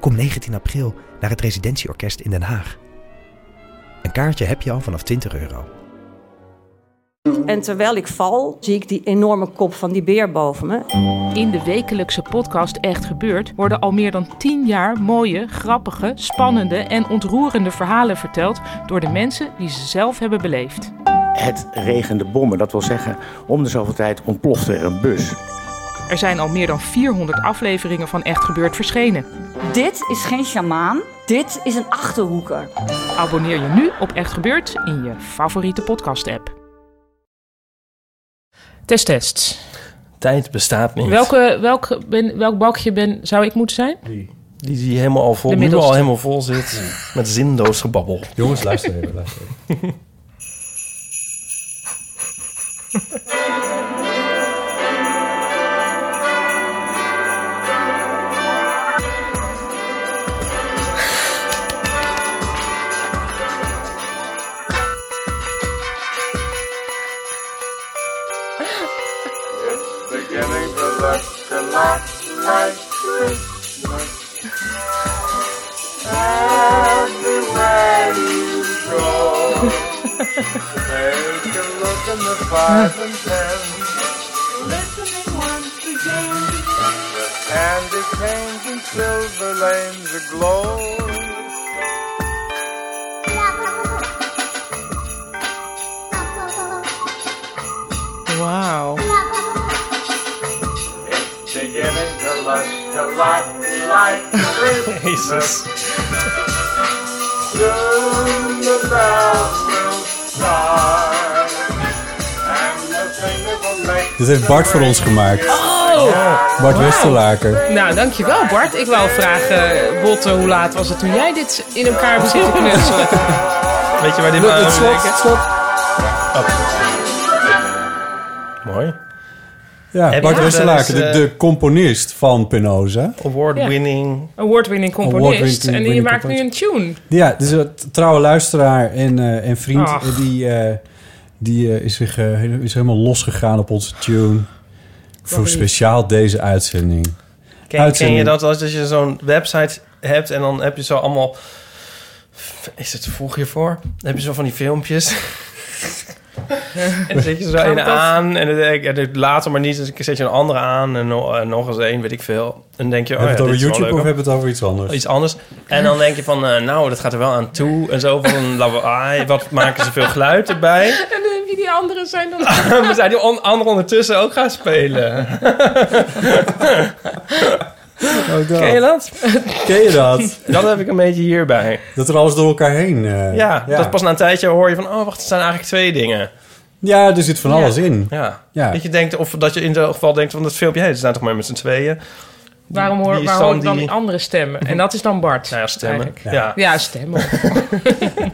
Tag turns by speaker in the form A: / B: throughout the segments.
A: Kom 19 april naar het Residentieorkest in Den Haag. Een kaartje heb je al vanaf 20 euro.
B: En terwijl ik val, zie ik die enorme kop van die beer boven me.
C: In de wekelijkse podcast Echt Gebeurd worden al meer dan 10 jaar mooie, grappige, spannende en ontroerende verhalen verteld door de mensen die ze zelf hebben beleefd.
D: Het regende bommen, dat wil zeggen, om de zoveel tijd ontplofte er een bus.
C: Er zijn al meer dan 400 afleveringen van Echt Gebeurd verschenen.
E: Dit is geen sjamaan, dit is een achterhoeker.
C: Abonneer je nu op Echt Gebeurd in je favoriete podcast-app. Test tests.
F: Tijd bestaat niet.
C: Welke, welk, ben, welk balkje ben, zou ik moeten zijn?
F: Die, die helemaal al vol,
C: De
F: nu
C: middelste.
F: al helemaal vol zit. Met zinloos gebabbel.
G: Jongens, luister even. Luister even.
H: And the changing silver lanes aglow.
C: Wauw.
H: Beginning to lush to light, light Christmas.
F: Jezus.
H: Soon the bells will start. And the singer will make
G: Dit heeft Bart voor ons gemaakt. Bart Westelaker.
C: Oh! Nou, dankjewel Bart. Ik wou vragen, Botte, hoe laat was het toen jij dit in elkaar bezit te knutselen?
F: Weet je waar dit aan moet denken? Mooi.
G: Ja,
F: Heb
G: Bart
F: je- eh,
G: Westelaker,
F: dat
G: de,
F: is,
G: de componist van Penosa.
F: Award-winning.
C: Award-winning componist.
G: Award-winning
C: En die maakt nu een
G: componist.
C: tune.
G: Ja, dus een trouwe luisteraar en, eh, en vriend.
C: Ach.
G: eh, Die, eh, die eh, is, zich, eh, hele- is helemaal losgegaan op onze tune. Voor
C: lief.
G: speciaal deze uitzending.
F: Ken, ken je
G: Uitzending.
F: dat als je zo'n website hebt en dan heb je zo allemaal... Is het te vroeg hiervoor? Dan heb je zo van die filmpjes. en dan zet je zo een aan en dan denk ik, eh, later maar niet. Dus ik zet je een andere aan en no- eh, nog eens één, weet ik veel. En dan denk je, oh ja,
G: hebben we
F: dit
G: het over
F: is wel
G: YouTube
F: leuk.
G: of hebben we het over iets anders?
F: iets anders. En dan denk je van, eh, nou, dat gaat er wel aan toe. En zo van een lawaai. Wat maken ze veel geluid erbij?
C: En eh, wie die anderen zijn dan?
G: Ah.
F: We zijn die on anderen ondertussen ook gaan spelen.
G: Oh,
F: Ken je dat?
G: Ken je dat?
F: Dat heb ik een beetje hierbij.
G: Dat er alles door elkaar heen... eh,
F: Ja, dat pas na een tijdje hoor je van... Oh, wacht, er zijn eigenlijk twee dingen.
G: ja, er zit van alles in.
F: Ja.
G: Ja.
F: Dat je denkt, of dat je in ieder geval denkt van dat filmpje... Hé, ze zijn toch maar met z'n tweeën?
C: Waarom hoor,
F: Die
C: waar hoor ik dan
F: Sandy.
C: die andere stemmen? En dat is dan Bart.
F: Nou ja, stemmen.
C: Eigenlijk.
F: Ja.
C: Ja, stemmen.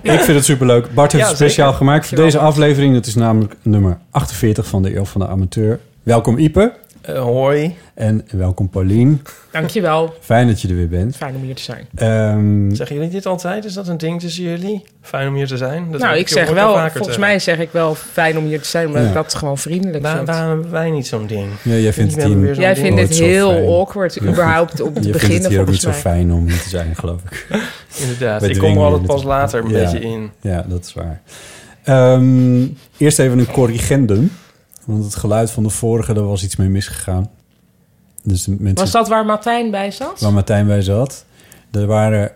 G: Ik vind het superleuk. Bart heeft
F: Ja,
G: het speciaal
F: zeker.
G: gemaakt voor
C: Dankjewel,
G: deze aflevering. Dat is namelijk nummer 48 van de Eeuw van de Amateur. Welkom Ipe
F: Eh, hoi.
G: en welkom Paulien.
C: Dankjewel.
G: Fijn dat je er weer bent.
C: Fijn om hier te zijn.
G: Ehm,
F: Zeggen jullie dit altijd? Is dat een ding tussen jullie? Fijn om hier te zijn? Dat
C: nou,
F: heb
C: ik
F: hier
C: zeg
F: ooit al
C: wel,
F: vaker
C: volgens
F: te-
C: mij zeg ik wel fijn om hier te zijn, omdat
G: Ja.
C: ik dat gewoon vriendelijk
F: Waar,
C: vind.
F: waarom hebben wij niet zo'n ding?
G: ja, jij vindt
F: We
G: het
F: hebben weer
G: hier,
F: zo'n
C: Jij
F: ding.
C: vindt
G: Nooit
C: het
G: zo
C: heel
G: fijn.
C: awkward, überhaupt, om te
G: je vindt het
C: beginnen
G: hier ook niet
C: volgens
G: zo
C: mij.
G: fijn om hier te zijn, geloof ik.
F: Inderdaad,
G: Wij
F: ik kom er
G: dwingen
F: altijd
G: jullie
F: pas
G: het-
F: later een
G: Ja.
F: beetje in.
G: Ja, dat is waar. Ehm, eerst even een corrigendum. Want het geluid van de vorige, daar was iets mee misgegaan. Dus de mensen
C: Was dat waar Martijn bij zat?
G: waar Martijn bij zat. Er waren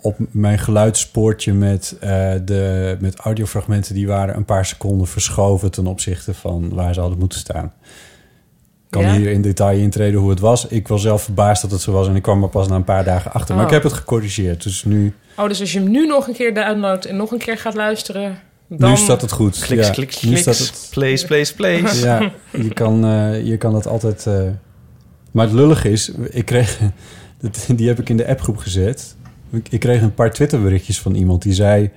G: op mijn geluidspoortje met, eh, de, met audiofragmenten... die waren een paar seconden verschoven ten opzichte van waar ze hadden moeten staan. Ik kan
C: Ja?
G: hier in detail intreden hoe het was. Ik was zelf verbaasd dat het zo was en ik kwam er pas na een paar dagen achter. Maar
C: Oh.
G: ik heb het gecorrigeerd, dus nu,
C: Oh, dus als je hem nu nog een keer downloadt en nog een keer gaat luisteren, dan...
G: nu staat het goed.
F: Kliks,
G: Ja,
F: kliks,
G: nu staat
F: kliks.
G: het-
F: Place, place, place.
G: Ja, je kan, eh, je kan dat altijd. eh, Maar het lullige is, ik kreeg. dat- Die heb ik in de appgroep gezet. Ik, ik kreeg een paar Twitterberichtjes van iemand die zei...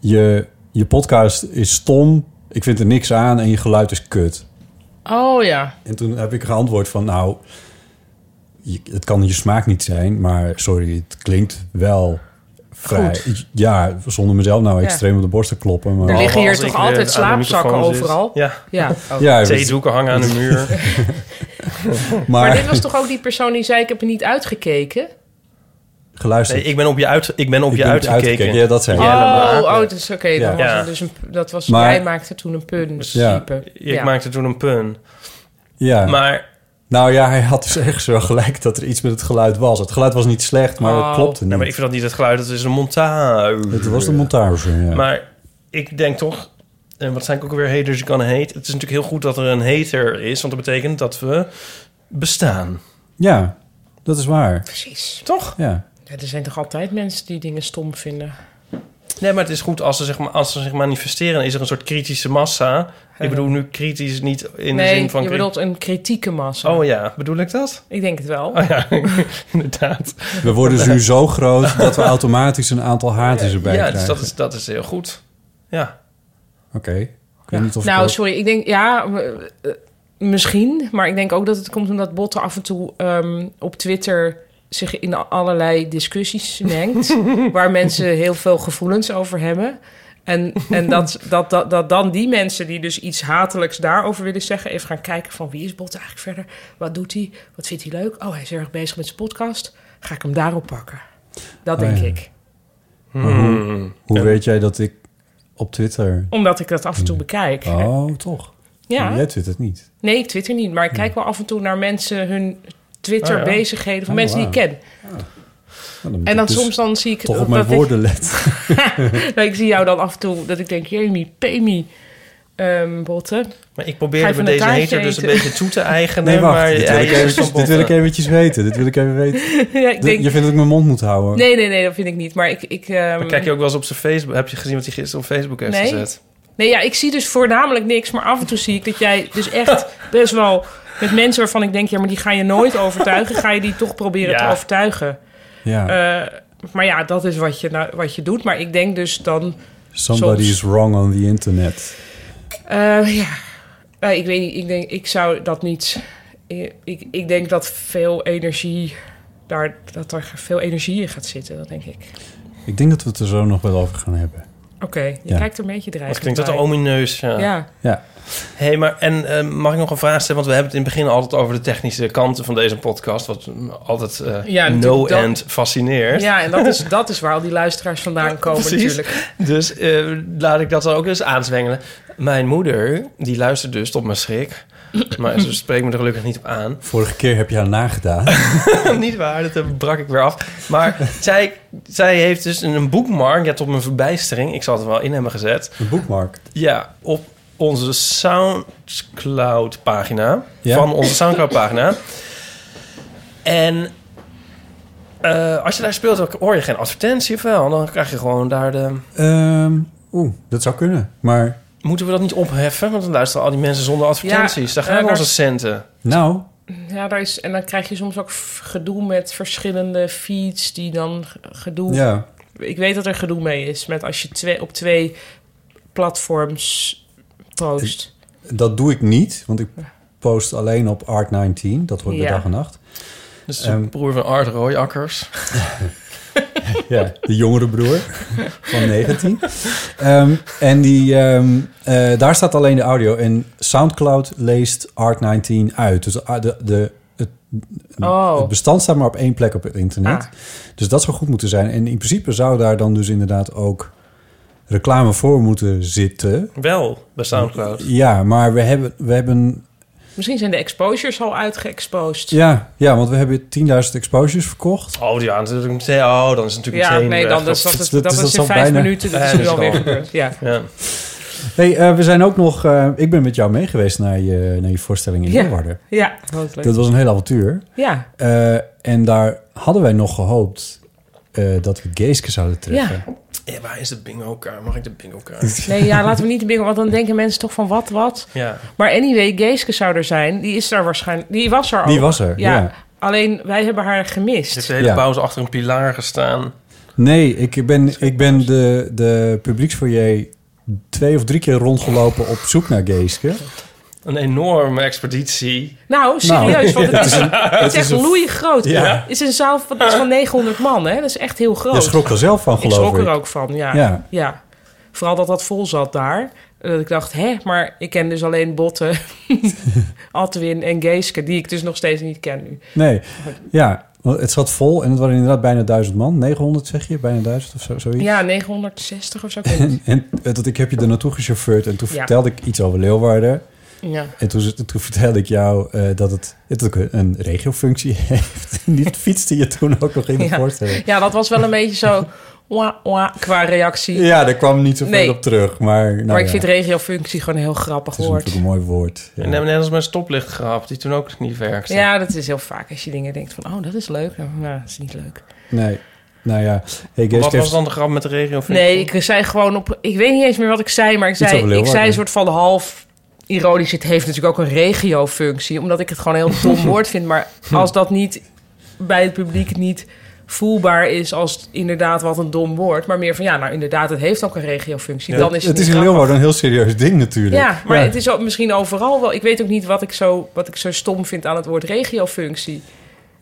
G: Je, je podcast is stom, ik vind er niks aan en je geluid is kut.
C: Oh ja.
G: En toen heb ik geantwoord van... Nou, je- het kan je smaak niet zijn, maar sorry, het klinkt wel... Vrij, ja, zonder mezelf nou
C: Ja.
G: extreem op de borst te kloppen. Maar
C: Er liggen hier
F: Als
C: toch
F: ik weer
C: altijd
F: aan de
C: slaapzakken
F: microfoon zit.
C: overal?
F: Ja,
C: Ja.
G: ja,
F: theedoeken hangen aan de muur.
G: maar,
C: Maar dit was toch ook die persoon die zei: Ik heb er niet uitgekeken?
G: geluisterd.
F: Nee, ik ben op je, uit, ik ben op
G: Ik
F: je
G: ben niet
F: uitgekeken.
G: Ja, dat zei ik.
C: Oh,
F: Ja,
C: oh, dat is oké.
G: Ja.
C: dat was
F: Ja.
C: er Dus een, dat was,
G: Maar-
C: jij maakte toen een pun. Dus
G: Ja.
C: type.
F: Ik maakte toen een pun.
G: Ja.
F: Maar,
G: Nou ja, hij had dus echt zo gelijk dat er iets met het geluid was. Het geluid was niet slecht, maar
C: Oh.
G: het klopte niet.
F: nou, maar ik vind dat niet het geluid, dat is een montage.
G: Het was de montage, ja.
F: Maar ik denk toch, en wat zijn ik ook alweer haters kan hate. Het is natuurlijk heel goed dat er een hater is, want dat betekent dat we bestaan.
G: Ja, dat is waar.
C: Precies.
F: Toch?
G: Ja.
C: Ja, er zijn toch altijd mensen die dingen stom vinden?
F: Nee, maar het is goed als ze, zeg maar, als ze zich manifesteren, is er een soort kritische massa. Ik bedoel nu kritisch niet in de
C: nee,
F: zin van...
C: je
F: kri-
C: bedoelt een kritieke massa.
F: Oh ja, bedoel ik dat?
C: Ik denk het wel.
F: Oh ja, inderdaad.
G: We worden dus nu zo groot dat we automatisch een aantal haatjes erbij
F: ja, dus
G: krijgen.
F: dat is, dat is heel goed. Ja.
G: Oké. Ik weet niet of ik
C: nou,
G: ook-
C: sorry. Ik denk, ja, we- eh, misschien. Maar ik denk ook dat het komt omdat Botten af en toe ehm, op Twitter zich in allerlei discussies mengt. waar mensen heel veel gevoelens over hebben. En, en dat, dat, dat, dat dan die mensen die dus iets hatelijks daarover willen zeggen... even gaan kijken van wie is Botten eigenlijk verder? Wat doet hij? Wat vindt hij leuk? Oh, hij is erg bezig met zijn podcast. Ga ik hem daarop pakken? Dat
G: Oh,
C: denk
G: ja.
C: ik.
G: Maar hoe hoe weet jij dat ik op Twitter...
C: Omdat ik dat af en toe bekijk.
G: Oh, toch?
C: ja.
G: Jij twittert niet.
C: Nee, ik twitter niet. Maar ik kijk wel af en toe naar mensen hun Twitter-bezigheden... van
G: Oh,
C: mensen die ik
G: wauw.
C: ken.
G: Nou, dan moet
C: En
G: ik
C: dan
G: dus
C: soms dan zie ik...
G: Toch op
C: dat
G: mijn
C: ik-
G: woorden let.
C: nou, ik zie jou dan af en toe dat ik denk... Jamie, Pemi, ehm Botten.
F: Maar ik
C: Ga
F: probeerde
C: even
F: met
C: een
F: deze hater
C: taartje
F: dus een
C: eten?
F: beetje toe te eigenen.
G: Nee, wacht.
F: maar
G: dit, wil
F: hij
G: ik
F: is
G: eventjes,
F: van
G: dit wil ik
F: botten.
G: eventjes weten. Dit wil ik even weten.
C: ja, ik denk...
G: Je vindt dat ik mijn mond moet houden?
C: Nee, nee, nee, dat vind ik niet. Maar ik... ik ehm,
F: Maar kijk je ook wel eens op zijn Facebook? Heb je gezien wat hij gisteren op Facebook heeft
C: Nee.
F: gezet?
C: Nee, ja, ik zie dus voornamelijk niks. Maar af en toe zie ik dat jij dus echt best wel... Met mensen waarvan ik denk, ja, maar die ga je nooit overtuigen. Ga je die toch proberen
F: Ja.
C: te overtuigen.
G: Ja.
C: Eh, maar ja, dat is wat je, nou, wat je doet. Maar ik denk dus dan...
G: Somebody
C: Soms.
G: is wrong on the internet.
C: Eh, ja, Eh, ik weet niet. Ik denk, ik zou dat niet. Ik, ik, ik denk dat veel energie daar, dat er veel energie in gaat zitten. Dat denk ik.
G: Ik denk dat we het er zo nog wel over gaan hebben.
C: Oké, je
G: Ja.
C: kijkt er een beetje dreigend.
F: Wat klinkt dat
C: bij.
F: omineus? Ja.
C: Ja.
G: Ja.
F: Hey, maar en eh, mag ik nog een vraag stellen? Want we hebben het in het begin altijd over de technische kanten van deze podcast, wat me altijd eh,
C: Ja,
F: no
C: natuurlijk dat-
F: end fascineert.
C: ja, en dat is, dat is waar al die luisteraars vandaan komen
F: Precies.
C: natuurlijk.
F: Dus eh, laat ik dat dan ook eens aanzwengelen. Mijn moeder, die luistert dus tot mijn schrik, maar ze spreekt me er gelukkig niet op aan.
G: Vorige keer heb je haar nagedaan.
F: niet waar, dat eh, brak ik weer af. Maar zij, zij heeft dus een boekmark, ja, tot mijn verbijstering, ik zal het er wel in hebben gezet.
G: Een boekmark.
F: Ja, op onze SoundCloud-pagina.
G: Ja.
F: Van onze SoundCloud-pagina. En eh, als je daar speelt, dan hoor je geen advertentie of wel. Dan krijg je gewoon daar de...
G: Ehm, Oeh, dat zou kunnen. Maar
F: Moeten we dat niet opheffen? Want dan luisteren al die mensen zonder advertenties.
C: Ja,
F: daar gaan
C: eh,
F: onze
C: daar-
F: centen.
G: nou,
C: Ja, daar is, en dan krijg je soms ook f- gedoe met verschillende feeds die dan g- gedoe
G: ja.
C: ik weet dat er gedoe mee is met als je twee, op twee platforms post.
G: Dat doe ik niet, want ik post alleen op Art19. Dat wordt bij
C: Ja.
G: dag en nacht.
F: Dus de
G: Ehm,
F: broer van Art Royakkers.
G: Ja, de jongere broer van 19. Ehm, en die, ehm, eh, daar staat alleen de audio. En Soundcloud leest Art19 uit. Dus de, de, de- het,
C: Oh.
G: het bestand staat maar op één plek op het internet.
C: Ah.
G: Dus dat zou goed moeten zijn. En in principe zou daar dan dus inderdaad ook reclame voor moeten zitten.
F: Wel,
G: Hm.
F: bij SoundCloud.
G: Ja, maar we hebben, we hebben,
C: Misschien zijn de exposures al uitgeëxposed.
G: ja, ja, want we hebben 10.000 exposures verkocht.
F: Oh, ja, natuurlijk meteen. Oh, dan is het natuurlijk
C: Ja,
F: meteen
C: nee,
F: weg.
C: dan, dat, is-
F: Of-
C: dat, is-
G: dat
C: dat
G: is
C: is
G: al
C: in vijf
G: bijna-
C: minuten. Dat
F: Ja,
C: is
F: dat
C: nu
F: is
C: alweer
F: al.
C: gebeurd. Ja.
F: Ja.
G: hey, eh, we zijn ook nog, eh, ik ben met jou meegeweest naar je, naar je voorstelling in
C: Ja.
G: Leeuwarden.
C: ja, wat leuk.
G: Dat was een heel avontuur.
C: Ja,
G: Eh, en daar hadden wij nog gehoopt eh, dat we Geeske zouden treffen.
C: ja.
F: Ja, waar is de bingo-kaart? Mag ik de bingo-kaart?
C: Nee, ja, laten we niet te binnen, want dan denken mensen toch van wat, wat.
F: ja.
C: Maar anyway, Geeske zou er zijn. Die is er waarschijnlijk. Die was er al.
G: Die was er, ja.
C: Alleen wij hebben haar gemist.
F: heeft de hele
G: Ja.
F: pauze achter een pilaar gestaan.
G: Nee, ik ben, ik ben de, de publieksfoyer twee of drie keer rondgelopen op zoek naar Geeske.
F: Een enorme expeditie.
C: Nou, serieus, want het is, het is
G: is
C: echt
G: een-
C: loei groot.
G: Ja.
C: Het is een zaal van, dat is van 900 man, hè? Dat is echt heel groot.
G: Je schrok er zelf van,
C: ik
G: geloof
C: schrok
G: ik.
C: er ook van, ja.
G: Ja.
C: ja. Vooral dat dat vol zat daar. Eh, Dat ik dacht, hè, maar ik ken dus alleen Botten, Adwin en Geeske, die ik dus nog steeds niet ken nu.
G: Nee, ja, want het zat vol en het waren inderdaad bijna duizend man. 900 zeg je, bijna duizend of zo, zoiets.
C: Ja, 960 of zo. ik weet niet.
G: En eh, dat ik heb je er naartoe gechauffeurd en toen
C: Ja.
G: vertelde ik iets over Leeuwarden.
C: Ja.
G: En toen, toen vertelde ik jou eh, dat het, dat het ook een regiofunctie heeft. En die fietste je toen ook nog in de
C: Ja.
G: voorstelling.
C: ja, dat was wel een beetje zo wah, wah, qua reactie.
G: Ja, daar kwam niet zoveel
C: Nee.
G: op terug. Maar, nou
C: maar ik
G: ja,
C: vind regiofunctie gewoon een heel grappig
G: het is
C: woord.
G: natuurlijk een mooi woord. Ja.
F: En dan net als mijn stoplichtgrap, die toen ook niet werkte.
C: Ja, dat is heel vaak als je dingen denkt van, oh, dat is leuk. Maar dat is niet leuk.
G: Nee, nou ja. Hey, Geeske
F: Wat was
G: heeft-
F: dan de grap met de regio?
C: Nee, ik zei gewoon op... Ik weet niet eens meer wat ik zei, maar ik
G: Iets over
C: zei, ik
G: Leeuwarden.
C: zei een soort van half ironisch. Het heeft natuurlijk ook een regiofunctie, omdat ik het gewoon een heel dom woord vind. Maar als dat niet bij het publiek niet voelbaar is als inderdaad wat een dom woord. Maar meer van, ja, nou inderdaad, het heeft ook een regiofunctie.
F: Ja,
C: dan is het,
G: het
C: niet
G: is in
C: grappig.
G: Leeuwarden een heel serieus ding natuurlijk.
C: Ja, maar het is ook misschien overal wel... Ik weet ook niet wat ik zo, wat ik zo stom vind aan het woord regiofunctie.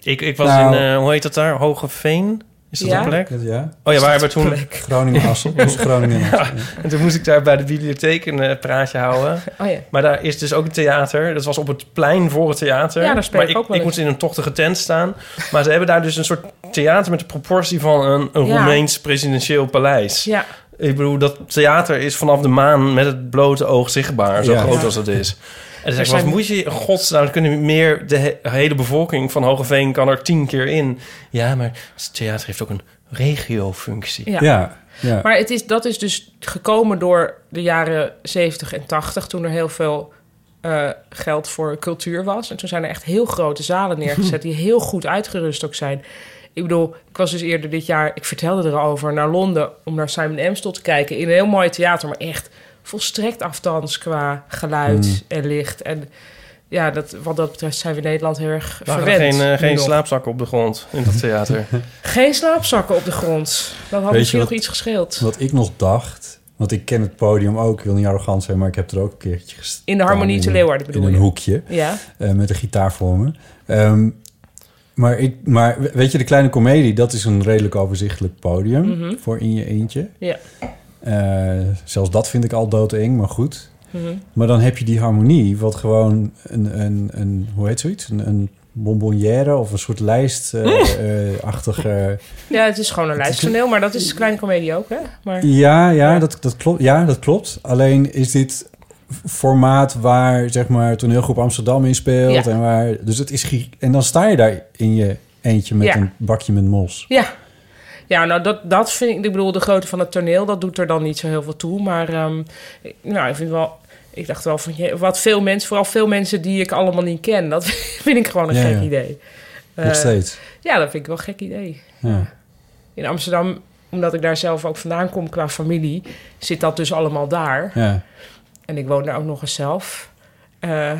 F: Ik, ik was
G: Nou.
F: in, eh, hoe heet dat daar? Hogeveen? Is dat
C: Ja.
F: een plek?
G: Ja,
F: Oh ja, waar hebben we toen...
G: Groningen-Assen. Dus Groningen-Assen.
F: En toen moest ik daar bij de bibliotheek een eh, praatje houden.
C: Oh ja.
F: Maar daar is dus ook een theater. Dat was op het plein voor het theater.
C: Ja, daar speel
F: maar
C: ik ook wel
F: ik
C: eens.
F: moest in een tochtige tent staan. Maar ze hebben daar dus een soort theater met de proportie van een, een
C: Ja.
F: Roemeens presidentieel paleis.
C: Ja,
F: Ik bedoel, dat theater is vanaf de maan met het blote oog zichtbaar. Zo
G: Ja.
F: groot
C: Ja.
F: als dat is. En dan zeg ik,
C: zijn-
F: wat moet je, in godsnaam, kunnen meer, de he- hele bevolking van Hogeveen kan er tien keer in. Ja, maar het theater heeft ook een regiofunctie.
C: ja.
G: Ja, ja.
C: Maar het is, dat is dus gekomen door de jaren 70 en 80, toen er heel veel eh, geld voor cultuur was. En toen zijn er echt heel grote zalen neergezet, die heel goed uitgerust ook zijn. Ik bedoel, ik was dus eerder dit jaar, ik vertelde erover, naar Londen om naar Simon Amstel te kijken. In een heel mooi theater, maar echt volstrekt aftans qua geluid
F: Mm.
C: en licht. En ja, dat, wat dat betreft zijn we in Nederland heel erg
F: Waren er
C: verwend.
F: geen, eh,
C: nu
F: geen
C: nog.
F: slaapzakken op de grond in dat theater?
C: geen slaapzakken op de grond. Dat had
G: je
C: misschien
G: wat-
C: nog iets gescheeld.
G: Wat ik nog dacht, want ik ken het podium ook, ik wil niet arrogant zijn, maar ik heb er ook een keertje gestaan.
C: In de Harmonie te
G: in-
C: Leeuwarden bedoel
G: In een
C: je?
G: hoekje,
C: Ja.
G: eh, met een gitaar voor me. Ehm, maar, ik, maar we- weet je, de kleine komedie, dat is een redelijk overzichtelijk podium voor in je eentje.
C: Mhm. Ja.
G: Eh, zelfs dat vind ik al doodeng, maar goed.
C: Mhm.
G: Maar dan heb je die harmonie, wat gewoon een, een, een hoe heet zoiets? Een, een bonbonnière of een soort eh, lijstachtige...
C: Ja, het is gewoon een lijsttoneel, maar dat is de kleine komedie ook, hè? Maar
G: Ja, ja,
C: Ja.
G: dat, dat klopt, ja, dat klopt. Alleen is dit f- formaat waar zeg maar toneelgroep Amsterdam in speelt
C: Ja.
G: en waar dus het is gi- en dan sta je daar in je eentje met
C: Ja.
G: een bakje met mos.
C: ja. Ja, nou, dat, dat vind ik... Ik bedoel, de grootte van het toneel, dat doet er dan niet zo heel veel toe. Maar, ehm, ik- nou, ik vind wel... Ik dacht wel van, je, wat veel mensen... Vooral veel mensen die ik allemaal niet ken. Dat vind ik gewoon een
G: Ja,
C: gek
G: ja.
C: idee. Eh,
G: Nog steeds.
C: ja, dat vind ik wel een gek idee.
G: Ja.
C: In Amsterdam, omdat ik daar zelf ook vandaan kom qua familie... zit dat dus allemaal daar.
G: ja.
C: En ik woon daar ook nog eens zelf. Eh,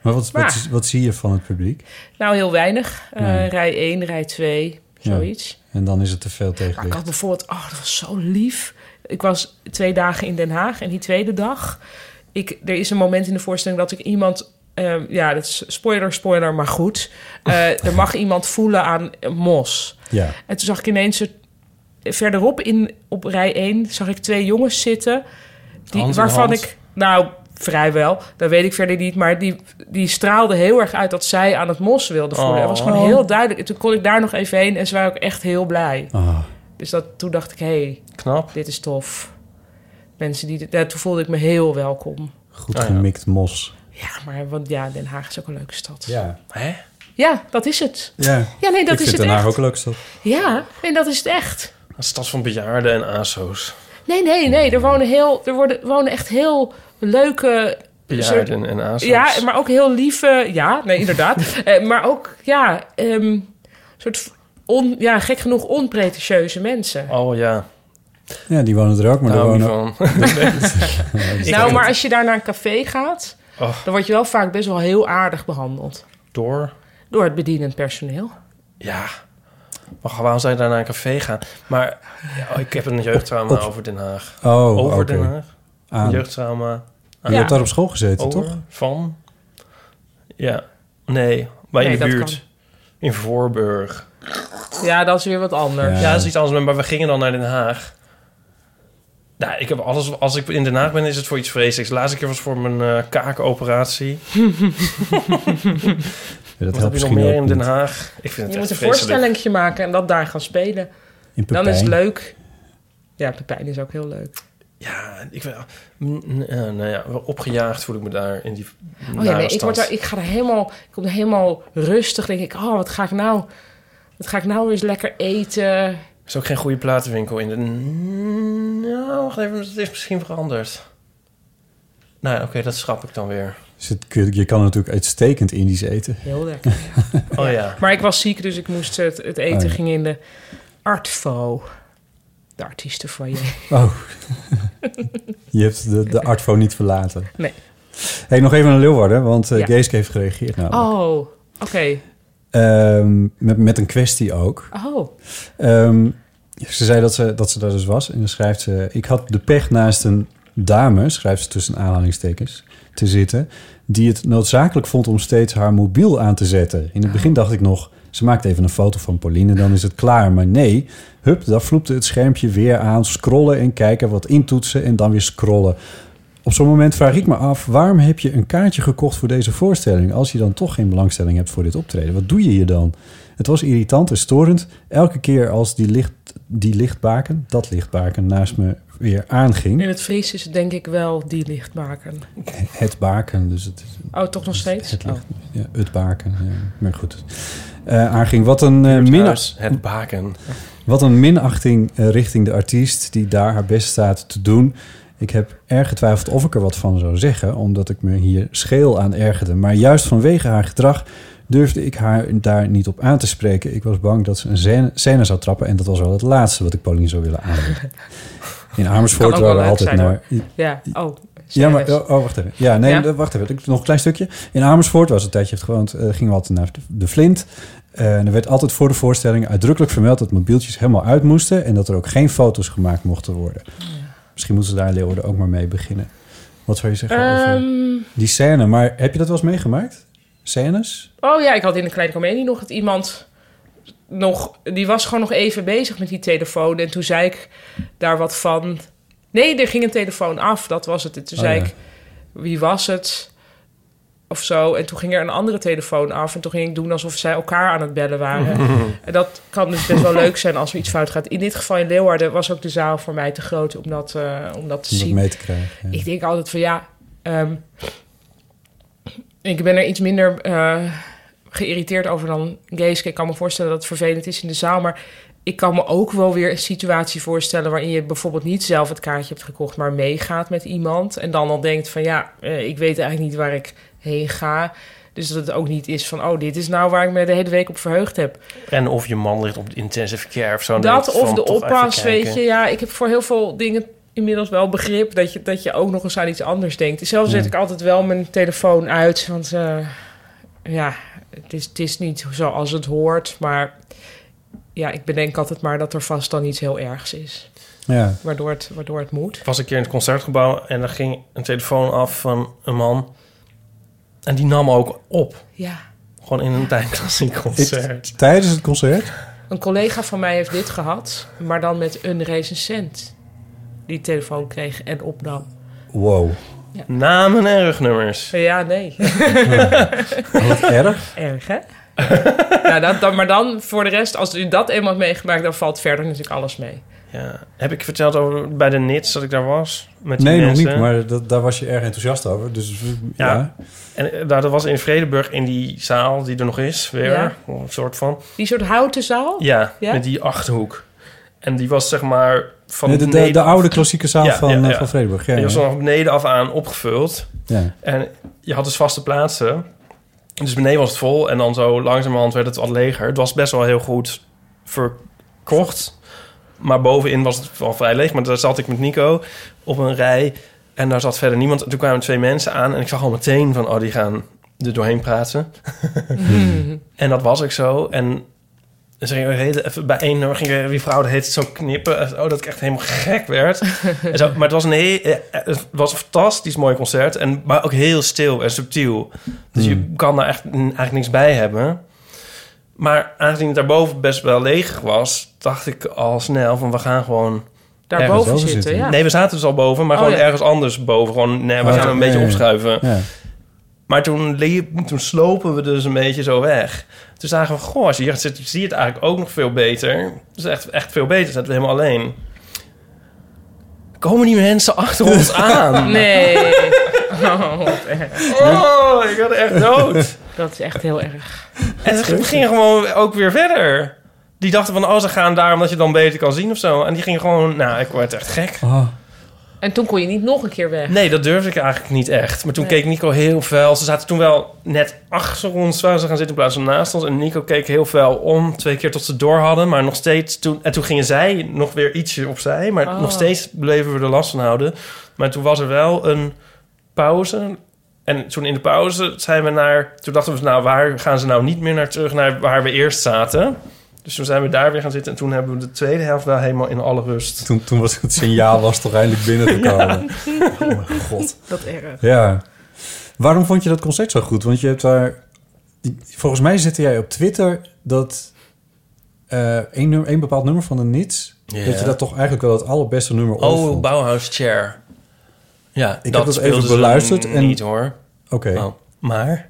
G: Maar wat,
C: Maar-
G: wat, is- wat zie je van het publiek?
C: nou, heel weinig. Eh,
G: Nee.
C: Rij 1, rij 2,
G: Ja.
C: zoiets.
G: En dan is het te veel
C: Maar ik had
G: tegenlicht.
C: bijvoorbeeld, oh, dat was zo lief. Ik was twee dagen in Den Haag en die tweede dag, ik, er is een moment in de voorstelling dat ik iemand, ehm, ja, dat is spoiler, spoiler, maar goed, Eh, er mag iemand voelen aan eh, mos.
G: Ja.
C: En toen zag ik ineens het- verderop in, op rij 1 zag ik twee jongens zitten. Die,
F: Hand in
C: waarvan
F: hand.
C: ik, nou vrijwel, dat weet ik verder niet. Maar die, die straalde heel erg uit dat zij aan het mos wilden voelen.
F: Oh.
C: Dat was gewoon heel duidelijk. En toen kon ik daar nog even heen en ze waren ook echt heel blij.
G: Ah,
C: Dus dat, toen dacht ik, hé, hey,
F: Knap.
C: dit is tof. Mensen die, ja, toen voelde ik me heel welkom.
G: goed
F: Ah, ja.
G: gemikt mos.
C: Ja, maar want ja, Den Haag is ook een leuke stad.
G: Ja.
F: Hè?
C: Ja, dat is het.
G: Ja.
C: Ja, nee, dat
G: ik
C: is
G: vind
C: het
G: Den Haag
C: echt.
G: ook leuk stad.
C: Ja, nee, dat is het echt.
F: Een stad van bejaarden en ASO's.
C: Nee, nee, nee. Er wonen, heel, er worden, wonen echt heel leuke.
F: Bejaarden en ASO's.
C: Ja, maar ook heel lieve. Ja, nee, inderdaad. Eh, maar ook, ja, ehm soort on, ja, gek genoeg onpretentieuze mensen.
F: Oh ja,
G: Ja, die wonen er ook, maar
F: daar
G: daar
F: hou ik
G: wonen
F: niet van. Ik
C: nou,
F: vind-
C: maar als je daar naar een café gaat,
F: Oh.
C: dan word je wel vaak best wel heel aardig behandeld.
F: Door.
C: Door het bedienend personeel.
F: Ja. Maar waarom zou je daar naar een café gaan? Maar ja, oh, ik heb een jeugdtrauma
G: Op-
F: over Den Haag.
G: Oh,
F: over
G: oké.
F: Den Haag.
G: Aan.
F: Een jeugdtrauma.
G: Je hebt daar op school gezeten,
F: Over,
G: toch?
F: Van? Ja. Nee, maar
C: Nee,
F: in de
C: dat
F: buurt.
C: kan.
F: In Voorburg.
C: Ja, dat is weer wat anders.
F: Ja. dat
G: Eh.
F: is iets anders. Maar we gingen dan naar Den Haag. Nou, ik heb alles... Als ik in Den Haag ben, is het voor iets vreselijks. De laatste keer was voor mijn eh, kaakoperatie.
G: Ja,
F: Wat
G: dat
F: heb
G: helpt
F: je nog
G: misschien
F: meer
G: ook
F: in
G: niet.
F: Den Haag? Ik vind het
C: Je
F: echt
C: moet een
F: vreselijk.
C: voorstellingje maken en dat daar gaan spelen.
G: In
C: Dan is het
G: Pepijn.
C: leuk. Ja, Pepijn is ook heel leuk.
F: Ja, ik ben... mm, mm, eh, nou ja, wel opgejaagd voel ik me daar in die
C: Oh ja, nee, ik, word daar, ik ga er helemaal, ik kom er helemaal rustig. denk ik, oh, wat ga ik nou, wat ga ik nou eens lekker eten?
F: Er is ook geen goede platenwinkel in de... Nou, wacht even, het is misschien veranderd. Nou ja, oké, dat schrap ik dan weer.
G: Dus het kun- je kan natuurlijk uitstekend Indisch eten.
C: Heel lekker.
F: Oh ja.
C: Maar ik was ziek, dus ik moest het, het eten
G: Oh ja.
C: ging in de Artfo. De artiesten van je.
G: Oh, je hebt de, de Artfo niet verlaten.
C: Nee.
G: Hey, nog even naar Leeuwarden, want eh,
C: Ja.
G: Geeske heeft gereageerd namelijk.
C: Oh, oké.
G: Ehm, met, met een kwestie ook.
C: Oh,
G: Ehm, ze zei dat ze, dat ze daar dus was. En dan schrijft ze... Ik had de pech naast een dame, schrijft ze tussen aanhalingstekens, te zitten... die het noodzakelijk vond om steeds haar mobiel aan te zetten. In het begin dacht ik nog... ze maakt even een foto van Pauline, dan is het klaar. Maar nee, hup, daar vloepte het schermpje weer aan. Scrollen en kijken, wat intoetsen en dan weer scrollen. Op zo'n moment vraag ik me af... waarom heb je een kaartje gekocht voor deze voorstelling... als je dan toch geen belangstelling hebt voor dit optreden? Wat doe je hier dan? Het was irritant en storend. Elke keer als die, licht, die lichtbaken, dat lichtbaken, naast me weer
C: in
G: aanging.
C: het Fries is het denk ik wel die licht maken.
G: Het baken, dus het, is
C: Oh, toch nog steeds?
G: het, licht,
C: Oh.
G: ja, het baken. Ja. Maar goed. Eh, aanging. Wat een, eh,
F: Het
G: mina-
F: huis, het baken.
G: wat een minachting eh, richting de artiest die daar haar best staat te doen. Ik heb erg getwijfeld of ik er wat van zou zeggen, omdat ik me hier scheel aan ergerde. Maar juist vanwege haar gedrag durfde ik haar daar niet op aan te spreken. Ik was bang dat ze een scène, scène zou trappen en dat was wel het laatste wat ik Pauline zou willen aandoen. In
C: Kan
G: Amersfoort
C: ook wel
G: waren we
C: leuk
G: altijd
C: zijn,
G: naar...
C: Ja, oh.
G: Ja, maar
C: serieus.
G: oh, oh, wacht even. Ja, nee,
C: Ja?
G: wacht even. Ik- Nog een klein stukje. In Amersfoort was een tijdje heeft gewoond, eh, gingen we altijd naar de- de Flint. Eh, en er werd altijd voor de voorstelling uitdrukkelijk vermeld dat mobieltjes helemaal uit moesten en dat er ook geen foto's gemaakt mochten worden. Misschien moeten ze daar in Leeuwarden ook maar mee beginnen. Wat zou je zeggen over
C: Ehm,
G: die scène? Maar heb je dat wel eens meegemaakt? Scènes?
C: Oh ja, ik had in de kleine comedie nog dat iemand nog, die was gewoon nog even bezig met die telefoon. En toen zei ik daar wat van. Nee, er ging een telefoon af, dat was het. En toen
G: Oh,
C: zei
G: ja.
C: ik, wie was het? Of zo. En toen ging er een andere telefoon af. En toen ging ik doen alsof zij elkaar aan het bellen waren. en dat kan dus best wel leuk zijn als er iets fout gaat. In dit geval in Leeuwarden was ook de zaal voor mij te groot om dat, eh, om dat te
G: Om dat
C: zien.
G: mee te krijgen. Ja.
C: Ik denk altijd van ja, ehm, ik ben er iets minder eh, geïrriteerd over dan Geeske. Ik kan me voorstellen dat het vervelend is in de zaal, maar ik kan me ook wel weer een situatie voorstellen waarin je bijvoorbeeld niet zelf het kaartje hebt gekocht, maar meegaat met iemand en dan al denkt van ja, eh, ik weet eigenlijk niet waar ik heen ga. Dus dat het ook niet is van, oh, dit is nou waar ik me de hele week op verheugd heb.
F: En of je man ligt op de intensive care of zo. dan
C: Dat
F: denk ik
C: of
F: van,
C: de
F: toch even
C: oppas,
F: kijken.
C: weet je. Ja, ik heb voor heel veel dingen inmiddels wel begrip dat je, dat je ook nog eens aan iets anders denkt. Zelf zet ik altijd wel mijn telefoon uit, want eh, ja, het is, het is niet zoals het hoort. Maar ja, ik bedenk altijd maar dat er vast dan iets heel ergs is,
G: Ja.
C: waardoor het, waardoor het moet.
F: Ik was een keer in het concertgebouw en er ging een telefoon af van een man. En die nam ook op.
C: Ja.
F: Gewoon in een tijdklassiek concert.
G: Ik- tijdens het concert?
C: Een collega van mij heeft dit gehad, maar dan met een recensent die telefoon kreeg en opnam.
G: Wow.
F: Namen en rugnummers.
C: Ja, nee.
G: Wat erg.
C: Erg, hè? ja, dat, dan, maar dan voor de rest, als u dat eenmaal hebt meegemaakt, dan valt verder natuurlijk alles mee.
F: Ja. Heb ik verteld over, bij de Nits dat ik daar was? Met die
G: Nee, nog
F: mensen?
G: niet, maar dat, daar was je erg enthousiast over. Dus
F: Ja.
G: ja.
F: En eh, nou, dat was in Vredeburg in die zaal die er nog is, weer.
C: Ja.
F: Een soort van.
C: Die soort houten zaal?
F: Ja,
C: Ja?
F: met die achterhoek. En die was zeg maar van
G: Nee, de, de,
F: beneden-
G: de oude klassieke zaal
F: Ja,
G: van,
F: ja,
G: eh,
F: ja.
G: van Vredeburg. Ja,
F: Die was
G: ja.
F: van beneden af aan opgevuld.
G: Ja.
F: En je had dus vaste plaatsen. Dus beneden was het vol. En dan zo langzamerhand werd het wat leger. Het was best wel heel goed verkocht. Maar bovenin was het wel vrij leeg. Maar daar zat ik met Nico op een rij. En daar zat verder niemand. En toen kwamen twee mensen aan. En ik zag al meteen van... Oh, die gaan er doorheen praten. en dat was ook zo. En dus ging ik heel- even bij één nummer ging ik- die vrouw dat heet zo knippen. Oh, dat ik echt helemaal gek werd. en zo, maar het was, een heel, eh, het was een fantastisch mooi concert. En, maar ook heel stil en subtiel. Dus je
G: Hmm.
F: kan daar echt, mm, eigenlijk niks bij hebben. Maar aangezien het daarboven best wel leeg was... dacht ik al snel van we gaan gewoon...
C: Daarboven
G: Ergens
C: zitten,
G: over zitten.
C: ja.
F: Nee, we zaten dus al boven, maar
C: Oh,
F: gewoon
C: ja.
F: ergens anders boven. Gewoon, nee, we
G: Oh,
F: gaan
G: ja.
F: een beetje
G: Ja, ja.
F: opschuiven.
G: Ja.
F: Maar toen, liep, toen slopen we dus een beetje zo weg. Toen zagen we, goh, als je hier zit, zie je het eigenlijk ook nog veel beter. Het is echt, echt veel beter, zaten we helemaal alleen. Komen die mensen achter ons aan?
C: Ah, Nee. Oh, wat erg.
F: Oh, ik had echt dood.
C: Dat is echt heel erg.
F: En ze gingen gewoon ook weer verder. Die dachten van, oh, ze gaan daar omdat je dan beter kan zien of zo. En die gingen gewoon, nou, ik word echt gek.
G: Ah,
C: En toen kon je niet nog een keer weg.
F: Nee, dat durfde ik eigenlijk niet echt. Maar toen
C: Nee.
F: keek Nico heel fel. Ze zaten toen wel net achter ons waar ze gaan zitten in plaats van naast ons. En Nico keek heel fel om, twee keer tot ze door hadden. Maar nog steeds toen... En toen gingen zij nog weer ietsje opzij. Maar
C: Oh.
F: nog steeds bleven we er last van houden. Maar toen was er wel een pauze. En toen in de pauze zijn we naar... Toen dachten we, nou, waar gaan ze nou niet meer naar terug? Naar waar we eerst zaten. Dus toen zijn we daar weer gaan zitten. En toen hebben we de tweede helft wel helemaal in alle rust.
G: toen, toen was het signaal was toch eindelijk binnengekomen. Oh mijn god.
C: Dat erg.
G: Ja. Waarom vond je dat concert zo goed? Want je hebt daar... Volgens mij zette jij op Twitter dat eh één, nummer, één bepaald nummer van de Nits...
F: Ja.
G: dat je dat toch eigenlijk wel het allerbeste nummer ooit
F: Oh,
G: vond.
F: Bauhaus Chair. Ja, dat
G: heb dat even
F: speelden ze
G: beluisterd
F: n-
G: en-
F: Niet hoor.
G: Oké.
F: Oh, maar?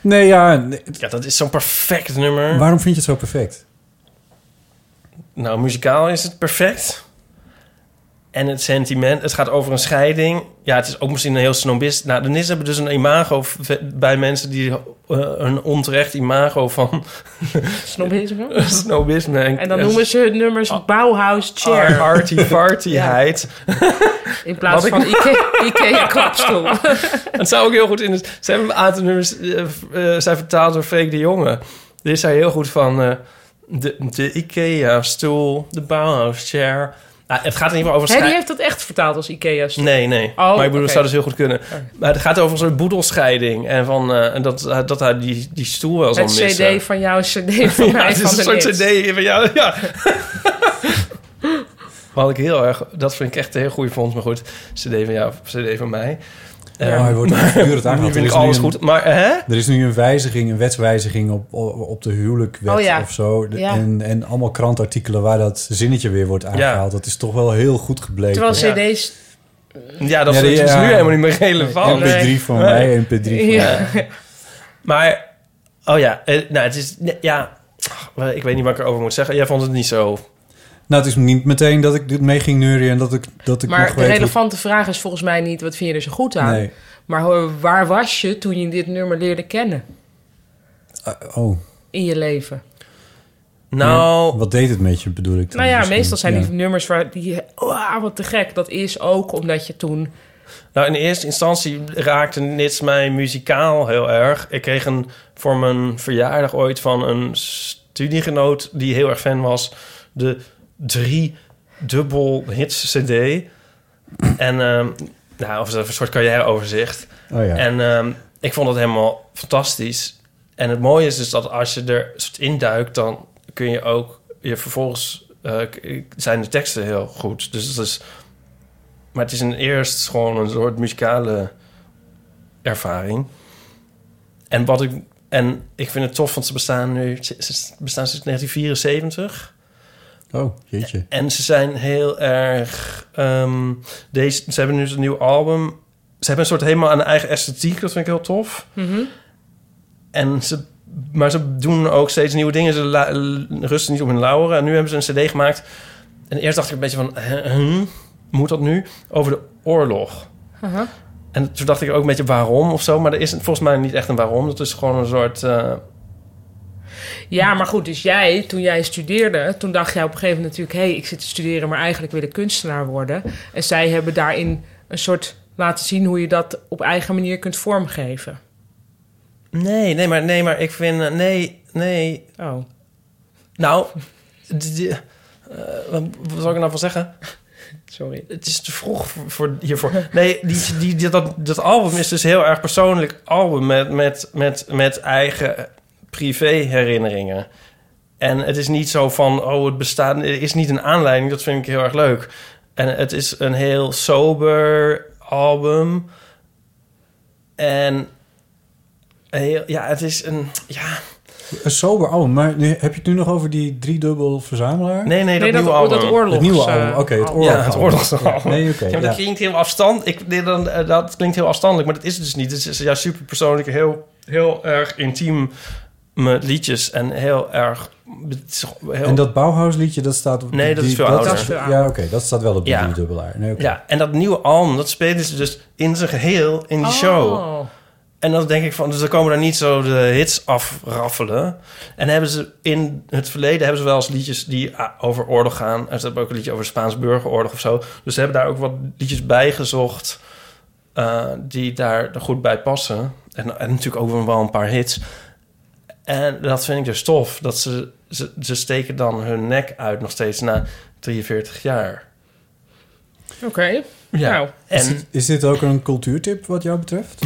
G: Nee, ja. nee,
F: ja, dat is zo'n perfect nummer.
G: Waarom vind je het zo perfect?
F: Nou, muzikaal is het perfect. En het sentiment, het gaat over een scheiding. Ja, het is ook misschien een heel snobist. Nou, de NIS hebben dus een imago v- bij mensen die eh, een onterecht imago van
C: Snobisme.
F: snobisme en,
C: En dan noemen ze hun nummers
F: Ah.
C: Bauhaus Chair.
F: arty-fartyheid. Ah.
C: In plaats van Ikea, Ikea klapstoel.
F: Het zou ook heel goed in het... Ze hebben een aantal nummers... eh, eh, zijn vertaald door Freek de Jonge. Dit is hij heel goed van... eh, de, de Ikea-stoel, de Bauhaus-chair. Nou, het gaat in ieder geval over...
C: Hè, die
F: schei-
C: heeft dat echt vertaald als Ikea stoel.
F: Nee, nee. maar ik bedoel,
C: oké.
F: het zou dus heel goed kunnen. Maar het gaat over een soort boedelscheiding. En van, eh, en dat, dat hij die, die stoel wel zal
C: Het
F: missen.
C: cd van jou, cd van
F: Ja,
C: mij,
F: het
C: van
F: is
C: de
F: een soort
C: Nits.
F: cd van jou. Ja. Wat ik heel erg... Dat vind ik echt een heel goede vond. Maar goed, cd van jou, cd van mij. Eh,
G: oh, hij wordt voortdurend
F: Nu
G: aangehaald. Er
F: vind ik
G: is nu
F: alles
G: een-
F: goed. Maar hè?
G: Er is nu een wijziging, een wetswijziging op, op, op de huwelijkwet
C: Oh ja.
G: of zo. De-
C: Ja.
G: En, en allemaal krantartikelen waar dat zinnetje weer wordt aangehaald. Dat is toch wel heel goed gebleken.
C: Terwijl
F: Ja.
C: cd's...
F: Ja, dat
G: Ja,
F: is,
G: die-
F: is
G: ja.
F: nu helemaal niet meer relevant.
C: Nee.
G: MP3 van
F: Oh, Nee.
G: mij, MP3 van mij.
C: Ja.
F: Maar, oh ja, eh, nou, het is, nee, ja, ach, ik weet niet wat ik erover moet zeggen. Jij vond het niet zo.
G: Nou, het is niet meteen dat ik dit mee ging neurien en dat ik, dat ik nog
C: Maar de
G: weet...
C: relevante vraag is volgens mij niet... wat vind je er zo goed
G: hoe-
C: aan?
G: Nee.
C: Maar hoor, waar was je toen je dit nummer leerde kennen
G: Ah, oh,
C: in je leven?
F: Nou,
G: wat deed het met je, bedoel ik dan
C: Nou ja,
G: misschien?
C: meestal zijn die
G: Ja.
C: nummers waar die... Wauw, wat te gek. Dat is ook omdat je toen...
F: nou, in de eerste instantie raakte Nits mij muzikaal heel erg. Ik kreeg een, voor mijn verjaardag ooit van een studiegenoot... die heel erg fan was, de drie dubbel hits cd. En, ehm nou, of een soort carrièreoverzicht.
G: Oh ja.
F: En ehm, ik vond het helemaal fantastisch. En het mooie is dus dat als je er soort induikt, dan kun je ook je vervolgens eh, k- zijn de teksten heel goed. Dus dat is. Maar het is een eerst gewoon een soort muzikale ervaring. En wat ik en ik vind het tof, want ze bestaan nu ze ze bestaan sinds 1974.
G: Oh, jeetje.
F: En ze zijn heel erg. ehm, deze, ze hebben nu dus een nieuw album. Ze hebben een soort helemaal een eigen esthetiek. Dat vind ik heel tof. En ze, maar ze doen ook steeds nieuwe dingen. Ze la- l- rusten niet op hun lauweren. En nu hebben ze een CD gemaakt. En eerst dacht ik een beetje van. "Huh, moet dat nu? Over de oorlog.
C: Aha.
F: En toen dacht ik ook een beetje waarom of zo. Maar er is volgens mij niet echt een waarom. Dat is gewoon een soort. eh,
C: Ja, maar goed, dus jij, toen jij studeerde, toen dacht jij op een gegeven moment natuurlijk: hé, hey, ik zit te studeren, maar eigenlijk wil ik kunstenaar worden. En zij hebben daarin een soort laten zien hoe je dat op eigen manier kunt vormgeven.
F: nee, nee, maar, nee, maar ik vind. eh, Nee, nee.
C: Oh.
F: Nou, d- d- eh, wat wat zou ik er nou van zeggen?
C: Sorry.
F: Het is te vroeg voor, voor- hiervoor. Nee, die, die, die- dat, dat album is dus heel erg persoonlijk album met, met, met, met eigen privé-herinneringen. En het is niet zo van, oh, het bestaat, er is niet een aanleiding. Dat vind ik heel erg leuk. En het is een heel sober album. En heel, ja, het is een, ja,
G: Een Eh, sober album. Maar nu, heb je het nu nog over die driedubbel verzamelaar?
F: nee, nee, dat,
C: Nee, dat,
F: nieuwe
C: dat,
F: album.
C: oorlogs...
G: het nieuwe
C: eh,
G: album. Oké, het
C: album.
G: oorlog.
F: Ja, het oorlogsalbum.
G: Nee, oké.
F: Ja, maar
G: ja.
F: dat klinkt heel afstandelijk. Ik, nee, dan, eh, dat klinkt heel afstandelijk, maar dat is het dus niet. Het is ja, super persoonlijk, heel, heel erg intiem met liedjes en heel erg. het is heel-
G: En dat Bauhaus liedje, dat staat op...
F: Nee, dat is veel ouder.
C: Dat is veel
G: ja, oké, dat staat wel op de
F: Ja.
G: driedubbelaar. Nee, oké.
F: ja, en dat nieuwe album, dat spelen ze dus in zijn geheel in die show.
C: Oh.
F: En dan denk ik van, dus dan komen daar niet zo de hits afraffelen. En hebben ze in het verleden hebben ze wel eens liedjes die ah, over oorlog gaan. En ze hebben ook een liedje over de Spaanse burgeroorlog of zo. Dus ze hebben daar ook wat liedjes bij gezocht eh, die daar goed bij passen. En, en natuurlijk ook wel een paar hits. En dat vind ik dus tof. Dat ze, ze, ze steken dan hun nek uit nog steeds na 43 jaar.
C: Oké. Nou,
G: Is,
F: en
G: dit, is dit ook een cultuurtip wat jou betreft?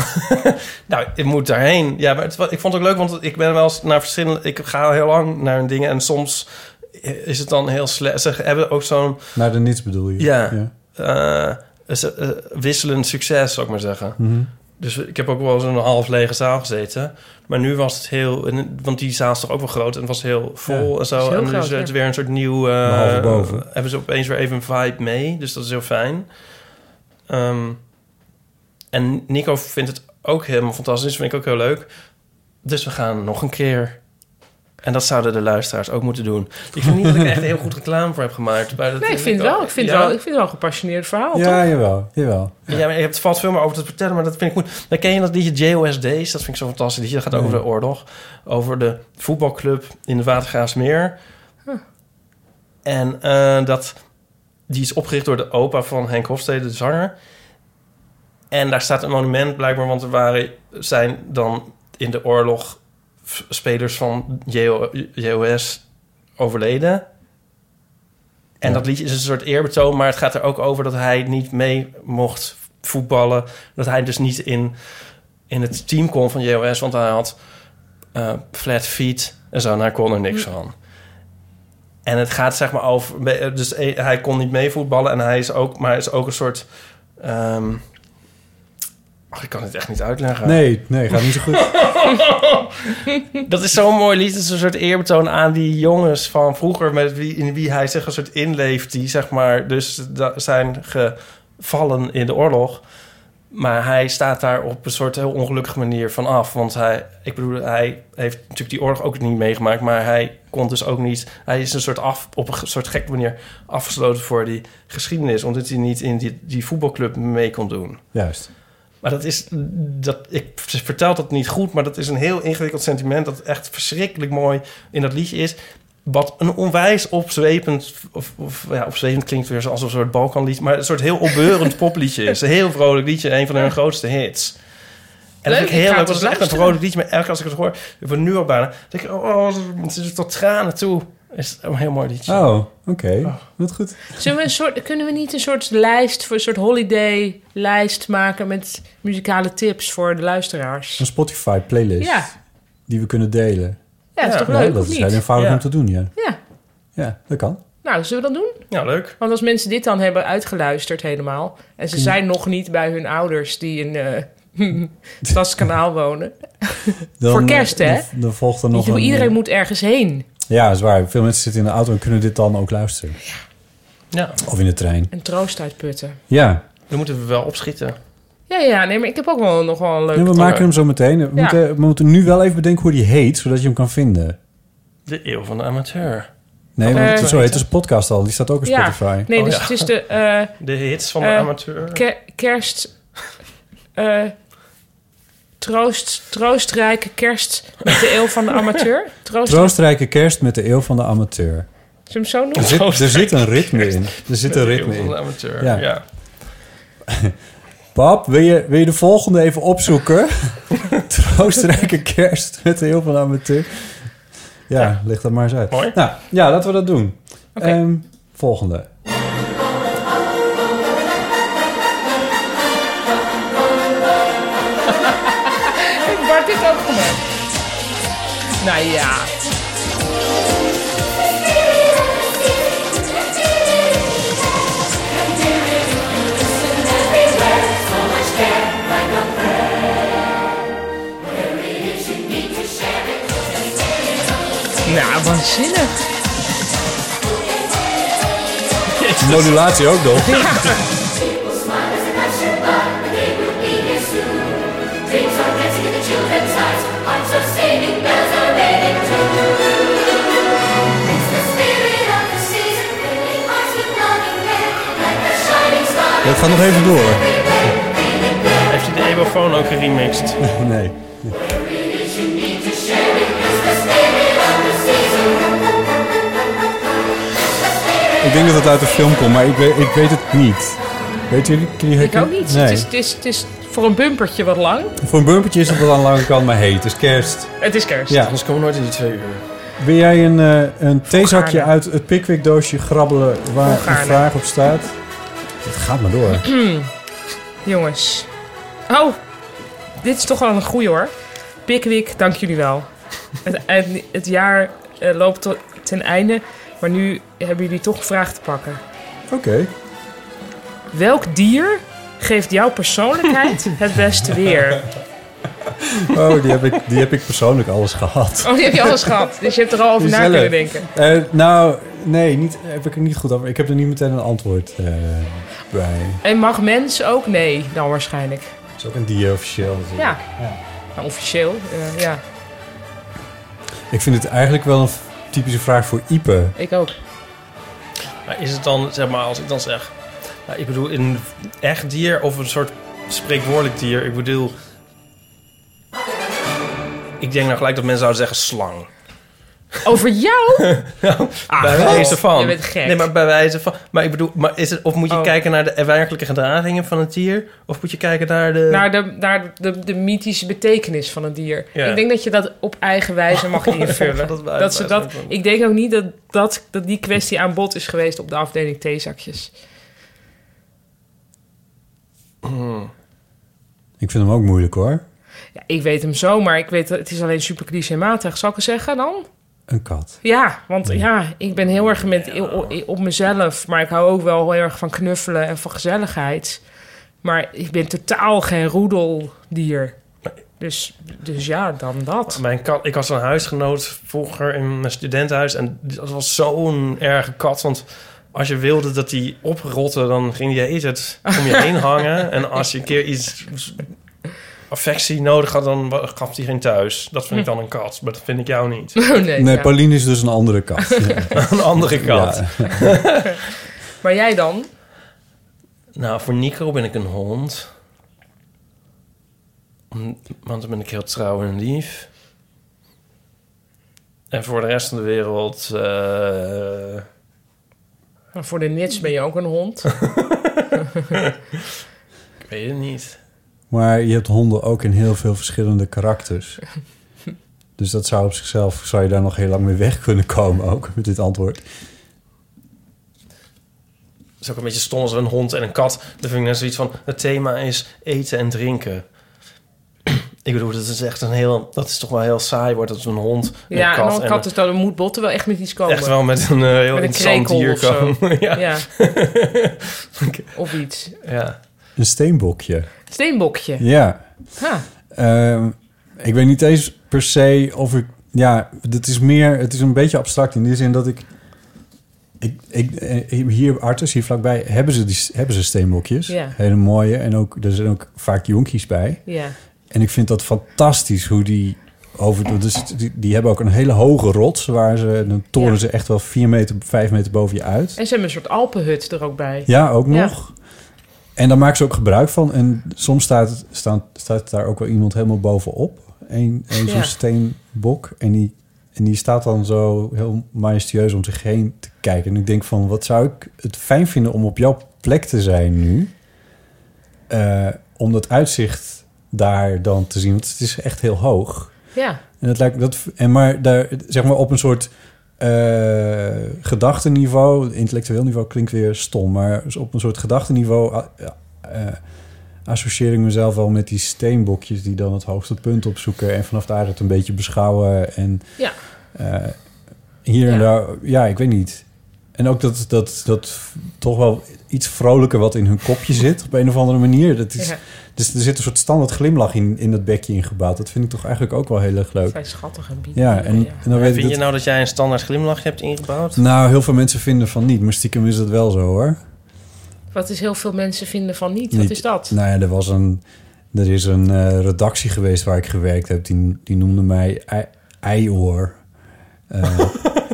F: Nou, ik moet daarheen. Ja, maar het wa- ik vond het ook leuk, want ik ben wel eens naar verschillende... Ik ga al heel lang naar hun dingen en soms is het dan heel slecht. Ze hebben ook zo'n
G: Naar de niets bedoel je?
F: Ja. eh, ze- eh, wisselend succes, zou ik maar zeggen.
G: Mhm.
F: Dus ik heb ook wel eens in een half lege zaal gezeten. Maar nu was het heel... en- Want die zaal is toch ook wel groot en het was heel vol
G: Ja,
F: en
C: is
F: zo.
C: heel
F: En
C: groot,
F: dus het
C: ja.
F: weer een soort nieuw... eh,
G: Behalve boven.
F: Hebben ze opeens weer even een vibe mee. Dus dat is heel fijn. Ehm, en Nico vindt het ook helemaal fantastisch. Vind ik ook heel leuk. Dus we gaan nog een keer... En dat zouden de luisteraars ook moeten doen. Ik vind niet dat ik er echt heel goed reclame voor heb gemaakt. maar dat eh,
C: nee, ik vind het wel. Ik vind,
F: Ja.
C: het wel, ik vind het wel een gepassioneerd verhaal, Oh, toch?
G: Ja, jawel, jawel.
F: Ja, maar je hebt vast veel meer over te vertellen, maar dat vind ik goed. Dan ken je dat liedje JOSD's, dat vind ik zo fantastisch. liedje. Dat gaat over
G: Nee.
F: de oorlog, over de voetbalclub in de Watergraafsmeer. En eh, dat, die is opgericht door de opa van Henk Hofstede, de zanger. En daar staat een monument blijkbaar, want er waren, zijn dan in de oorlog f- spelers van JO, JOS overleden. En
G: Ja.
F: dat liedje is een soort eerbetoon, maar het gaat er ook over dat hij niet mee mocht voetballen. Dat hij dus niet in, in het team kon van JOS, want hij had eh, flat feet en zo. En daar kon er niks van. En het gaat zeg maar over... Dus eh, hij kon niet mee voetballen en hij is ook... Maar hij is ook een soort... ehm, ach, ik kan het echt niet uitleggen.
G: Nee, nee, gaat niet zo goed.
F: Dat is zo'n mooi lied. Het is een soort eerbetoon aan die jongens van vroeger... Met wie, in wie hij zich een soort inleeft. Die zeg maar dus da- zijn gevallen in de oorlog. Maar hij staat daar op een soort heel ongelukkige manier van af. Want hij, ik bedoel, hij heeft natuurlijk die oorlog ook niet meegemaakt. Maar hij kon dus ook niet... Hij is een soort af, op een ge- soort gekke manier afgesloten voor die geschiedenis. Omdat hij niet in die, die voetbalclub mee kon doen.
G: Juist.
F: Maar dat is, dat, ik vertel dat niet goed, maar dat is een heel ingewikkeld sentiment dat echt verschrikkelijk mooi in dat liedje is. Wat een onwijs opzwepend, of, of ja, opzwepend klinkt weer als een soort Balkanlied, maar een soort heel opbeurend popliedje is. Een heel vrolijk liedje, een van hun grootste hits. En
C: Leuk,
F: dat vind ik
C: ik
F: heel
C: ga
F: leuk,
C: het
F: dat is
C: eens
F: echt een
C: luisteren.
F: vrolijk liedje, maar elke keer als ik het hoor, van nu al bijna, denk ik, oh, het is tot tranen toe. Het is een heel mooi liedje.
G: Oh, oké. Wat goed.
C: Zullen we een soort, kunnen we niet een soort lijst, voor een soort holiday-lijst maken met muzikale tips voor de luisteraars?
G: Een Spotify playlist
C: Ja,
G: die we kunnen delen.
C: ja dat is toch
G: Nou,
C: leuk,
G: dat
C: of
G: is heel
C: niet?
G: eenvoudig
F: Ja.
G: om te doen, ja.
C: Ja,
G: Ja, dat kan.
C: nou, zullen we dat doen?
F: Ja, leuk.
C: Want als mensen dit dan hebben uitgeluisterd helemaal... en
G: Hmm.
C: ze zijn nog niet bij hun ouders die in eh Stadskanaal wonen...
G: Dan, eh,
C: Voor kerst, hè?
G: Dan, dan volgt er nog
C: Je-
G: een... eh,
C: iedereen moet ergens heen.
G: Ja, is waar. Veel mensen zitten in de auto en kunnen dit dan ook luisteren.
F: Ja,
G: Of in de trein.
C: En troost uitputten.
G: Ja,
F: dan moeten we wel opschieten.
C: Ja, ja, nee, maar ik heb ook wel nog wel een leuke...
G: nee, we
C: tip.
G: maken hem zo meteen. We,
C: Ja.
G: moeten, we moeten nu wel even bedenken hoe die heet, zodat je hem kan vinden.
F: De eeuw van de amateur.
C: Eh,
G: Nee, want, sorry, het is een podcast al. Die staat ook op
C: Ja,
G: Spotify.
C: nee,
F: Oh,
C: dus
F: ja.
C: het is de eh,
F: De hits van de
C: Eh,
F: amateur.
C: ke- kerst... eh, troost, troostrijke kerst met de eeuw van de amateur. Troost,
G: Troostrijke kerst met de eeuw van de amateur.
C: Zullen we hem zo
G: Er
C: noemen?
G: zit, er zit een ritme in. Er zit een
F: De
G: ritme
F: eeuw van de
G: in.
F: amateur.
G: Ja.
F: ja.
G: Pap, wil je, wil je de volgende even opzoeken? Troostrijke kerst met de eeuw van de amateur. Ja,
F: Ja.
G: ligt dat maar eens uit.
F: Mooi.
G: Nou, ja, laten we dat doen.
C: Oké.
G: Ehm, volgende.
C: Nou ja. Nou, waanzinnig.
G: Modulatie ook nog. Ja, Ik ga nog even door.
F: Heeft hij de Ebofoon ook geremixed?
G: Nee. Ik denk dat het uit de film komt, maar ik weet, ik weet het niet. Weet jullie? kunnen jullie
C: Ik ook niet.
G: Nee.
C: Het, is, het, is, het is voor een bumpertje wat lang.
G: Voor een bumpertje is het wel aan de lange kant, maar heet. Het is kerst.
C: Het is kerst.
G: Ja.
F: Anders komen we nooit in die twee uur.
G: Wil jij een, eh, een theezakje
C: Volgaarne.
G: uit het Pickwick-doosje grabbelen waar
C: Volgaarne.
G: een vraag op staat? Het gaat maar door.
C: Jongens. Oh, dit is toch wel een goeie hoor. Pickwick, dank jullie wel. Het, het, het jaar eh, loopt tot, ten einde, maar nu hebben jullie toch een vraag te pakken.
G: Oké.
C: Welk dier geeft jouw persoonlijkheid het beste weer?
G: Oh, die heb, ik, die heb ik persoonlijk alles gehad.
C: Oh, die heb je alles gehad. Dus je hebt er al over na
G: Jezelf.
C: kunnen denken.
G: Eh, nou, nee, niet, heb ik er niet goed over. Ik heb er niet meteen een antwoord eh, bij.
C: En mag mens ook? Nee, dan waarschijnlijk.
G: Het is ook een die officieel. natuurlijk.
C: Ja. Nou, officieel, eh, ja.
G: Ik vind het eigenlijk wel een typische vraag voor Ipe.
C: Ik ook.
F: Maar is het dan, zeg maar, als ik dan zeg... nou, ik bedoel, een echt dier of een soort spreekwoordelijk dier? Ik bedoel... Ik denk nou gelijk dat mensen zouden zeggen slang.
C: Over jou? Ah,
F: Nou, bij
C: God.
F: wijze van.
C: Je bent gek.
F: Nee, maar bij wijze van. Maar ik bedoel, maar is het, of moet je
C: Oh.
F: kijken naar de eh, werkelijke gedragingen van het dier? Of moet je kijken naar de.
C: Naar, de, naar de, de mythische betekenis van een dier.
F: Ja. Oh,
C: Ik denk dat je dat op eigen wijze mag invullen.
F: Dat
C: dat
F: wij-
C: ze
F: wij-
C: dat, ik denk ook niet dat, dat, dat die kwestie aan bod is geweest op de afdeling theezakjes.
G: Ik vind hem ook moeilijk hoor.
C: Ja, ik weet hem zo, maar ik weet dat het is alleen super clichématig. Zal ik het zeggen dan?
G: Een kat.
C: Ja, want ja, ik ben heel erg met, op mezelf. Maar ik hou ook wel heel erg van knuffelen en van gezelligheid. Maar ik ben totaal geen roedeldier. Dus, dus ja, dan dat.
F: Mijn kat, ik was een huisgenoot vroeger in mijn studentenhuis. En dat was zo'n erge kat. Want als je wilde dat die oprotte, dan ging die heet het om je heen hangen. En als je een keer iets affectie nodig had, dan wa- gaf die geen thuis. Dat vind ik dan een kat. Maar dat vind ik jou niet.
C: Nee,
G: Nee,
C: Eh, ja.
G: Pauline is dus een andere kat. Ja.
F: Een andere kat.
G: Ja.
C: Maar jij dan?
F: Nou, voor Nico ben ik een hond. Om- Want dan ben ik heel trouw en lief. En voor de rest van de wereld... eh,
C: Nou, voor de nits ben je ook een hond.
F: ik weet het niet.
G: Maar je hebt honden ook in heel veel verschillende karakters. Dus dat zou op zichzelf, zou je daar nog heel lang mee weg kunnen komen ook, met dit antwoord.
F: Het is ook een beetje stom als er een hond en een kat... Dan vind ik net zoiets van... Het thema is eten en drinken. ik bedoel, dat is echt een heel... Dat is toch wel heel saai wordt dat een hond en
C: ja,
F: een
C: en
F: kat...
C: dan kat dus dan moet botten wel echt met iets komen.
F: Echt wel met een eh, heel
C: Met een
F: interessant
C: krekel
F: dier
C: of zo.
F: komen. ja. Ja.
C: Ja. Of iets.
G: Een steenbokje.
C: Steenbokje.
G: Ja.
C: Ha.
G: Ehm, ik weet niet eens per se of ik... Ja, dit is meer, het is een beetje abstract in die zin dat ik... ik, ik eh, hier, Artus, hier vlakbij, hebben ze, die, hebben ze steenbokjes.
C: Ja.
G: Hele mooie. En ook, er zijn ook vaak jonkies bij.
C: Ja.
G: En ik vind dat fantastisch hoe die over... Dus die, die hebben ook een hele hoge rots... waar ze, dan toren
C: Ja.
G: ze echt wel vier meter, vijf meter boven je uit.
C: En ze hebben een soort Alpenhut er ook bij.
G: Ja, ook
C: Ja.
G: nog. En daar maken ze ook gebruik van. En soms staat, staat, staat daar ook wel iemand helemaal bovenop. Een, een zo'n
C: Ja.
G: steenbok. En die, en die staat dan zo heel majestueus om zich heen te kijken. En ik denk van, wat zou ik het fijn vinden om op jouw plek te zijn nu? Eh, om dat uitzicht daar dan te zien. Want het is echt heel hoog.
C: Ja.
G: En dat lijkt dat. En maar daar, zeg maar op een soort eh, dus gedachtenniveau, intellectueel niveau klinkt weer stom, maar op een soort gedachtenniveau ah, eh, eh, associeer ik mezelf wel met die steenbokjes die dan het hoogste punt opzoeken en vanaf daar het een beetje beschouwen. En
C: Ja.
G: eh, hier en
C: Ja.
G: daar, ja, ik weet niet. En ook dat, dat, dat toch wel iets vrolijker wat in hun kopje zit op een of andere manier. Dat is,
C: Ja.
G: Dus er zit een soort standaard glimlach in, in dat bekje ingebouwd. Dat vind ik toch eigenlijk ook wel heel erg leuk.
C: Vrij schattig en bieden.
G: Ja, en, en dan weet ik
F: Vind je
G: dat...
F: nou dat jij een standaard glimlachje hebt ingebouwd?
G: Nou, heel veel mensen vinden van niet, maar stiekem is dat wel zo hoor.
C: Wat is heel veel mensen vinden van niet. Wat
G: Niet-
C: is dat?
G: Nou ja, er was een. Er is een eh, redactie geweest waar ik gewerkt heb. Die, die noemde mij Ei- Eioor. Eh,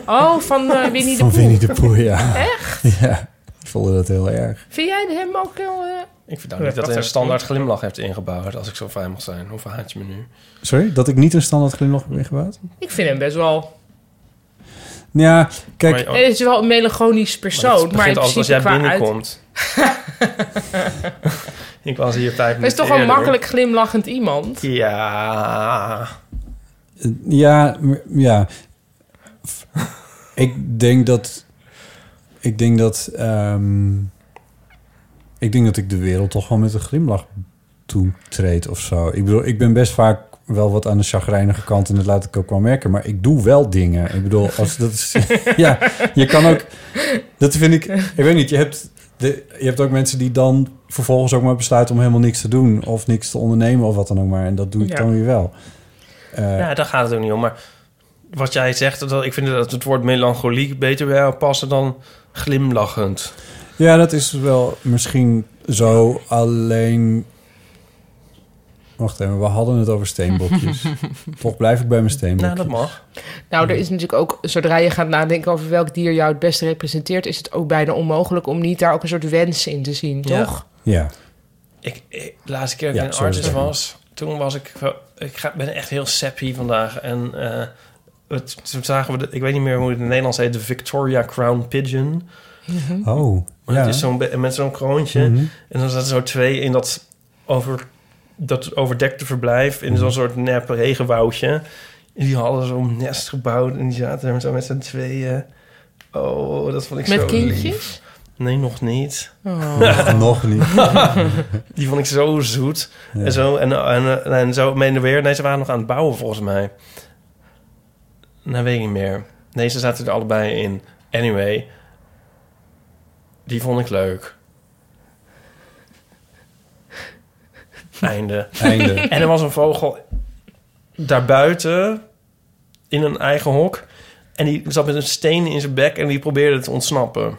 C: Oh, van eh Winnie de
G: van Winnie
C: Pooh.
G: de Pooh, ja. Echt? Ja, ik vond dat heel erg.
C: Vind jij hem ook heel... eh,
F: Ik vind ook niet dat hij een standaard glimlach hebt ingebouwd, als ik zo vrij mag zijn. Hoe verhaat je me nu?
G: Sorry, dat ik niet een standaard glimlach heb ingebouwd?
C: Ik vind hem best wel...
G: Nou Ja, kijk,
F: Maar-
C: Hij is wel een melancholisch
F: het
C: persoon. Eh, Maar,
F: begint
C: in
F: altijd
C: principe
F: als jij
C: qua uit...
F: binnenkomt. ik was hier vijf minuten
C: Hij is toch wel
F: eerder.
C: makkelijk glimlachend iemand.
F: Ja.
G: ja, m- ja. Ik denk dat... Ik denk dat... ehm, ik denk dat ik de wereld toch wel met een glimlach toetreed of zo. Ik bedoel, ik ben best vaak wel wat aan de chagrijnige kant en dat laat ik ook wel merken. Maar ik doe wel dingen. Ik bedoel, als dat is, ja, je kan ook. Dat vind ik. Ik weet niet. Je hebt de, je hebt ook mensen die dan vervolgens ook maar besluiten om helemaal niks te doen of niks te ondernemen of wat dan ook maar. En dat doe ik
C: Ja.
G: dan weer wel. Eh,
F: ja, daar gaat het ook niet om. Maar wat jij zegt, dat, ik vind dat het woord melancholiek beter bij jou passen dan glimlachend.
G: Ja, dat is wel misschien zo. Alleen. Wacht even, we hadden het over steenbokjes. Toch blijf ik bij mijn steenbokjes.
F: Nou, dat mag.
C: Nou, er is natuurlijk ook, zodra je gaat nadenken over welk dier jou het beste representeert, is het ook bijna onmogelijk om niet daar ook een soort wens in te zien,
F: Ja.
C: toch?
G: Ja.
F: Ik, ik- de laatste keer dat
G: Ja,
F: ik een
G: sorry,
F: artist
G: sorry.
F: was, toen was ik... wel- Ik ga, ben echt heel sappy vandaag. En eh, het, toen zagen we... De, ik weet niet meer hoe het in het Nederlands heet. De Victoria Crown Pigeon.
G: Oh.
F: Hm. Maar
G: ja.
F: het is zo'n be- met zo'n kroontje.
G: Mhm.
F: En dan zaten zo twee in dat, over, dat overdekte verblijf. In zo'n soort nep regenwoudje. En die hadden zo'n nest gebouwd. En die zaten er zo met z'n tweeën. Oh, dat vond ik zo
C: Met
F: lief.
C: kindjes?
F: Nee, nog niet.
G: Mhm. Nog niet.
F: Die vond ik zo zoet. En zo, en, en, en zo meen en weer. Nee, ze waren nog aan het bouwen volgens mij. Nou, weet ik niet meer. Nee, ze zaten er allebei in. Anyway. Die vond ik leuk. Einde.
G: Einde.
F: En er was een vogel daarbuiten in een eigen hok. En die zat met een steen in zijn bek en die probeerde te ontsnappen.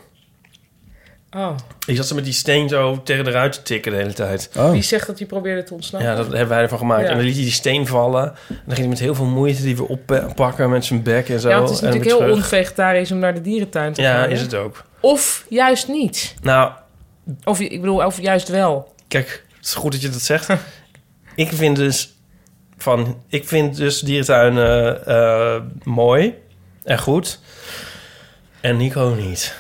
C: Oh,
F: Ik zat ze met die steen zo tegen de ruit te tikken de hele tijd.
G: Oh.
C: wie zegt dat hij probeerde te ontsnappen?
F: Ja, dat hebben wij ervan gemaakt.
C: Nou. Ja.
F: En dan liet hij die steen vallen. En dan ging hij met heel veel moeite die weer oppakken met zijn bek en zo.
C: Ja, want het is
F: en
C: natuurlijk
F: weer
C: heel
F: terug.
C: onvegetarisch om naar de dierentuin te gaan.
F: Ja,
C: hè?
F: is het ook.
C: Of juist niet.
F: Nou,
C: Of ik bedoel, of juist wel.
F: kijk, het is goed dat je dat zegt. ik vind dus van... Ik vind dus dierentuinen eh, mooi en goed. En Nico niet.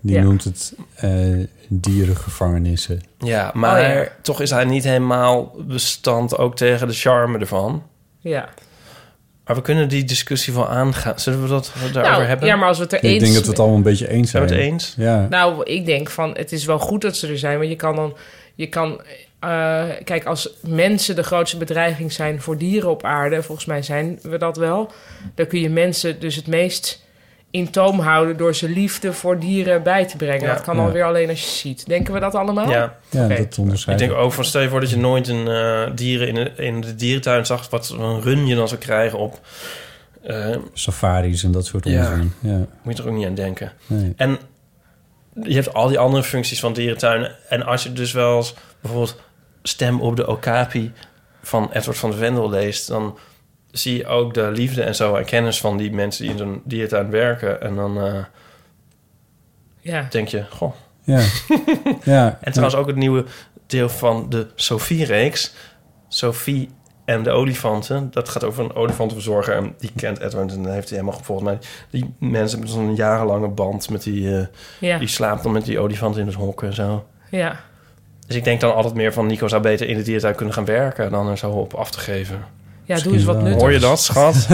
G: Die
C: Ja.
G: noemt het eh, dierengevangenissen.
F: Ja, maar
C: Oh, ja.
F: toch is hij niet helemaal bestand ook tegen de charme ervan.
C: Ja.
F: Maar we kunnen die discussie wel aangaan. Zullen we dat daarover
C: nou,
F: hebben?
C: ja, maar als we het er
G: Ik
C: eens...
G: denk dat we het allemaal een beetje eens
F: Zijn
G: zijn.
F: we het eens?
G: Ja.
C: Nou, ik denk van, het is wel goed dat ze er zijn, want je kan dan... Je kan, eh, kijk, als mensen de grootste bedreiging zijn voor dieren op aarde, volgens mij zijn we dat wel, dan kun je mensen dus het meest in toom houden door ze liefde voor dieren bij te brengen.
F: Ja.
C: Dat kan
G: Ja.
C: alweer alleen als je ziet. Denken we dat allemaal?
F: Ja.
G: ja,
C: Oké.
G: dat onderscheidt.
F: Ik denk ook van stel je voor dat je nooit een eh, dieren in de, in de dierentuin zag, wat een run je dan zou krijgen op. eh,
G: Safaris en dat soort
F: Ja.
G: onzin. Ja.
F: moet je er ook niet aan denken.
G: Nee.
F: En je hebt al die andere functies van dierentuinen. En als je dus wel eens bijvoorbeeld stem op de okapi van Edward van de Vendel leest, dan zie je ook de liefde en zo en kennis van die mensen die in zo'n dierentuin werken. En dan eh,
C: Ja.
F: denk je, goh.
G: Ja. ja.
F: En trouwens ook het nieuwe deel van de Sophie-reeks. Sophie en de olifanten. Dat gaat over een olifantenverzorger. En die kent Edward en heeft hij helemaal volgens mij... Die mensen hebben zo'n jarenlange band met die... eh,
C: Ja.
F: Die slaapt dan met die olifanten in het hok en zo.
C: ja.
F: Dus ik denk dan altijd meer van... Nico zou beter in de dierentuin kunnen gaan werken... dan er zo op af te geven.
C: Ja, doe eens wat
G: wel.
C: nuttigs.
F: Hoor je dat, schat?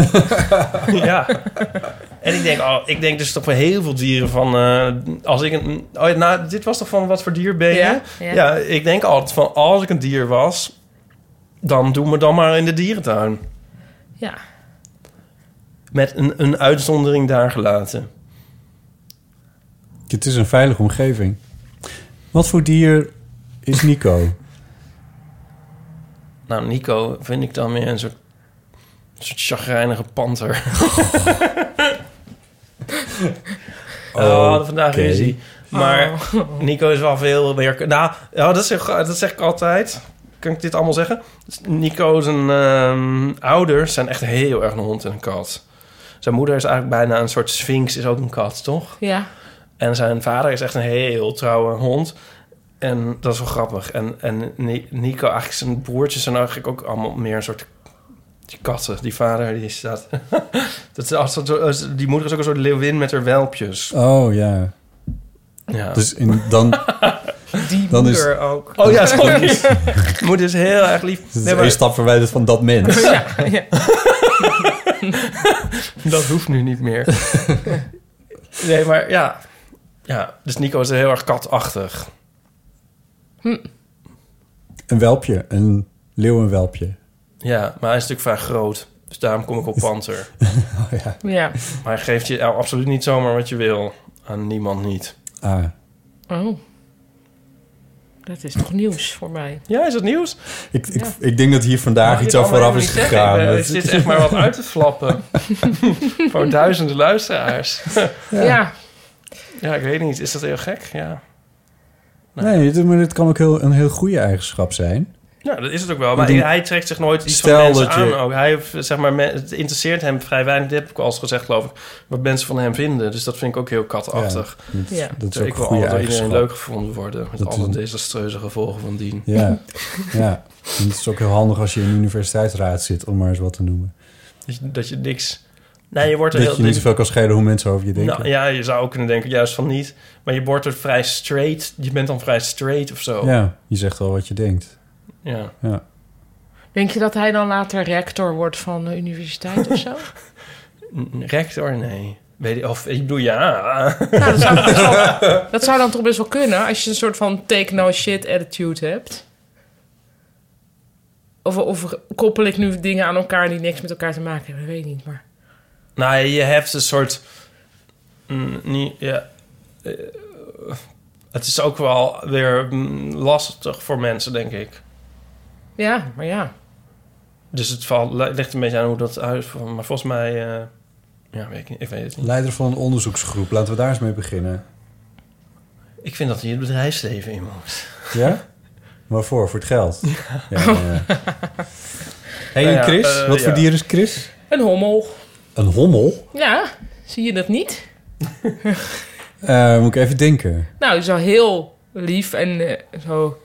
F: ja. En ik denk, oh, ik denk dus toch van heel veel dieren van... eh, als ik een, oh ja, nou, dit was toch van wat voor dier ben je?
C: Ja,
F: Ja,
C: ja.
F: ik denk altijd van als ik een dier was... dan doe me dan maar in de dierentuin.
C: Ja.
F: Met een, een uitzondering daar gelaten.
G: Het is een veilige omgeving. Wat voor dier is Nico?
F: Nou, Nico vind ik dan meer een soort, een soort chagrijnige panter. oh, we hadden vandaag
G: Oké.
F: ruzie. Maar Nico is wel veel meer... Nou, ja, dat, zeg, dat zeg ik altijd. Kan ik dit allemaal zeggen? Nico's en, ehm, ouders zijn echt heel erg een hond en een kat. Zijn moeder is eigenlijk bijna een soort sphinx, is ook een kat, toch?
C: Ja.
F: En zijn vader is echt een heel trouwe hond. En dat is wel grappig. En, en Ni- Nico, eigenlijk zijn broertjes zijn eigenlijk ook allemaal meer een soort... Die katten, die vader, die staat... dat is als dat, als- die moeder is ook een soort leeuwin met haar welpjes.
G: Oh ja.
F: Ja.
G: Dus in, dan,
C: Die
G: Dan is-
C: moeder ook.
F: oh ja, sorry. moeder is heel erg lief.
G: Dus is
F: Nee,
G: één
F: maar,
G: stap verwijderd van dat mens.
F: dat hoeft nu niet meer. nee, maar ja. ja. Dus Nico is heel erg katachtig.
G: Een welpje, een leeuwenwelpje.
F: Ja, maar hij is natuurlijk vrij groot. Dus daarom kom ik op panter.
G: Oh ja.
C: Ja.
F: Maar hij geeft je absoluut niet zomaar wat je wil. Aan niemand niet.
G: Ah,
C: Oh. Dat is nog nieuws voor mij.
F: Ja, is dat nieuws?
G: ik, ik, ik denk dat hier vandaag iets over af is gegaan.
F: Ik, eh,
G: Dat-
F: zit echt maar wat uit te flappen. Voor duizenden luisteraars.
C: Ja.
F: ja, ik weet niet. Is dat heel gek? Ja.
G: nee, dit- maar dit kan ook heel, een heel goede eigenschap zijn.
F: Ja, Nou, dat is het ook wel. Maar
G: Ik denk-
F: hij trekt zich nooit iets
G: Stel
F: van mensen
G: dat je-
F: aan. Ook. Hij, heeft, zeg maar, me- het interesseert hem vrij weinig. Dit heb ik al eens gezegd, geloof ik. Wat mensen van hem vinden. Dus dat vind ik ook heel katachtig.
G: Dat,
C: Ja.
G: dat is ook
F: ik
G: een
F: wil
G: goede
F: altijd door iedereen
G: eigenschap.
F: leuk gevonden worden. Met
G: Dat
F: alle
G: is-
F: desastreuze gevolgen van dien.
G: Ja, ja. En het is ook heel handig als je in de universiteitsraad zit, om maar eens wat te noemen.
F: Dat je, dat je niks... Nee, je wordt er
G: Dat je
F: heel...
G: niet zoveel kan schelen hoe mensen over je denken.
F: Nou, ja, je zou ook kunnen denken, juist van niet. Maar je wordt er vrij straight. Je bent dan vrij straight of zo.
G: Ja, je zegt wel wat je denkt.
F: Ja.
G: Ja.
C: Denk je dat hij dan later rector wordt van de universiteit of zo?
F: N- Rector, nee. Weet je, of ik bedoel, ja.
C: nou, dat zou, best wel- dat zou dan toch best wel kunnen als je een soort van take no shit attitude hebt. Of, of koppel ik nu dingen aan elkaar die niks met elkaar te maken hebben? Ik weet niet, maar...
F: nou, je hebt een soort... mm, niet, ja. eh, het is ook wel weer mm, lastig voor mensen, denk ik.
C: Ja, maar ja.
F: Dus het valt, ligt een beetje aan hoe dat uit... Maar volgens mij... eh, ja, weet ik, niet, ik weet het niet.
G: Leider van een onderzoeksgroep, laten we daar eens mee beginnen.
F: Ik vind dat je het bedrijfsleven in moet.
G: Ja? Waarvoor? Voor het geld? Ja. ja, ja. hey,
F: Nou ja,
G: en Chris?
F: eh,
G: wat voor
F: ja.
G: dier is Chris?
C: Een hommel.
G: Een hommel?
C: Ja, zie je dat niet?
G: Eh, moet ik even denken.
C: Nou, zo heel lief en eh, zo,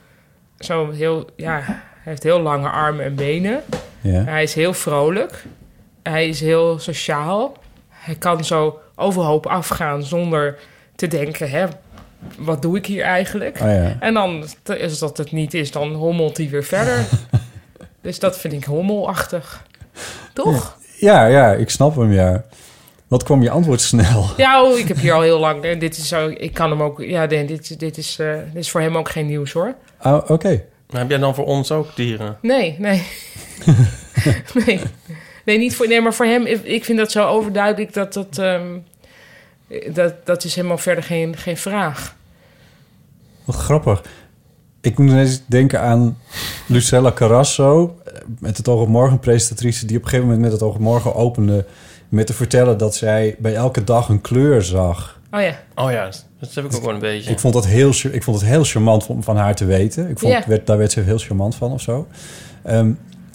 C: zo heel... Ja, hij heeft heel lange armen en benen.
G: Ja.
C: Hij is heel vrolijk. Hij is heel sociaal. Hij kan zo overhoop afgaan zonder te denken, hè, wat doe ik hier eigenlijk?
G: Oh ja.
C: En dan, t- als dat het niet is, dan hommelt hij weer verder. dus dat vind ik hommelachtig. Toch?
G: Ja, ja, ik snap hem, ja. Wat kwam je antwoord snel?
C: Ja, oh, ik heb hier al heel lang... En dit is zo, ik kan hem ook... Ja, nee, dit, dit, is, eh, dit is voor hem ook geen nieuws, hoor.
G: Oh, Oké.
F: Maar heb jij dan voor ons ook dieren?
C: Nee, nee. nee. Nee, niet voor, nee, maar voor hem, ik- ik vind dat zo overduidelijk dat dat. ehm, dat, dat is helemaal verder geen, geen vraag.
G: Wat grappig. Ik moet ineens denken aan Lucella Carrasso... eh, met het oog op morgen, presentatrice... die op een gegeven moment met het oog op morgen opende... met te vertellen dat zij bij elke dag een kleur zag.
C: Oh ja.
F: Oh ja, dat heb ik ook wel een beetje.
G: Ik, vond dat heel, char- ik vond het heel charmant om van haar te weten. Ik vond,
C: Ja.
G: werd, daar werd ze heel charmant van of zo. Ehm,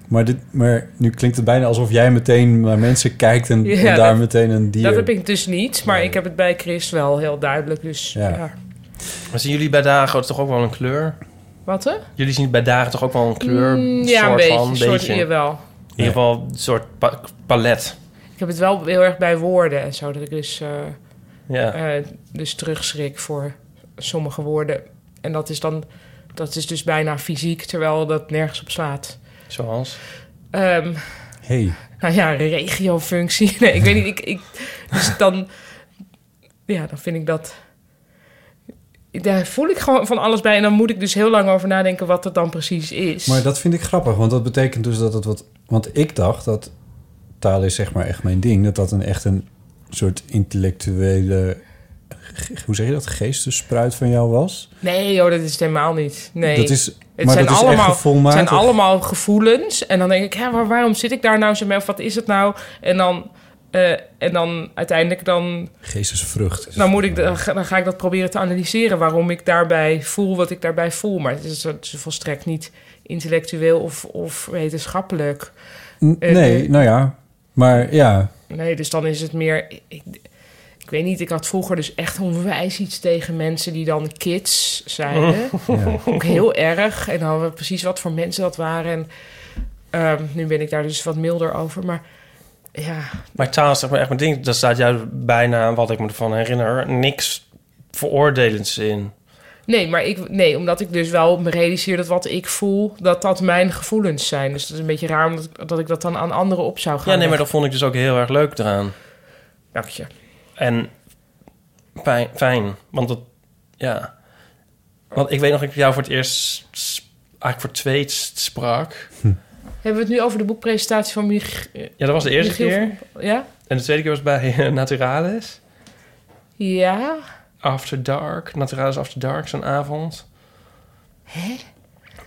G: maar, dit, maar nu klinkt het bijna alsof jij meteen naar mensen kijkt... en,
C: Ja,
G: en daar
C: dat-
G: meteen een dier...
C: Dat heb ik dus niet, maar ik heb het bij Chris wel heel duidelijk. Dus ja.
G: Ja.
F: Maar zien jullie bij dagen toch ook wel een kleur?
C: Wat hè?
F: Jullie zien bij dagen toch ook wel een kleur?
C: Mm, ja, een
F: soort
C: beetje.
F: van,
C: Een soort, jawel.
F: In ieder geval een soort pa- palet.
C: Ik heb het wel heel erg bij woorden en zo. Dat ik dus, eh,
F: Ja.
C: eh, dus terugschrik voor sommige woorden. En dat is dan. Dat is dus bijna fysiek, terwijl dat nergens op slaat.
F: Zoals?
C: Ehm,
G: Hey.
C: nou ja, regiofunctie. Nee, ik weet niet. Ik, ik, dus dan, ja, dan vind ik dat. Daar voel ik gewoon van alles bij. En dan moet ik dus heel lang over nadenken wat het dan precies is.
G: Maar dat vind ik grappig, want dat betekent dus dat het wat... Want ik dacht dat taal is zeg maar echt mijn ding. Dat dat een echt een soort intellectuele... ge- Hoe zeg je dat? Geestesspruit van jou was?
C: Nee, joh, dat is het helemaal niet. Nee.
G: Dat is-
C: het
G: maar
C: zijn
G: dat is echt
C: allemaal,
G: gevoelmatig.
C: Het zijn allemaal gevoelens. En dan denk ik, hè, maar waarom zit ik daar nou zo mee? Of wat is het nou? En dan, eh, en dan uiteindelijk dan,
G: Geestesvrucht. is
C: dan,
G: het.
C: Nou, moet ik, dan ga- dan ga ik dat proberen te analyseren. Waarom ik daarbij voel wat ik daarbij voel. Maar het is, het is volstrekt niet intellectueel of, of wetenschappelijk.
G: N-
C: eh,
G: Nee,
C: eh.
G: nou ja. Maar ja,
C: Nee, dus dan is het meer. Ik, ik weet niet, ik had vroeger dus echt onwijs iets tegen mensen die dan kids zeiden. Ook heel erg. En dan hadden we precies wat voor mensen dat waren. En ehm, nu ben ik daar dus wat milder over. Maar ja,
F: Maar taal is zeg maar echt mijn ding. Daar staat juist bijna, wat ik me ervan herinner, niks veroordelends in.
C: nee, maar ik, nee, omdat ik dus wel me realiseer dat wat ik voel, dat dat mijn gevoelens zijn. Dus dat is een beetje raar omdat ik, dat ik dat dan aan anderen op zou gaan.
F: Ja, nee, maar
C: leggen.
F: dat vond ik dus ook heel erg leuk eraan.
C: Dank je.
F: En fijn, fijn want dat, ja. Want ik weet nog dat ik jou voor het eerst, s- eigenlijk voor het tweet sprak.
C: Hebben we het nu over de boekpresentatie van Mich
F: Ja, dat was de eerste
C: Michiel
F: keer.
C: van- Ja?
F: En de tweede keer was bij eh, Naturalis.
C: Ja?
F: After Dark. Naturalis After Dark, zo'n avond. Hè?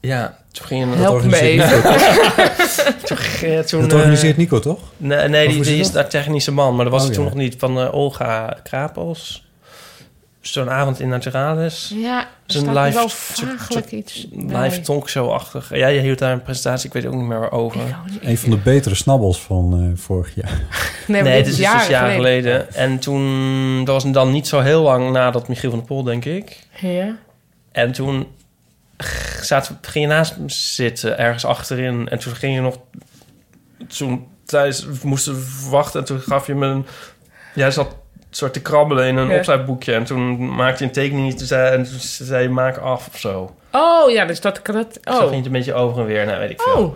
F: Ja, toen ging je...
C: Help me
G: organiseert
C: even.
F: eh, toen,
G: dat
F: eh,
G: organiseert Nico toch?
F: Nee, nee
G: Of
F: die,
G: hoe zit
F: die is
G: dat?
F: daar technische man, maar dat was
G: Oh,
F: het toen
G: ja.
F: nog niet. Van eh, Olga Krapels. Zo'n avond in Naturalis.
C: Ja,
F: is een
C: staat er
F: live
C: wel
F: soort- soort
C: vraaglijk iets
F: Live talkshow-achtig. Ja, je hield daar een presentatie, ik weet ook niet meer waarover.
G: Een van de betere snabbels van eh, vorig jaar.
C: Nee,
F: nee, dit is dus jaren geleden. En toen, dat was dan niet zo heel lang nadat Michiel van der Pol, denk ik.
C: Ja.
F: En toen g- zaten, we- ging je naast me zitten, ergens achterin. En toen ging je nog... Toen thuis moesten we wachten en toen gaf je me een... Jij zat soort te krabbelen in een
C: Ja.
F: opschrijfboekje. En toen maakte je een tekening toen zei, en toen zei je maak af of zo.
C: Oh ja, dus dat kan dat.
F: Dus dan ging
C: Oh.
F: het een beetje over en weer, nou weet ik veel.
C: oh,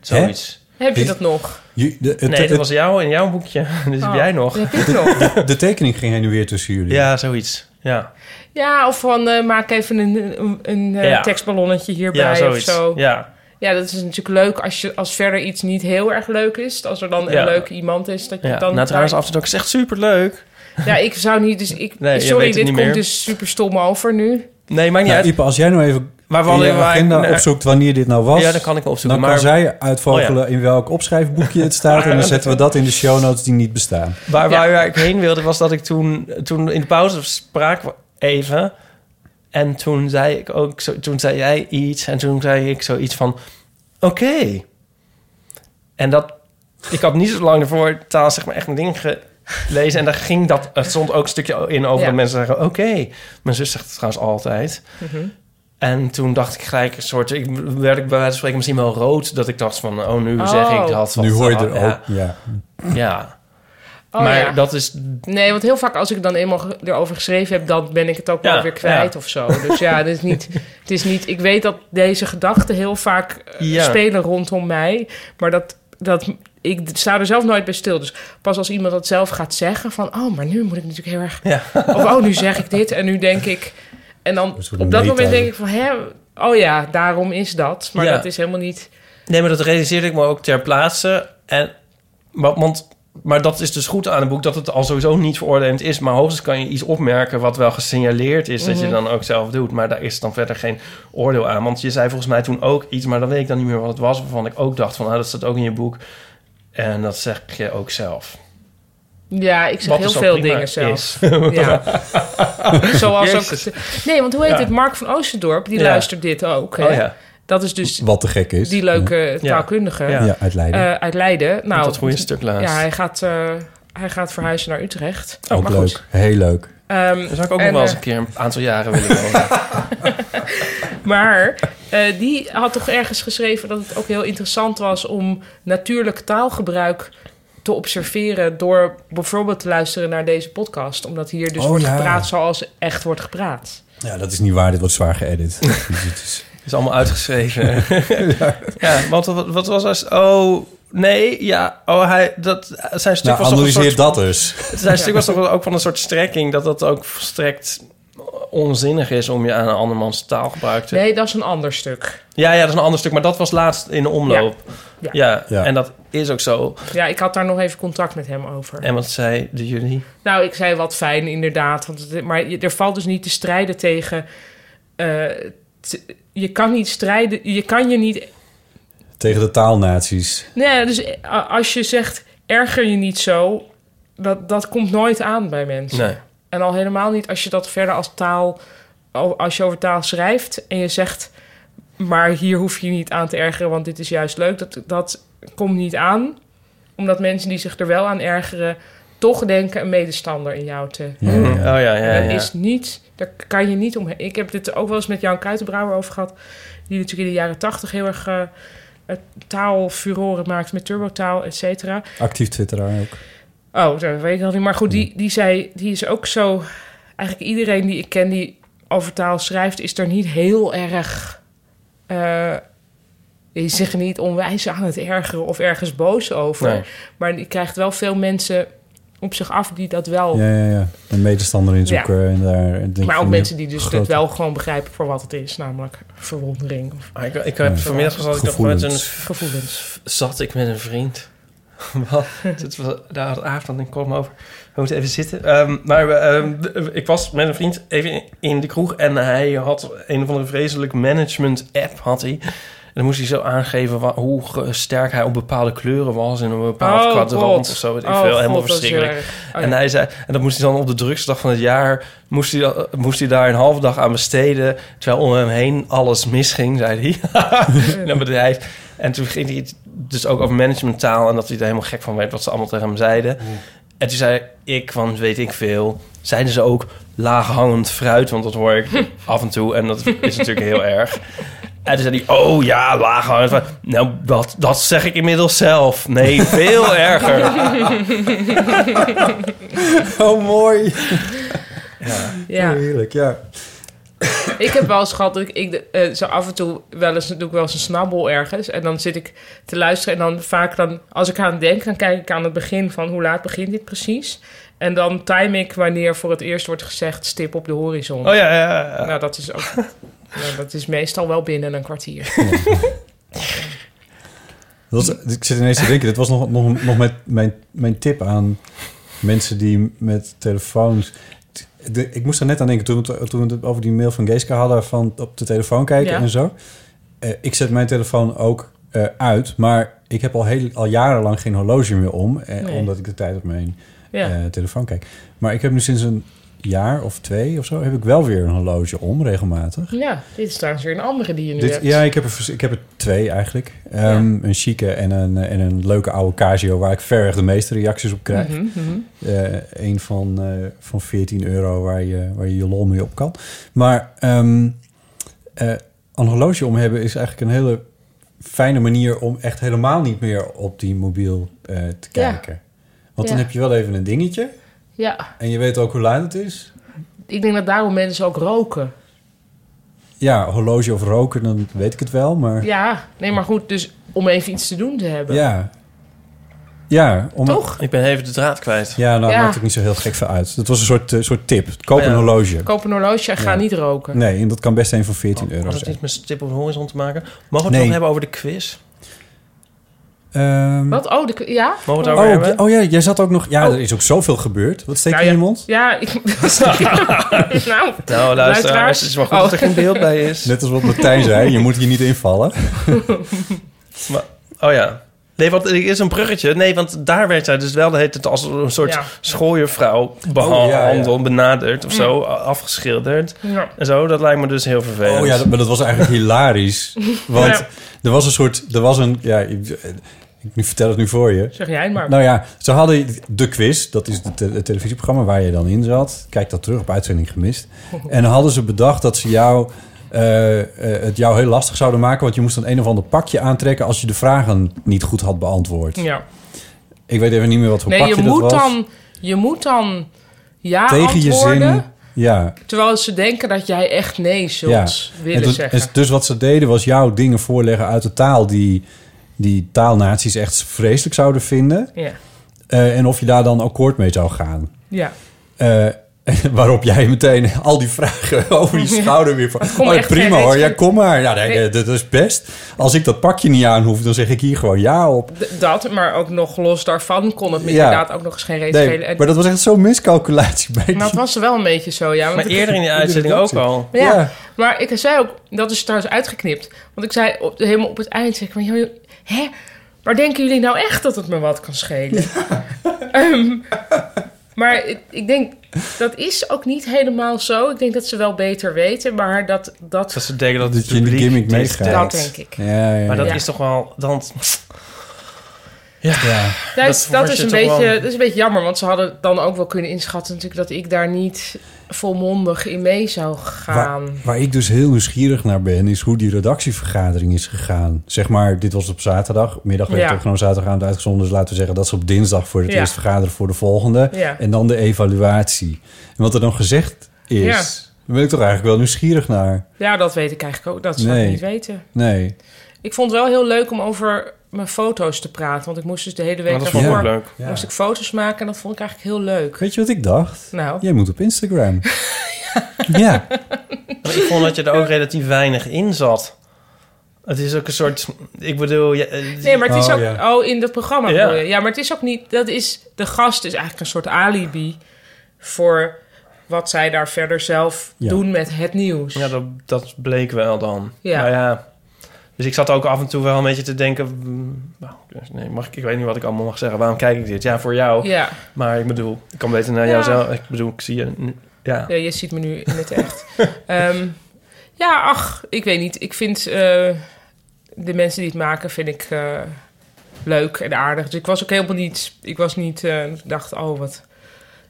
F: Zoiets.
C: heb je
G: Is-
C: dat nog?
G: Je- de, het-
F: Nee,
G: het-
F: dat was jou in jouw boekje. Dus heb
C: Oh,
F: jij nog.
C: Heb je het nog?
G: de tekening ging heen en weer tussen jullie.
F: Ja, zoiets. Ja,
C: Ja, of van eh, maak even een, een, een eh,
F: Ja.
C: tekstballonnetje
F: ja
C: hierbij of
F: zoiets.
C: zo. Ja.
F: Ja.
C: dat is natuurlijk leuk als, je, als verder iets niet heel erg leuk is. Als er dan
F: Ja.
C: een leuk iemand is, dat je
F: Ja,
C: dan...
F: nou, trouwens, Amsterdam is echt superleuk.
C: Ja, ik zou niet... Dus ik,
F: Nee, je weet
C: sorry,
F: het
C: dit
F: niet
C: komt
F: meer.
C: dus super stom over nu.
F: Nee, maakt niet uit.
G: Nou, Ipe, als jij nou even
F: Maar we
G: in
F: hadden
G: je
F: maar-
G: agenda
F: nee.
G: opzoekt wanneer dit nou was...
F: Ja, dan kan ik wel opzoeken.
G: Dan kan
F: maar Oh
G: zij uitvogelen in welk opschrijfboekje het staat. En dan zetten we dat in de show notes die niet bestaan.
F: waar, waar, waar ik heen wilde, was dat ik toen, toen in de pauze spraken we even. En toen zei ik ook, zo, toen zei jij iets. En toen zei ik zoiets van, oké. En dat, ik had niet zo lang ervoor taal zeg maar echt een ding gelezen. En daar ging dat, er stond ook een stukje in over
C: Ja.
F: dat mensen zeggen, oké. Mijn zus zegt het trouwens altijd.
C: Mhm.
F: En toen dacht ik gelijk een soort... Ik werd ik bij wijze van spreken misschien wel rood... dat ik dacht van, oh, nu zeg
C: Oh.
F: ik dat.
G: nu
F: want,
G: hoor je
F: ah,
G: er
F: ja,
G: ook... Ja.
F: Ja.
C: Oh,
F: maar
C: ja.
F: dat is...
C: Nee, want heel vaak als ik dan eenmaal ge- erover geschreven heb, dan ben ik het ook
F: Ja,
C: wel weer kwijt
F: ja.
C: of zo. Dus ja, het is, niet, het is niet. Ik weet dat deze gedachten heel vaak eh,
F: Ja.
C: spelen rondom mij, maar dat, dat ik sta er zelf nooit bij stil. Dus pas als iemand dat zelf gaat zeggen, van oh, maar nu moet ik natuurlijk heel erg.
F: Ja.
C: Of oh, nu zeg ik dit en nu denk ik. En dan
G: Een soort
C: op dat moment
G: meta.
C: denk ik van hè, oh ja, daarom is dat. Maar
F: Ja.
C: dat is helemaal niet.
F: Nee, maar dat realiseerde ik me ook ter plaatse. En, maar, want, maar dat is dus goed aan het boek... dat het al sowieso niet veroordelend is. Maar hoogstens kan je iets opmerken wat wel gesignaleerd is...
C: Mhm.
F: dat je dan ook zelf doet. Maar daar is dan verder geen oordeel aan. Want je zei volgens mij toen ook iets... maar dan weet ik dan niet meer wat het was... waarvan ik ook dacht van, ah, dat staat ook in je boek... En dat zeg je ook zelf.
C: Ja, ik zeg
F: Wat
C: heel
F: dus ook
C: veel
F: prima
C: dingen zelf.
F: is.
C: Ja. Zoals
F: Jezus.
C: ook. Nee, want hoe heet
F: Ja.
C: het? Mark van Oosterdorp, die
F: Ja.
C: luistert dit ook. Hè?
F: Oh ja.
C: Dat is dus
G: Wat te gek is.
C: die leuke taalkundige
G: Ja,
F: Ja.
G: ja uit Leiden.
C: eh, uit Leiden. Nou,
F: dat goede stuk laatst.
C: Ja, hij gaat, eh, hij gaat verhuizen naar Utrecht.
G: ook
F: oh, maar
G: leuk.
F: goed.
G: Heel leuk.
C: Ehm,
F: Daar zou ik ook
C: en,
F: nog wel eens
C: eh,
F: een keer een aantal jaren willen wonen.
C: Maar eh, die had toch ergens geschreven dat het ook heel interessant was om natuurlijk taalgebruik te observeren door bijvoorbeeld te luisteren naar deze podcast. Omdat hier dus
G: Oh,
C: wordt
G: ja.
C: gepraat zoals echt wordt gepraat.
G: Ja, dat is niet waar. Dit wordt zwaar geëdit. Dus het is-
F: Is allemaal uitgeschreven. ja, want wat, wat was als... Oh, nee, ja. Oh, hij, dat, zijn stuk
G: nou,
F: was toch een
G: analyseer
F: soort...
G: dat dus.
F: Zijn stuk was toch wel ook van een soort strekking... dat dat ook volstrekt onzinnig is om je aan een andermans taalgebruik te...
C: Nee, dat is een ander stuk.
F: Ja, ja, dat is een ander stuk. Maar dat was laatst in de omloop.
C: Ja.
F: Ja,
G: Ja.
F: en dat is ook zo.
C: Ja, ik had daar nog even contact met hem over.
F: En wat zeiden jullie?
C: Nou, ik zei wat fijn, inderdaad. Want het, maar je- er valt dus niet te strijden tegen. eh, t- je kan niet strijden. Je kan je niet.
G: Tegen de taalnaties.
C: Nee, dus eh, a- als je zegt. erger je niet zo. Dat, dat komt nooit aan bij mensen.
F: Nee.
C: En al helemaal niet als je dat verder als taal. al- als je over taal schrijft. en je zegt. maar hier hoef je je niet aan te ergeren. want dit is juist leuk. Dat, dat komt niet aan. Omdat mensen die zich er wel aan ergeren. toch denken een medestander in jou te
G: Ja,
F: Oh
G: ja.
F: ja, ja, ja.
C: dat is niet, daar kan je niet om. Ik heb dit ook wel eens met Jan Kuitenbrouwer over gehad. Die natuurlijk in de jaren tachtig heel erg eh taalfuroren maakt met turbotaal, et cetera.
G: Actief twitteraar ook.
C: Oh, dat weet ik nog niet. Maar goed, die, die zei, die is ook zo. Eigenlijk iedereen die ik ken die over taal schrijft, is er niet heel erg. eh die zich niet onwijs aan het ergeren of ergens boos over.
F: Nee.
C: Maar die krijgt wel veel mensen op zich af die dat wel
G: Ja, ja, ja. Een medestander inzoeken. En daar, en denk
C: Oh. Maar
G: van,
C: ook mensen die dus
G: grote-
C: dit wel gewoon begrijpen voor wat het is, namelijk verwondering of
F: Ah, ik, ik heb vanmiddag zat ik nog met
G: Gevoelens.
F: een
C: gevoelens.
F: zat ik met een vriend. Wat? Het was- Daar had avond en kwam over. We moeten even zitten. Ehm, maar we, ehm, d- ik was met een vriend even in- in de kroeg en hij had een of andere vreselijke management-app had hij. En dan moest hij zo aangeven wa- hoe ge- sterk hij op bepaalde kleuren was in een bepaald
C: Oh,
F: kwadrant of zo. Weet ik veel, helemaal verschrikkelijk. en hij zei, en dat moest hij dan op de drugsdag van het jaar, moest hij, dat- moest hij daar een halve dag aan besteden. Terwijl om hem heen alles misging, zei hij. in een bedrijf. En toen ging hij het dus ook over managementtaal en dat hij er helemaal gek van werd wat ze allemaal tegen hem zeiden. En toen zei ik van, weet ik veel, zeiden ze ook laaghangend fruit, want dat hoor ik af en toe en dat is natuurlijk heel erg. En toen zei hij, oh ja, laaghangend fruit. Nou, dat, dat zeg ik inmiddels zelf. Nee, veel erger.
G: Oh, mooi.
C: ja.
G: Heerlijk, ja.
C: ik heb wel eens gehad dat ik, ik eh, zo af en toe wel eens, doe ik wel eens een snabbel ergens. En dan zit ik te luisteren. En dan vaak dan, als ik aan denk, dan kijk ik aan het begin van hoe laat begint dit precies. En dan time ik wanneer voor het eerst wordt gezegd stip op de horizon.
F: Oh ja, ja, ja.
C: Nou, dat is ook. nou, dat is meestal wel binnen een kwartier.
G: Dat was- ik zit ineens te denken, dit was nog, nog, nog met mijn, mijn tip aan mensen die met telefoons... De- ik moest er net aan denken toen, we het- toen we het over die mail van Geeska hadden... van op de telefoon kijken
C: Ja.
G: en zo. Eh, ik zet mijn telefoon ook eh, uit, maar ik heb al, heel, al jarenlang geen horloge meer om... eh,
C: Nee.
G: omdat ik de tijd op mijn
C: Ja.
G: eh, telefoon kijk. Maar ik heb nu sinds een jaar of twee of zo... heb ik wel weer een horloge om, regelmatig.
C: Ja, dit is trouwens weer een andere die je nu
G: Dit,
C: hebt.
G: ja, ik heb, er, vers- ik heb er twee eigenlijk. Ehm, Een chique en een, eh, en een leuke oude Casio... waar ik verreweg de meeste reacties op krijg.
C: Mhm, mhm.
G: Eh, een van, eh, van 14 euro waar je, waar je je lol mee op kan. Maar ehm, eh, een horloge om hebben is eigenlijk een hele fijne manier... om echt helemaal niet meer op die mobiel eh, te
C: Ja.
G: kijken. Want
C: Ja.
G: dan heb je wel even een dingetje.
C: Ja,
G: En je weet ook hoe laat het is.
C: ik denk dat daarom mensen ook roken.
G: Ja, horloge of roken, dan weet ik het wel, maar...
C: Ja, nee, maar goed, dus om even iets te doen te hebben.
G: Ja. Ja, om,
C: Toch?
F: Ik ben even de draad kwijt.
G: Ja, nou,
C: Ja. Oh
G: maakt ook niet zo heel gek veel uit. Dat was een soort, eh, soort tip. Koop
F: Ja.
G: een horloge.
C: Koop een horloge en ga niet roken.
G: Nee, en dat kan best een van
C: Oh,
G: 14 euro
F: Had het
G: zijn.
F: iets met stip op de horizon te maken? Mogen we het
G: Nee.
F: nog hebben over de quiz?
G: Ehm,
C: Wat? Oh, de, ja?
F: Mogen we het
G: Oh,
F: over
G: ja,
F: hebben?
G: oh ja, jij zat ook nog... Ja,
C: Oh.
G: er is ook zoveel gebeurd. Wat steek je
C: Nou
G: in
C: ja.
G: je mond?
C: Ja, ik... nou,
F: Nou, luisteraars,
C: Luisteraars.
F: het is wel goed dat er
C: Oh.
F: geen beeld bij is.
G: Net als wat Martijn zei, je moet hier niet invallen.
F: Maar, oh ja. Nee, want er is een bruggetje. Nee, want daar werd zij dus wel de hele tijd als een soort
C: Ja.
F: schooiervrouw behandeld,
G: Oh, ja, ja.
F: benaderd of zo, a- afgeschilderd.
C: Mm. ja.
F: En zo, dat lijkt me dus heel vervelend.
G: Oh ja, dat, maar dat was eigenlijk hilarisch. Want
C: Ja.
G: er was een soort... Er was een... Ja, ik, ik vertel het nu voor je.
C: zeg jij het maar.
G: Nou ja, ze hadden de quiz. Dat is het te- het televisieprogramma waar je dan in zat. Kijk dat terug op uitzending gemist. En dan hadden ze bedacht dat ze jou, eh, eh, het jou heel lastig zouden maken. Want je moest dan een of ander pakje aantrekken als je de vragen niet goed had beantwoord.
C: Ja,
G: Ik weet even niet meer wat voor
C: Nee,
G: pakje
C: je
G: dat
C: moet,
G: was.
C: dan, je moet dan ja
G: Tegen je
C: antwoorden...
G: zin. Ja,
C: Terwijl ze denken dat jij echt nee zult willen
G: En toen-
C: zeggen.
G: en dus wat ze deden was jouw dingen voorleggen uit de taal die, die taalnaties echt vreselijk zouden vinden.
C: Ja.
G: Eh, en of je daar dan akkoord mee zou gaan.
C: Ja.
G: Eh, waarop jij meteen al die vragen over je schouder weer van...
C: komt
G: oh,
C: echt geen
G: prima
C: reet
G: hoor, ja,
C: van-
G: kom maar. Ja, nee, eh,
C: Nee.
G: Dat is best. Als ik dat pakje niet aan hoef, dan zeg ik hier gewoon ja op.
C: D- dat, maar ook nog los daarvan kon het me
G: Ja.
C: inderdaad ook nog eens geen reet
G: Nee,
C: spelen. En,
G: maar dat was echt zo'n miscalculatie bij
C: maar het
G: die-
C: was wel een beetje zo, ja. want
F: Maar
C: het-
F: eerder in die uitzending ook al.
C: Ja,
G: Ja.
C: maar ik zei ook, dat is trouwens uitgeknipt. Want ik zei op, helemaal op het eind, zeg ik, maar, joh, hè? Maar denken jullie nou echt dat het me wat kan schelen? Ehm, maar ik, ik denk, dat is ook niet helemaal zo. Ik denk dat ze wel beter weten, maar dat... dat,
F: Dat ze denken dat
G: Dat
F: het
G: je in de
F: publiek
G: gimmick
F: dit
G: meegaat.
F: stemt.
C: dat denk ik.
G: Ja, ja,
F: Maar dat
C: Ja.
F: is toch wel... Dan,
G: ja.
C: Dat,
F: Dat
C: dat
F: word
C: is
F: je
C: een
F: toch
C: beetje,
F: wel-
C: dat is een beetje jammer, want ze hadden dan ook wel kunnen inschatten natuurlijk dat ik daar niet volmondig in mee zou gaan.
G: Waar, waar ik dus heel nieuwsgierig naar ben, is hoe die redactievergadering is gegaan. Zeg maar, dit was op zaterdagmiddag. Middag werd
C: Ja.
G: het ook gewoon zaterdagavond uitgezonden. Dus laten we zeggen dat ze op dinsdag voor het
C: Ja.
G: eerst vergaderen voor de volgende.
C: Ja.
G: En dan de evaluatie. En wat er dan gezegd is,
C: Ja.
G: daar ben ik toch eigenlijk wel nieuwsgierig naar.
C: Ja, dat weet ik eigenlijk ook. Dat zou
G: Nee.
C: ik niet weten.
G: Nee.
C: Ik vond het wel heel leuk om over mijn foto's te praten, want ik moest dus de hele week
F: Maar dat vond ik
G: Ja.
F: ook leuk.
G: Ja.
C: moest ik foto's maken en dat vond ik eigenlijk heel leuk.
G: Weet je wat ik dacht?
C: Nou,
G: Jij moet op Instagram. ja.
F: Maar ik vond dat je er ook relatief weinig in zat. Het is ook een soort... Ik bedoel... Ja, eh,
C: nee, maar het is
G: Oh,
C: ook
G: ja.
C: oh in dat programma.
F: Ja.
C: bedoel je. ja, maar het is ook niet. Dat is de gast is eigenlijk een soort alibi voor wat zij daar verder zelf
G: Ja.
C: doen met het nieuws.
F: ja dat, dat bleek wel dan.
C: Ja.
F: Nou ja. Dus ik zat ook af en toe wel een beetje te denken... mm, nou, dus nee, mag ik, ik weet niet wat ik allemaal mag zeggen. Waarom kijk ik dit? Ja, voor jou.
C: ja.
F: Maar ik bedoel, ik kan beter naar
C: Ja.
F: jou zelf. Ik bedoel, ik zie je... nu- Ja.
C: Ja, je ziet me nu in het echt. Ehm, ja, ach, ik weet niet. Ik vind eh, de mensen die het maken, vind ik eh, leuk en aardig. Dus ik was ook helemaal niet... Ik was niet... eh, ik dacht, oh, wat...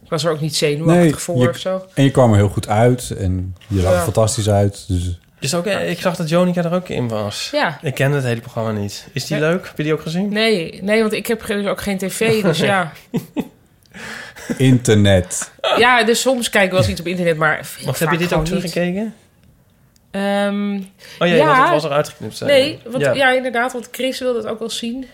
C: Ik was er ook niet zenuwachtig
G: Nee,
C: voor
G: je-
C: of zo.
G: En je kwam er heel goed uit. En je zag er
C: Ja.
G: fantastisch uit. Dus
F: Dus ook, eh, ik zag dat Jonica er ook in was.
C: Ja.
F: Ik ken het hele programma niet. Is die
C: Nee.
F: leuk? Heb je die ook gezien?
C: Nee, nee, want ik heb ge- dus ook geen tv, dus ja.
G: internet.
C: Ja, dus soms kijk ik wel eens iets op internet, maar veel
F: Of heb je
C: vaak
F: dit ook
C: gewoon
F: teruggekeken?
C: niet. Ehm,
F: Oh ja,
C: Ja.
F: want het was er uitgeknipt. zei je.
C: Nee, want, ja. inderdaad, want Chris wilde het ook wel zien.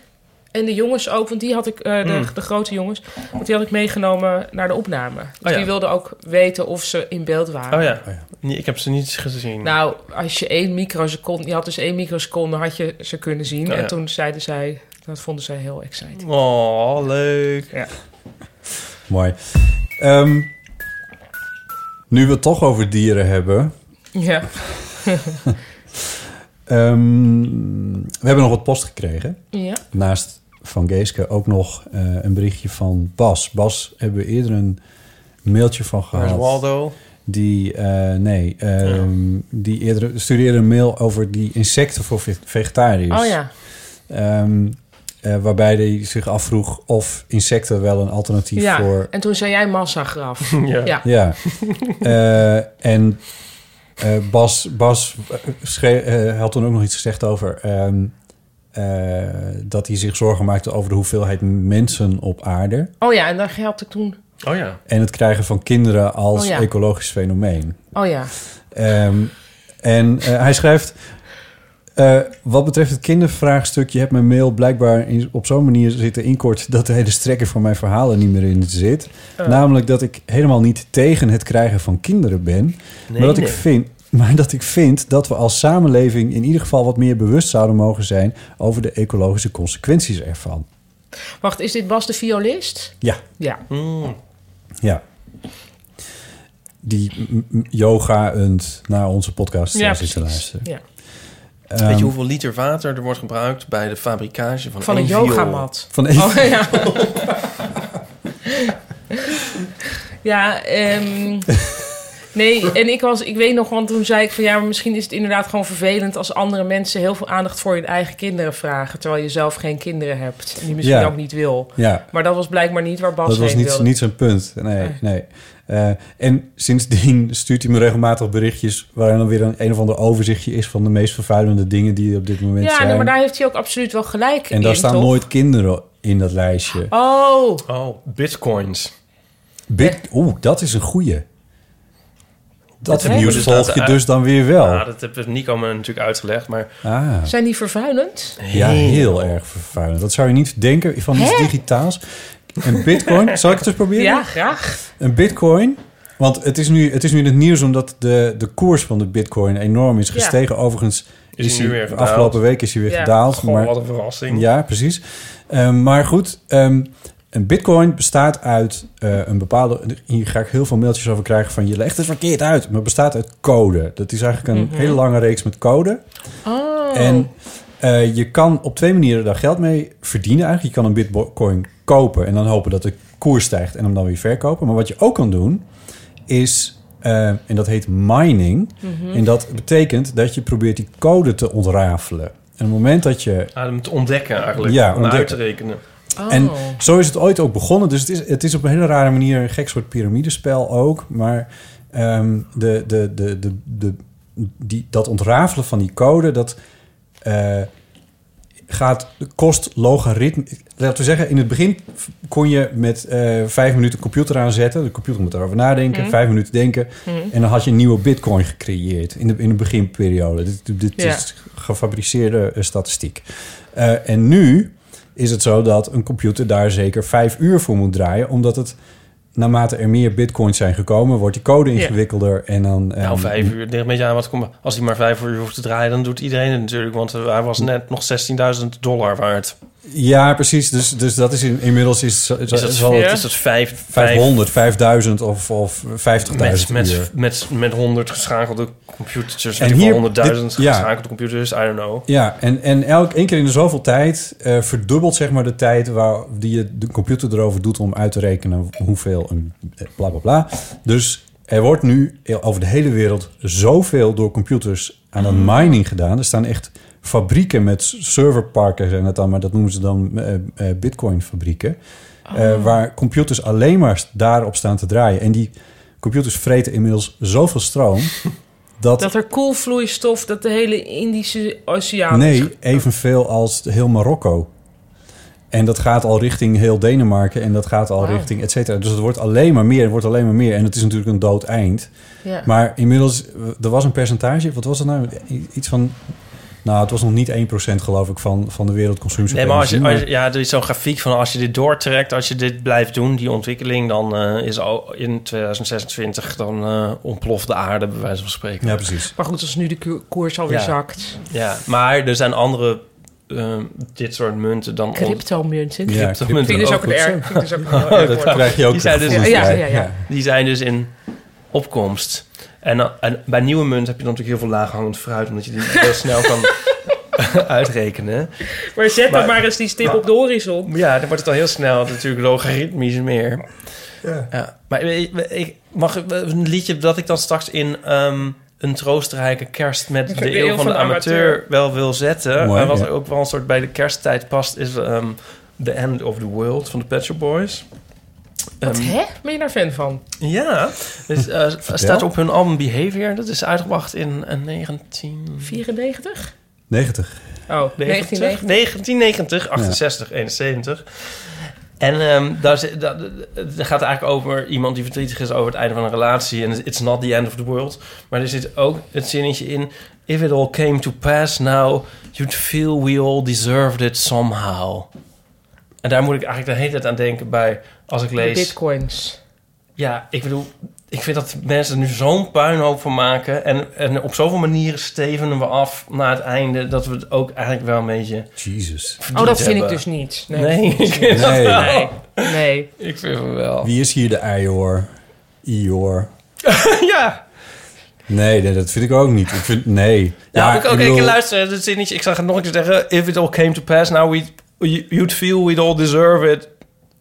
C: En de jongens ook, want die had ik, eh, de,
F: Mm.
C: de grote jongens, want die had ik meegenomen naar de opname. Dus
F: Oh ja.
C: die wilden ook weten of ze in beeld waren.
F: Oh ja. Nee, ik heb ze niet gezien.
C: Nou, als je één microseconde, je had dus één microseconde, had je ze kunnen zien.
F: Oh ja.
C: En toen zeiden zij, dat vonden zij heel exciting.
F: Oh, leuk.
G: Mooi. Ehm, nu we het toch over dieren hebben.
C: Ja,
G: Ehm, we hebben nog wat post gekregen.
C: ja.
G: Naast van Geeske ook nog eh, een berichtje van Bas. Bas hebben we eerder een mailtje van
F: Waar is
G: gehad.
F: Waldo?
G: Die, eh, nee, ehm, die eerder studeerde een mail over die insecten voor ve- vegetariërs.
C: Oh ja,
G: Ehm, eh, waarbij hij zich afvroeg of insecten wel een alternatief
C: ja.
G: voor
C: En toen zei jij massagraf.
F: Ja.
C: ja.
G: Ja. Eh, en eh, Bas, Bas schreef, eh, had toen ook nog iets gezegd over... ehm, eh, dat hij zich zorgen maakte over de hoeveelheid mensen op aarde...
C: Oh ja, en daar helpte ik toen.
F: Oh ja.
G: en het krijgen van kinderen als
C: Oh ja.
G: ecologisch fenomeen.
C: Oh ja,
G: Ehm, en eh, hij schrijft... eh, wat betreft het kindervraagstuk, je hebt mijn mail blijkbaar in- op zo'n manier zitten inkorten dat de hele strekker van mijn verhaal er niet meer in zit. Namelijk dat ik helemaal niet tegen het krijgen van kinderen ben,
F: Nee,
G: maar, dat ik
F: nee.
G: vind, maar dat ik vind dat we als samenleving in ieder geval wat meer bewust zouden mogen zijn over de ecologische consequenties ervan.
C: wacht, is dit Bas de violist?
G: Ja,
C: Ja,
G: ja. Die m- m- yoga und naar onze podcast
C: ja
G: zit te luisteren.
C: Ja.
F: Weet je hoeveel liter water er wordt gebruikt bij de fabricage van,
C: Van
F: één
C: een
F: viool?
C: yogamat.
G: Van even,
C: Oh ja. ja, ehm, nee, en ik was, ik weet nog, want toen zei ik van ja, maar misschien is het inderdaad gewoon vervelend als andere mensen heel veel aandacht voor hun eigen kinderen vragen, terwijl je zelf geen kinderen hebt en die misschien
G: Ja.
C: ook niet wil.
G: ja.
C: Maar dat was blijkbaar niet waar Bas
G: Dat was
C: heen
G: niet,
C: wilde.
G: niet zijn punt. Nee,
C: Nee.
G: nee. Eh, en sindsdien stuurt hij me regelmatig berichtjes... waarin dan weer een, een of ander overzichtje is... van de meest vervuilende dingen die er op dit moment
C: ja,
G: zijn.
C: nee, maar daar heeft hij ook absoluut wel gelijk in.
G: en daar staan
C: toch?
G: nooit kinderen in dat lijstje.
C: Oh,
F: Oh, bitcoins.
G: Bit, Oeh, dat is een goeie. Dat
F: heb ik
G: nieuws
F: dus
G: volg
F: laten
G: je
F: uit-
G: dus dan weer wel.
F: Nou, dat heeft Nico me natuurlijk uitgelegd, maar...
G: Ah.
C: zijn die vervuilend?
G: Ja, heel erg vervuilend. Dat zou je niet denken van iets digitaals. Een bitcoin, zal ik het eens proberen?
C: Ja, graag.
G: Een bitcoin, want het is nu, het is nu in het nieuws omdat de, de koers van de bitcoin enorm is gestegen. Overigens
F: Is hij nu weer gedaald?
G: afgelopen week is hij weer
C: Ja.
G: gedaald.
F: Goh,
G: maar,
F: wat een verrassing.
G: ja, precies. Ehm, maar goed, ehm, een bitcoin bestaat uit eh, een bepaalde... Hier ga ik heel veel mailtjes over krijgen van... je legt het verkeerd uit, maar het bestaat uit code. Dat is eigenlijk een hele lange reeks met code.
C: Oh,
G: En eh, je kan op twee manieren daar geld mee verdienen eigenlijk. Je kan een bitcoin kopen en dan hopen dat de koers stijgt... en hem dan weer verkopen. Maar wat je ook kan doen, is... eh, en dat heet mining. En dat betekent dat je probeert die code te ontrafelen. En op het moment dat je
F: Ah, om te ontdekken eigenlijk.
G: Ja,
F: om
G: ontdekken.
F: uit te rekenen.
G: en
C: Oh.
G: zo is het ooit ook begonnen. Dus het is, het is op een hele rare manier een gek soort piramidespel ook. Maar ehm, de, de, de, de, de, die, dat ontrafelen van die code, dat eh, gaat, kost logaritme. Laten we zeggen, in het begin kon je met eh, vijf minuten computer aanzetten. De computer moet daarover nadenken, vijf minuten denken. En dan had je een nieuwe bitcoin gecreëerd in de, in de beginperiode. Dit, dit
C: Ja.
G: is gefabriceerde eh, statistiek. Eh, en nu is het zo dat een computer daar zeker vijf uur voor moet draaien, omdat het naarmate er meer bitcoins zijn gekomen, wordt die code ingewikkelder en dan. eh,
F: Nou, vijf uur. Het ligt een beetje aan wat komt. Als hij maar vijf uur hoeft te draaien, dan doet iedereen het natuurlijk. Want eh, hij was net nog 16.000 dollar waard.
G: Ja, precies. Dus, dus dat is in- inmiddels is, is,
F: Is dat,
G: zal
F: veel?
G: het
F: is dat vijf, vijf
G: 500, 5000 of, of 50.000
F: met,
G: uur.
F: met, met, met 100 geschakelde computers.
G: En
F: En
G: hier-
F: hier 100.000
G: dit- ja.
F: geschakelde computers. I don't know.
G: Ja, en, en elk één keer in de zoveel tijd eh, verdubbelt zeg maar de tijd waar, die je de computer erover doet om uit te rekenen hoeveel een eh, bla bla bla. Dus er wordt nu e-, over de hele wereld zoveel door computers aan een mining gedaan. Er staan echt fabrieken met serverparken en dat dan, maar dat noemen ze dan eh bitcoin fabrieken. waar computers alleen maar daarop staan te draaien. En die computers vreten inmiddels zoveel stroom. Dat,
C: Dat er koelvloeistof, dat de hele Indische Oceaan... is
G: Nee,
C: ge-
G: evenveel als heel Marokko. En dat gaat al richting heel Denemarken en dat gaat al
C: Wauw.
G: richting et cetera. Dus het wordt alleen maar meer, het wordt alleen maar meer. En het is natuurlijk een dood eind.
C: Ja.
G: Maar inmiddels, eh, er was een percentage, wat was dat nou? I- Iets van, nou het was nog niet 1% geloof ik van, van de wereldconsumptie.
F: Nee,
G: op
F: maar als je,
G: energie,
F: als je- ja, er is zo'n grafiek van als je dit doortrekt, als je dit blijft doen, die ontwikkeling, dan eh, is al in 2026 dan eh, ontploft de aarde, bij wijze van spreken.
G: Ja,
F: Ja,
G: precies.
C: Maar goed, als nu de ko- koers alweer
F: Ja.
C: zakt.
F: maar er zijn andere eh, dit soort munten dan. on-
C: Cryptomunten.
G: Ja,
F: Crypto-
G: crypto-
C: Vind ik dus ook een
G: goed zo.
C: erg. Vind ik dus ook een heel erg
F: dat
C: woord.
F: kan.
G: krijg je ook
F: Die zijn dus-
G: gevoelens
C: Ja,
G: bij.
C: ja, ja.
F: Die zijn dus in opkomst. En, dan- en bij nieuwe munt heb je dan natuurlijk heel veel laaghangend fruit, omdat je die heel snel kan uitrekenen.
C: Maar zet dan
F: Maar-
C: maar eens die stip op de horizon.
F: Ja, dan wordt het al heel snel natuurlijk logaritmisch meer.
G: Ja.
F: Ja. Maar ik, ik- mag ik- een liedje dat ik dan straks in ehm, een troostrijke kerst met de, eeuw van, de amateur, wel wil zetten.
G: Mooi,
F: en wat
G: ja.
F: ook wel een soort bij de kersttijd past, is ehm, The End of the World van de Pet Shop Boys.
C: Wat,
F: Ehm,
C: hè? Ben je daar fan van?
F: Ja, dus, eh, staat op hun album Behavior. Dat is uitgebracht in eh, 19...
C: 94?
G: 90.
C: Oh,
F: 90,
C: 1990.
F: 1990, 68, 71. En ehm, daar, zit- daar, daar gaat het eigenlijk over iemand die verdrietig is over het einde van een relatie. En it's not the end of the world. Maar er zit ook het zinnetje in... If it all came to pass now, you'd feel we all deserved it somehow. En daar moet ik eigenlijk de hele tijd aan denken bij als ik
C: De
F: lees...
C: bitcoins.
F: Ja, ik bedoel, ik vind dat mensen er nu zo'n puinhoop van maken. En, en op zoveel manieren stevenen we af naar het einde dat we het ook eigenlijk wel een beetje.
G: Jesus.
C: Oh, dat
F: verdiend
C: vind ik
F: hebben.
C: dus niet. Nee.
F: Nee, ik vind dat
G: Nee.
F: wel.
C: Nee. nee.
F: Ik vind het wel.
G: Wie is hier de Ior? Ior.
F: Ja,
G: Nee, nee, dat vind ik ook niet. Ik vind, nee.
F: nou,
G: Ja,
F: ik ook.
G: bedoel-
F: Ik luister, dat zit niet. Ik zag het nog een keer zeggen. If it all came to pass, now we, you'd feel we'd all deserve it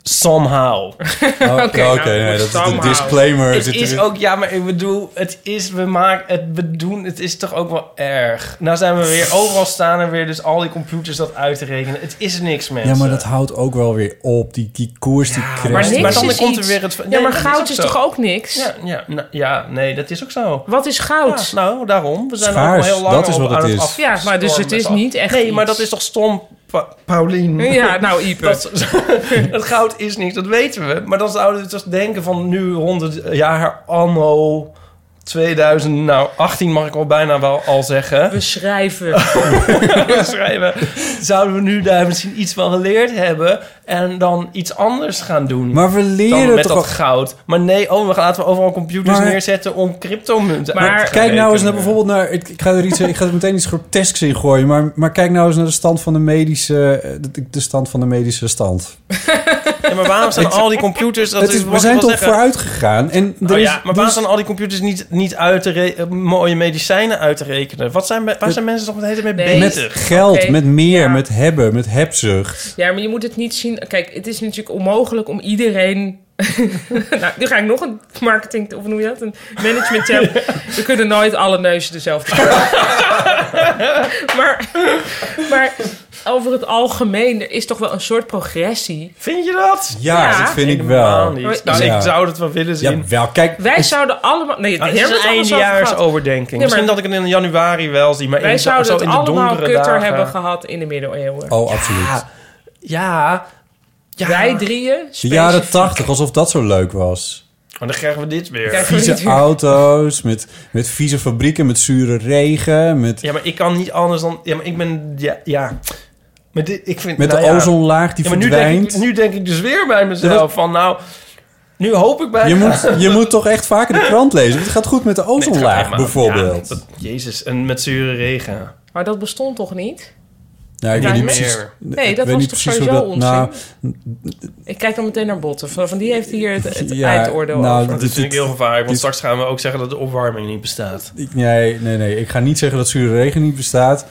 F: somehow.
G: Oh, Oké,
C: nou,
G: nee, dat is de
C: somehow.
G: disclaimer.
F: Het
G: zit
F: is
G: erin.
F: ook, ja, maar ik bedoel, het is, we maken, het, we doen, het is toch ook wel erg. Nou zijn we weer, overal staan er weer dus al die computers dat uit te rekenen. Het is niks, mensen.
G: Ja, maar dat houdt ook wel weer op. Die, die koers, die crash.
C: Maar, niks
F: Maar dan
C: is
F: komt er
C: iets.
F: weer het-
C: ja,
F: Nee,
C: maar
F: dat is ook
C: goud is
F: zo.
C: toch ook niks?
F: Ja, ja, nou, ja, nee, dat is ook zo.
C: Wat is
F: Ja,
C: goud?
F: nou, daarom. We zijn
G: Schaars,
F: er ook al heel lang
G: dat is
F: op
G: wat het
F: aan
G: is.
F: af-
C: Ja, maar dus het
F: stormen
C: is
F: met af-
C: niet echt
F: Nee, maar
C: iets.
F: dat is toch stom Pa- Paulien.
C: Ja, nou, Ipe.
F: Dat, het goud is niks, dat weten we. Maar dan zouden we dus denken van nu 100 jaar anno 2000, nou 18 mag ik al bijna wel al zeggen,
C: Beschrijven.
F: schrijven. Zouden we nu daar misschien iets van geleerd hebben en dan iets anders gaan doen.
G: Maar we
F: dan
G: leren
F: met
G: toch
F: dat
G: al...
F: goud. Maar nee, oh, we gaan laten we overal computers
G: Maar-
F: neerzetten om cryptomunten
C: Maar-
F: uit te
G: Kijk nou eens naar
F: rekenen.
G: bijvoorbeeld naar. Ik, ik ga er iets, ik ga er meteen iets grotesks in gooien. Maar, maar kijk nou eens naar de stand van de medische. eh, De, de stand van de medische stand.
F: Ja, maar waarom staan al die computers... Dat
G: Het is,
F: wat
G: we
F: ik
G: zijn
F: wil
G: toch
F: zeggen-
G: vooruit gegaan. En er
F: Oh
G: is,
F: ja, maar
G: dus-
F: waarom staan al die computers niet, niet uit te re- eh, mooie medicijnen uit te rekenen? Wat zijn, me- waar zijn mensen toch met de hele tijd mee
C: Nee.
G: met
F: bezig?
G: geld,
C: Oké,
G: met meer,
C: ja.
G: met hebben, met hebzucht.
C: Ja, maar je moet het niet zien. Kijk, het is natuurlijk onmogelijk om iedereen. nou, nu ga ik nog een marketing. Of hoe noem je dat? Een management term. We kunnen nooit alle neuzen dezelfde kant op. maar, maar over het algemeen, er is toch wel een soort progressie.
F: Vind je dat?
G: Ja,
C: Ja,
G: dat vind ik
F: Helemaal
G: wel.
F: niet. Nou,
G: Ja.
F: ik zou het wel willen zien.
G: Ja, wel. Kijk,
C: Wij zouden allemaal. Nee,
F: Nou,
C: het
F: het is een eindejaarsoverdenking.
C: maar-
F: Misschien dat ik het in januari wel zie, maar
C: Wij
F: in,
C: zouden
F: zo
C: het
F: in de
C: allemaal
F: donkere
C: kutter
F: dagen.
C: hebben gehad in de middeleeuwen.
G: oh, absoluut.
F: Ja, ja.
C: Wij drieën.
G: De jaren tachtig, alsof dat zo leuk was.
F: Maar dan krijgen we dit weer.
C: Kijk,
G: Vieze auto's, met, met vieze fabrieken, met zure regen, met,
F: Ja, maar ik kan niet anders dan... Ja, maar ik ben... Ja, ja. Maar dit, ik vind,
G: met
F: nou
G: de
F: ja.
G: ozonlaag die
F: Ja, maar nu denk,
G: verdwijnt.
F: ik, nu denk ik dus weer bij mezelf van nou... Nu hoop ik bij
G: Je moet, je moet toch echt vaker de krant lezen. want Het gaat goed met de
F: Nee, het gaat
G: ozonlaag,
F: helemaal-
G: bijvoorbeeld.
F: Ja, dat- jezus, en met zure regen.
C: Maar dat bestond toch niet?
G: Nou, ik
C: Ja,
G: weet niet
C: nee.
G: precies.
C: Nee,
G: ik
C: dat
G: weet
C: was
G: niet
C: toch
G: precies hoe
C: sowieso onzin?
G: Nou,
C: Ik kijk dan meteen naar Botten. Van van die heeft hier het, het
G: Ja,
C: eindoordeel
G: nou,
C: over.
F: Dat vind
G: dit-
F: ik heel gevaarlijk, want
G: dit-
F: straks gaan we ook zeggen dat de opwarming niet bestaat.
G: ik- nee, nee, nee. Ik ga niet zeggen dat zure regen niet bestaat.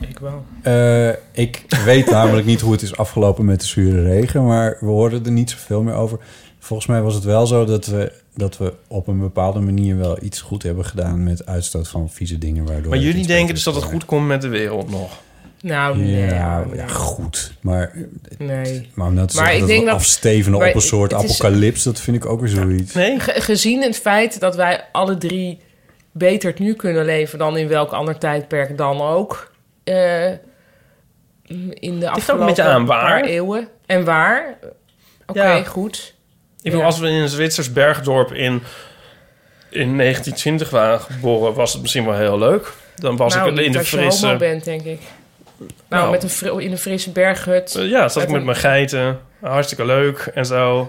C: Ik wel.
G: Eh, ik weet namelijk niet hoe het is afgelopen met de zure regen, maar we hoorden er niet zoveel meer over. Volgens mij was het wel zo dat we, dat we op een bepaalde manier wel iets goed hebben gedaan met uitstoot van vieze dingen. Waardoor
F: Maar
G: het
F: jullie
G: iets
F: denken
G: beter
F: dus dat het
G: is
F: goed komt met de wereld nog.
C: Nou,
G: geworden.
C: nee.
G: Ja, ja, goed. Maar,
C: nee.
G: maar om nou te
C: Maar
G: zeggen
C: ik
G: dat
C: denk
G: we
C: dat-
G: afstevenen
C: maar
G: op een soort
C: het is-
G: apocalyps, dat vind ik ook weer zoiets.
F: Nee?
C: Ge- gezien het feit dat wij alle drie beter nu kunnen leven dan in welk ander tijdperk dan ook. eh, in de
F: ligt ook
C: afgelopen
F: een beetje aan waar.
C: paar eeuwen. En waar. Oké,
F: Ja.
C: goed.
F: Ik bedoel,
C: Ja.
F: als we in een Zwitsers bergdorp in, in 1920 waren geboren, was het misschien wel heel leuk. Dan was
C: nou,
F: ik in
C: niet
F: de
C: als je homo
F: frisse...
C: bent, denk ik. Nou,
F: Nou.
C: Met een fri- in een frisse berghut.
F: Eh, Ja, zat ik
C: Met
F: met
C: een-
F: mijn geiten. Hartstikke leuk en zo.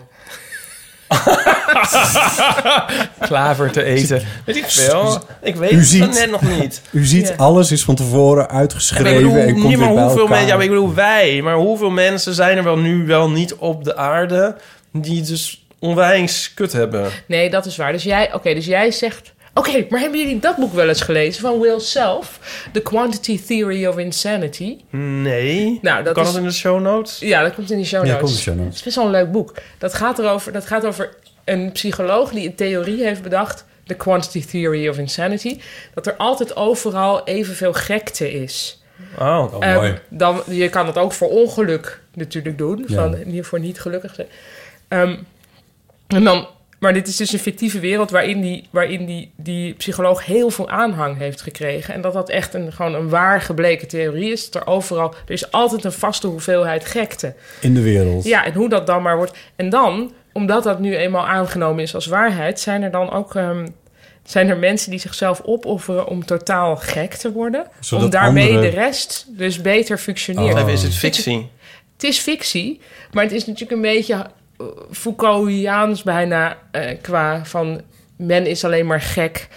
F: Klaver te eten. Weet ik veel. Ik weet
G: U
F: het
G: ziet.
F: net nog niet.
G: U ziet,
C: Ja.
G: alles is van tevoren
F: Ja, maar ik
G: uitgeschreven
F: bedoel,
G: en komt
F: niet,
G: weer
F: maar
G: bij
F: hoeveel
G: elkaar.
F: men- ja, maar ik bedoel wij, maar hoeveel mensen zijn er wel nu wel niet op de aarde die het dus onwijs kut hebben?
C: Nee, dat is waar. Dus jij, oké, dus jij zegt. Oké, maar hebben jullie dat boek wel eens gelezen van Will Self? The Quantity Theory of Insanity.
F: Nee.
C: Nou, dat
F: kan
C: is-
F: dat in de show notes?
C: Ja, dat komt in die show notes.
G: Ja, komt in de show notes.
C: Het is best wel een leuk boek. Dat gaat, erover, dat gaat over een psycholoog die een theorie heeft bedacht... de Quantity Theory of Insanity... dat er altijd overal evenveel gekte is.
F: Oh.
G: Oh, mooi.
C: Ehm, dan, je kan dat ook voor ongeluk natuurlijk doen.
G: Ja.
C: Van, niet voor niet gelukkig zijn. Ehm, en dan, maar dit is dus een fictieve wereld waarin, die, waarin die, die psycholoog heel veel aanhang heeft gekregen. En dat dat echt een, gewoon een waar gebleken theorie is. Dat er overal, er is altijd een vaste hoeveelheid gekte.
G: In de wereld.
C: Ja, en hoe dat dan maar wordt. En dan, omdat dat nu eenmaal aangenomen is als waarheid, zijn er dan ook. ehm, zijn er mensen die zichzelf opofferen om totaal gek te worden?
G: Zodat
C: om daarmee
G: anderen-
C: de rest dus beter functioneert.
G: Oh.
F: Is het fictie?
C: Het is fictie, maar het is natuurlijk een beetje eh, Foucaultiaans bijna eh, qua van men is alleen maar gek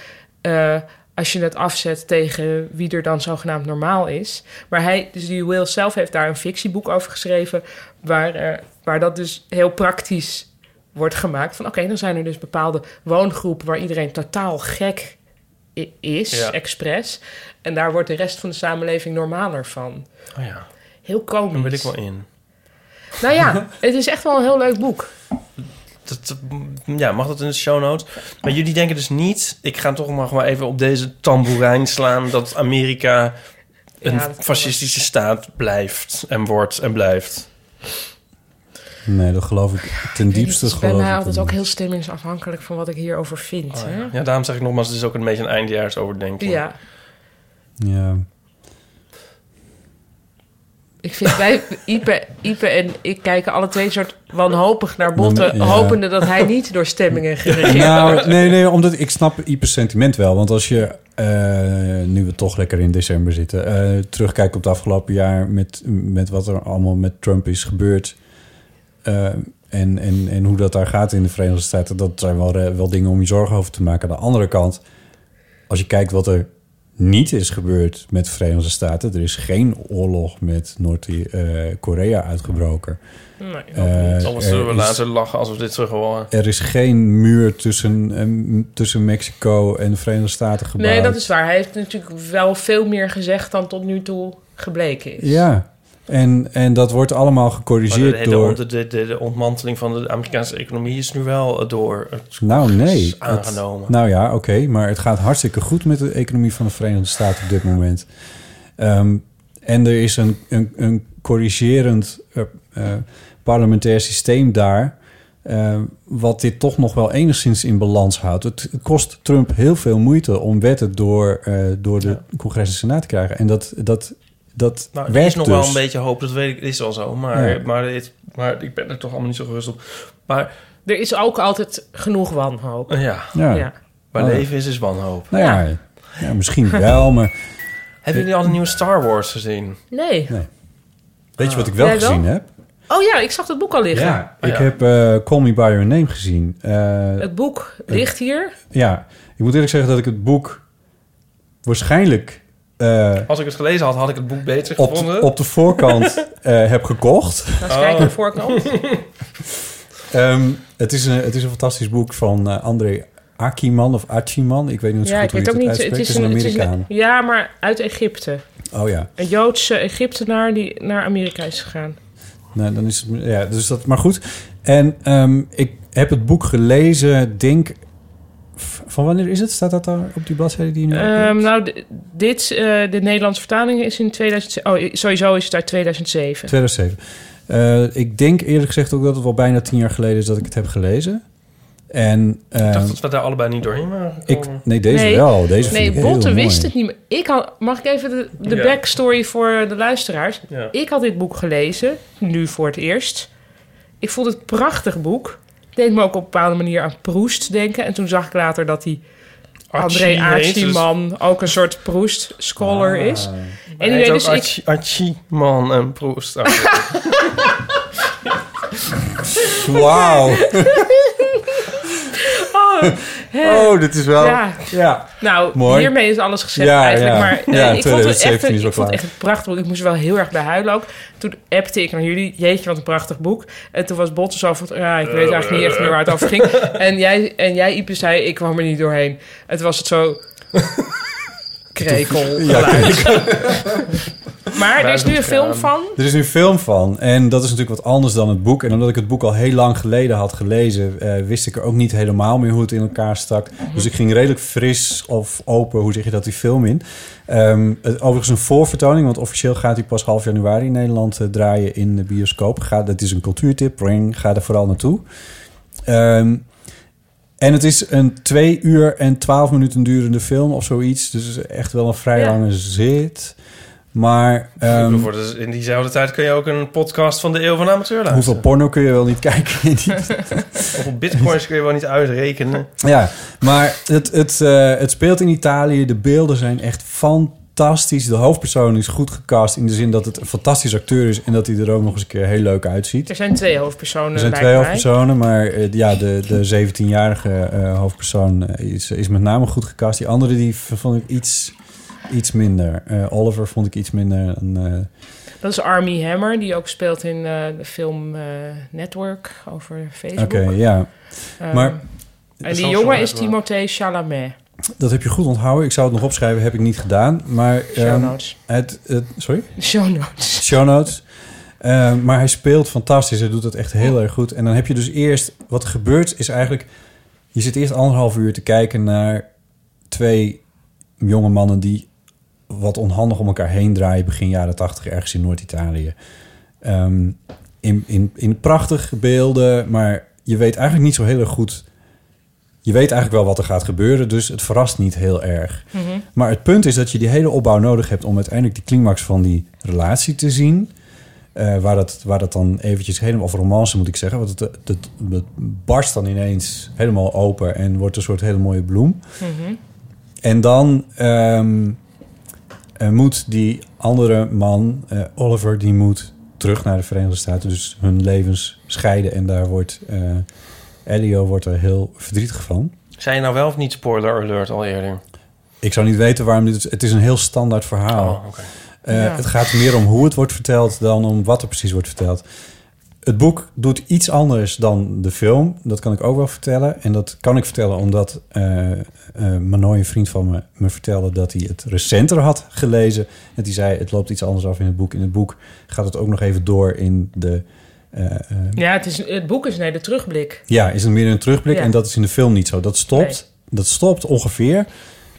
C: eh, als je het afzet tegen wie er dan zogenaamd normaal is. Maar hij, dus die Will zelf heeft daar een fictieboek over geschreven waar, eh, waar dat dus heel praktisch wordt gemaakt. Van oké, dan zijn er dus bepaalde woongroepen waar iedereen totaal gek i- is,
F: Ja.
C: expres. En daar wordt de rest van de samenleving normaler van.
F: Oh ja,
C: Heel komisch.
F: dan wil ik wel in.
C: Nou ja, het is echt wel een heel leuk boek.
F: Dat, dat- ja, mag dat in de show notes? Maar jullie denken dus niet... Ik ga toch nog maar even op deze tamboerijn slaan... dat Amerika een
C: Ja, dat-
F: fascistische staat blijft en wordt en blijft.
G: Nee, dat geloof ik ten diepste.
C: Het nou, is bij
G: geloof
C: mij
G: ik Oh
C: altijd
G: dat
C: ook
G: niet.
C: heel stemmingsafhankelijk van wat ik hierover vind. hè?
F: Ja, daarom zeg ik nogmaals, het is ook een beetje een eindejaars overdenking.
C: Ja.
G: Ja.
C: Ik vind wij, Ipe, Ipe en ik kijken alle twee soort wanhopig naar Botten.
G: Ja.
C: Hopende dat hij niet door stemmingen geregeerd
G: Nou, nee, nee, omdat ik snap Ieper's sentiment wel. Want als je, eh, nu we toch lekker in december zitten, eh terugkijkt op het afgelopen jaar met, met wat er allemaal met Trump is gebeurd. eh, en, en, en hoe dat daar gaat in de Verenigde Staten, dat zijn wel, eh, wel dingen om je zorgen over te maken. Aan de andere kant, als je kijkt wat er niet is gebeurd met de Verenigde Staten, er is geen oorlog met Noord-Korea uitgebroken.
C: Nee,
F: Anders
G: Eh, er
F: zullen we
G: is-
F: later lachen alsof dit terug horen.
G: er is geen muur tussen, eh, tussen Mexico en de Verenigde Staten gebouwd.
C: nee, dat is waar. Hij heeft natuurlijk wel veel meer gezegd dan tot nu toe gebleken is.
G: Ja, en, en dat wordt allemaal
F: Maar de,
G: gecorrigeerd
F: hele
G: door...
F: ont- de, de, de ontmanteling van de Amerikaanse economie is nu wel eh, door het
G: Nou, nee.
F: is aangenomen.
G: Het- nou ja, oké, maar het gaat hartstikke goed met de economie van de Verenigde Staten op dit moment. Ehm, en er is een, een, een corrigerend eh, eh, parlementair systeem daar. eh, wat dit toch nog wel enigszins in balans houdt. Het kost Trump heel veel moeite om wetten door, eh, door de Congres en Senaat te krijgen. En dat, dat, dat
F: Nou, er
G: werkt
F: is nog
G: dus.
F: wel een beetje hoop, dat weet ik, is al zo. Maar,
G: Ja.
F: maar, dit, maar ik ben er toch allemaal niet zo gerust op. Maar
C: Er is ook altijd genoeg wanhoop.
F: eh, ja,
G: Ja.
C: Ja.
F: waar
G: Oh.
F: leven is, is wanhoop.
G: Nou ja, ja. misschien wel, maar
F: Hebben jullie al de nieuwe Star Wars gezien?
C: Nee.
G: weet je wat ik wel
C: Jij wel?
G: gezien heb?
C: Oh ja, ik zag dat boek al liggen.
G: ik
F: Ja.
G: heb eh, Call Me By Your Name gezien. Eh,
C: Het boek ligt hier.
G: ja, ik moet eerlijk zeggen dat ik het boek waarschijnlijk eh,
F: Als ik het gelezen had, had ik het boek beter
G: op,
F: gevonden.
G: de- op de voorkant eh, heb gekocht.
C: Laat eens kijken naar de voorkant.
G: Ehm, het, is een, het is een fantastisch boek van eh, André Akiman of Achiman. Ik weet niet zo
C: Ja,
G: goed
C: ik
G: hoe
C: weet
G: je
C: ook
G: het
C: niet.
G: uitspreekt. Het is een
C: het is
G: Amerikaan.
C: ja, maar uit Egypte.
G: Oh ja.
C: Een Joodse Egyptenaar die naar Amerika is gegaan.
G: Nou, dan is het, ja, dus dat, maar goed. En ehm, ik heb het boek gelezen, denk... v- Van wanneer is het? Staat dat daar op die bladzijde die je nu opent?
C: Ehm, nou, d- dit, eh, de Nederlandse vertaling is in 2007. Oh, sowieso is het uit 2007.
G: 2007. Eh, ik denk eerlijk gezegd ook dat het wel bijna tien jaar geleden is dat ik het heb gelezen. En eh,
F: Ik dacht dat we daar allebei niet doorheen waren
G: ik,
F: gekomen.
G: nee, deze
C: Nee.
G: wel. Deze
C: Nee,
G: vind ik heel
C: Botte
G: mooi.
C: wist het niet meer. Ik had, mag ik even de, de
F: Ja.
C: backstory voor de luisteraars?
F: Ja.
C: Ik had dit boek gelezen, nu voor het eerst. Ik vond het een prachtig boek. Deed me ook op een bepaalde manier aan Proest denken. En toen zag ik later dat die André
F: Archie heet, dus-
C: Archie-man ook een soort Proest-scholar
G: Ah.
C: is.
F: Hij heet
C: Anyway,
F: ook
C: dus ik,
F: Archie, Archie, man en Proest. Ah,
G: Wauw. Oh, dit is wel...
C: Ja.
G: Ja.
C: Nou,
G: Mooi.
C: hiermee is alles gezegd
G: Ja,
C: eigenlijk.
G: ja.
C: Maar eh,
G: Ja,
C: ik, vond het echt,
G: 2017 is
C: een-
G: wel
C: ik vond het
G: klaar.
C: echt een prachtig boek. Ik moest er wel heel erg bij huilen ook. Toen appte ik naar jullie. Jeetje, wat een prachtig boek. En toen was Botte zo van... Ja, ik weet eigenlijk niet echt meer waar het over ging. En jij, en jij Ipe, zei... Ik kwam er niet doorheen. En toen was het zo... Krekel. Maar er is nu een film van.
G: Er is nu een film van. En dat is natuurlijk wat anders dan het boek. En omdat ik het boek al heel lang geleden had gelezen... eh, wist ik er ook niet helemaal meer hoe het in elkaar stak. Dus ik ging redelijk fris of open, hoe zeg je dat, die film in. Ehm, het, overigens een voorvertoning, want officieel gaat hij pas half januari in Nederland eh, draaien in de bioscoop. Ga, dat is een cultuurtip, breng, ga er vooral naartoe. Ehm, en het is een twee uur en twaalf minuten durende film of zoiets. Dus het is echt wel een vrij
C: Ja.
G: lange zit. Maar... ehm,
F: voor de- in diezelfde tijd kun je ook een podcast van de Eeuw van de Amateur luisteren.
G: Hoeveel porno kun je wel niet kijken? in die-
F: Hoeveel bitcoins kun je wel niet uitrekenen?
G: ja, maar het, het, eh, het speelt in Italië. De beelden zijn echt fantastisch. De hoofdpersoon is goed gecast in de zin dat het een fantastisch acteur is en dat hij er ook nog eens een keer heel leuk uitziet.
C: Er zijn twee hoofdpersonen,
G: Er zijn
C: lijkt
G: twee
C: mij.
G: hoofdpersonen, maar eh, ja, de, de 17-jarige eh, hoofdpersoon eh, is, is met name goed gecast. Die andere die v- vond ik iets, iets minder. Eh, Oliver vond ik iets minder. Een, eh,
C: Dat is Army Hammer, die ook speelt in eh, de film eh, Network over Facebook.
G: Oké, ja.
C: Ehm,
G: maar-
C: en die
F: Social
C: jongen is
F: Network.
C: Timothée Chalamet.
G: Dat heb je goed onthouden. Ik zou het nog opschrijven, heb ik niet gedaan. Maar
C: Show
G: ehm,
C: notes.
G: het, het, sorry?
C: Show notes.
G: show notes. Eh, maar hij speelt fantastisch. Hij doet dat echt heel erg goed. En dan heb je dus eerst... Wat er gebeurt is eigenlijk... Je zit eerst anderhalf uur te kijken naar twee jonge mannen... die wat onhandig om elkaar heen draaien... begin jaren tachtig ergens in Noord-Italië. Ehm, in, in, in prachtige beelden, maar je weet eigenlijk niet zo heel erg goed... Je weet eigenlijk wel wat er gaat gebeuren, dus het verrast niet heel erg. Maar het punt is dat je die hele opbouw nodig hebt om uiteindelijk die climax van die relatie te zien. eh, waar, dat, waar dat dan eventjes helemaal, of romance moet ik zeggen, want het, het, het, het barst dan ineens helemaal open en wordt een soort hele mooie bloem. En dan ehm, eh, moet die andere man, eh, Oliver, die moet terug naar de Verenigde Staten. Dus hun levens scheiden. En daar wordt eh, Elio wordt er heel verdrietig van.
F: Zijn je nou wel of niet spoiler alert al eerder?
G: Ik zou niet weten waarom dit... Het is een heel standaard verhaal.
F: Oh, oké.
G: Eh,
C: Ja.
G: Het gaat meer om hoe het wordt verteld dan om wat er precies wordt verteld. Het boek doet iets anders dan de film. Dat kan ik ook wel vertellen. En dat kan ik vertellen omdat eh eh Manoy, een vriend van me, me vertelde dat hij het recenter had gelezen. En die zei, het loopt iets anders af in het boek. In het boek gaat het ook nog even door in de... eh, eh,
C: Ja, het, is, het boek is een hele terugblik.
G: ja, is het meer een terugblik.
C: Ja.
G: En dat is in de film niet zo. Dat stopt, dat stopt ongeveer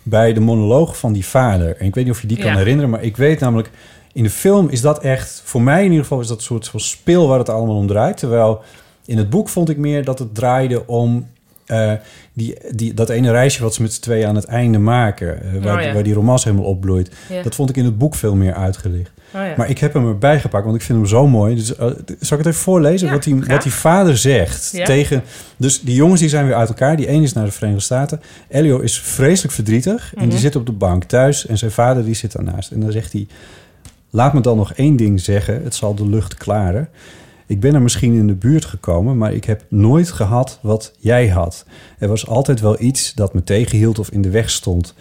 G: bij de monoloog van die vader. En ik weet niet of je die kan
C: Ja.
G: herinneren, maar ik weet namelijk... In de film is dat echt, voor mij in ieder geval, is dat een soort van speel waar het allemaal om draait. Terwijl in het boek vond ik meer dat het draaide om eh, die, die, dat ene reisje wat ze met z'n tweeën aan het einde maken. eh, waar,
C: Oh ja.
G: waar die romance helemaal opbloeit.
C: Ja.
G: Dat vond ik in het boek veel meer uitgelicht.
C: Oh ja.
G: Maar ik heb hem erbij gepakt, want ik vind hem zo mooi. Dus, eh, zal ik het even voorlezen?
C: Ja,
G: wat, die,
C: graag.
G: wat die vader zegt
C: Ja.
G: tegen... Dus die jongens die zijn weer uit elkaar. Die ene is naar de Verenigde Staten. Elio is vreselijk verdrietig. En die zit op de bank thuis. En zijn vader die zit daarnaast. En dan zegt hij... Laat me dan nog één ding zeggen. Het zal de lucht klaren. Ik ben er misschien in de buurt gekomen, maar ik heb nooit gehad wat jij had. Er was altijd wel iets dat me tegenhield of in de weg stond.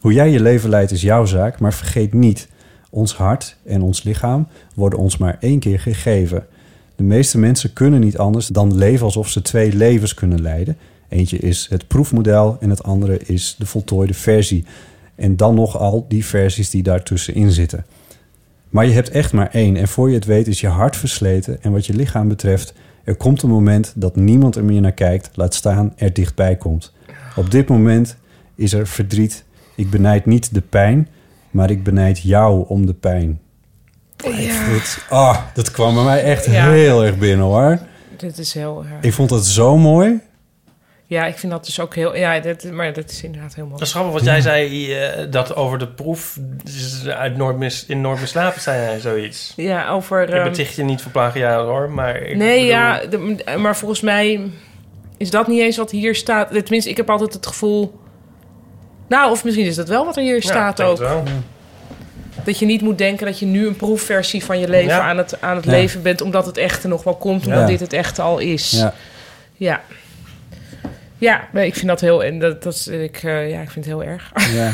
G: Hoe jij je leven leidt is jouw zaak, maar vergeet niet: ons hart en ons lichaam worden ons maar één keer gegeven. De meeste mensen kunnen niet anders dan leven alsof ze twee levens kunnen leiden. Eentje is het proefmodel en het andere is de voltooide versie. En dan nog al die versies die daartussenin zitten. Maar je hebt echt maar één. En voor je het weet is je hart versleten. En wat je lichaam betreft, er komt een moment dat niemand er meer naar kijkt. Laat staan, er dichtbij komt. Op dit moment is er verdriet. Ik benijd niet de pijn, maar ik benijd jou om de pijn. Dat, ah, dat kwam bij mij echt
C: Ja.
G: heel erg binnen hoor.
C: Dit is heel... eh,
G: Ik vond dat zo mooi.
C: ja, ik vind dat dus ook heel... Ja, dit, maar dat is inderdaad heel mooi.
F: Dat is grappig wat jij zei eh, dat over de proef dus uit Noord mis, in Noord mislapen zijn hij zoiets.
C: Ja, over...
F: Ik
C: ehm,
F: beticht je niet van plagiaat hoor, maar ik
C: nee,
F: bedoel-
C: ja, de- maar volgens mij is dat niet eens wat hier staat. Tenminste, ik heb altijd het gevoel... Nou, of misschien is dat wel wat er hier
F: Ja, ik
C: staat
F: denk
C: ook.
F: het wel.
C: Dat je niet moet denken dat je nu een proefversie van je leven
F: Ja.
C: aan het, aan het
G: Ja.
C: leven bent... omdat het echte nog wel komt, omdat
G: Ja.
C: dit het echte al is.
G: Ja.
C: Ja. Ja, nee, ik vind dat heel... En dat, dat is, ik, eh, ja, ik vind het heel erg.
G: Ja.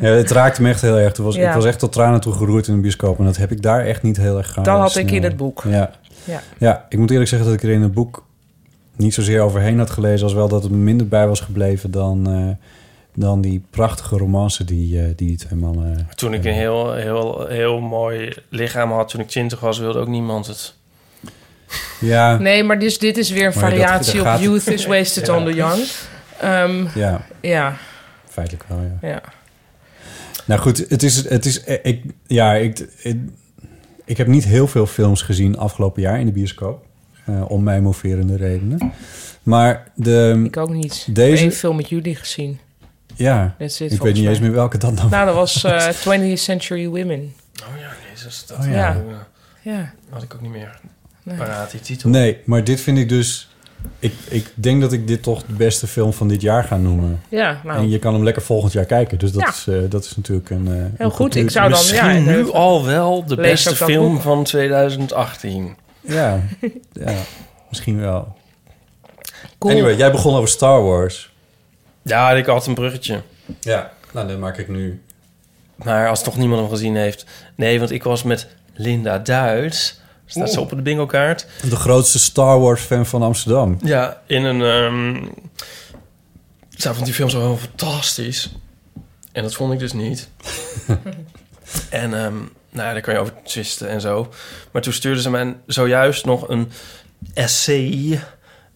G: ja, het raakte me echt heel erg. Toen was,
C: Ja.
G: Ik was echt tot tranen toe geroerd in de bioscoop. En dat heb ik daar echt niet heel erg gaan.
C: Dat had ik in het boek.
G: Ja.
C: Ja.
G: ja, ik moet eerlijk zeggen dat ik er in het boek niet zozeer overheen had gelezen... als wel dat het me minder bij was gebleven dan, eh, dan die prachtige romance die, eh, die die twee mannen...
F: Toen ik een heel, heel, heel mooi lichaam had, toen ik 20 was, wilde ook niemand het.
G: Ja,
C: Nee, maar dus, dit is weer een
G: Maar dat-
C: variatie
G: dat
C: op
G: gaat-
C: Youth is Wasted on the Young. Ehm,
G: ja,
C: ja,
G: feitelijk wel, ja.
C: ja.
G: Nou goed, het is, het is eh, ik, ja, ik, ik, ik heb niet heel veel films gezien afgelopen jaar in de bioscoop. eh, om mij moverende redenen. Maar de,
C: Ik ook niet. Ik
G: Deze-
C: heb één film met jullie gezien.
G: ja,
C: That's it,
G: ik weet
C: volgens
G: niet eens
C: mij.
G: meer welke dat dan
C: Nou, dat was eh, 20th Century Women.
F: Oh ja, jezus, dat
G: Oh ja.
C: Ja.
F: eh,
C: Ja,
F: had ik ook niet meer
C: nee.
F: paraat, die titel.
G: Nee, maar dit vind ik dus... Ik, ik denk dat ik dit toch de beste film van dit jaar ga noemen.
C: ja nou,
G: En je kan hem lekker volgend jaar kijken. Dus dat,
C: Ja.
G: is, eh, dat is natuurlijk een... eh, een
C: heel goed.
G: cultuur-
C: Ik zou dan...
F: Misschien
C: Ja,
F: nu
C: inderdaad.
F: al wel de
C: Lees
F: beste
C: ook dat
F: film
C: boek.
F: van 2018.
G: Ja, ja, misschien wel.
C: Cool.
G: Anyway, jij begon over Star Wars.
F: Ja, ik had een bruggetje.
G: Ja, nou, dat maak ik nu.
F: Maar als toch niemand hem gezien heeft. Nee, want ik was met Linda Duits. Staat ze op de bingo kaart.
G: De grootste Star Wars fan van Amsterdam.
F: Ja, in een... ehm Zij vond die film zo heel fantastisch. En dat vond ik dus niet. en ehm, nou ja, daar kan je over twisten en zo. Maar toen stuurde ze mij zojuist nog een essay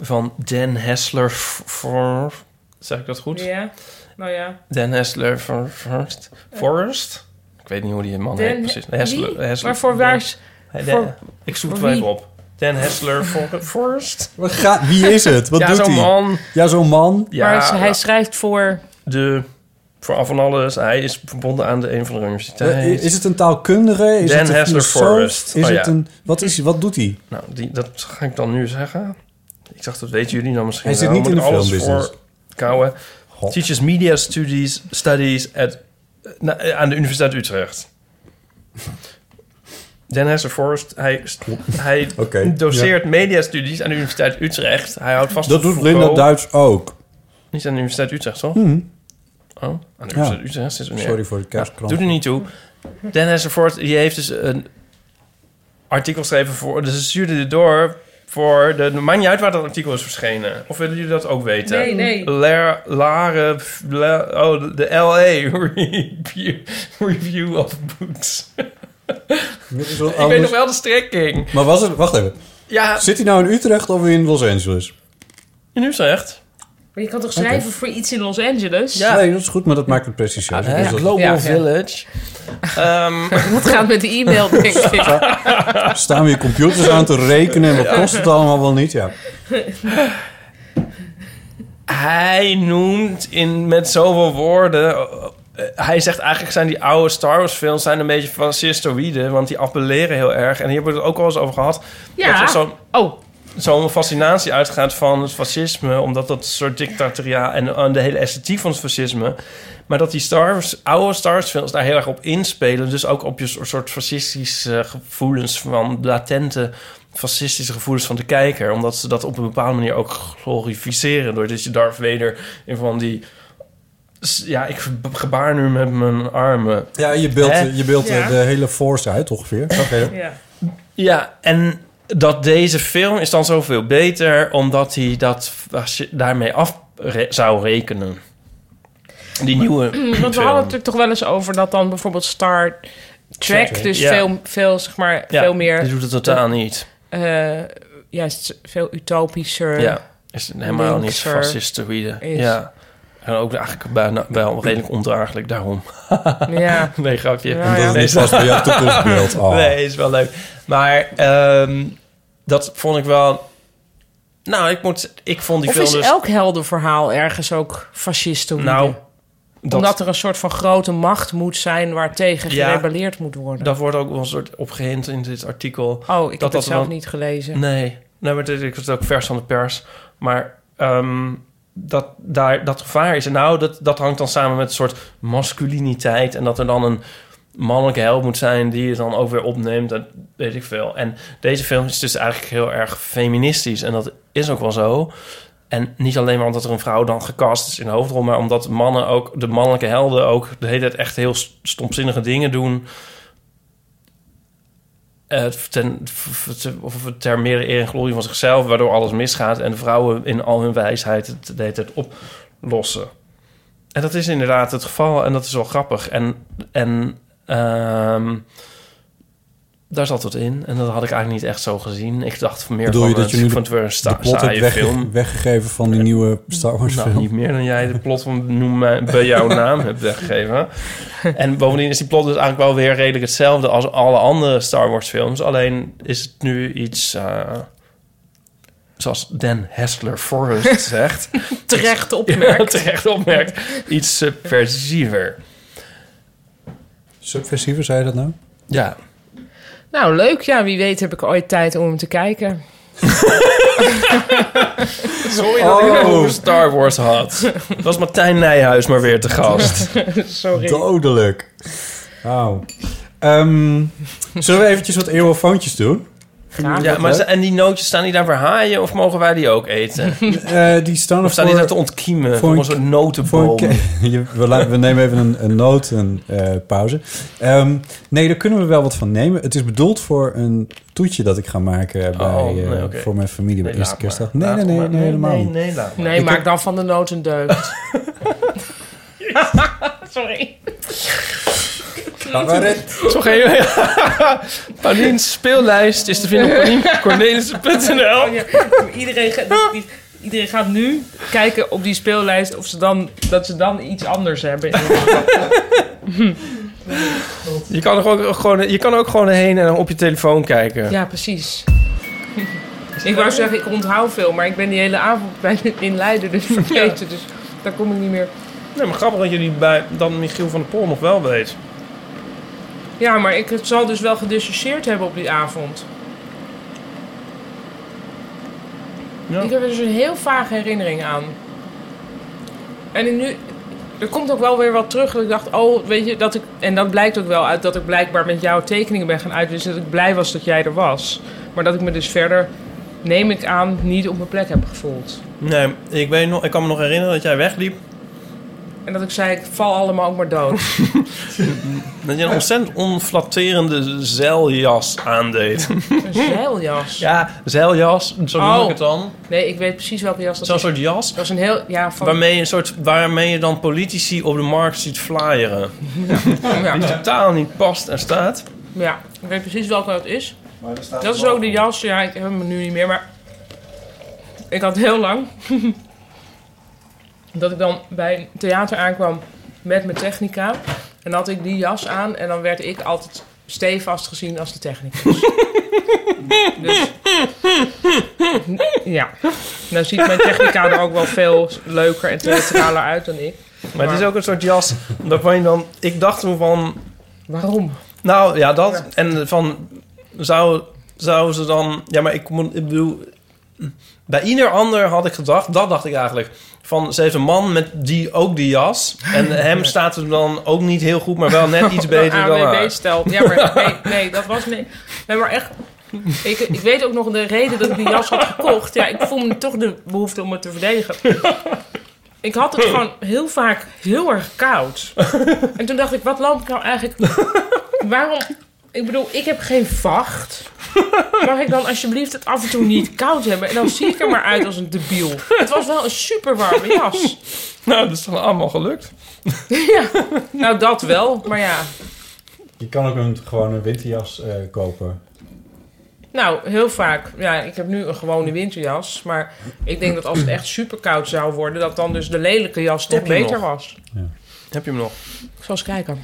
F: van Dan Hessler voor... Zeg ik dat goed?
C: Ja, nou ja.
F: Dan Hessler voor Forrest. Forrest? Ik weet niet hoe die man heet precies.
C: Wie? Maar voor waar... is-
F: Hey,
C: Voor-
F: Dan- ik zoek
C: voor
F: het wel
C: wie?
F: even op. Dan Hessler voor Forrest.
G: Wat gaat, wie is het? Wat
F: ja,
G: doet
F: zo'n
G: hij?
F: man.
G: Ja, zo'n man.
F: Ja,
C: maar hij schrijft voor...
F: de Vooral van alles. Hij is verbonden aan de een van de
G: Eh,
F: universiteiten.
G: Is het een taalkundige? Is
F: Dan
G: het een
F: Hessler
G: filosoof?
F: Forrest.
G: Is
F: Oh,
G: het
F: ja.
G: een, wat, is, wat doet hij?
F: Nou, die, dat ga ik dan nu zeggen. Ik dacht, dat weten jullie dan misschien
G: Hij zit
F: wel,
G: niet in
F: maar
G: de
F: alles
G: filmbusiness.
F: voor kouwen.
G: God.
F: Teaches media studies, studies at, na- eh, aan de Universiteit Utrecht. Dan Hesse Forrest, hij, st- hij
G: Oké,
F: doseert mediastudies aan de Universiteit Utrecht. Hij houdt vast
G: Dat
F: op
G: doet Linda
F: Foucault.
G: Duits ook.
F: Niet aan de Universiteit Utrecht, toch? Oh, aan de Universiteit Utrecht zit er meer.
G: Mhm. Sorry voor de
F: Nou,
G: kerstkrant.
F: doet er niet toe. Dan Hessenford, die heeft dus een artikel geschreven voor... Dus ze stuurde dit door voor... De, maakt niet uit waar dat artikel is verschenen. Of willen jullie dat ook weten?
C: Nee, nee.
F: Lar- Laren- La- oh, de LA review, review of Books.
G: Dit is wel
F: Ik weet nog
G: anders.
F: wel de strekking.
G: Maar was het, wacht even.
F: Ja,
G: Zit hij nou in Utrecht of in Los Angeles?
F: in Utrecht.
C: Maar je kan toch schrijven voor iets in Los Angeles?
F: Ja.
G: Nee, dat is goed, maar dat maakt het precieus.
F: Hè?
G: Dus dat-
F: Global
C: Ja, ja.
F: Village. Ehm,
C: Wat gaat met de e-mail, denk ik?
G: staan we je computers aan te rekenen en wat kost het allemaal wel niet? Ja.
F: Hij noemt in, met zoveel woorden... eh, hij zegt eigenlijk zijn die oude Star Wars films zijn een beetje fascistoïde. Want die appelleren heel erg. En hier hebben we het ook al eens over gehad. Dat
C: Ja.
F: er zo'n
C: Oh,
F: zo'n fascinatie uitgaat van het fascisme. Omdat dat soort dictatoriaal... En, eh, de hele esthetiek van het fascisme. Maar dat die Star Wars, oude Star Wars films daar heel erg op inspelen. Dus ook op je so- soort fascistische gevoelens van latente fascistische gevoelens van de kijker. Omdat ze dat op een bepaalde manier ook glorificeren. Doordat je Darth Vader in van die... s- Ja, ik ge- gebaar nu met mijn armen.
G: Ja, je beeldt
F: Hè?
G: je beeldt, eh,
C: Ja.
G: de hele force uit ongeveer. Oké.
C: ja.
F: Ja, en dat deze film is dan zoveel beter... omdat hij dat fasci- daarmee af re- zou rekenen. Die nieuwe
C: Want we
F: film.
C: hadden het er toch wel eens over dat dan bijvoorbeeld Star Trek, dus
F: Ja.
C: veel, veel, zeg maar,
F: Ja,
C: veel
F: die
G: Dus
C: meer,
F: doet het totaal niet.
C: eh juist veel utopischer.
F: Ja, is helemaal niet
C: linkser
F: fascistoïde.
C: is.
F: Ja. En ook eigenlijk bijna, wel redelijk ondraaglijk daarom.
C: ja.
F: Nee, grapje.
C: Ja,
G: Omdat
C: ja.
G: het
F: Nee,
G: niet past bij jouw toekomstbeeld. Oh.
F: Nee, is wel leuk. Maar ehm, dat vond ik wel... Nou, ik, moet, ik vond die
C: Of
F: film
C: is
F: dus...
C: elk heldenverhaal ergens ook fascistoïde?
F: Nou, dat,
C: Omdat er een soort van grote macht moet zijn waartegen
F: Ja.
C: gerebelleerd moet worden.
F: dat wordt ook wel een soort opgehind in dit artikel.
C: oh, ik
F: dat
C: heb
F: dat
C: het zelf
F: wel-
C: niet gelezen.
F: Nee, nee maar dit, ik was ook vers van de pers. Maar ehm, dat daar dat gevaar is. En nou, dat, dat hangt dan samen met een soort masculiniteit. En dat er dan een mannelijke held moet zijn die het dan ook weer opneemt. Dat weet ik veel. En deze film is dus eigenlijk heel erg feministisch. En dat is ook wel zo. En niet alleen maar omdat er een vrouw dan gecast is in de hoofdrol, maar omdat mannen ook, de mannelijke helden ook de hele tijd echt heel st- stomzinnige dingen doen. Eh, ten, v- v- of ter meer eer en glorie van zichzelf, waardoor alles misgaat en de vrouwen in al hun wijsheid het de hele tijd oplossen. En dat is inderdaad het geval en dat is wel grappig. En, en ehm, daar zat het in en dat had ik eigenlijk niet echt zo gezien. Ik dacht meer
G: Bedoel
F: van,
G: je dat
F: het-
G: je nu de-
F: van het weer een sta-
G: De plot
F: saaie
G: hebt wegge-
F: film.
G: weggegeven van die nieuwe Star Wars
F: Nou,
G: film.
F: niet meer dan jij de plot van Noem mij bij jouw naam hebt weggegeven. En bovendien is die plot dus eigenlijk wel weer redelijk hetzelfde als alle andere Star Wars films. Alleen is het nu iets, eh, zoals Dan Hessler Forrest zegt,
C: Terecht
F: ja,
C: opmerkt.
F: terecht opmerkt, iets subversiever.
G: Subversiever, zei je dat nou?
F: Ja,
C: Nou, leuk. Ja, wie weet heb ik ooit tijd om hem te kijken.
F: sorry dat ik
G: Oh.
F: het over Star Wars had. Dat was Martijn Nijhuis maar weer te gast.
C: Sorry.
G: Dodelijk. Wauw. Ehm, zullen we eventjes wat eeuwofoontjes doen?
C: Graag.
F: Ja, maar, ze- en die nootjes, staan die daar voor haaien of mogen wij die ook eten?
G: Eh, die staan er
F: Of staan die
G: voor-
F: daar te ontkiemen?
G: voor
F: Voor
G: een
F: een soort
G: Voor een
F: notenboom.
G: ke- Je- we, laten- we nemen even een, een noot, een eh, pauze. Ehm, nee, daar kunnen we wel wat van nemen. Het is bedoeld voor een toetje dat ik ga maken bij,
F: Oh, nee,
G: eh,
F: oké.
G: voor mijn familie
F: Nee,
G: bij de eerste
F: laat
G: kerstdag.
F: maar.
G: Nee,
F: Laat
G: nee, nee,
F: maar.
G: nee, helemaal
F: nee,
G: niet.
F: nee, laat maar.
C: Nee,
G: Ik
C: maak
G: heb-
C: dan van de nood een deugd. Sorry.
F: Zo ga je- Paulien's speellijst is te vinden op Paulien- cornelissen.nl.
C: Oh, Iedereen, ga- die- iedereen gaat nu kijken op die speellijst of ze dan, dat ze dan iets anders hebben.
F: Je kan, er ook, eh, gewoon, je kan ook gewoon heen en op je telefoon kijken.
C: Ja, precies. Ik wou zeggen, ik onthoud veel, maar ik ben die hele avond bij, in Leiden dus vergeten. Dus daar kom ik niet meer.
F: Nee, maar grappig dat jullie bij, dan Michiel van der Pol nog wel weet.
C: Ja, maar ik het zal dus wel gedissocieerd hebben op die avond.
F: Ja.
C: Ik heb er dus een heel vage herinnering aan. En nu, er komt ook wel weer wat terug. Dat ik dacht, oh, weet je, dat ik. En dat blijkt ook wel uit dat ik blijkbaar met jouw tekeningen ben gaan uitwisselen. Dat ik blij was dat jij er was. Maar dat ik me dus verder, neem ik aan, niet op mijn plek heb gevoeld.
F: Nee, ik, weet nog, ik kan me nog herinneren dat jij wegliep.
C: En dat ik zei, ik val allemaal ook maar dood.
F: Dat je een ontzettend onflatterende zeiljas aandeed.
C: Een zeiljas.
F: Ja, zeiljas, zo noem ik
C: Oh.
F: het dan.
C: Nee, ik weet precies welke jas dat
F: Zo'n
C: is.
F: soort jas
C: Dat is een heel. Ja, van.
F: waarmee je, een soort, waarmee je dan politici op de markt ziet flyeren. Die
C: Ja,
F: totaal niet past en staat.
C: ja, ik weet precies welke dat is. Dat is ook de jas. Ja, ik heb hem nu niet meer, maar ik had heel lang dat ik dan bij een theater aankwam met mijn technica. En dan had ik die jas aan en dan werd ik altijd stevast gezien als de technicus. dus ja, nou ziet mijn technica er ook wel veel leuker en theatraler uit dan ik.
F: Maar het is ook een soort jas waarvan je dan... Ik dacht toen van...
C: Waarom?
F: Nou ja, dat. En van... Zou, zou ze dan... Ja, maar ik, moet- ik bedoel... Bij ieder ander had ik gedacht... Dat dacht ik eigenlijk. Van, ze heeft een man met die ook die jas. En hem staat er dan ook niet heel goed... Maar wel net iets beter dan haar.
C: stel. Ja, maar nee, nee, dat was nee. Nee, maar echt. Ik, ik weet ook nog de reden dat ik die jas had gekocht. Ja, ik voel me toch de behoefte om het te verdedigen. Ik had het gewoon heel vaak heel erg koud. En toen dacht ik, wat loop ik nou eigenlijk... Waarom... Ik bedoel, ik heb geen vacht. Mag ik dan alsjeblieft het af en toe niet koud hebben? En dan zie ik er maar uit als een debiel. Het was wel een super warme jas.
F: Nou, dat is dan allemaal gelukt.
C: Ja, nou dat wel. Maar ja,
G: Je kan ook een, gewoon een winterjas eh, kopen.
C: Nou, heel vaak. Ja, ik heb nu een gewone winterjas. Maar ik denk dat als het echt super koud zou worden, dat dan dus de lelijke jas toch
F: Heb je hem
C: beter
F: nog?
C: was.
F: Heb je hem nog?
C: Ik zal eens kijken.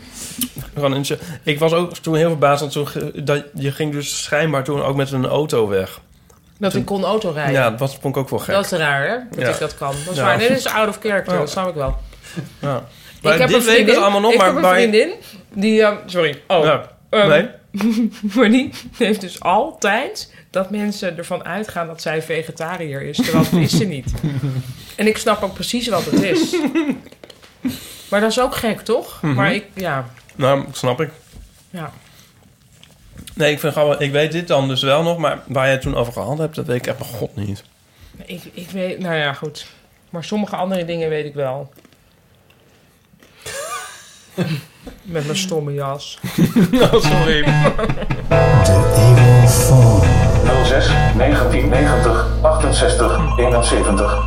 F: Gewoon een- Ik was ook toen heel verbaasd. want toen ge- Dat je ging dus schijnbaar toen ook met een auto weg.
C: Dat ik kon autorijden.
F: Ja, dat was, vond ik ook wel
C: Ah,
F: gek.
C: dat is raar, hè? Dat
F: Ja.
C: ik dat kan. Dat is
F: Ja.
C: waar. Nee, dit is out of character.
F: Ja.
C: Dat snap ik wel.
F: Ja. Maar
C: ik heb
F: dit
C: een
F: weet ik
C: vriendin.
F: dus allemaal nog,
C: ik
F: maar
C: heb een
F: bij-
C: vriendin die... eh, sorry. Oh.
F: Ja.
C: ehm,
F: nee?
C: Maar die heeft dus altijd dat mensen ervan uitgaan dat zij vegetariër is. Terwijl dat is ze niet. En ik snap ook precies wat het is. Maar dat is ook gek, toch?
F: Mhm.
C: Maar ik... Ja.
F: Nou, snap ik.
C: Ja.
F: Nee, ik vind het grappig. Ik weet dit dan dus wel nog, maar waar jij het toen over gehad hebt, dat weet ik echt bij god niet.
C: Ik, ik weet, nou ja, goed. Maar sommige andere dingen weet ik wel. Met mijn stomme jas.
F: sorry.
I: 06 1990 68 71.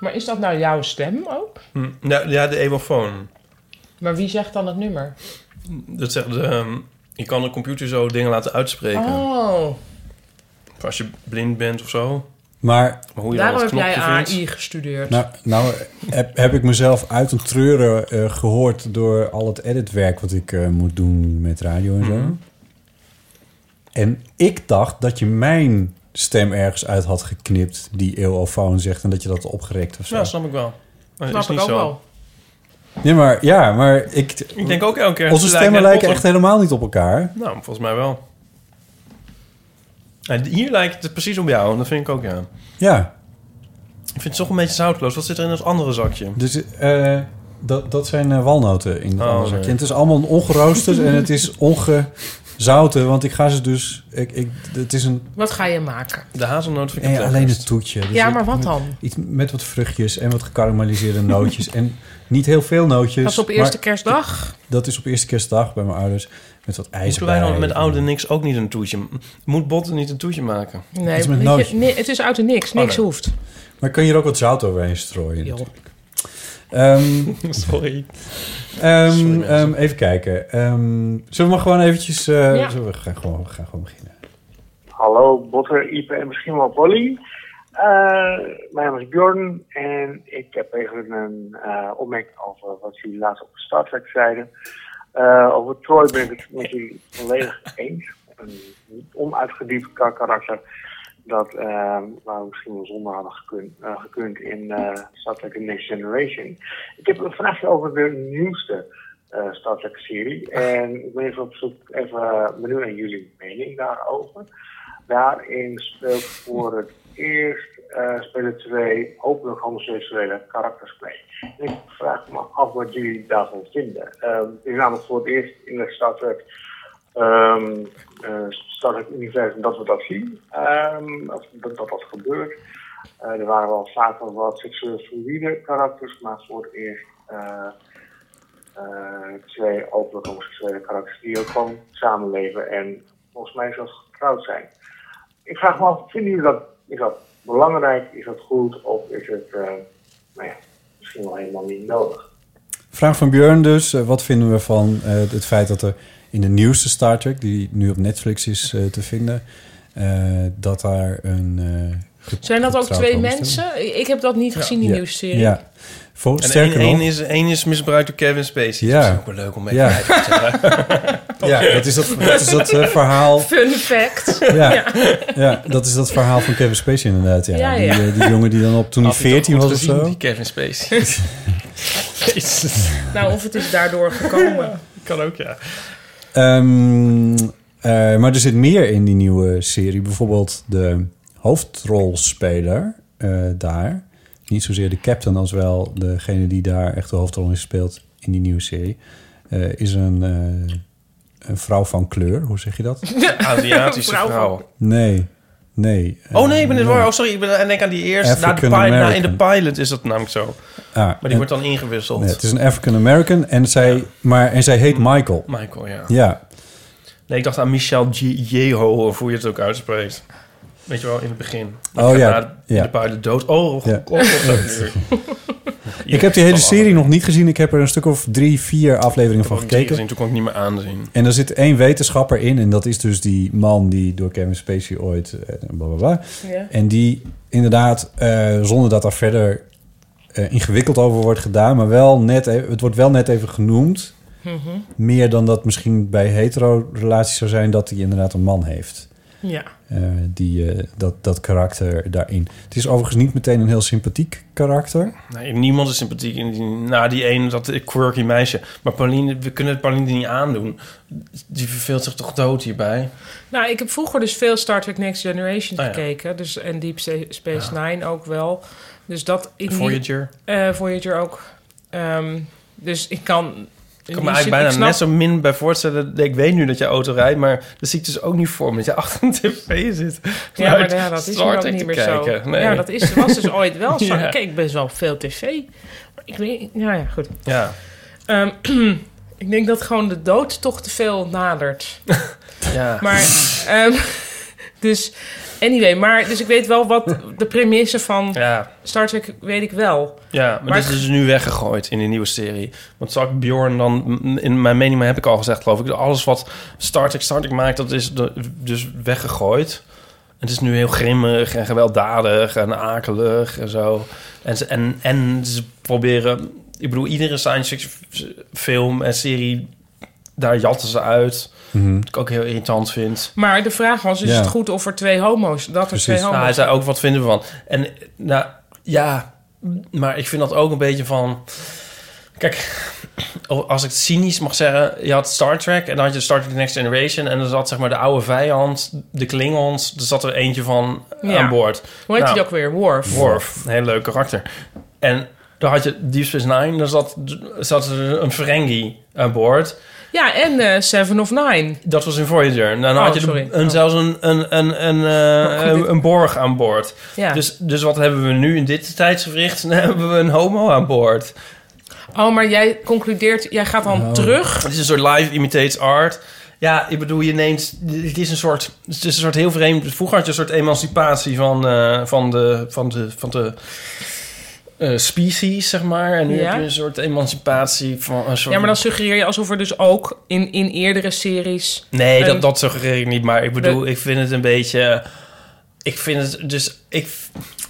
C: Maar is dat nou jouw stem ook?
F: Hm, Ja, ja, de evofoon.
C: Maar wie zegt dan het nummer?
F: Dat zegt, ehm, je kan de computer zo dingen laten uitspreken.
C: Oh,
F: Of Als je blind bent of zo.
G: Maar
F: Maar hoe je dan
C: daarom
F: dat
C: heb jij
F: knopje
C: AI
F: vindt.
C: gestudeerd.
G: nou, nou heb, heb ik mezelf uit een treuren eh, gehoord door al het editwerk wat ik eh, moet doen met radio en zo. En ik dacht dat je mijn stem ergens uit had geknipt, die eeuwofoon zegt, en dat je dat had opgerekt of zo.
F: Ja, snap ik wel. Maar dat
C: Snap
F: is niet
C: ik ook
F: zo.
C: wel.
G: Nee, maar ja, maar ik,
F: Ik denk ook elke keer...
G: onze
F: ze
G: stemmen
F: net
G: lijken echt
F: botten.
G: helemaal niet op elkaar.
F: Nou, volgens mij wel. En hier lijkt het precies op jou, en dat vind ik ook, ja.
G: Ja,
F: Ik vind het toch een beetje zoutloos. Wat zit er in dat andere zakje?
G: Dus eh, dat, dat zijn eh, walnoten in het
F: Oh,
G: andere
F: nee.
G: zakje. En het is allemaal ongeroosterd en het is ongezouten. Want ik ga ze dus... Ik, ik, het is een,
C: Wat ga je maken?
F: De hazelnoot vind ik
G: eh,
F: het
G: alleen
F: lekkerst.
G: het toetje. Dus
C: ja,
G: ik-
C: maar wat
G: met-
C: dan?
G: Iets met wat vruchtjes en wat gekarameliseerde nootjes. en niet heel veel nootjes.
C: Dat is op eerste
G: dus maar
C: kerstdag.
G: Dat is op eerste kerstdag bij mijn ouders. Met wat ijs
F: Moeten wij dan
G: erbij.
F: met oude niks ook niet een toetje? Moet Botten niet een toetje maken?
C: Nee,
G: is met
C: weet je,
G: nootjes.
C: nee, het is uit de niks.
F: nee.
C: Niks hoeft.
G: Maar kun je er ook wat zout overheen strooien
C: Joh.
G: natuurlijk. Ehm,
F: Sorry.
G: Ehm,
F: Sorry, mensen.
G: ehm, even kijken. Ehm, zullen we maar gewoon eventjes... eh,
C: Ja.
G: zullen we, we gaan gewoon, we gaan gewoon beginnen.
I: Hallo Botter, Ipe en misschien wel Polly. Eh, mijn naam is Bjorn en ik heb eigenlijk een eh, opmerking over wat jullie laatst op Star Trek zeiden. Eh, over Troy ben ik het met jullie volledig eens. Een onuitgediept kar- karakter dat eh, waar we misschien wel zonder hadden gekund, eh, gekund in eh Star Trek The Next Generation. Ik heb een vraagje over de nieuwste eh Star Trek serie. En ik ben even op zoek, even eh, benieuwd naar jullie mening daarover. Daarin speelt voor het eerst eh, spelen twee hopelijk homoseksuele karakters mee. En ik vraag me af wat jullie daarvan vinden. Ehm, het is namelijk voor het eerst in de Star Trek ehm eh, Star Trek universum dat we dat zien. Ehm, of dat dat, dat gebeurt. Eh, er waren wel vaker wat seksueel fluïde karakters, maar voor het eerst eh, eh, twee openlijk homoseksuele karakters die ook gewoon samenleven en volgens mij zelfs getrouwd zijn. Ik vraag me af, vinden jullie dat, is dat belangrijk, is dat goed of is het eh, nou ja, misschien wel helemaal niet nodig?
G: Vraag van Björn dus. eh, wat vinden we van eh, het feit dat er in de nieuwste Star Trek... die nu op Netflix is eh, te vinden... eh, dat daar een... eh, ge-
C: Zijn dat ook
G: getrouwd
C: twee
G: homo-
C: mensen? Ik heb dat niet gezien, die
G: Ja.
C: nieuwsserie.
G: Ja. Vol,
F: En
G: sterker
F: één, één
G: nog...
F: is, één is misbruikt door Kevin Spacey.
G: Ja.
F: Dat is ook wel leuk om mee
G: Ja.
F: te kijken.
G: Ja, dat is dat, dat, is dat eh, verhaal...
C: Fun fact.
G: Ja. Ja. dat is dat verhaal van Kevin Spacey inderdaad. Ja.
C: Ja,
G: Die,
C: ja.
G: eh, die jongen die dan op toen hij
F: Had hij toch
G: 14
F: goed
G: was of
F: gezien,
G: zo.
F: Die Kevin Spacey. Jezus.
C: Nou, of het is daardoor gekomen.
F: Kan ook, ja.
G: Ehm, eh, maar er zit meer in die nieuwe serie. Bijvoorbeeld de hoofdrolspeler eh, daar. Niet zozeer de captain als wel degene die daar echt de hoofdrol in speelt in die nieuwe serie. eh, is een, eh, een vrouw van kleur. Hoe zeg je dat?
F: Aziatische
C: Vrouw
F: vrouw.
C: van-
G: Nee, nee.
F: Oh nee, ik ben het
G: Eh,
F: waar. Oh sorry, ik ben, en denk aan die eerste. Na de
G: African
F: pilot, na, in de
G: American.
F: pilot is dat namelijk zo.
G: ah,
F: Maar die
G: en-
F: wordt dan ingewisseld.
G: nee, het is een African American en zij, maar, en zij heet Michael.
F: Michael, Mm. ja.
G: Ja,
F: Nee, ik dacht aan Michel G- Yeho, of hoe je het ook uitspreekt. Weet je wel, in het begin. Maar
G: Oh,
F: ik ga
G: ja,
F: na- In
G: ja.
F: de pilot dood. Oh,
G: Ja.
F: god, god, god, nu.
G: Ik heb die hele serie nog niet gezien. Ik heb er een stuk of drie, vier afleveringen van gekeken.
F: Gezien, toen kon ik niet meer aanzien.
G: En er zit één wetenschapper in. En dat is dus die man die door Kevin Spacey ooit... eh, Bla, bla, bla.
C: Ja.
G: En die inderdaad, eh, zonder dat daar verder eh, ingewikkeld over wordt gedaan... maar wel net, e- het wordt wel net even genoemd.
F: Mhm.
G: Meer dan dat misschien bij hetero-relaties zou zijn... dat hij inderdaad een man heeft.
C: Ja.
G: Eh, die, eh, dat, dat karakter daarin. Het is overigens niet meteen een heel sympathiek karakter.
F: Nee, niemand is sympathiek. in die- Na die ene, dat quirky meisje. Maar Pauline, we kunnen het Pauline niet aandoen. Die verveelt zich toch dood hierbij?
C: Nou, ik heb vroeger dus veel Star Trek Next Generation
F: Ah, ja.
C: gekeken. Dus, en Deep Sta- Space Nine ook wel. Dus dat... Ik
F: Voyager.
C: eh Voyager ook. Ehm, dus ik kan...
F: Ik kan me eigenlijk bijna net zo min bij voorstellen. Ik weet nu dat jij auto rijdt, maar dat zie ik dus ook niet voor me. Dat je achter een tv zit.
C: Ja, maar
F: Uit
C: ja, dat is nu
F: Star
C: ook
F: Trek
C: niet
F: te
C: meer zo.
F: kijken. Nee.
C: Ja, dat is, was dus ooit wel zo.
F: Ja.
C: Ik keek best wel veel tv. Maar ik weet... Ja, ja, goed.
F: Ja.
C: Ehm, ik denk dat gewoon de dood toch te veel nadert.
F: ja.
C: Maar, ehm, dus, anyway, maar, dus ik weet wel wat de premisse van
F: ja.
C: Star Trek weet ik wel.
F: Ja, maar,
C: Maar
F: dit is dus nu weggegooid in de nieuwe serie. Want Zak Bjorn dan, m- in mijn mening maar heb ik al gezegd, geloof ik, alles wat Star Trek Star Trek maakt, dat is de- dus weggegooid. Het is nu heel grimmig en gewelddadig en akelig en zo. En ze, en, en ze proberen, ik bedoel, iedere science fiction film en serie, daar jatten ze uit. Wat ik ook heel irritant vind.
C: Maar de vraag was, is
G: Ja.
C: het goed of er twee homo's... dat er
G: Precies.
C: twee
F: Nou,
C: homo's...
F: hij zei ook, wat vinden we van? En nou, ja, maar ik vind dat ook een beetje van... Kijk, als ik het cynisch mag zeggen... Je had Star Trek en dan had je Star Trek The Next Generation... en dan zat zeg maar de oude vijand, de Klingons... er zat er eentje van
C: Ja.
F: aan boord.
C: Hoe heet
F: Nou,
C: die ook weer? Worf.
F: Worf, een heel leuk karakter. En dan had je Deep Space Nine... daar zat, zat er een Ferengi aan boord...
C: Ja, en eh, Seven of Nine.
F: Dat was in Voyager. En dan
C: Oh,
F: had je de-
C: sorry.
F: een,
C: Oh.
F: zelfs een, een, een, een, eh,
C: goed, dit-
F: een borg aan boord.
C: Ja.
F: Dus, dus wat hebben we nu in dit tijdsgevricht? Dan hebben we een homo aan boord.
C: Oh, maar jij concludeert... jij gaat
G: Nou.
C: dan terug...
F: Het is een soort live imitates art. Ja, ik bedoel, je neemt... Het is een soort, het is een soort heel vreemd... Vroeger had je een soort emancipatie van, eh, van de... Van de, van de eh, species, zeg maar. En nu
C: Ja.
F: heb je een soort emancipatie van... Een soort
C: Ja, maar dan suggereer je alsof er dus ook in, in eerdere series...
F: Nee,
C: Een-
F: dat, dat suggereer ik niet. Maar ik bedoel, ik vind het een beetje. Ik vind het dus. Ik,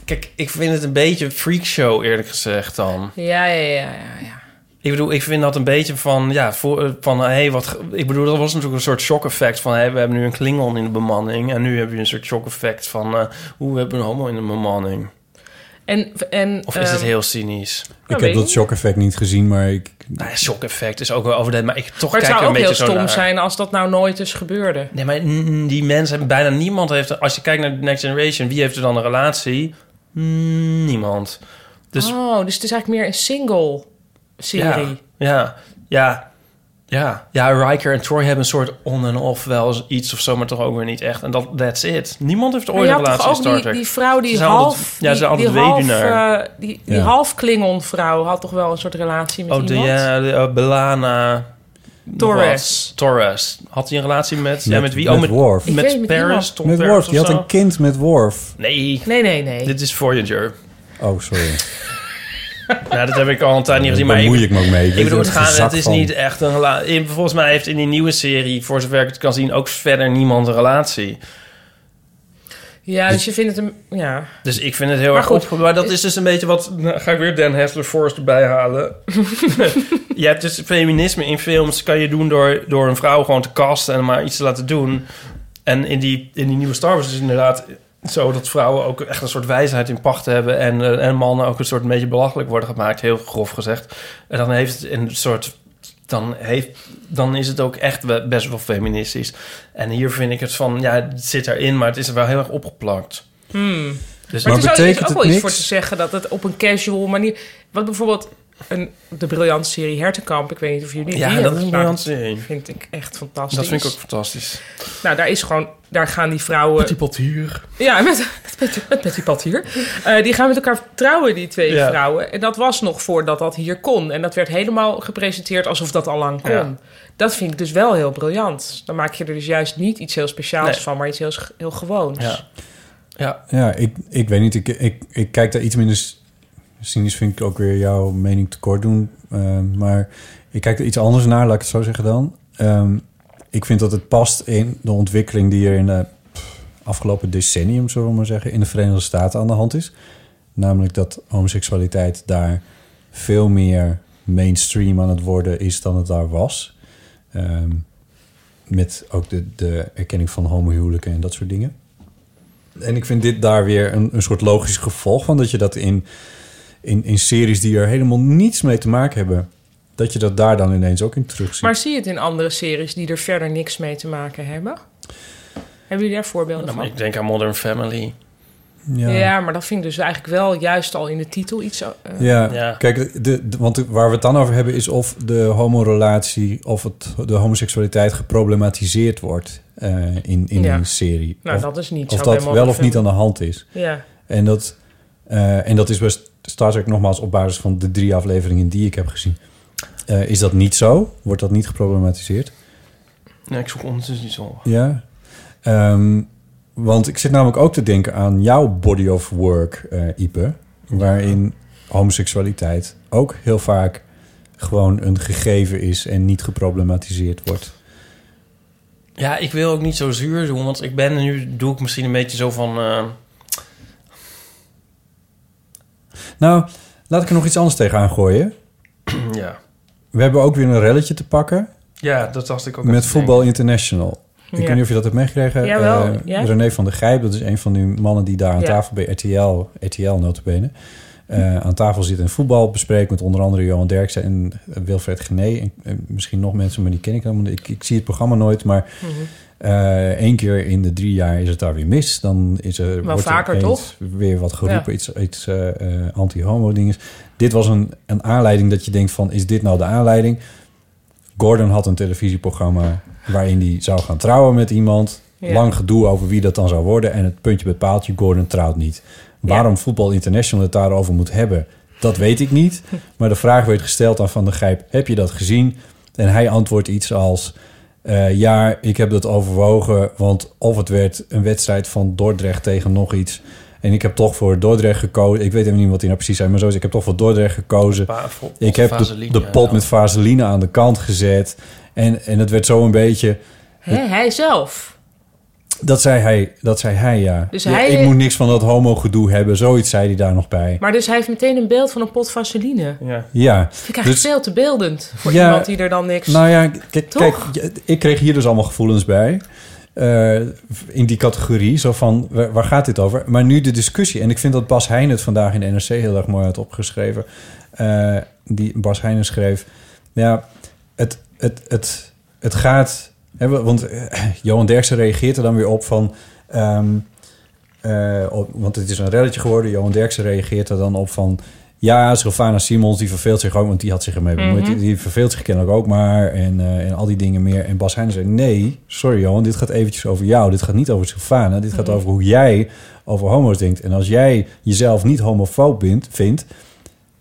F: kijk, ik vind het een beetje een freakshow, eerlijk gezegd dan.
C: Ja, ja, ja, ja, ja.
F: Ik bedoel, ik vind dat een beetje van, ja, voor, eh, van, hé, hey, wat... ge- Ik bedoel, dat was natuurlijk een soort shock effect van, hé, hey, we hebben nu een Klingon in de bemanning. En nu heb je een soort shock effect van, eh, hoe we hebben een homo in de bemanning.
C: En, en,
F: Of is het
C: ehm,
F: heel cynisch?
C: nou,
G: ik
C: weet
G: heb
C: ik
G: dat shock effect niet gezien, maar ik,
F: Nou ja, shock effect is ook wel overdreven, maar ik toch
C: Maar het
F: kijk
C: zou
F: er een
C: ook
F: beetje
C: heel
F: zo
C: stom
F: naar.
C: zijn als dat nou nooit eens gebeurde.
F: Nee, maar mm, die mensen, bijna niemand heeft... Als je kijkt naar de Next Generation, wie heeft er dan een relatie? Mm, Niemand. Dus
C: Oh, dus het is eigenlijk meer een single serie.
F: Ja, ja, ja. Ja, Riker en Troy hebben een soort on en off wel eens iets of zo, maar toch ook weer niet echt. En dat that's it. Niemand heeft
C: Maar
F: ooit
C: je had
F: een relatie
C: toch ook
F: in Star
C: die,
F: Trek.
C: die vrouw die
F: Ze zijn
C: half...
F: altijd- ja, ze zijn
C: die, die
F: altijd
C: half,
F: weduwnaar.
C: eh, die die
G: Ja.
C: half Klingon vrouw had toch wel een soort relatie met
F: oh, de,
C: iemand?
F: ja, de, eh, Belana...
C: Torres.
F: Wat? Torres. Had hij een relatie met... ja,
G: Met-
F: met wie?
G: met
F: oh, met
G: Worf.
C: Ik weet
F: Met
C: niet,
F: Paris.
C: iemand.
F: Tom
G: met
F: Paris
G: Worf.
F: of
G: Die had
F: zo?
G: een kind met Worf.
F: Nee,
C: Nee, nee, nee.
F: dit is Voyager.
G: Oh, sorry.
F: nou, dat heb ik al een tijd niet
G: Daar
F: gezien, maar...
G: bemoei
F: Ik,
G: ik me ook mee.
F: ik bedoel, het, gaan,
G: gaat.
F: het is niet echt een relatie. Volgens mij heeft in die nieuwe serie, voor zover ik het kan zien, ook verder niemand een relatie.
C: Ja, dus je vindt het een... Ja.
F: Dus ik vind het heel
C: Maar
F: erg
C: goed,
F: goed. Maar dat is dus een beetje wat... Nou, ga ik weer Dan Hessler Forrest erbij halen. je hebt dus feminisme in films. Kan je doen door, door een vrouw gewoon te casten en maar iets te laten doen. En in die, in die nieuwe Star Wars is het inderdaad zo dat vrouwen ook echt een soort wijsheid in pacht hebben. En, eh, en mannen ook een soort een beetje belachelijk worden gemaakt. Heel grof gezegd. En dan heeft het een soort... Dan, heeft, dan is het ook echt we- best wel feministisch. En hier vind ik het van... Ja, het zit erin, maar het is er wel heel erg opgeplakt.
C: Hmm.
F: Dus
C: Maar, er zou- er
G: Maar
C: is
G: betekent
C: ook
G: het
C: wel iets
G: niks?
C: voor te zeggen dat het op een casual manier... Wat bijvoorbeeld een, de briljante serie Hertenkamp... Ik weet niet of jullie
F: Ja,
C: die
F: dat
C: hebben
F: is
C: gemaakt.
F: een briljant serie.
C: vind ik echt fantastisch.
F: Dat vind ik ook fantastisch.
C: Nou, daar is gewoon... Daar gaan die vrouwen...
F: Patipotier.
C: Ja, met, met, met, met die pad hier. Eh, die gaan met elkaar trouwen, die twee
F: Ja.
C: vrouwen. En dat was nog voordat dat hier kon. En dat werd helemaal gepresenteerd alsof dat al lang kon.
F: Ja.
C: Dat vind ik dus wel heel briljant. Dan maak je er dus juist niet iets heel speciaals
F: Nee.
C: van, maar iets heel, s- heel gewoons.
F: Ja. Ja.
G: Ja, ik, ik weet niet. Ik, ik, ik kijk daar iets minder... s- Cynisch vind ik ook weer jouw mening tekort doen. eh, maar ik kijk er iets anders naar, laat ik het zo zeggen dan. Ehm, ik vind dat het past in de ontwikkeling die er in de pff, afgelopen decennium, zullen we maar zeggen, in de Verenigde Staten aan de hand is. Namelijk dat homoseksualiteit daar veel meer mainstream aan het worden is dan het daar was. Ehm, met ook de, de erkenning van homohuwelijken en dat soort dingen. En ik vind dit daar weer een, een soort logisch gevolg van. Dat je dat in, in, in series die er helemaal niets mee te maken hebben... dat je dat daar dan ineens ook in terugziet.
C: Maar zie je het in andere series die er verder niks mee te maken hebben? Hebben jullie daar voorbeelden van?
F: nou, Ik denk aan Modern Family.
C: Ja. maar dat vind ik dus eigenlijk wel juist al in de titel iets... eh,
G: Ja,
F: Ja.
G: kijk, de, de- want de- waar we het dan over hebben is of de homorelatie of het, de homoseksualiteit geproblematiseerd wordt eh, in, in
C: Ja.
G: een serie.
C: nou,
G: of
C: dat is niet
G: of
C: zo.
G: dat
C: bij Modern
G: wel of niet
C: Family.
G: aan de hand is.
C: Ja.
G: En dat, eh, en dat is bij Star Trek nogmaals op basis van de drie afleveringen die ik heb gezien. Eh, is dat niet zo? Wordt dat niet geproblematiseerd?
F: Nee, ik zoek ondertussen niet zo.
G: Ja. Ehm, want ik zit namelijk ook te denken aan jouw body of work, eh, Ipe. Waarin homoseksualiteit ook heel vaak gewoon een gegeven is en niet geproblematiseerd wordt.
F: Ja, ik wil ook niet zo zuur doen, want ik ben nu... Doe ik misschien een beetje zo van... eh,
G: Nou, laat ik er nog iets anders tegenaan gooien.
F: ja.
G: We hebben ook weer een relletje te pakken
F: ja, dat dacht ik ook.
G: met
F: even te
G: Voetbal International. Ik
C: Ja.
G: weet niet of je dat hebt meegekregen.
C: Jawel,
G: Eh,
C: ja.
G: René van der Gijp, dat is een van die mannen die daar aan
C: Ja.
G: tafel bij RTL, RTL notabene, eh, aan tafel zit en voetbal bespreekt met onder andere Johan Derksen en Wilfred Gené. En, en misschien nog mensen, maar die ken ik helemaal niet. Ik, ik zie het programma nooit, maar
C: Mhm.
G: eh, één keer in de drie jaar is het daar weer mis. Dan is er, wordt er
C: vaker,
G: opeens
C: toch?
G: weer wat geroepen, iets, iets eh, eh, anti-homo dinges. Dit was een, een aanleiding dat je denkt van, is dit nou de aanleiding? Gordon had een televisieprogramma waarin hij zou gaan trouwen met iemand.
C: Ja.
G: Lang gedoe over wie dat dan zou worden. En het puntje bepaalt je, Gordon trouwt niet. Waarom Voetbal International het daarover moet hebben, dat weet ik niet. Maar de vraag werd gesteld aan Van der Gijp, heb je dat gezien? En hij antwoordt iets als, eh, ja, ik heb dat overwogen. Want of het werd een wedstrijd van Dordrecht tegen nog iets... En ik heb toch voor Dordrecht gekozen. Ik weet even niet wat hij nou precies zei, maar zo is. Ik heb toch voor Dordrecht gekozen.
F: Pa- vo-
G: Ik heb de,
F: Vaseline,
G: de pot
F: ja.
G: met vaseline aan de kant gezet. En, en het werd zo een beetje...
C: Hè, hij zelf.
G: Dat zei hij, dat zei hij ja.
C: Dus
G: Ja,
C: hij-
G: Ik moet niks van dat homo-gedoe hebben. Zoiets zei hij daar nog bij.
C: Maar dus hij heeft meteen een beeld van een pot vaseline.
F: Ja.
G: Ja.
C: Vind ik eigenlijk veel te beeldend voor
G: Dus- Ja,
C: iemand die er dan niks...
G: Nou ja, kijk,
C: Toch?
G: kijk, je- ik kreeg hier dus allemaal gevoelens bij. eh, in die categorie, zo van wa- waar gaat dit over? Maar nu de discussie, en ik vind dat Bas Heijn het vandaag in de NRC heel erg mooi had opgeschreven. eh, die Bas Heijnen schreef: Ja, het, het, het, het gaat. Hè, wa- want eh, Johan Derksen reageert er dan weer op van. ehm, eh, op- want het is een relletje geworden. Johan Derksen reageert er dan op van... Ja, Sylvana Simons, die verveelt zich ook... want die had zich ermee bemoeid.
C: Mhm.
G: Die- Die verveelt zich kennelijk ook maar. En, eh, en al die dingen meer. En Bas Heijn zei... Nee, sorry Johan, dit gaat eventjes over jou. Dit gaat niet over Sylvana. Dit gaat
C: Mhm.
G: over hoe jij over homo's denkt. En als jij jezelf niet homofoob bent, vindt...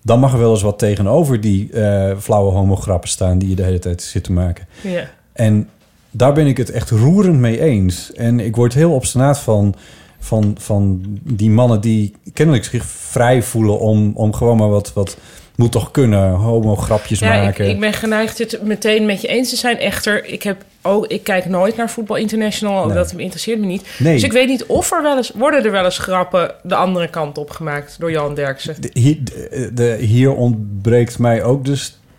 G: dan mag er wel eens wat tegenover die eh, flauwe homograppen staan... die je de hele tijd zit te maken.
C: Ja.
G: En daar ben ik het echt roerend mee eens. En ik word heel obstinaat van, van, van die mannen die kennelijk zich vrij voelen om, om gewoon maar wat, wat moet toch kunnen, homo-grapjes
C: Ja, ik,
G: dus maken.
C: ik ben geneigd het meteen met je eens te zijn. Echter, ik, heb, oh, ik kijk nooit naar Voetbal International.
G: Nee.
C: Dat interesseert me niet.
G: Nee.
C: Dus ik weet niet of er wel eens... Worden er wel eens grappen de andere kant op gemaakt door Johan Derksen?
G: De- hier, de, de- hier ontbreekt mij ook de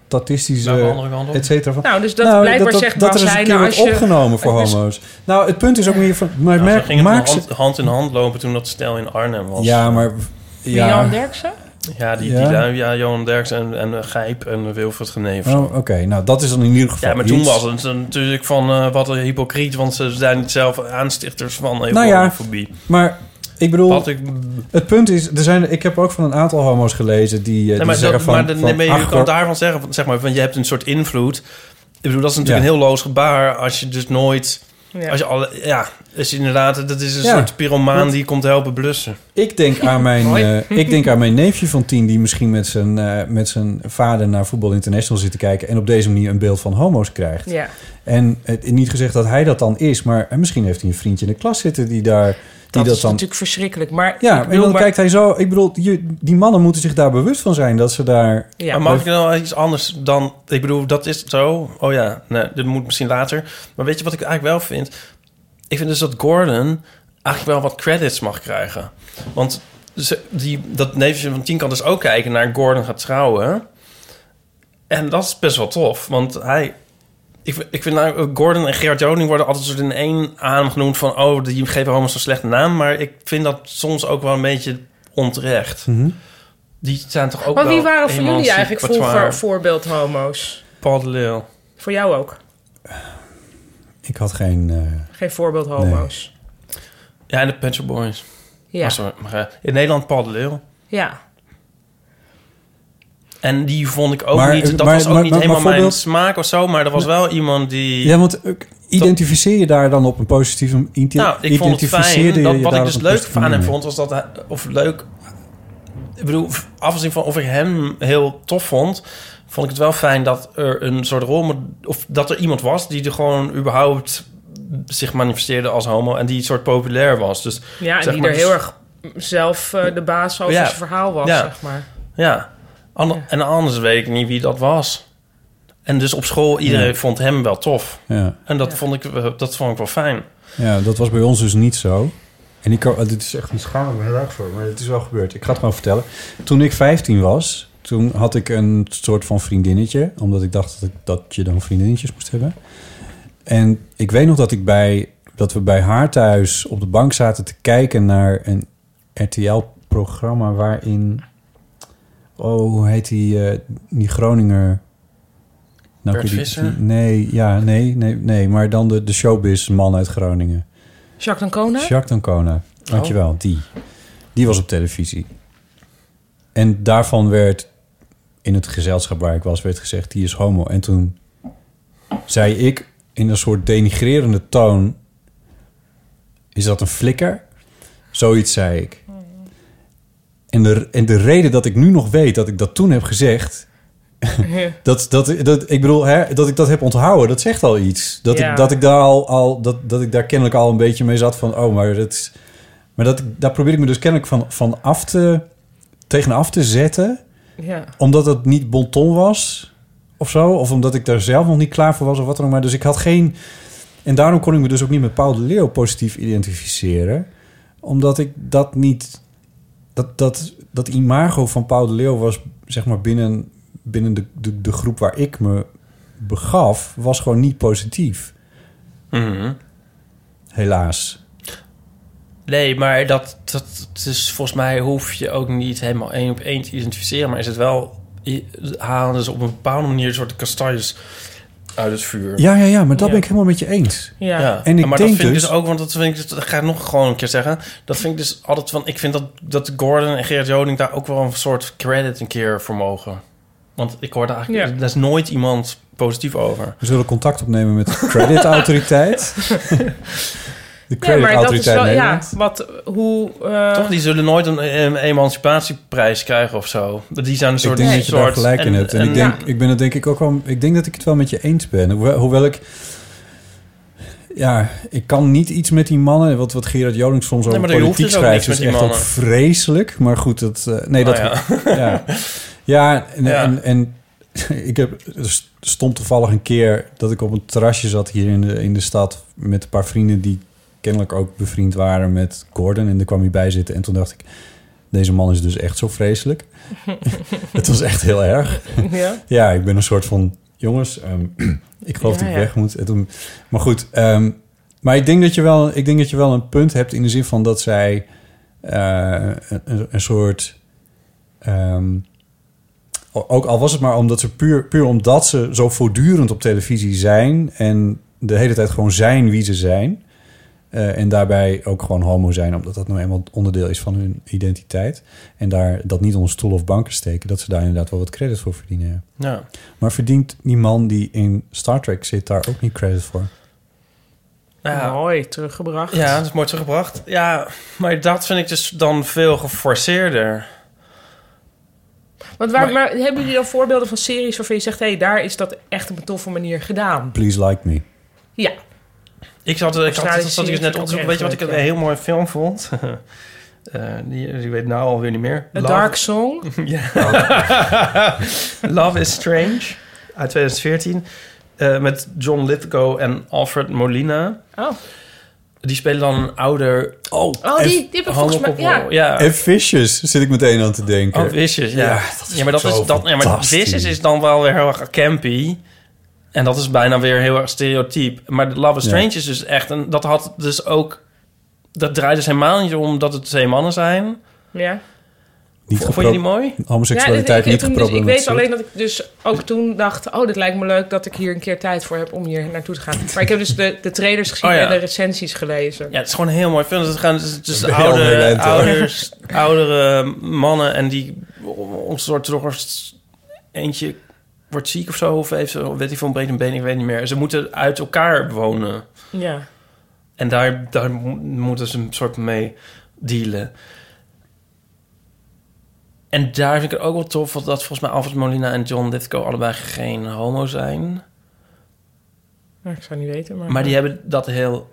G: statistische...
F: Nou, de andere kant op.
G: et cetera van.
C: Nou, dus dat blijkbaar zegt
G: dat
C: Bas
G: er eens een
C: Heijnen
G: keer wordt
C: als je-
G: opgenomen voor
C: Dus-
G: homo's. Nou, het punt is ook meer van... Maar
F: Nou, zo
G: merk,
F: ging het
G: maak
F: nog
G: ze...
F: hand, hand in hand lopen toen dat stel in Arnhem was.
G: Ja, maar... Ja.
C: Johan Derksen?
F: Ja, die,
G: Ja.
F: Die, ja, Johan Derks en, en eh, Gijp en Wilfred Geneef.
G: Oh, Oké, nou dat is dan in ieder geval
F: Ja, maar toen was
G: iets.
F: het natuurlijk van eh, wat een hypocriet, want ze zijn niet zelf aanstichters van
G: Nou ja.
F: homofobie.
G: Maar ik bedoel...
F: Wat ik,
G: Het punt is, er zijn, ik heb ook van een aantal homo's gelezen die, eh, die
F: nee, maar
G: zeggen
F: dat,
G: van...
F: maar de,
G: van,
F: nee, maar je
G: ach,
F: kan
G: hoor,
F: daarvan zeggen, van, zeg maar, van je hebt een soort invloed. Ik bedoel, dat is natuurlijk
G: Ja.
F: een heel loos gebaar als je dus nooit...
C: Ja.
F: Als je alle, ja, is inderdaad, dat is een
G: Ja.
F: soort pyromaan
G: Want-
F: die komt helpen blussen.
G: ik, denk aan mijn,
C: Mooi.
G: eh, ik denk aan mijn neefje van tien die misschien met zijn, eh, met zijn vader naar Voetbal International zit te kijken... en op deze manier een beeld van homo's krijgt.
C: Ja.
G: En eh, niet gezegd dat hij dat dan is, maar eh, misschien heeft hij een vriendje in de klas zitten die daar...
C: Dat,
G: Die dat,
C: is
G: dan,
C: natuurlijk verschrikkelijk. Maar
G: Ja,
C: ik
G: en
C: bedoel,
G: dan
C: maar,
G: kijkt hij zo... Ik bedoel, je- die mannen moeten zich daar bewust van zijn dat ze daar...
C: ja.
F: maar mag ik nou iets anders dan... Ik bedoel, dat is zo. Oh ja, nee, dit moet misschien later. Maar weet je wat ik eigenlijk wel vind? Ik vind dus dat Gordon eigenlijk wel wat credits mag krijgen. Want ze- die, dat neefje van Tien kan dus ook kijken naar Gordon gaat trouwen. En dat is best wel tof, want hij... Ik, vind- ik vind nou, Gordon en Gerard Joning worden altijd soort in één adem genoemd van... oh, die geven homo's zo'n slechte naam. Maar ik vind dat soms ook wel een beetje onterecht.
G: Mhm.
F: Die zijn toch ook
C: maar wie
F: wel
C: waren voor jullie eigenlijk
F: emancipatoire.
C: vroeger voorbeeld homo's?
F: Paul de Leeuw.
C: Voor jou ook?
G: Ik had geen... eh,
C: Geen voorbeeld homo's?
F: Ja, en de Pet Shop Boys.
C: Ja.
F: Maar sorry, maar, eh, in Nederland Paul de Leeuw.
C: ja.
F: En die vond ik ook
G: Maar, eh,
F: niet... Dat
G: maar-
F: was ook
G: maar-
F: niet
G: maar- maar
F: helemaal mijn
G: voorbeeld-
F: smaak of zo. Maar er was wel iemand die...
G: ja, want eh, identificeer je daar dan op een positieve... Inti-
F: nou, ik vond het
G: identificeerde
F: fijn.
G: je
F: Dat,
G: je
F: wat
G: daar
F: ik
G: op
F: dus
G: een
F: leuk
G: positieve
F: aan hem
G: manier?
F: vond, was dat hij... Of leuk... Ik bedoel, afgezien van of ik hem heel tof vond... vond ik het wel fijn dat er een soort rol... Of dat er iemand was die er gewoon überhaupt zich manifesteerde als homo... en die soort populair was. Dus
C: ja en
F: Zeg
C: die
F: maar,
C: er
F: dus-
C: heel erg zelf eh, de baas over
F: Ja.
C: zijn verhaal was,
F: Ja.
C: zeg maar.
F: Ja. An-
C: Ja.
F: En anders weet ik niet wie dat was. En dus op school, iedereen vond hem wel tof.
G: Ja.
F: En dat,
C: Ja.
F: vond, ik, eh, dat vond ik wel fijn.
G: Ja, dat was bij ons dus niet zo. En ik, kan- oh, dit is echt een schaam, ik ben er erg voor, maar het is wel gebeurd. Ik ga het gewoon vertellen. Toen ik 15 was, toen had ik een soort van vriendinnetje. Omdat ik dacht dat, ik, dat je dan vriendinnetjes moest hebben. En ik weet nog dat, ik bij, dat we bij haar thuis op de bank zaten te kijken naar een RTL-programma waarin... Oh, hoe heet die, eh, die Groninger... Nou,
F: Bert
G: ik weet
F: Visser?
G: niet- Nee, ja, nee, nee, nee. Maar dan de, de showbiz-man uit Groningen.
C: Jacques Dancona?
G: Jacques Dancona. Dankjewel, die. Die was op televisie. En daarvan werd in het gezelschap waar ik was, werd gezegd: die is homo. En toen zei ik in een soort denigrerende toon: Is dat een flikker? Zoiets zei ik. En de, en de reden dat ik nu nog weet dat ik dat toen heb gezegd. Dat, dat, dat, ik bedoel, hè, dat ik dat heb onthouden, dat zegt al iets. Dat,
C: Ja.
G: ik, dat, ik daar al, al, dat, dat ik daar kennelijk al een beetje mee zat van... oh, maar, dat is, maar dat, ik- daar probeer ik me dus kennelijk van, van af te, tegen af te zetten...
C: Ja.
G: omdat het niet bonton was of zo... of omdat ik daar zelf nog niet klaar voor was of wat dan ook. Maar dus ik had geen... En daarom kon ik me dus ook niet met Paul de Leeuw positief identificeren. Omdat ik dat niet... Dat, dat, dat imago van Paul de Leeuw was, zeg maar, binnen, binnen de, de, de groep waar ik me begaf... was gewoon niet positief.
F: Mhm.
G: Helaas.
F: Nee, maar dat, dat het is volgens mij hoef je ook niet helemaal één op één te identificeren. Maar is het wel, i- halen ze op een bepaalde manier een soort kastanjes uit het vuur.
G: Ja, ja, ja, maar dat ben ik helemaal met je eens.
C: Ja.
G: En ik
F: maar
G: denk
F: dat vind
G: dus-
F: ik dus ook, want dat vind ik, dus- dat ga ik nog gewoon een keer zeggen. Dat vind ik dus altijd van, ik vind dat, dat Gordon en Gerard Joning daar ook wel een soort credit een keer voor mogen. Want ik hoorde eigenlijk,
C: Ja.
F: daar is nooit iemand positief over.
G: We zullen contact opnemen met de creditautoriteit. de
C: Ja, maar dat
G: creditautoriteit
C: is wel, ja,
G: Nederland.
C: wat, hoe... eh,
F: Toch, die zullen nooit een, een emancipatieprijs krijgen of zo. Die zijn een soort...
G: ik denk dat je daar
F: soort-
G: gelijk in
F: en-
G: hebt. En,
F: en-
G: ik, denk, ik ben het denk ik ook wel... Ik denk dat ik het wel met je eens ben. Hoewel, hoewel ik... Ja, ik kan niet iets met die mannen. Wat, wat Gerard Joling soms over
F: maar je hoeft
G: politiek
F: dus ook niks
G: schrijft...
F: met
G: is
F: die
G: echt ook
F: mannen.
G: vreselijk. Maar goed, dat... eh, nee, dat...
F: Nou
G: Ja, ja, en,
F: Ja.
G: En, en ik heb er stond toevallig een keer dat ik op een terrasje zat hier in de, in de stad met een paar vrienden die kennelijk ook bevriend waren met Gordon. En daar kwam hij bij zitten en toen dacht ik, deze man is dus echt zo vreselijk. Het was echt heel erg.
C: ja.
G: Ja, ik ben een soort van... Jongens, ehm, ik geloof
C: Ja,
G: dat ik
C: ja.
G: weg moet. En toen- maar goed, ehm, maar ik denk, dat je wel, ik denk dat je wel een punt hebt... in de zin van dat zij eh, een, een soort... ehm, o- ook al was het maar omdat ze puur, puur omdat ze zo voortdurend op televisie zijn... en de hele tijd gewoon zijn wie ze zijn... eh, en daarbij ook gewoon homo zijn, omdat dat nou eenmaal onderdeel is van hun identiteit. En daar dat niet onder stoel of banken steken, dat ze daar inderdaad wel wat credit voor verdienen. ja.
F: Ja.
G: Maar verdient die man die in Star Trek zit daar ook niet credit voor?
F: Ja.
C: Mooi, teruggebracht.
F: Ja, dat is mooi teruggebracht. Ja, maar dat vind ik dus dan veel geforceerder.
C: Want waar,
F: Maar-
C: maar, hebben jullie dan voorbeelden van series waarvan je zegt... hé, hey, daar is dat echt op een toffe manier gedaan?
G: Please like me.
C: Ja.
F: Ik zat, ik had,
C: Australische
F: dat zat ik dus net
C: series
F: op te zoeken.
C: ook
F: Weet je wat ik
C: erg
F: een
C: leuk, ja.
F: heel mooi film vond? Eh, die, die weet nou alweer niet meer.
C: A
F: Love-
C: Dark Song.
F: Love is Strange uit 2014. eh, met John Lithgow en Alfred Molina.
C: Oh,
F: Die spelen dan een ouder... Oh,
C: oh die, die heb ik volgens mij... Ja.
F: ja.
G: En Vicious zit ik meteen aan te denken.
F: Oh, Vicious, ja.
G: Ja,
F: Ja,
G: dat is
F: maar dat
G: zo
F: is dat. Ja, maar
G: fantastisch.
F: Vicious is dan wel weer heel erg campy. En dat is bijna weer heel erg stereotyp. Maar de Love is
G: Ja.
F: Strange is dus echt... En dat had dus ook... Dat draait dus helemaal niet om dat het twee mannen zijn.
C: ja.
G: niet
F: Vond je
G: gepro-
F: die mooi?
G: Homoseksualiteit
C: Ja, dit-
G: niet
C: ik- ik- toen- dus Ik weet alleen
G: geproblematiseerd.
C: dat ik dus ook toen dacht... oh, dit lijkt me leuk dat ik hier een keer tijd voor heb om hier naartoe te gaan. Maar ik heb dus de, de trailers gezien
F: Oh, ja.
C: en de recensies gelezen.
F: Ja, het is gewoon een heel mooi film. Het gaan dus, dus
G: ben je al
F: oude,
G: heel lent, hoor.
F: ouders, oudere mannen... en die om een soort door eentje wordt ziek of zo... of heeft, ze- weet ik veel, een breed een been, ik weet niet meer. Ze moeten uit elkaar wonen.
C: Ja.
F: En daar, daar mo- moeten ze een soort mee dealen. En daar vind ik het ook wel tof... want dat volgens mij Alfred Molina en John Lithgow... allebei geen homo zijn.
G: Mhm.
C: Nou, ik zou niet weten, maar...
F: Maar die hebben dat heel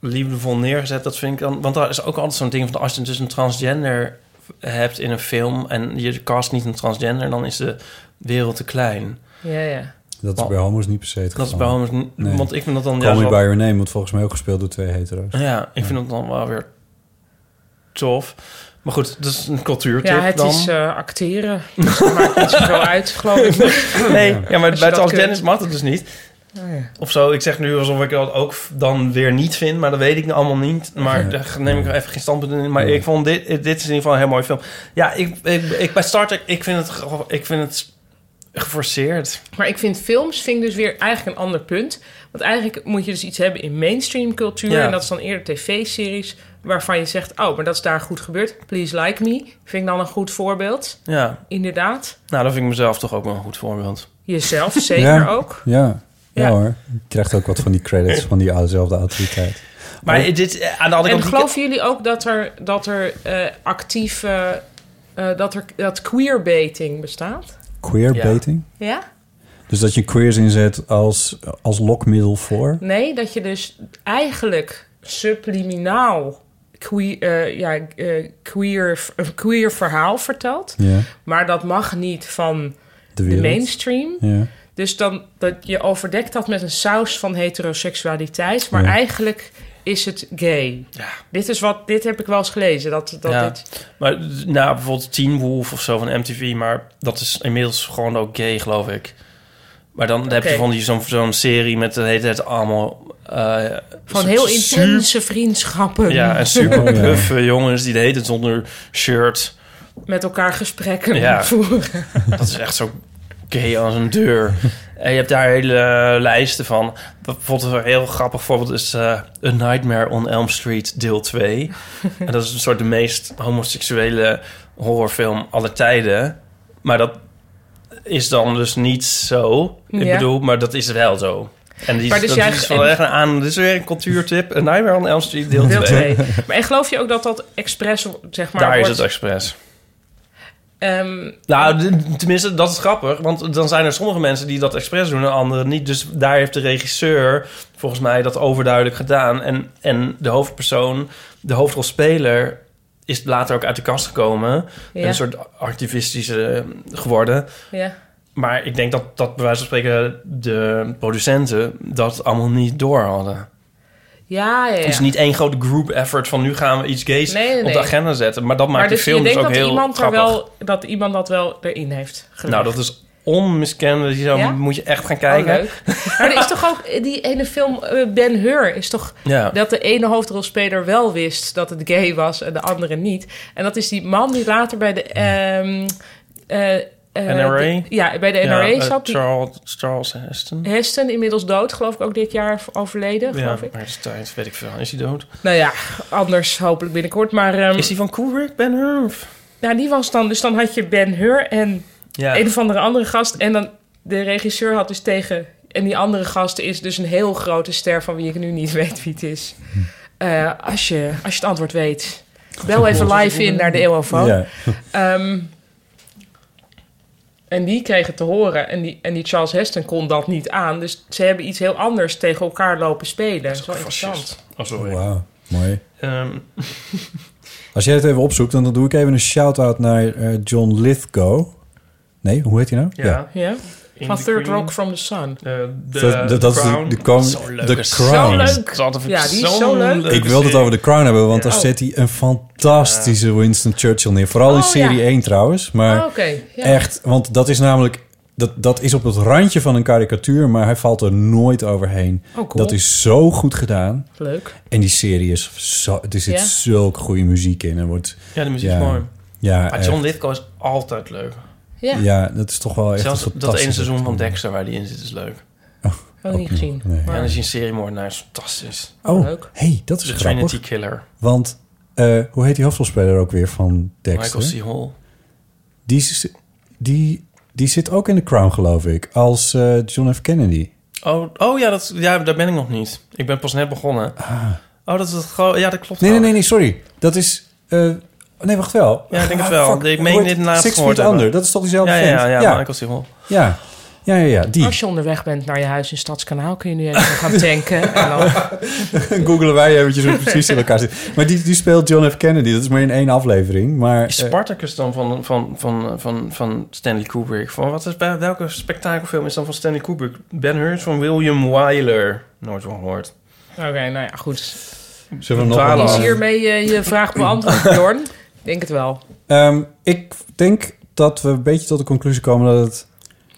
F: liefdevol neergezet. Dat vind ik dan... Want daar is ook altijd zo'n ding van... als je dus een transgender hebt in een film... en je cast niet een transgender... dan is de wereld te klein.
C: Ja, ja.
G: Dat is bij homo's niet per se het
F: Oh. Dat is bij
G: geval.
F: homo's... niet-
G: Nee.
F: Want ik vind dat dan...
G: Call
F: juist
G: Me By
F: wel-
G: Your Name wordt volgens mij ook gespeeld door twee hetero's.
F: Ja, ik vind dat dan wel weer tof. Maar goed, dat is een cultuurtip
C: Ja, het
F: dan.
C: is eh, acteren. Dus dat maakt niet zoveel uit, geloof ik.
F: Nee, ja, maar
C: Als je
F: bij
C: dat
F: transgenders
C: kunt. Oh,
F: mag dat dus niet. Of zo, ik zeg nu alsof ik dat ook dan weer niet vind, maar dat weet ik allemaal niet. Maar daar neem ik even geen standpunt in. Maar ik vond dit, dit is in ieder geval een heel mooi film. Ja, ik, ik, ik bij Star Trek, ik vind het, ge- ik vind het geforceerd.
C: Maar ik vind films vind ik dus weer eigenlijk een ander punt. Want eigenlijk moet je dus iets hebben in mainstream cultuur.
F: Ja.
C: En dat is dan eerder tv-series waarvan je zegt... oh, maar dat is daar goed gebeurd. Please Like Me vind ik dan een goed voorbeeld.
F: Ja,
C: Inderdaad.
F: nou, dat vind ik mezelf toch ook wel een goed voorbeeld.
C: Jezelf zeker
G: Ja.
C: ook.
G: Ja. Ja,
C: Ja.
G: hoor. Je krijgt ook wat van die credits van diezelfde autoriteit.
F: Maar dit, eh, aan de andere
C: En
F: kant... die-
C: geloven jullie ook dat er, dat er eh, actief... eh, eh, dat er dat queerbaiting bestaat?
G: Queerbaiting?
C: Ja?
G: Dus dat je queers inzet als, als lokmiddel voor?
C: Nee, dat je dus eigenlijk subliminaal queer, eh, ja, eh, queer, een queer verhaal vertelt.
G: Ja,
C: Maar dat mag niet van
G: de
C: de
G: wereld.
C: mainstream.
G: Ja.
C: Dus dan dat je al verdekt had met een saus van heteroseksualiteit. Maar
G: Ja.
C: eigenlijk is het gay. Dit is wat, dit heb ik wel eens gelezen. Dat, dat
F: ja.
C: dit,
F: Maar nou, bijvoorbeeld Teen Wolf of zo van MTV, maar dat is inmiddels gewoon ook gay, geloof ik. Maar dan heb je
C: Oké.
F: van die zo'n zo'n serie met de hele tijd allemaal... eh,
C: van
F: su-
C: heel
F: su-
C: intense vriendschappen.
F: Ja, en super
G: Oh, ja.
F: buffe jongens die de hele tijd zonder shirt.
C: Met elkaar gesprekken
F: Ja.
C: voeren.
F: Dat is echt zo gay als een deur. En je hebt daar hele eh, lijsten van. Bijvoorbeeld een heel grappig voorbeeld is eh A Nightmare on Elm Street deel 2. En dat is een soort de meest homoseksuele horrorfilm aller tijden. Maar dat is dan dus niet zo. Ik
C: Ja.
F: bedoel, maar dat is wel zo. En
C: Maar
F: die, maar
C: dus
F: dat
C: jij-
F: is wel echt een aan. Dit is weer een cultuurtip. A Nightmare on Elm Street deel
C: Deel
F: 2.
C: twee. Maar en geloof je ook dat dat expres, zeg maar,
F: Daar is
C: wordt,
F: het expres.
C: ehm,
F: Nou, d- tenminste, dat is grappig. Want dan zijn er sommige mensen die dat expres doen en anderen niet. Dus daar heeft de regisseur volgens mij dat overduidelijk gedaan. En, en de hoofdpersoon, de hoofdrolspeler, is later ook uit de kast gekomen.
C: Ja.
F: Een soort activistische eh, geworden.
C: ja.
F: Maar ik denk dat, dat bij wijze van spreken de producenten dat allemaal niet door hadden.
C: Ja, ja, ja.
F: Het is niet één grote group effort van nu gaan we iets gays
C: Nee, nee,
F: op
C: nee.
F: de agenda zetten. Maar dat maakt
C: maar
F: de
C: dus je
F: film dus
C: denkt
F: ook
C: dat
F: heel
C: iemand, er
F: grappig.
C: wel, dat iemand dat wel erin heeft gelegd.
F: Nou, dat is onmiskenbaar. Die zou,
C: Ja?
F: moet je echt gaan
C: Oh,
F: kijken.
C: leuk. maar er is toch ook eh, die ene film eh, Ben Hur is toch
F: Ja.
C: dat de ene hoofdrolspeler wel wist dat het gay was en de andere niet. En dat is die man die later bij de ehm, eh, eh,
F: NRA?
C: de- ja, bij de NRA
F: eh,
C: zat. Die
F: Charles, Charles Heston.
C: Heston inmiddels dood, geloof ik ook dit jaar overleden,
F: Ja,
C: geloof ik.
F: maar is tijd, weet ik veel. Is hij dood?
C: Nou ja, anders hopelijk binnenkort. Maar ehm,
F: Is hij van Kubrick, Ben Hur?
C: nou, die was dan, dus dan had je Ben Hur en
F: Ja.
C: een of andere andere gast. En dan de regisseur had dus tegen. En die andere gast is dus een heel grote ster van wie ik nu niet weet wie het is. Eh, als, je, als je het antwoord weet, bel even live in naar de EOFO.
G: Ja.
C: Ehm, en die kregen te horen. En die, en die Charles Heston kon dat niet aan. Dus ze hebben iets heel anders tegen elkaar lopen spelen. Dat is wel interessant.
F: Fascist. Oh, sorry.
G: Wauw, mooi.
F: Ehm,
G: Als jij het even opzoekt, dan doe ik even een shout-out naar eh, John Lithgow. Nee, hoe heet hij nou?
F: ja.
C: Ja?
F: In
C: Van
F: the
C: Third
F: Queen.
C: Rock from the Sun.
F: Eh, de,
G: Dat- dat-
F: de
G: dat is de-
F: Crown.
G: de koning-
F: Zo'n leuke
G: de Crown.
F: serie.
C: Zo leuk.
F: Dat vind ik
C: Ja, die is
F: zo'n
C: zo leuk.
F: leuke
G: Ik wilde het
F: serie.
G: over de Crown hebben, want daar
C: Oh.
G: zet hij een fantastische Winston Churchill neer. Vooral in
C: Oh,
G: serie
C: ja.
G: 1 trouwens. Maar
C: Ah, oké, ja.
G: echt, want dat is namelijk... Dat, dat is op het randje van een karikatuur, maar hij valt er nooit overheen.
C: Oh, cool.
G: Dat is zo goed gedaan.
C: Leuk.
G: En die serie is zo... Er zit
C: Ja.
G: zulke goede muziek in. En wordt,
F: Ja, de muziek
G: Ja.
F: is mooi.
G: ja,
F: Maar John
G: echt-
F: Lithgow is altijd leuk.
C: Ja,
G: ja, dat is toch wel echt
F: Zelfs
G: een
F: dat ene
G: fantastische-
F: seizoen van Dexter waar die in zit is leuk.
C: ook niet gezien.
G: Nee.
F: Ja,
C: Maar-
F: dan is hij een seriemoordenaar. is fantastisch.
G: Oh,
C: Leuk.
G: hey, dat is
F: De
G: grappig.
F: Trinity Killer.
G: Want eh, hoe heet die hoofdrolspeler ook weer van Dexter?
F: Michael C. Hall.
G: Die, is- die, die zit ook in The Crown, geloof ik. Als eh, John F. Kennedy.
F: Oh, oh ja, dat, ja, daar ben ik nog niet. Ik ben pas net begonnen. Oh, dat is het gewoon... Ja, dat klopt
G: Ah. Nee, nee,
F: wel.
G: nee, nee, sorry. Dat is... eh, nee, wacht wel.
F: Ja, ik denk het
G: Ah,
F: wel.
G: fuck.
F: Ik meen
G: Hoe heet-
F: dit laatst
G: Six
F: gehoord
G: Feet Under.
F: hebben.
G: Dat is toch diezelfde
F: Ja,
G: vent?
F: ja, ja,
G: ja,
F: Michael Siegel.
G: ja, ja, ja, ja, die.
C: Als je onderweg bent naar je huis in Stadskanaal, kun je nu even gaan tanken. En dan,
G: Googelen wij eventjes hoe het precies in elkaar zit. Maar die, die speelt John F. Kennedy. Dat is maar in één aflevering. Maar
F: Is
G: eh,
F: Spartacus dan van, van, van, van, van Stanley Kubrick? Van wat is, bij- welke spektakelfilm is dan van Stanley Kubrick? Ben Hur is van William Wyler. Nooit van gehoord.
C: Oké, nou ja, goed.
G: zullen we hem nog
F: Twaalf.
C: Is
G: wel-
C: hiermee eh, je vraag beantwoord, Jorn? Ik Denk het wel.
G: Ehm, ik denk dat we een beetje tot de conclusie komen dat het,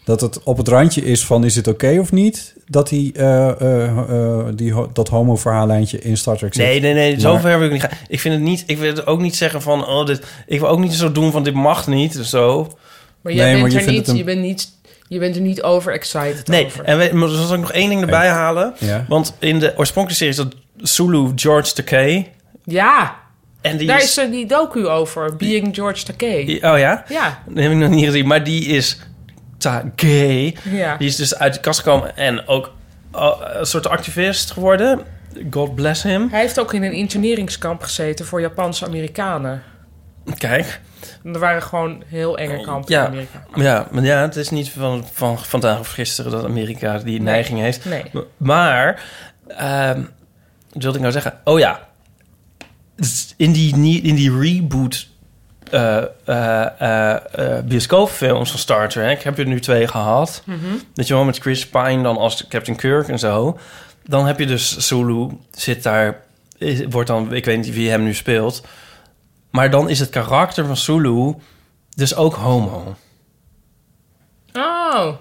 G: dat het op het randje is van is het oké of niet? Dat die, eh, eh, eh, die, ho- dat homo-verhaallijntje in Star Trek zit.
F: Nee, nee, nee.
G: Maar-
F: Zover wil ik niet gaan. Ik vind het niet... Ik wil het ook niet zeggen van... Oh, dit, ik wil ook niet zo doen van dit mag niet. of Zo.
C: Maar jij
G: Nee,
C: bent
G: maar je
C: er
G: vindt
C: niet,
G: het een-
C: je bent niet, je bent er niet overexcited
F: Nee.
C: over.
F: En we, maar zal ik nog één ding erbij halen?
G: Ja.
F: Want in de oorspronkelijke serie is dat Zulu George Takei.
C: Ja,
F: En die
C: daar is eh, die docu over, Being George Takei.
F: Oh ja?
C: Ja,
F: Dat heb ik nog niet gezien. Maar die is ta gay.
C: ja.
F: Die is dus uit de kast gekomen en ook eh, een soort activist geworden. God bless him.
C: Hij heeft ook in een interneringskamp gezeten voor Japanse Amerikanen.
F: Kijk.
C: Er waren gewoon heel enge kampen
F: Oh, Ja.
C: in Amerika.
F: Ja, maar ja, het is niet van, van vandaag of gisteren dat Amerika die neiging heeft.
C: Nee.
F: M- Maar, ehm, Dus wat wilde ik nou zeggen? Oh ja, in die, nie- in die reboot eh, eh, eh, eh, bioscoopfilms van Star Trek. Heb je er nu twee gehad.
C: Mhm.
F: Dat je wel met Chris Pine dan als Captain Kirk en zo. Dan heb je dus Zulu zit daar. is- wordt dan, ik weet niet wie hem nu speelt. Maar dan is het karakter van Zulu dus ook homo.
C: Oh.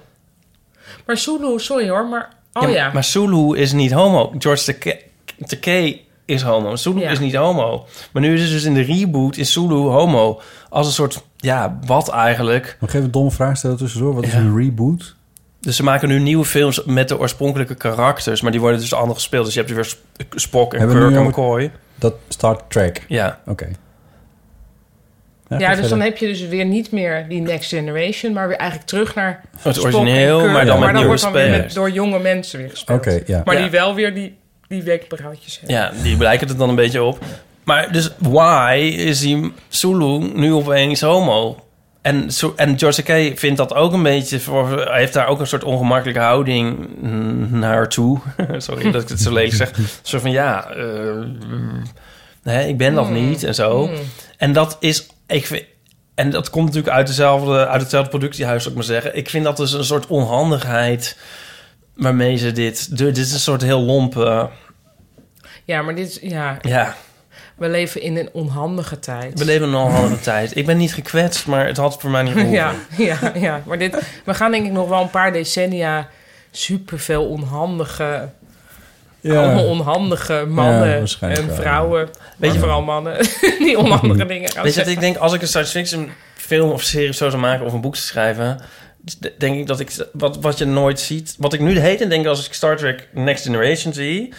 C: Maar Zulu, sorry hoor, maar... Oh ja.
F: maar- Maar Zulu is niet homo. George Takei Takei is homo. Zulu
C: Ja.
F: is niet homo. Maar nu is het dus in de reboot is Zulu homo. Als een soort, ja, wat eigenlijk.
G: Nog even een domme vraag stellen tussendoor. Wat is een reboot?
F: Dus ze maken nu nieuwe films met de oorspronkelijke karakters. Maar die worden dus anders gespeeld. Dus je hebt weer Sp- Spock en
G: Hebben we
F: Kirk
G: nu
F: en
G: over-
F: McCoy.
G: Dat Star Trek.
F: Ja.
G: Oké.
C: Ja, dus dan
G: heb
C: heb je dus weer niet meer die next generation, maar weer eigenlijk terug naar
F: Het
C: Spock en
F: origineel,
C: Kirk.
F: maar dan met nieuwe
C: wordt dan weer
F: spelers.
C: met- door jonge mensen weer gespeeld.
G: Oké, ja.
C: Maar
F: Ja.
C: die wel weer die, die wenkbrauwtjes hebben.
F: Ja, die lijken het dan een beetje op. Maar dus why is die Zulu nu opeens homo? En, Zo- en George Takei vindt dat ook een beetje... Voor, hij heeft daar ook een soort ongemakkelijke houding mm, naar toe. Sorry dat ik het zo lelijk zeg. Zo van, ja, eh, mm, nee, ik ben dat niet en zo. En dat is... Ik vind, en dat komt natuurlijk uit, dezelfde, uit hetzelfde productiehuis, zou ik maar zeggen. Ik vind dat dus een soort onhandigheid waarmee ze dit... Dit is een soort heel lompe...
C: Ja, maar dit is, ja,
F: Ja,
C: we leven in een onhandige tijd.
F: We leven nog een andere tijd. Ik ben niet gekwetst, maar het had voor mij niet gehoeven.
C: ja, ja, ja, maar dit, we gaan denk ik nog wel een paar decennia superveel onhandige, allemaal onhandige
G: Ja,
C: mannen
G: waarschijnlijk
C: en
G: wel,
C: vrouwen. Weet je,
F: je-
C: vooral mannen die onhandige dingen gaan
F: Weet je, dat
C: zeggen.
F: ik denk, als ik een science fiction film of serie of zo zou maken of een boek zou schrijven, d- denk ik dat ik wat, wat je nooit ziet. Wat ik nu heet en denk als ik Star Trek Next Generation zie,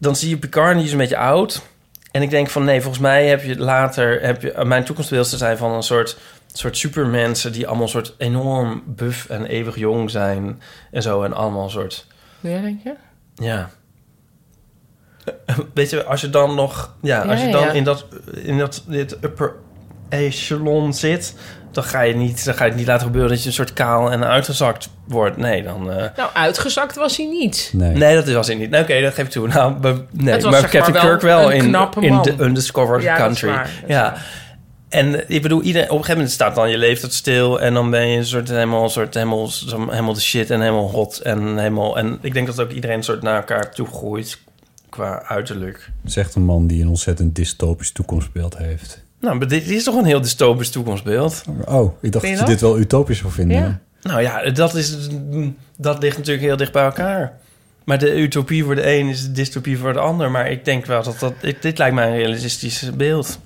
F: dan zie je Picard en die is een beetje oud. En ik denk van nee, volgens mij heb je later, heb je, mijn toekomstbeelden zijn van een soort, soort supermensen die allemaal een soort enorm buff en eeuwig jong zijn en zo en allemaal een soort.
C: Ja, denk je?
F: Ja. Weet je, als je dan nog... Ja, als
C: Ja,
F: je dan
C: ja.
F: in dat... In dat dit upper echelon zit... Dan ga, je niet, dan ga je het niet laten gebeuren dat je een soort kaal en uitgezakt wordt. Nee, dan... eh,
C: Nou, uitgezakt was hij niet.
G: Nee.
F: nee, dat was in niet. Nou, Oké, dat geef ik toe. Nou, we- nee,
C: Het was
F: maar
C: zeg
F: Captain
C: maar wel
F: Kirk wel
C: een
F: in,
C: knappe
F: in
C: man.
F: The Undiscovered
C: Ja, dat is
F: Country.
C: waar, dat is
F: ja. En eh, ik bedoel, iedereen, op een gegeven moment staat dan je leeftijd stil... en dan ben je een soort helemaal, een soort helemaal, zo- helemaal de shit en helemaal hot. En, helemaal, en ik denk dat ook iedereen een soort naar elkaar toe groeit qua uiterlijk.
G: Zegt een man die een ontzettend dystopisch toekomstbeeld heeft.
F: Nou, maar dit is toch een heel dystopisch toekomstbeeld?
G: Oh, ik dacht
C: je
G: dat je
C: dat?
G: dit wel utopisch zou vinden.
C: Ja.
F: Nou ja, dat, is, dat ligt natuurlijk heel dicht bij elkaar. Maar de utopie voor de een is de dystopie voor de ander. Maar ik denk wel dat dat... ik- dit lijkt mij een realistisch beeld.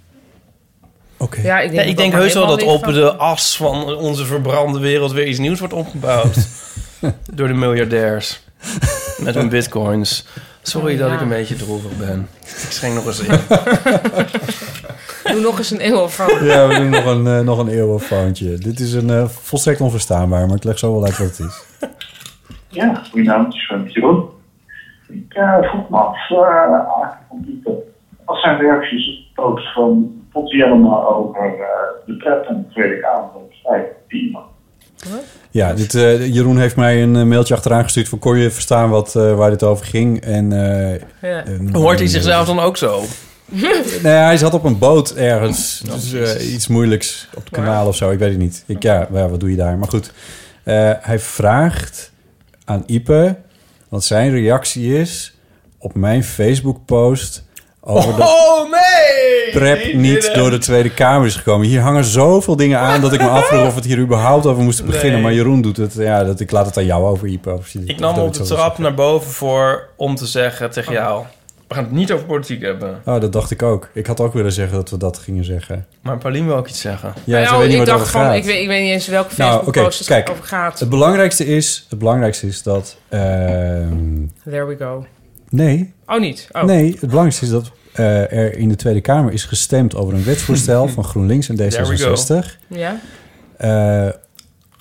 G: Oké.
C: Ja, ik
F: Ja,
C: denk,
F: ik
C: dat
F: denk
C: maar
F: heus wel dat
C: helemaal
F: op
C: niet
F: de as van onze verbrande wereld... weer iets nieuws wordt opgebouwd. door de miljardairs. Met hun bitcoins. Sorry
C: Oh,
F: dat
C: ja.
F: ik een beetje droevig ben. Ik schenk nog eens in.
C: van- Doe nog eens een eeuw van.
G: Ja, we doen nog een, eh, nog een eeuwenfoontje. Dit is een eh, volstrekt onverstaanbaar, maar ik leg zo wel uit wat het is.
I: Ja, goedenavond, ik ben Jeroen. Ik eh, vroeg me af, eh, eigenlijk van Dieter, wat zijn reacties op de post van Potti Jellema over eh, de pret en de Tweede Kamer? Dat is eigenlijk die iemand.
G: Ja, dit, eh, Jeroen heeft mij een eh, mailtje achteraan gestuurd van kon je verstaan wat, eh, waar dit over ging. En, eh,
C: Ja.
G: en-
F: Hoort hij zichzelf dan ook zo?
G: Nee, nou hij zat op een boot ergens. Dus eh, iets moeilijks op het kanaal of zo. Ik weet het niet. Ik, ja, ja, wat doe je daar? Maar goed, eh, hij vraagt aan Ipe wat zijn reactie is op mijn Facebook-post over dat
F: Oh, nee!
G: prep niet door de Tweede Kamer is gekomen. Hier hangen zoveel dingen aan dat ik me afvroeg of we het hier überhaupt over moesten beginnen.
F: Nee.
G: Maar Jeroen doet het. Ja, dat, ik laat het aan jou over, Ipe. Of je-
F: Ik
G: of
F: nam
G: dat
F: op
G: ik
F: de
G: zo wil
F: trap naar boven voor om te zeggen tegen
C: Oh.
F: jou... We gaan het niet over politiek hebben.
G: zeggen. Oh, dat dacht ik ook. Ik had ook willen zeggen dat we dat gingen zeggen.
F: Maar Paulien wil ook iets zeggen.
G: Ja, ze
C: Nou,
G: weet niet
C: ik
G: waar het
C: dacht
G: over
C: van,
G: gaat.
C: ik weet, ik weet niet eens welke
G: Nou,
C: Facebook post
G: oké, kijk.
C: het over gaat.
G: Het belangrijkste is, het belangrijkste is dat. ehm,
C: There we go.
G: nee,
C: Oh, niet? Oh.
G: nee, het belangrijkste is dat eh, er in de Tweede Kamer is gestemd over een wetsvoorstel van GroenLinks en D66.
C: Ja?
G: eh,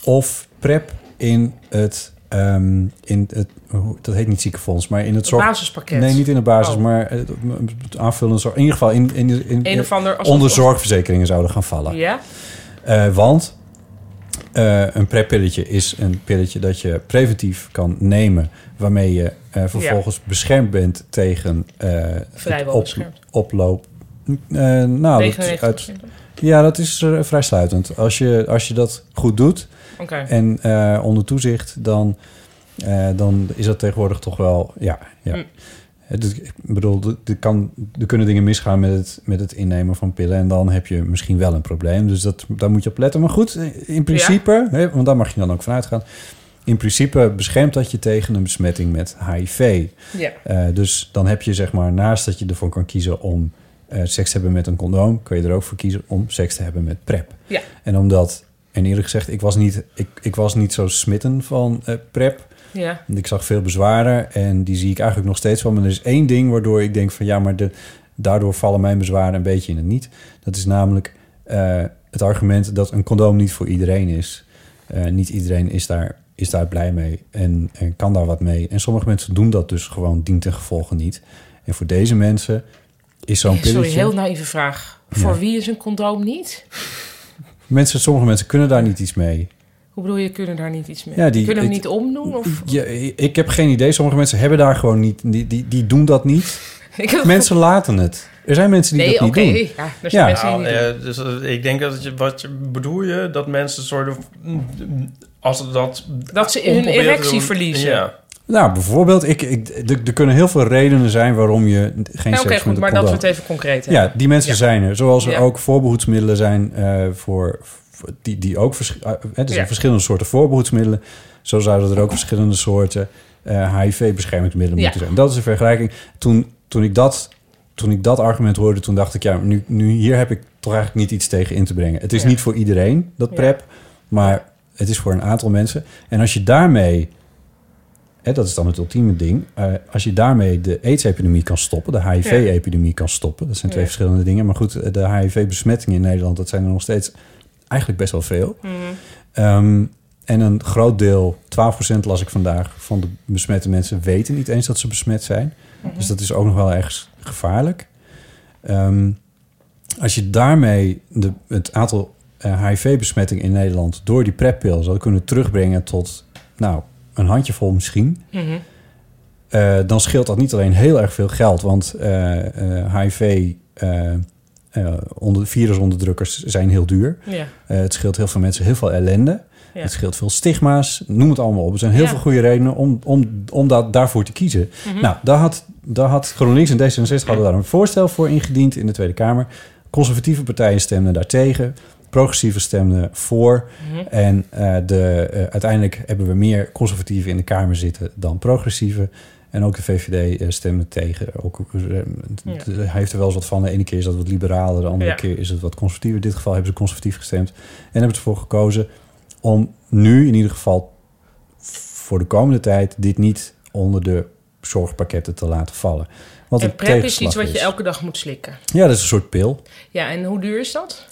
G: of PrEP in het, ehm, in het hoe- dat heet niet ziekenfonds, maar in het zorg.
C: Basispakket.
G: Nee, niet in de basis,
C: Oh.
G: maar eh, het aanvullende zorg. In ieder geval in, in, in,
C: Een of ander... als-
G: onder zorgverzekeringen zouden gaan vallen.
C: Ja?
G: Eh, want eh, een preppilletje is een pilletje dat je preventief kan nemen... waarmee je eh, vervolgens beschermd bent tegen... eh, het
C: Vrijwel beschermd.
G: Oploop. Eh, nou, dat-
C: 99%.
G: uit, Ja, dat is eh, vrij sluitend. Als je, als je dat goed doet
C: Oké.
G: en eh, onder toezicht, dan, eh, dan is dat tegenwoordig toch wel. Ja, ja.
C: Mm.
G: Het is- ik bedoel, er- er, kan, er kunnen dingen misgaan met het, met het innemen van pillen. En dan heb je misschien wel een probleem. Dus dat, daar moet je op letten. Maar goed, eh, in principe, hè, want daar mag je dan ook van uitgaan. In principe beschermt dat je tegen een besmetting met HIV.
C: Ja.
G: Eh, dus dan heb je zeg maar, naast dat je ervoor kan kiezen om eh, seks te hebben met een condoom, kun je er ook voor kiezen om seks te hebben met PrEP.
C: Ja.
G: En omdat, en eerlijk gezegd, ik was niet, ik, ik was niet zo smitten van eh, PrEP.
C: Ja.
G: Ik zag veel bezwaren en die zie ik eigenlijk nog steeds wel. Maar er is één ding waardoor ik denk van ja, maar de, daardoor vallen mijn bezwaren een beetje in het niet. Dat is namelijk eh, het argument dat een condoom niet voor iedereen is. Eh, niet iedereen is daar, is daar blij mee en, en kan daar wat mee. En sommige mensen doen dat dus gewoon dien ten gevolge niet. En voor deze mensen is zo'n pilletje...
C: Sorry, heel naïeve vraag. Voor wie is een condoom niet?
G: mensen, sommige mensen kunnen daar niet iets mee.
C: Hoe bedoel je, kunnen daar niet iets mee?
G: Ja, die-
C: kunnen hem
G: het-
C: niet omdoen? Of...
G: Ja, ik heb geen idee. Sommige mensen hebben daar gewoon niet... Die, die, die doen dat niet.
C: Ik heb-
G: Mensen laten het. Er zijn mensen die
C: Nee,
G: dat
C: oké.
G: niet doen.
C: Ja, er zijn
G: Ja.
C: mensen die
F: Nou,
C: niet doen.
F: eh, dus eh, ik denk dat je, wat je, bedoel je, dat mensen soort of, als ze dat...
C: Dat ze hun
F: proberen te
C: erectie
F: doen-
C: verliezen.
F: Ja.
G: Nou, bijvoorbeeld, ik, ik, er- er kunnen heel veel redenen zijn waarom je geen
C: Ja, Nou, Oké,
G: seks met
C: goed,
G: een
C: maar dat we
G: condoom-
C: het even concreet hebben.
G: Ja, die mensen
C: Ja.
G: zijn er. Zoals er
C: Ja.
G: ook voorbehoedsmiddelen zijn eh, voor, voor- die, die ook vers, eh, hè, er zijn
C: Ja.
G: verschillende soorten voorbehoedsmiddelen. Zo zouden er ook verschillende soorten eh, HIV-beschermingsmiddelen
C: Ja.
G: moeten zijn. Dat is een vergelijking. Toen, toen, ik dat, toen ik dat argument hoorde, toen dacht ik, ja, nu, nu hier heb ik toch eigenlijk niet iets tegen in te brengen. Het is
C: Ja.
G: niet voor iedereen, dat
C: Ja.
G: PrEP, maar het is voor een aantal mensen. En als je daarmee hè, dat is dan het ultieme ding. Eh, als je daarmee de AIDS-epidemie kan stoppen, de HIV-epidemie kan stoppen, dat zijn twee
C: Ja.
G: verschillende dingen. Maar goed, de HIV-besmettingen in Nederland, dat zijn er nog steeds eigenlijk best wel veel.
C: Mhm.
G: Ehm, en een groot deel, 12% las ik vandaag, van de besmette mensen weten niet eens dat ze besmet zijn.
C: Mhm.
G: Dus dat is ook nog wel ergens gevaarlijk. Ehm, als je daarmee de, het aantal eh, HIV-besmettingen in Nederland door die preppil zou kunnen terugbrengen tot, nou, een handjevol misschien.
C: Mhm.
G: Eh, dan scheelt dat niet alleen heel erg veel geld. Want eh, eh, HIV, eh, eh, onder, virusonderdrukkers zijn heel duur.
C: Ja.
G: Eh, het scheelt heel veel mensen heel veel ellende.
C: Ja.
G: Het scheelt veel stigma's, noem het allemaal op. Er zijn heel
C: Ja. Mhm.
G: veel goede redenen om, om, om dat, daarvoor te kiezen. Nou, daar had, daar had GroenLinks en D66 hadden daar een voorstel voor ingediend in de Tweede Kamer. Conservatieve partijen stemden daartegen. Progressieve stemden voor.
C: Mhm.
G: En eh, de, eh, uiteindelijk hebben we meer conservatieven in de Kamer zitten dan progressieve. En ook de VVD eh, stemde tegen. Ook, eh,
C: Ja.
G: Hij heeft er wel eens wat van. De ene keer is dat wat liberaler, de andere
C: Ja.
G: keer is het wat conservatiever. In dit geval hebben ze conservatief gestemd. En hebben ze ervoor gekozen om nu in ieder geval voor de komende tijd dit niet onder de zorgpakketten te laten vallen. Want
C: En
G: een
C: Eh, PrEP is
G: tegenslag
C: iets wat je elke dag moet slikken.
G: Ja, dat is een soort pil.
C: Ja, en hoe duur is dat?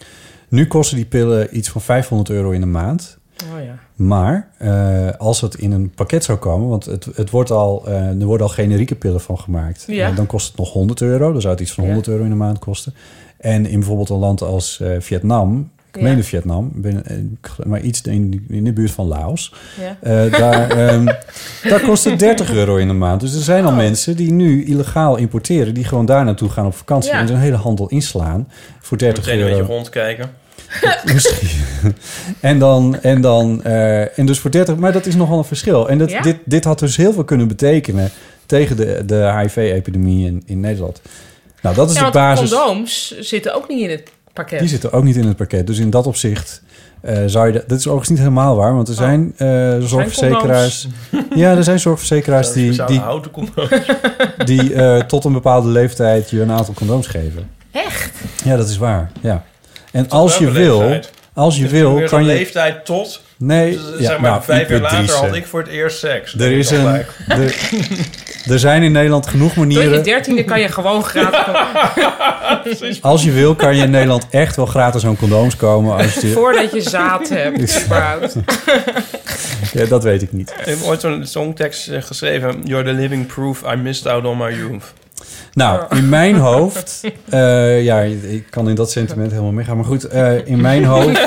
G: Nu kosten die pillen iets van 500 euro in de maand.
C: Oh ja.
G: Maar eh, als het in een pakket zou komen, want het, het wordt al, eh, er worden al generieke pillen van gemaakt,
C: Ja.
G: Eh, dan kost het nog 100 euro. Dan zou het iets van
C: Ja.
G: 100 euro in de maand kosten. En in bijvoorbeeld een land als eh, Vietnam, ik
C: Ja.
G: meende Vietnam, ben- eh, ik geloof- maar iets in, in de buurt van Laos,
C: ja.
G: eh, daar, ehm, daar kost het 30 euro in de maand. Dus er zijn al
C: Oh.
G: mensen die nu illegaal importeren, die gewoon daar naartoe gaan op vakantie
C: Ja.
G: en zo'n hele handel inslaan voor 30
F: Meteen een
G: euro.
F: beetje rondkijken.
G: Misschien. en dan, en dan, eh, en dus voor 30, maar dat is nogal een verschil. En dat,
C: Ja?
G: dit, dit had dus heel veel kunnen betekenen tegen de, de HIV-epidemie in, in Nederland. Nou, dat is
C: Ja,
G: de
C: want
G: basis.
C: condooms zitten ook niet in het pakket.
G: Die zitten ook niet in het pakket. Dus in dat opzicht eh, zou je... Dat, dat is overigens niet helemaal waar, want er zijn eh, zorgverzekeraars... Ja, er zijn zorgverzekeraars
F: Die,
G: die, die,
F: dus houten condooms.
G: die eh, tot een bepaalde leeftijd je een aantal condooms geven. Echt? Ja, dat is waar, ja. En als je
F: welke
G: wil,
F: leeftijd?
G: als je
F: Dus toen
G: wil,
F: weer
G: kan
F: zo'n
G: je...
F: leeftijd tot,
G: Nee,
F: dus, zeg maar,
G: nou,
F: vijf jaar
G: Ipe
F: later had
G: Driessen.
F: ik voor het eerst seks.
G: Er, is een, er, er zijn in Nederland genoeg
C: Tot je
G: manieren.
C: dertiende kan je gewoon gratis...
G: Als je wil, kan je in Nederland echt wel gratis aan condooms komen. Als je,
C: voordat je zaad hebt, überhaupt.
G: ja, dat weet ik niet.
F: Ik heb ooit zo'n songtekst eh, geschreven. You're the living proof I missed out on my youth.
G: Nou, in mijn hoofd. eh, ja, ik kan in dat sentiment helemaal meegaan. Maar goed, eh, in mijn hoofd.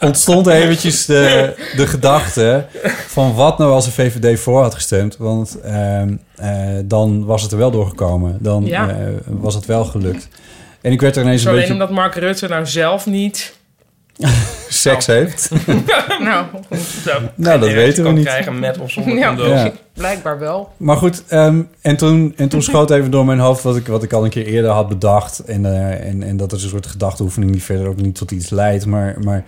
G: ontstond eventjes de, de gedachte. van wat nou als de VVD voor had gestemd. Want ehm, eh, dan was het er wel doorgekomen. Dan
C: Ja.
G: eh, was het wel gelukt. En ik werd er ineens
C: Dus
G: een
C: alleen
G: beetje
C: omdat Mark Rutte nou zelf niet...
G: seks heeft.
C: nou,
G: Nou, dat weten we
F: kan
G: niet.
F: krijgen met of zonder
C: ja,
F: condoom.
G: Ja.
C: blijkbaar wel.
G: Maar goed, ehm, en, toen, en toen schoot even door mijn hoofd wat ik, wat ik al een keer eerder had bedacht. En, eh, en, en dat is een soort gedachteoefening die verder ook niet tot iets leidt. Maar, maar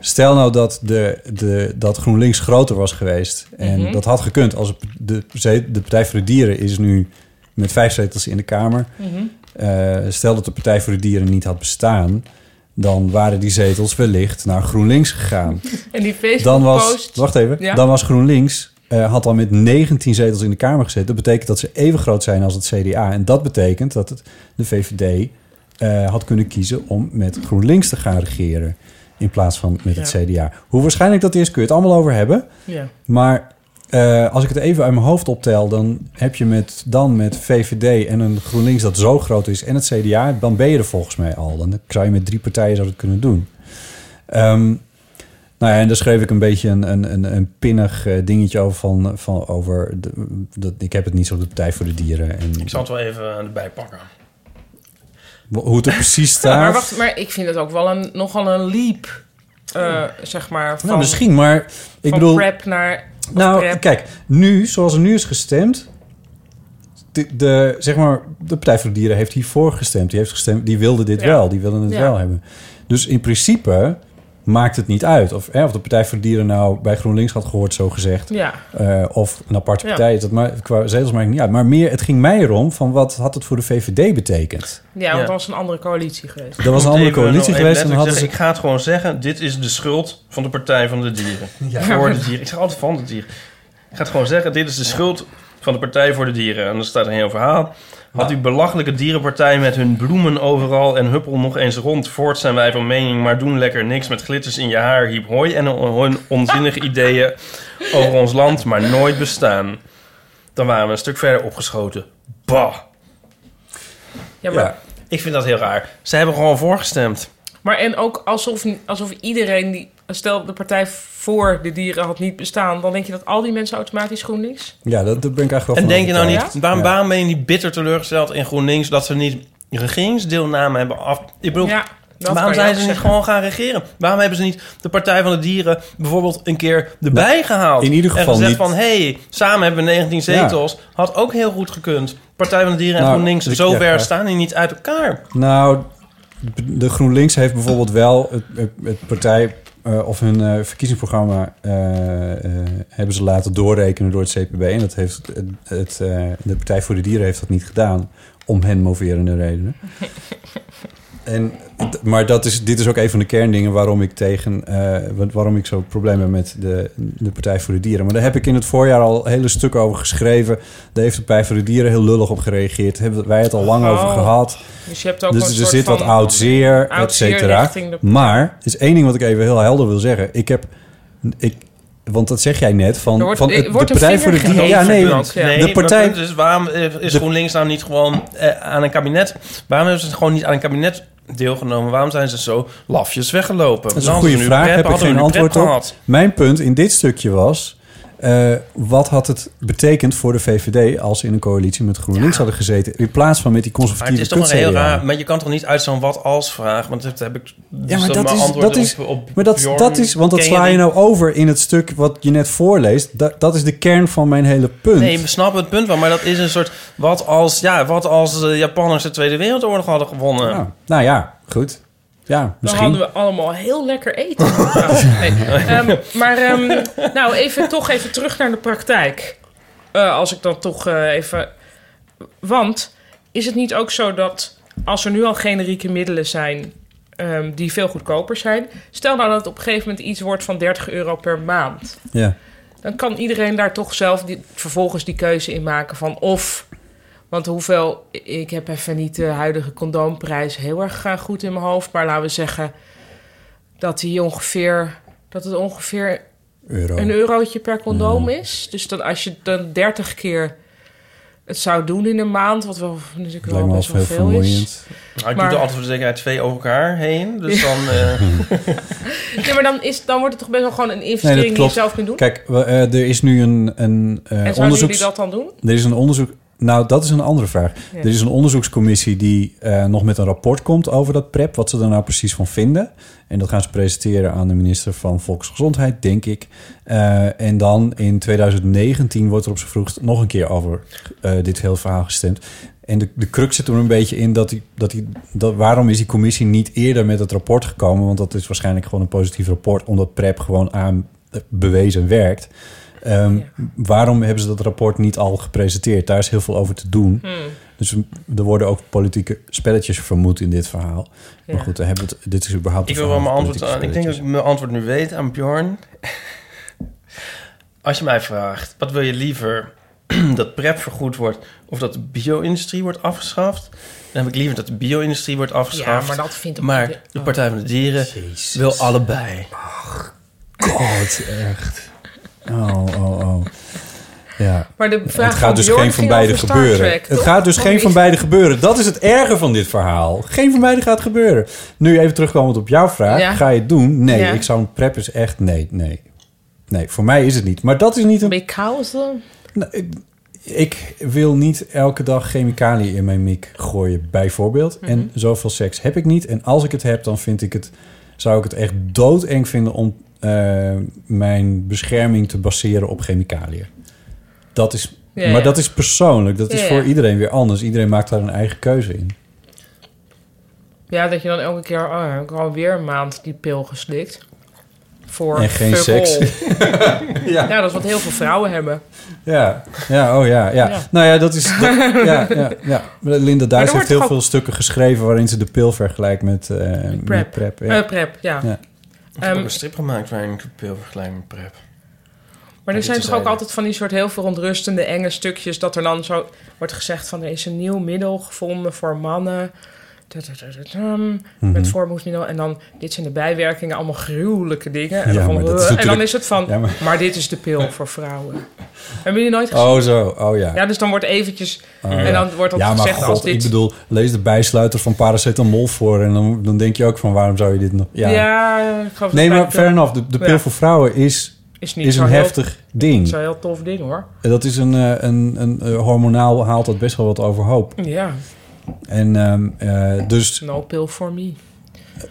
G: stel nou dat, de, de, dat GroenLinks groter was geweest. En
C: Mhm.
G: dat had gekund als de, de, de Partij voor de Dieren is nu met vijf zetels in de Kamer. Eh, stel dat de Partij voor de Dieren niet had bestaan. Dan waren die zetels wellicht naar GroenLinks gegaan.
C: En die
G: Dan was,
C: Facebook-post...
G: wacht even,
C: Ja.
G: dan was GroenLinks eh, had al met 19 zetels in de Kamer gezet. Dat betekent dat ze even groot zijn als het CDA. En dat betekent dat het, de VVD eh, had kunnen kiezen om met GroenLinks te gaan regeren. In plaats van met het
C: Ja.
G: CDA. Hoe waarschijnlijk dat is, kun je het allemaal over hebben.
C: Ja.
G: Maar eh, als ik het even uit mijn hoofd optel, dan heb je met, dan met VVD en een GroenLinks dat zo groot is en het CDA, dan ben je er volgens mij al. Dan zou je met drie partijen zou het kunnen doen. Ehm, nou ja, en daar schreef ik een beetje een, een, een, een pinnig eh, dingetje over. Van, van over de, dat, ik heb het niet zo de Partij voor de Dieren. En
F: Ik zal het wel even erbij pakken.
G: Hoe het er precies staat.
C: Maar wacht, maar ik vind het ook wel een, nogal een leap, eh, zeg maar. Van,
G: nou, misschien, maar ik
C: van
G: bedoel.
C: prep naar... of
G: Nou,
C: prep.
G: kijk, nu, zoals er nu is gestemd... De, de, zeg maar, de Partij voor de Dieren heeft hiervoor gestemd. Die, heeft gestemd, die wilde dit
C: Ja.
G: wel, die wilden het
C: Ja.
G: wel hebben. Dus in principe maakt het niet uit. Of, hè, of de Partij voor de Dieren nou bij GroenLinks had gehoord, zo gezegd.
C: Ja,
G: eh, of een aparte
C: Ja.
G: partij. is Dat maar, qua zetels maakt het niet uit. Maar meer, het ging mij erom van wat had het voor de VVD betekend.
C: ja, want
F: Ja.
C: dat was een andere coalitie geweest.
G: Er was een andere
F: Even nog
G: coalitie
F: even
G: geweest en
F: letterlijk
G: dan hadden ze...
F: zeggen, Ik ga het gewoon zeggen. Dit is de schuld van de Partij van de Dieren. Voor de dieren. Ik zeg altijd van de dieren. Ik ga het gewoon zeggen. Dit is de schuld van de Partij voor de Dieren. En dan staat een heel verhaal. Had die belachelijke dierenpartij met hun bloemen overal en huppel nog eens rond. Voort zijn wij van mening, maar doen lekker niks met glitters in je haar, hiep hooi. En hun onzinnige ideeën over ons land, maar nooit bestaan. Dan waren we een stuk verder opgeschoten. Bah!
C: Ja, maar,
G: Ja.
F: Ik vind dat heel raar. Ze hebben gewoon voorgestemd.
C: maar en ook alsof, alsof iedereen die... Stel, de Partij voor de Dieren had niet bestaan... dan denk je dat al die mensen automatisch GroenLinks?
G: Ja, dat, dat ben ik eigenlijk wel
F: En
G: van
F: denk je nou
G: overtuigd.
F: niet, waarom,
G: Ja.
F: waarom ben je niet bitter teleurgesteld in GroenLinks dat ze niet regeringsdeelname hebben af. Ik bedoel,
C: Ja, dat kan
F: waarom
C: je
F: zijn
C: ook
F: ze niet
C: zeggen.
F: gewoon gaan regeren? Waarom hebben ze niet de Partij van de Dieren bijvoorbeeld een keer erbij gehaald?
G: Nou, in ieder geval
F: En gezegd
G: niet-
F: van, hé, hey, samen hebben we 19 zetels. Had ook heel goed gekund. Partij van de Dieren en
G: Nou,
F: GroenLinks,
G: ik-
F: zover
G: ja, ja.
F: staan die niet uit elkaar.
G: Nou, de GroenLinks heeft bijvoorbeeld wel het, het, het partij eh, of hun eh, verkiezingsprogramma eh, eh, hebben ze laten doorrekenen door het CPB. En dat heeft het, het, eh, de Partij voor de Dieren heeft dat niet gedaan om hen moverende redenen. En, d- maar dat is, dit is ook een van de kerndingen waarom ik tegen, eh, wa- waarom ik zo problemen heb met de, de Partij voor de Dieren. Maar daar heb ik in het voorjaar al hele stukken over geschreven. Daar heeft de Partij voor de Dieren heel lullig op gereageerd. Hebben wij het al lang
C: Oh.
G: over gehad.
C: Dus je hebt ook een
G: Dus er
C: soort
G: zit
C: van...
G: wat oud zeer,
C: oud
G: et
C: zeer
G: cetera.
C: richting de-
G: Maar er is één ding wat ik even heel helder wil zeggen. Ik heb... Ik, want dat zeg jij net, van,
C: Er wordt-
G: van
C: er wordt een vinger
G: Dieren-
C: geheven.
G: Ja, nee,
C: Ook, ja.
F: Nee,
G: de
F: maar
G: partij...
F: punt is, waarom eh, is
G: de-
F: GroenLinks nou niet gewoon eh, aan een kabinet? Waarom hebben ze gewoon niet aan een kabinet deelgenomen? Waarom zijn ze zo lafjes weggelopen?
G: Dat is een goede vraag, heb ik geen antwoord op. Mijn punt in dit stukje was... eh, wat had het betekend voor de VVD als ze in een coalitie met GroenLinks hadden gezeten... in plaats van met die
F: Maar het
G: conservatieve
F: is toch een heel
G: kut-CDA?
F: raar... Maar je kan toch niet uit zo'n wat-als-vraag? Want dat heb ik...
G: Ja,
F: dus
G: maar
F: dan
G: dat
F: mijn
G: is,
F: antwoord
G: dat is,
F: op- op
G: maar dat,
F: Bjorn
G: dat is, want dat
F: ken
G: sla je
F: die-
G: nou over in het stuk wat je net voorleest. Dat, dat is de kern van mijn hele punt.
F: Nee, we snappen het punt wel. Maar dat is een soort... Wat als, ja, wat als de Japanners de Tweede Wereldoorlog hadden gewonnen?
G: Nou, nou ja, goed. Ja,
C: Dan
G: misschien.
C: hadden we allemaal heel lekker eten. Nou, nee. Ehm, maar ehm, nou, even, toch even terug naar de praktijk. Eh, als ik dan toch eh, even... Want is het niet ook zo dat als er nu al generieke middelen zijn... ehm, die veel goedkoper zijn... stel nou dat het op een gegeven moment iets wordt van 30 euro per maand...
G: Ja.
C: dan kan iedereen daar toch zelf die, vervolgens die keuze in maken van of... Want hoeveel, ik heb even niet de huidige condoomprijs heel erg eh, goed in mijn hoofd. Maar laten we zeggen dat, die ongeveer, dat het ongeveer
G: Euro.
C: een eurotje per condoom is. Dus dan als je dan 30 keer het zou doen in een maand, wat wel natuurlijk
G: Lijkt
C: wel
G: me al
C: best wel
G: veel
C: veel is.
G: vermoeiend.
F: Nou, ik
C: Maar-
F: doe er altijd voor de zekerheid twee over elkaar heen. Dus dan... eh,
C: Nee, maar dan, is, dan wordt het toch best wel gewoon een investering die je
G: klopt.
C: zelf kunt doen.
G: Kijk, we- eh, er is nu een, een eh,
C: en zouden
G: onderzoek.
C: jullie dat dan doen?
G: Er is een onderzoek Nou, dat is een andere vraag.
C: Ja.
G: Er is een onderzoekscommissie die eh, nog met een rapport komt over dat PrEP. Wat ze er nou precies van vinden. En dat gaan ze presenteren aan de minister van Volksgezondheid, denk ik. Eh, en dan in 2019 wordt er op z'n vroegst nog een keer over eh, dit hele verhaal gestemd. En de, de crux zit er een beetje in dat, die, dat, die, dat waarom is die commissie niet eerder met het rapport gekomen? Want dat is waarschijnlijk gewoon een positief rapport, omdat PrEP gewoon aan eh, bewezen werkt. Ehm, Waarom hebben ze dat rapport niet al gepresenteerd? Daar is heel veel over te doen.
C: Hmm.
G: Dus er worden ook politieke spelletjes vermoed in dit verhaal.
C: Ja.
G: Maar goed, dan hebben we het, dit is überhaupt
F: Ik
G: een
F: wil wel
G: verhaal
F: mijn
G: van
F: antwoord
G: politieke
F: aan. Ik denk dat ik mijn antwoord nu weet aan Bjorn. Als je mij vraagt, wat wil je liever? dat PrEP vergoed wordt of dat de bio-industrie wordt afgeschaft? Dan heb ik liever dat de bio-industrie wordt afgeschaft.
C: Ja, maar dat vindt ook-
F: Maar de Partij van de Dieren wil allebei.
G: spelletjes. God, echt. Oh, oh, oh. Ja.
C: Maar de vraag
G: het
C: van
G: gaat dus
C: Bjorn
G: geen van
C: ging
G: beide
C: over Star
G: gebeuren.
C: Trek,
G: het
C: toch?
G: gaat dus
C: Of
G: geen
C: niet?
G: van beide gebeuren. Dat is het erge van dit verhaal. Geen van beide gaat gebeuren. Nu even terugkomend op jouw vraag.
C: Ja.
G: Ga je het doen? Nee,
C: Ja.
G: ik zou een prep is echt... Nee, nee. Nee, voor mij is het niet. Maar dat is niet een...
C: Ben je chaos dan?
G: Nou, ik, ik wil niet elke dag chemicaliën in mijn mik gooien, bijvoorbeeld.
C: Mhm.
G: En zoveel seks heb ik niet. En als ik het heb, dan vind ik het, zou ik het echt doodeng vinden om eh, mijn bescherming te baseren op chemicaliën. Dat is,
C: Ja,
G: maar
C: ja.
G: dat is persoonlijk. Dat is
C: Ja,
G: voor
C: ja.
G: iedereen weer anders. Iedereen maakt daar een eigen keuze in.
C: Ja, dat je dan elke keer... Oh, heb ik alweer een maand die pil geslikt. Voor
G: En geen
C: fuck
G: seks.
C: all.
G: Ja.
C: ja, dat is wat heel veel vrouwen hebben.
G: Ja, ja, oh ja, ja.
C: Ja.
G: Nou ja, dat is. dat- ja, ja, ja. Linda Duis heeft
C: wordt
G: heel
C: toch
G: veel
C: ook-
G: stukken geschreven waarin ze de pil vergelijkt met, eh, met
C: Prep.
G: prep. ja.
C: Eh, prep, ja.
G: Ja.
F: Ik heb
C: Ehm,
F: ook een strip gemaakt waarin ik veel vergelijk met PrEP.
C: Maar er
F: Dit
C: zijn
F: is
C: toch ook
F: eigenlijk-
C: altijd van die soort heel verontrustende, enge stukjes... dat er dan zo wordt gezegd van... er is een nieuw middel gevonden voor mannen... Da, da, da, da, dam,
G: Mhm.
C: Met voormoedsmiddel. En dan, dit zijn de bijwerkingen, allemaal gruwelijke dingen. En,
G: Ja,
C: dan, van,
G: maar dat
C: "Ugh."
G: is
C: en dan
G: natuurlijk-
C: is het van,
G: Ja, maar-
C: maar... dit is de pil voor vrouwen. Hebben jullie nooit gezien?
G: Oh, zo. Oh ja. Oh,
C: Ja, dus dan wordt eventjes... en dan wordt dat
G: ja, maar
C: gezegd
G: god,
C: als dit...
G: ik bedoel, lees de bijsluiter van paracetamol voor... en dan, dan denk je ook van, waarom zou je dit nog... Ja,
C: ja, ik geloof
G: nee,
C: dat
G: maar
C: bij-
G: fair enough. De, de pil
C: Ja.
G: voor vrouwen is,
C: Is, niet
G: is
C: zo
G: een
C: heel-
G: heftig ding.
C: is een heel tof ding, hoor.
G: En Dat is een, eh, een, een, eh, hormonaal haalt dat best wel wat overhoop.
C: Ja,
G: En ehm, eh, dus,
C: no pill for me.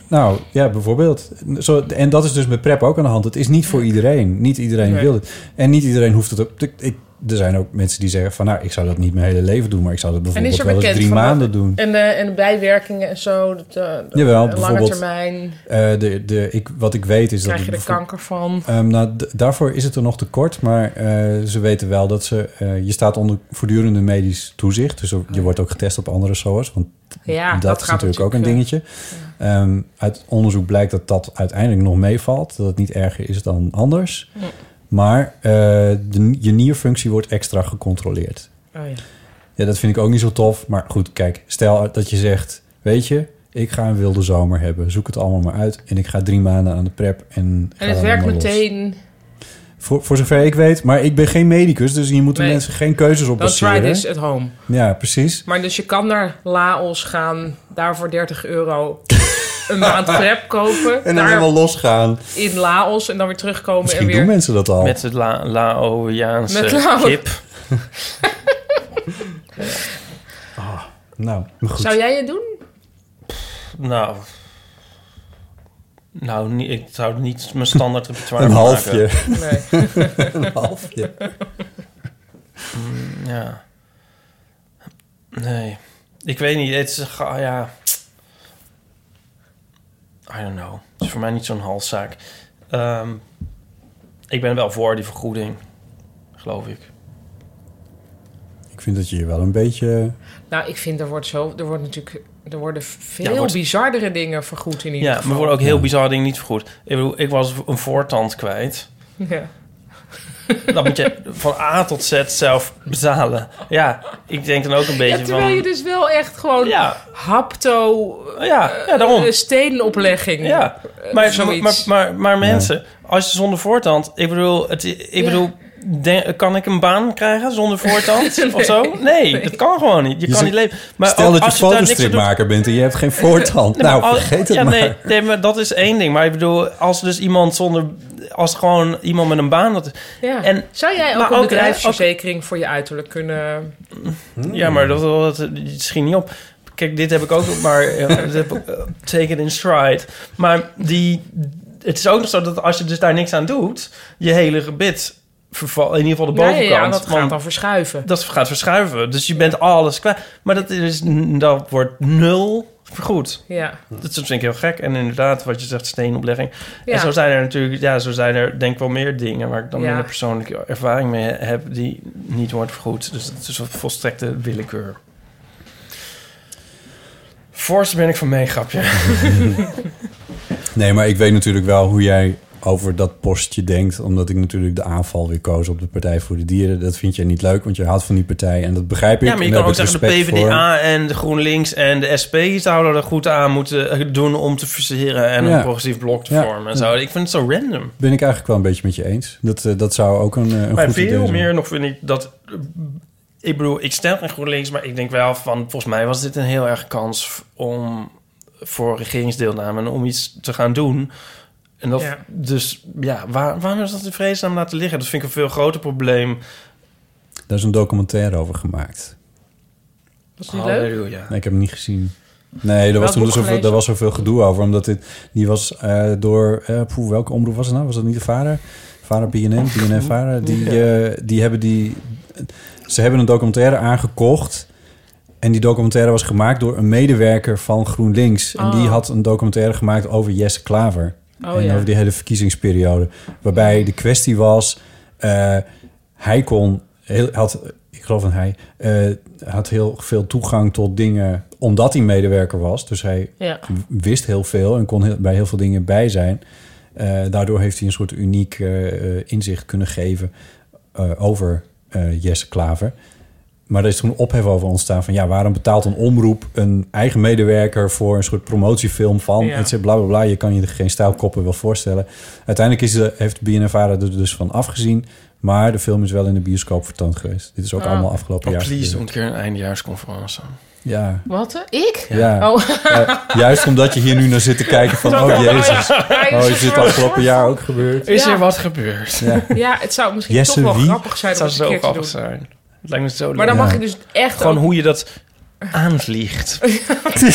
G: nou ja, bijvoorbeeld. Zo, en dat is dus met PrEP ook aan de hand. Het is niet voor iedereen. Niet iedereen
C: Nee.
G: wil het. En niet iedereen hoeft het ook... Ik, ik- er zijn ook mensen die zeggen van... nou, ik zou dat niet mijn hele leven doen... maar ik zou dat bijvoorbeeld wel eens
C: bekend
G: drie
C: van wat-
G: maanden doen.
C: En, eh, en de bijwerkingen en zo. Dat, eh, dat-
G: Jawel,
C: eh, Lange
G: bijvoorbeeld-
C: termijn
G: Eh, de, de, ik, wat ik weet is dat...
C: krijg je
G: het
C: er
G: bevo-
C: kanker van.
G: Ehm, nou, d- daarvoor is het er nog tekort, maar eh, ze weten wel dat ze... eh, je staat onder voortdurende medisch toezicht. Dus er- je wordt ook getest op andere SOA's, want
C: Ja,
G: dat,
C: dat,
G: is
C: gaat
G: natuurlijk ook een
C: eh,
G: dingetje. Ehm, uit onderzoek blijkt dat dat uiteindelijk nog meevalt. Dat het niet erger is dan anders. Maar eh, de, je nierfunctie wordt extra gecontroleerd.
C: Oh, ja.
G: Ja, dat vind ik ook niet zo tof. Maar goed, kijk, stel dat je zegt... weet je, ik ga een wilde zomer hebben. Zoek het allemaal maar uit. En ik ga drie maanden aan de prep. En, ga
C: En het
G: dan
C: werkt
G: maar los.
C: meteen.
G: Voor, voor zover ik weet. Maar ik ben geen medicus, dus hier moeten
C: Nee.
G: mensen geen keuzes op
C: Dan try
G: baseren.
C: this at home.
G: Ja, precies.
C: Maar dus je kan naar Laos gaan, daar voor 30 euro een maand prep kopen.
G: En dan
C: daar
G: helemaal losgaan.
C: in Laos en dan weer terugkomen
G: Misschien
C: en weer...
G: doen mensen dat al.
F: Met het La- Laotiaanse
C: Met Lao-
F: kip.
G: Nou, maar goed.
C: Zou jij het doen?
F: Nou... Nou, ni- ik zou niet mijn standaard repertoire
G: Een
F: maken.
G: halfje.
C: Nee.
G: Een halfje.
F: Ja. Nee. Ik weet niet. Het is... ge- Ja. I don't know. Het is voor mij niet zo'n halszaak. Ehm, ik ben wel voor die vergoeding. Geloof ik.
G: Ik vind dat je je wel een beetje...
C: Nou, ik vind er wordt zo... Er wordt natuurlijk... Er worden veel
F: Ja, wordt-
C: bizardere dingen vergoed in ieder
F: Ja, maar
C: geval.
F: er worden ook heel bizarre dingen niet vergoed. Ik bedoel, ik was een voortand kwijt.
C: Ja.
F: Dat moet je van A tot Z zelf bezalen. Ja, ik denk dan ook een beetje
C: Ja, terwijl
F: van...
C: je dus wel echt gewoon
F: Ja,
C: hapto...
F: ja, ja, daarom.
C: Eh, stedenoplegging.
F: Ja,
C: Eh,
F: maar, maar,
C: zoiets.
F: maar, maar, maar mensen, als je zonder voortand... Ik bedoel, het, ik
C: Ja.
F: bedoel denk- kan ik een baan krijgen zonder voortand of zo? Nee, dat kan gewoon niet. Je,
G: Je
F: kan
G: zegt-
F: niet leven. Maar
G: Stel
F: ook
G: dat je
F: als daar niks aan doet-
G: fotostripmaker bent en je hebt geen voortand.
F: Nee, maar
G: nou,
F: al-
G: vergeet het
F: ja,
G: maar.
F: Nee, nee, maar dat is één ding. Maar ik bedoel, als dus iemand zonder... Als gewoon iemand met een baan... Dat,
C: Ja.
F: En-
C: Zou jij ook
F: maar
C: een
F: ook, eh,
C: bedrijfsverzekering voor je uiterlijk kunnen...
F: Ja, maar dat, dat, dat schiet niet op. Kijk, dit heb ik ook, maar ja, dat heb ik, eh, take it in stride. Maar die, het is ook nog zo dat als je dus daar niks aan doet, je hele gebit vervalt. In ieder geval de
C: Nee,
F: bovenkant.
C: ja, dat gaat
F: want
C: dan verschuiven.
F: dat gaat verschuiven. Dus je bent alles kwijt. Maar dat, is, dat wordt nul vergoed.
C: Ja.
F: Dat vind ik heel gek. En inderdaad, wat je zegt, steenoplegging.
C: Ja.
F: En zo zijn er natuurlijk, ja, zo zijn er denk ik wel meer dingen waar ik dan
C: Ja.
F: minder persoonlijke ervaring mee heb die niet wordt vergoed. Dus het is een volstrekte willekeur. Voorst ben ik van mee, grapje.
G: Nee, maar ik weet natuurlijk wel hoe jij over dat postje denkt. Omdat ik natuurlijk de aanval weer koos op de Partij voor de Dieren. Dat vind jij niet leuk, want je houdt van die partij. En dat begrijp ik.
F: Ja, maar je
G: en
F: kan
G: daar
F: ook
G: heb ik
F: zeggen de
G: respect voor.
F: PvdA en de GroenLinks en de SP zouden er goed aan moeten eh, doen om te verseren en
G: Ja.
F: een progressief blok te
G: Ja.
F: vormen. En zo. Ik vind het zo random.
G: Ben ik eigenlijk wel een beetje met je eens. Dat, eh, dat zou ook een, eh, een
F: Maar
G: goed idee
F: veel
G: zijn.
F: meer nog vind ik dat... Ik bedoel, ik stem geen GroenLinks, maar ik denk wel van... Volgens mij was dit een heel erg kans om voor regeringsdeelname... en om iets te gaan doen. En dat,
C: Ja.
F: Dus ja, waar, waarom is dat in vredesnaam laten liggen? Dat vind ik een veel groter probleem.
G: Daar is een documentaire over gemaakt.
C: Was niet
F: Oh,
C: leuk?
G: Nee, ik heb hem niet gezien. Nee, daar was,
C: Welk
G: toen
C: boek
G: zoveel,
C: gelezen?
G: daar was zoveel gedoe over. Omdat dit, die was eh, door... eh poeh, welke omroep was het nou? Was dat niet de vader? Vader BNN, BNN vader. Die, eh, die hebben die... Ze hebben een documentaire aangekocht. En die documentaire was gemaakt door een medewerker van GroenLinks. En die
C: Oh.
G: had een documentaire gemaakt over Jesse Klaver.
C: Oh,
G: en
C: ja.
G: over die hele verkiezingsperiode. Waarbij de kwestie was... eh, hij kon... Heel, had, ik geloof dat hij... eh, had heel veel toegang tot dingen... omdat hij medewerker was. Dus hij
C: Ja.
G: wist heel veel en kon heel- bij heel veel dingen bij zijn. Eh, daardoor heeft hij een soort uniek eh, eh, inzicht kunnen geven eh, over eh, Jesse Klaver. Maar er is toen ophef over ontstaan van... ja, waarom betaalt een omroep een eigen medewerker... voor een soort promotiefilm van...
C: Ja.
G: et cetera, bla, bla, bla. Je kan je er geen stijlkoppen wel voorstellen. Uiteindelijk is de, heeft BNNVARA er dus van afgezien... maar de film is wel in de bioscoop vertoond geweest. Dit is ook
C: Ah.
G: allemaal afgelopen
F: Oh,
G: jaar.
F: please, doe
G: gebeurd.
F: een keer een eindejaarsconferentie.
G: Ja,
C: Wat? eh, Ik?
G: ja.
C: Oh,
G: Ja, juist omdat je hier nu naar zit te kijken van... oh jezus,
C: hij
G: oh,
C: een
G: is dit
C: soort-
G: afgelopen jaar ook gebeurd?
F: Is
C: Ja.
F: er wat gebeurd?
C: Ja, het zou misschien
G: Jesse
C: toch wel
G: wie?
C: grappig zijn
F: Het
C: om
F: zou
C: het een
F: zo
C: keer te doen.
F: grappig zijn. Het lijkt me zo leuk.
C: Maar dan
G: Ja.
C: mag je dus echt
F: Gewoon
C: ook-
F: hoe je dat aanvliegt.
C: Nou,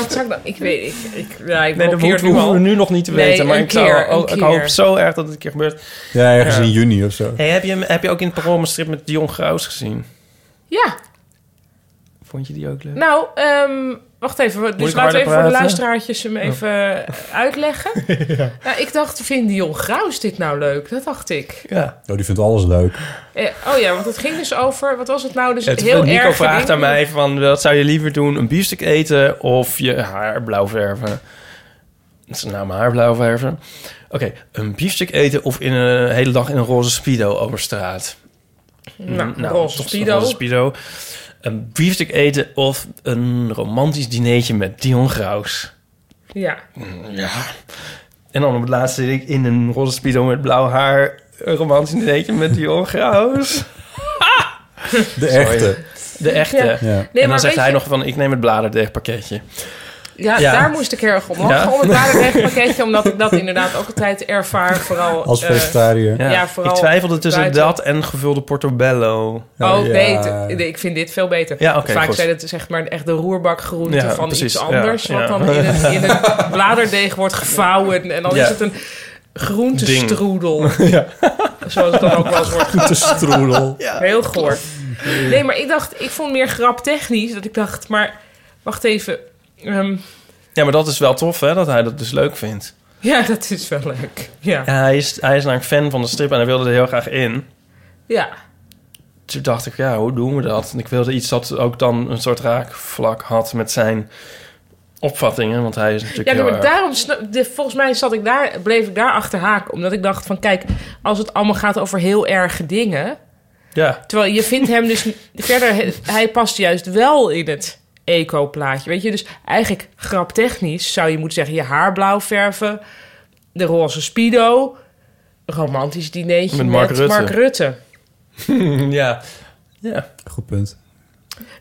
C: dat zou ik, dan, ik weet ik, ik, ja, ik
F: Nee, dat
C: blokkeer
F: hoeven
C: nu al.
F: we nu nog niet te
C: Nee,
F: weten. Maar
C: een
F: ik, zou-
C: keer,
F: oh,
C: een
F: ik hoop
C: keer.
F: zo erg dat het een keer gebeurt.
G: Ja, ergens
F: Ja.
G: in juni of zo.
F: Hey, heb, je, hem- heb je ook in het programma een strip met Dion Graus gezien?
C: Ja,
F: Vond je die ook leuk?
C: nou, ehm, wacht even. Dus
F: ik
C: laten
F: harder
C: we even voor de
F: praten? Oh.
C: luisteraartjes hem even eh, uitleggen. nou, ik dacht, vindt Dion Graus dit nou leuk? Dat dacht ik.
F: Ja.
G: Oh, die vindt alles leuk.
C: Eh, oh ja, want het ging dus over, wat was het nou? Dus
F: Het,
C: heel erg.
F: Nico vraagt aan mij van, wat zou je liever doen? Een biefstuk eten of je haar blauw verven? Dat is nou mijn haar blauw verven. Oké, een biefstuk eten of in een hele dag in een roze speedo over straat?
C: Nou,
F: Mm,
C: roze
F: toch
C: speedo.
F: roze speedo. Een biefstuk eten of een romantisch dinertje met Dion Graus?
C: Ja,
F: Ja. En dan op het laatste zit ik in een roze speedo met blauw haar. Een romantisch dinertje met Dion Graus.
G: De echte.
F: De echte.
C: Ja.
G: Ja.
C: Nee,
F: en
C: maar
F: dan zegt
C: weet
F: hij
C: je-
F: nog van, ik neem het bladerdeegpakketje.
C: ja,
F: Ja.
C: daar moest ik heel erg om lachen.
F: Ja.
C: Om het warenwegpakketje, omdat ik dat inderdaad ook altijd ervaar. Vooral
G: Als
C: eh,
G: vegetariër.
C: Ja, vooral
F: ik twijfelde tussen
C: buiten.
F: dat en gevulde portobello.
C: Oh,
G: Ja.
C: beter. Nee, ik vind dit veel beter.
F: Ja, oké,
C: Vaak
F: goed.
C: zijn het zeg maar echt de roerbakgroenten
F: Ja,
C: van
F: precies.
C: iets anders.
F: Ja,
C: wat
F: ja.
C: dan in het, in het bladerdeeg wordt gevouwen. En dan
F: Ja.
C: is het een groentestroedel. Zoals het dan ook wel wordt.
G: Te stroedel.
C: Heel goor. Nee, maar ik dacht, ik vond meer graptechnisch. Dat ik dacht, maar wacht even. ehm,
F: Ja, maar dat is wel tof, hè? Dat hij dat dus leuk vindt.
C: ja, dat is wel leuk. Ja.
F: Ja, hij is, hij is namelijk fan van de strip en hij wilde er heel graag in.
C: ja.
F: Toen dacht ik, ja, hoe doen we dat? En ik wilde iets dat ook dan een soort raakvlak had met zijn opvattingen. Want hij is natuurlijk
C: Ja, nee,
F: heel
C: maar
F: erg-
C: daarom, sna- de, volgens mij zat ik daar, bleef ik daar achter haken. Omdat ik dacht van, kijk, als het allemaal gaat over heel erge dingen...
F: Ja,
C: Terwijl je vindt hem dus niet- verder, he- hij past juist wel in het eco-plaatje. Weet je, dus eigenlijk graptechnisch zou je moeten zeggen: je haar blauw verven, de roze Speedo, romantisch dinertje
F: Met
C: met
F: Mark
C: Mark,
F: Rutte.
C: Rutte.
F: ja. ja.
G: Goed punt.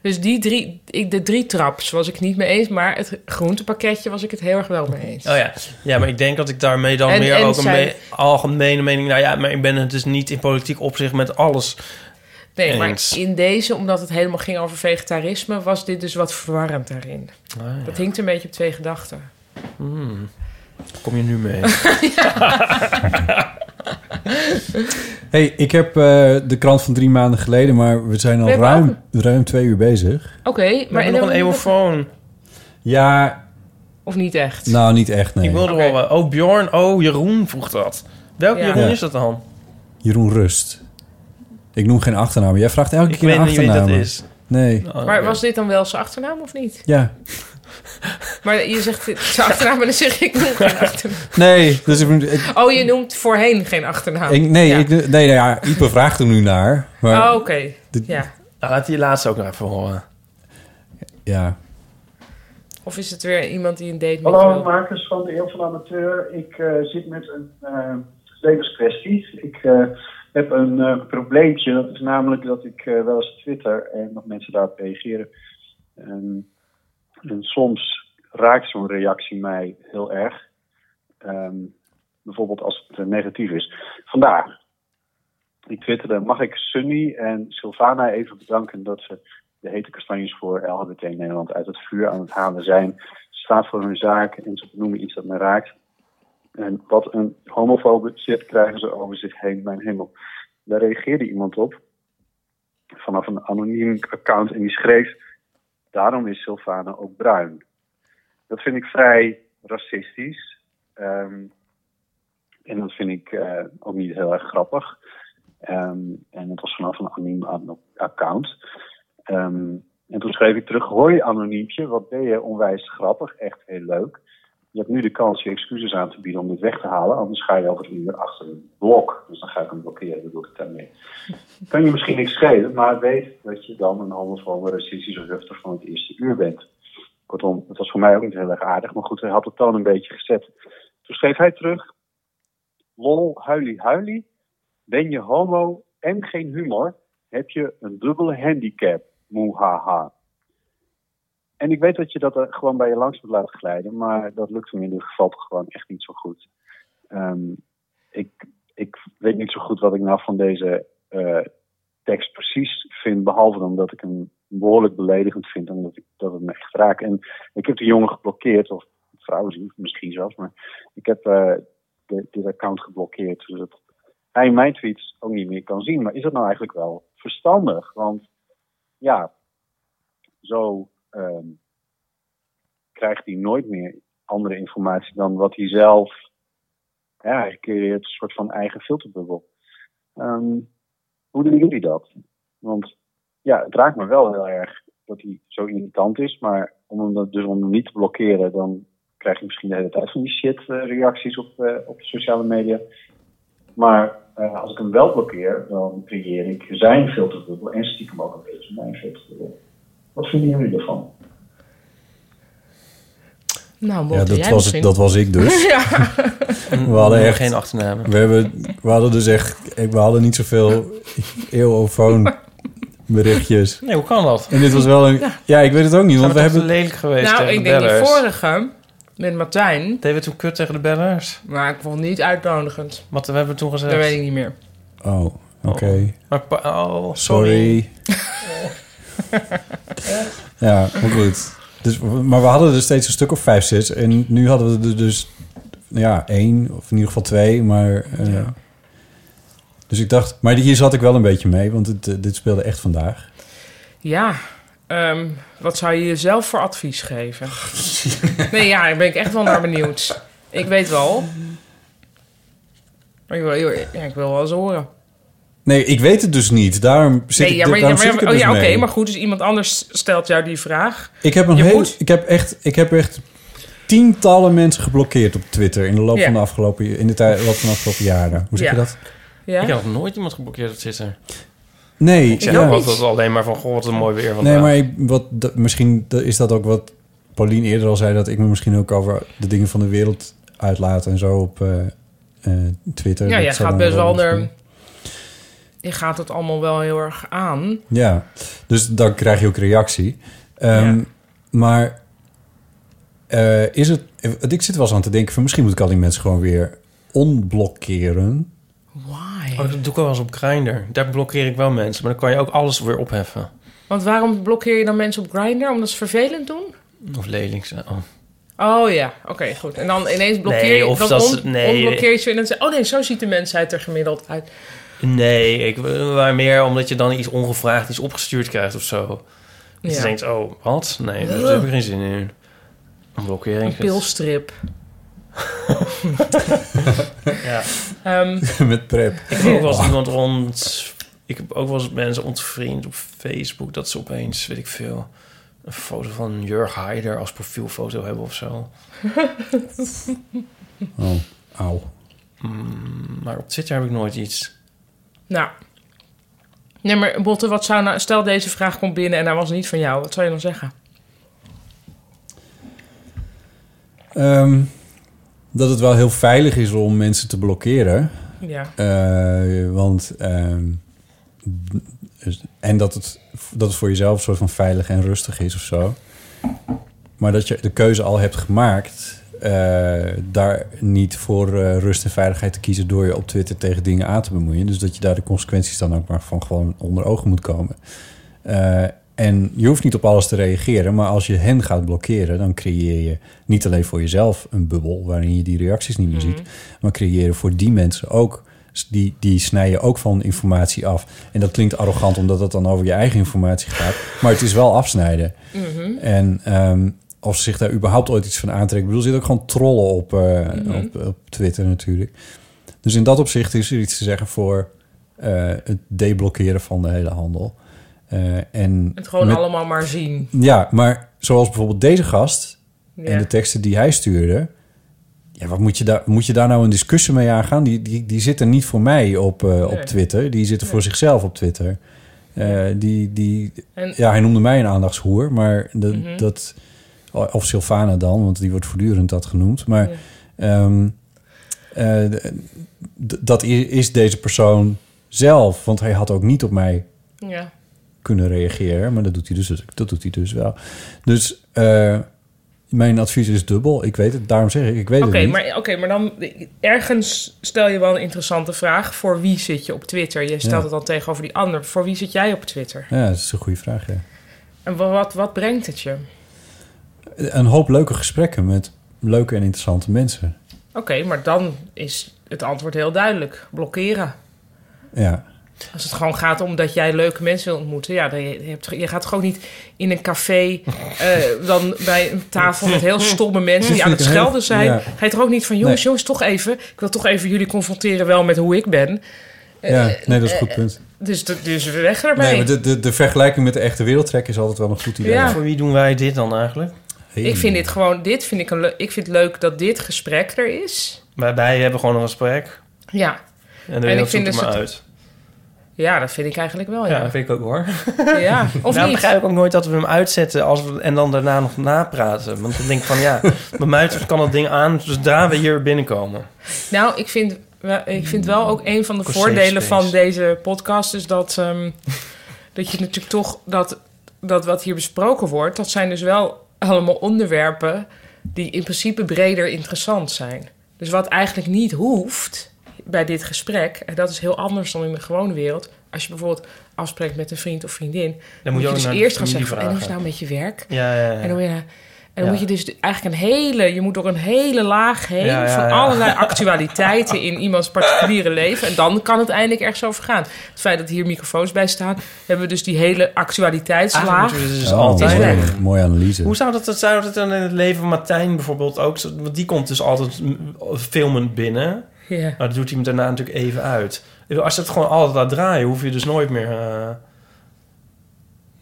C: Dus die drie, ik, de drie traps was ik niet mee eens, maar het groentepakketje was ik het heel erg wel mee eens.
F: Oh ja. ja, maar ik denk dat ik daarmee dan
C: En-
F: meer
C: en
F: ook een
C: zij-
F: me- algemene mening... Nou ja, maar ik ben het dus niet in politiek opzicht met alles
C: nee,
F: eens.
C: maar in deze, omdat het helemaal ging over vegetarisme, was dit dus wat verwarrend daarin.
F: Ah,
C: Dat hinkt een beetje op twee gedachten.
F: Hmm. Kom je nu mee?
G: hey, ik heb eh, de krant van drie maanden geleden, maar we zijn al
C: We hebben
G: ruim, ruim twee uur bezig.
C: Oké,
F: We
C: maar... en
F: hebben nog
C: dan-
F: een eeuwofoon.
G: Ja,
C: Of niet echt?
G: nou niet echt, nee.
F: Ik wilde horen. Oh, Bjorn. Oh, Jeroen vroeg dat. Welke
C: Ja.
F: Jeroen
G: Ja.
F: is dat dan?
G: Jeroen Rust. Ik noem geen achternaam. Jij vraagt elke
F: ik
G: keer
F: weet
G: een
F: niet wie
G: achternaam.
F: dat is.
G: Nee,
F: Oh,
C: Maar
F: oké.
C: was dit dan wel zijn achternaam of niet?
G: ja.
C: Maar je zegt dit- zijn achternaam en dan zeg ik noem geen achternaam.
G: Nee, dus ik, ik-
C: Oh, je noemt voorheen geen achternaam.
G: ik- nee,
C: Ja.
G: ik, nee, nou Ah. ja, Ipe vraagt er nu naar. Maar,
C: Oh, oké.
G: Dit-
C: Ja.
F: Nou, laat die laatste ook nog even horen.
G: ja.
C: Of is het weer iemand die een date met
I: Hallo,
C: wil?
I: makers van de Heel van de Amateur. Ik eh, zit met een eh, levenskwestie. Ik eh, heb een eh, probleempje. Dat is namelijk dat ik eh, wel eens twitter en dat mensen daarop reageren. En, en soms raakt zo'n reactie mij heel erg. Ehm, bijvoorbeeld als het eh, negatief is. Vandaag. Ik twitterde, mag ik Sunny en Sylvana even bedanken dat ze de hete kastanjes voor LHBT Nederland uit het vuur aan het halen zijn staat voor hun zaak en ze benoemen iets dat mij raakt. En wat een homofobe shit krijgen ze over zich heen, mijn hemel. Daar reageerde iemand op vanaf een anoniem account en die schreef: Daarom is Sylvana ook bruin. Dat vind ik vrij racistisch. Ehm, en dat vind ik eh, ook niet heel erg grappig. Ehm, en het was vanaf een anoniem an- account. Ehm, en toen schreef ik terug: Hoi anoniempje, wat ben je onwijs grappig, echt heel leuk. Je hebt nu de kans je excuses aan te bieden om dit weg te halen, anders ga je over een uur achter een blok. Dus dan ga ik hem blokkeren, bedoel ik daarmee. Kan je misschien niks schelen, maar weet dat je dan een homofobe, racistische rufter van het eerste uur bent. Kortom, het was voor mij ook niet heel erg aardig, maar goed, hij had de toon een beetje gezet. Toen schreef hij terug: Lol, huilie, huilie. Ben je homo en geen humor, heb je een dubbele handicap. Moehaha. En ik weet dat je dat er gewoon bij je langs moet laten glijden, maar dat lukt hem in dit geval toch gewoon echt niet zo goed. Ehm, ik, ik weet niet zo goed wat ik nou van deze eh, tekst precies vind, behalve dan dat ik hem behoorlijk beledigend vind, omdat ik, dat het me echt raakt. En ik heb die jongen geblokkeerd, of vrouw zien, misschien zelfs, maar ik heb eh, de- dit account geblokkeerd, zodat hij mijn tweets ook niet meer kan zien. Maar is dat nou eigenlijk wel verstandig? Want ja, zo ehm, krijgt hij nooit meer andere informatie dan wat hij zelf. Ja, hij creëert een soort van eigen filterbubbel. Ehm, hoe doen jullie dat? Want ja, het raakt me wel heel erg dat hij zo irritant is, maar om hem, dat- dus om hem niet te blokkeren, dan krijg je misschien de hele tijd van die shit eh, reacties op, eh, op de sociale media. Maar eh, als ik hem wel blokkeer, dan creëer ik zijn filterbubbel en stiekem ook een beetje mijn filterbubbel. Wat vinden jullie ervan?
C: Nou,
G: ja
C: mocht
G: dat,
C: jij
G: was,
C: misschien.
G: dat was ik dus.
C: ja.
G: We hadden echt...
F: Geen achternaam.
G: We, hebben, we hadden dus echt... We hadden niet zoveel eeuwofoon berichtjes.
F: Nee, hoe kan dat?
G: En dit was wel een... Ja, ik weet het ook niet, want we
F: Zijn we,
G: hebben...
F: hebben... lelijk geweest
C: Nou,
F: tegen
C: ik
F: de
C: denk die
F: bellers?
C: vorige met Martijn,
F: Deden we toen kut tegen de bellers?
C: maar ik vond het niet uitnodigend.
F: Wat hebben we toen gezegd?
C: Dat weet ik niet meer.
G: Oh, oké.
F: Maar pa- oh, sorry.
G: Sorry. ja, maar goed. Dus, maar we hadden er steeds een stuk of vijf, zes. En nu hadden we er dus ja, één, of in ieder geval twee. Maar, eh, Dus ik dacht, maar hier zat ik wel een beetje mee, want het, eh, dit speelde echt vandaag.
C: Ja, ehm, wat zou je jezelf voor advies geven? nee, ja, daar ben ik echt wel naar benieuwd. Ik weet wel. Maar ik wil, ja, ik wil wel eens horen.
G: Nee, ik weet het dus niet. Daarom zit
C: Nee,
G: ik,
C: ja, maar, ja,
G: daarom
C: maar-
G: zit ik er
C: oh,
G: dus
C: ja, oké,
G: mee.
C: maar goed, dus iemand anders stelt jou die vraag.
G: Ik heb, een
C: Je
G: heel,
C: moet-
G: ik, heb echt, ik heb echt tientallen mensen geblokkeerd op Twitter... in de loop
C: Ja.
G: van de afgelopen, in de tijd- loop van de afgelopen jaren. Hoe zeg je
C: Ja.
G: dat?
C: Ja?
F: Ik heb nog nooit iemand geblokkeerd op Twitter.
G: Nee,
F: Ik zeg
G: ja.
F: altijd alleen maar van, goh, wat een mooi weer vandaag.
G: Nee, maar ik, wat, dat- misschien dat- is dat ook wat Paulien eerder al zei... dat ik me misschien ook over de dingen van de wereld uitlaat en zo op... eh, eh, Twitter.
C: Ja,
G: dat
C: jij
G: zal
C: gaat
G: dan
C: best wel
G: misschien-
C: naar... Je gaat het allemaal wel heel erg aan.
G: Ja, dus dan krijg je ook reactie. Ehm, Maar eh, is het... Ik zit wel eens aan te denken van... misschien moet ik al die mensen gewoon weer onblokkeren.
C: Why?
F: Oh, dat doe ik wel eens op Grindr. Daar blokkeer ik wel mensen. Maar dan kan je ook alles weer opheffen.
C: Want waarom blokkeer je dan mensen op Grindr? Omdat ze vervelend doen?
F: Of lelijk zijn. Oh.
C: Oh ja, oké, goed. En dan ineens blokkeer je...
F: Nee, of
C: dan
F: dat
C: on-
F: ze- nee.
C: ontblokkeer je ze en dan zeg je, Oh nee, zo ziet de mensheid er gemiddeld uit.
F: Nee, ik, maar meer omdat je dan iets ongevraagd, iets opgestuurd krijgt of zo. Dat
C: Ja.
F: je denkt, oh, wat? Nee, daar
C: Ugh.
F: heb ik geen zin in. Een blokkering.
C: Een pilstrip.
F: Ja.
C: Ehm,
G: Met prep.
F: Ik heb ook wel eens iemand rond... Ik heb ook wel eens mensen ontvriend op Facebook... dat ze opeens, weet ik veel... een foto van Jurg Heider als profielfoto hebben of zo.
G: Oh, auw.
F: Mm, maar op Twitter heb ik nooit iets.
C: nou. Nee, maar Botte, wat zou nou... Stel, deze vraag komt binnen en hij was niet van jou. Wat zou je dan zeggen?
G: Ehm, dat het wel heel veilig is om mensen te blokkeren.
C: Ja.
G: Eh, want... ehm, dus- en dat het, dat het voor jezelf soort van veilig en rustig is of zo. Maar dat je de keuze al hebt gemaakt... eh, daar niet voor eh, rust en veiligheid te kiezen... door je op Twitter tegen dingen aan te bemoeien. Dus dat je daar de consequenties dan ook maar van gewoon onder ogen moet komen. Eh, en je hoeft niet op alles te reageren... maar als je hen gaat blokkeren... dan creëer je niet alleen voor jezelf een bubbel... waarin je die reacties niet meer ziet... maar creëer je voor die mensen ook... Die, die snij je ook van informatie af. En dat klinkt arrogant omdat het dan over je eigen informatie gaat. Maar het is wel afsnijden. En ehm, of ze zich daar überhaupt ooit iets van aantrekken. Ik bedoel, er zitten ook gewoon trollen op, eh, op, op Twitter natuurlijk. Dus in dat opzicht is er iets te zeggen voor eh, het deblokkeren van de hele handel. Eh, en
C: Het gewoon
G: met-
C: allemaal maar zien.
G: Ja, maar zoals bijvoorbeeld deze gast en
C: Ja.
G: de teksten die hij stuurde. Ja, wat moet je daar, moet je daar nou een discussie mee aangaan? Die, die, die zitten niet voor mij op, eh, op
C: Nee.
G: Twitter. Die zitten voor zichzelf op Twitter. Eh, die, die,
C: En- Mhm.
G: ja, hij noemde mij een aandachtshoer, maar dat, dat of Sylvana dan, want die wordt voortdurend dat genoemd. Maar ehm, eh, d- d- dat i- is deze persoon zelf, want hij had ook niet op mij
C: Ja.
G: kunnen reageren. Maar dat doet hij dus, dat doet hij dus wel. Dus eh, mijn advies is dubbel. Ik weet het, daarom zeg ik, ik weet
C: Oké,
G: het niet.
C: maar, oké, maar dan ergens stel je wel een interessante vraag. Voor wie zit je op Twitter? Je stelt
G: Ja.
C: het dan tegenover die ander. Voor wie zit jij op Twitter?
G: Ja, dat is een goede vraag, ja.
C: En wa- wat, wat brengt het je? Oké,
G: Een hoop leuke gesprekken met leuke en interessante mensen.
C: maar dan is het antwoord heel duidelijk. Blokkeren.
G: Ja,
C: Als het gewoon gaat om dat jij leuke mensen wil ontmoeten. Ja, dan je, je hebt, ge- je gaat gewoon niet in een café, eh, dan bij een tafel met heel stomme mensen die aan het schelden zijn.
G: Ja.
C: Ga je toch ook niet van, jongens,
G: Nee.
C: jongens, toch even. Ik wil toch even jullie confronteren wel met hoe ik ben. Eh,
G: ja nee, dat is een goed punt.
C: Dus, de- dus weg ermee.
G: Nee, maar de, de, de vergelijking met de echte wereldtrek is altijd wel een goed idee.
C: Ja.
F: Voor wie doen wij dit dan eigenlijk?
G: Hey.
C: Ik vind dit gewoon, dit vind ik een leu- ik vind het leuk dat dit gesprek er is.
F: Wij, wij hebben gewoon een gesprek.
C: Ja,
F: En de wereld
C: ik vind
F: zoekt er
C: dus
F: maar
C: het-
F: uit.
C: ja dat vind ik eigenlijk wel.
F: Oh, Ja,
C: Ja,
F: dat vind ik ook hoor.
C: ja. of
F: Nou,
C: niet?
F: begrijp ik ook nooit dat we hem uitzetten als we, en dan daarna nog napraten. Want dan denk ik van ja, bij mij kan dat ding aan zodra we hier binnenkomen.
C: Nou, ik vind, wel- ik vind wel ook een van de
F: Corset
C: voordelen
F: space.
C: van deze podcast is dat, ehm, dat je natuurlijk toch dat, dat wat hier besproken wordt, dat zijn dus wel allemaal onderwerpen die in principe breder interessant zijn. Dus wat eigenlijk niet hoeft bij dit gesprek, en dat is heel anders dan in de gewone wereld. Als je bijvoorbeeld afspreekt met een vriend of vriendin, dan,
F: moet
C: moet je,
F: je ook naar
C: dus
F: de
C: eerst gaan
F: familie
C: zeggen: en hoe is het
F: vragen.
C: nou met je werk?
F: Ja, ja,
C: En dan,
F: ja.
C: moet je- en dan
F: Ja.
C: moet je dus de- eigenlijk een hele, je moet door een hele laag heen
F: Ja, ja,
C: van
F: ja.
C: allerlei actualiteiten in iemands particuliere leven. En dan kan het eindelijk ergens over gaan. Het feit dat hier microfoons bij staan, hebben we dus die hele
F: Eigenlijk
C: actualiteitslaag.
F: moeten we dus
G: Oh,
F: altijd
G: mooie-
F: weg.
G: Mooie analyse.
F: Hoe zou dat, dat- zou dat dan in het leven van Martijn bijvoorbeeld ook? zo- Want die komt dus altijd mm, filmend binnen.
C: Ja.
F: Maar dat doet hij hem daarna natuurlijk even uit. Ik bedoel, Als je het gewoon altijd laat draaien, hoef je dus nooit meer... eh,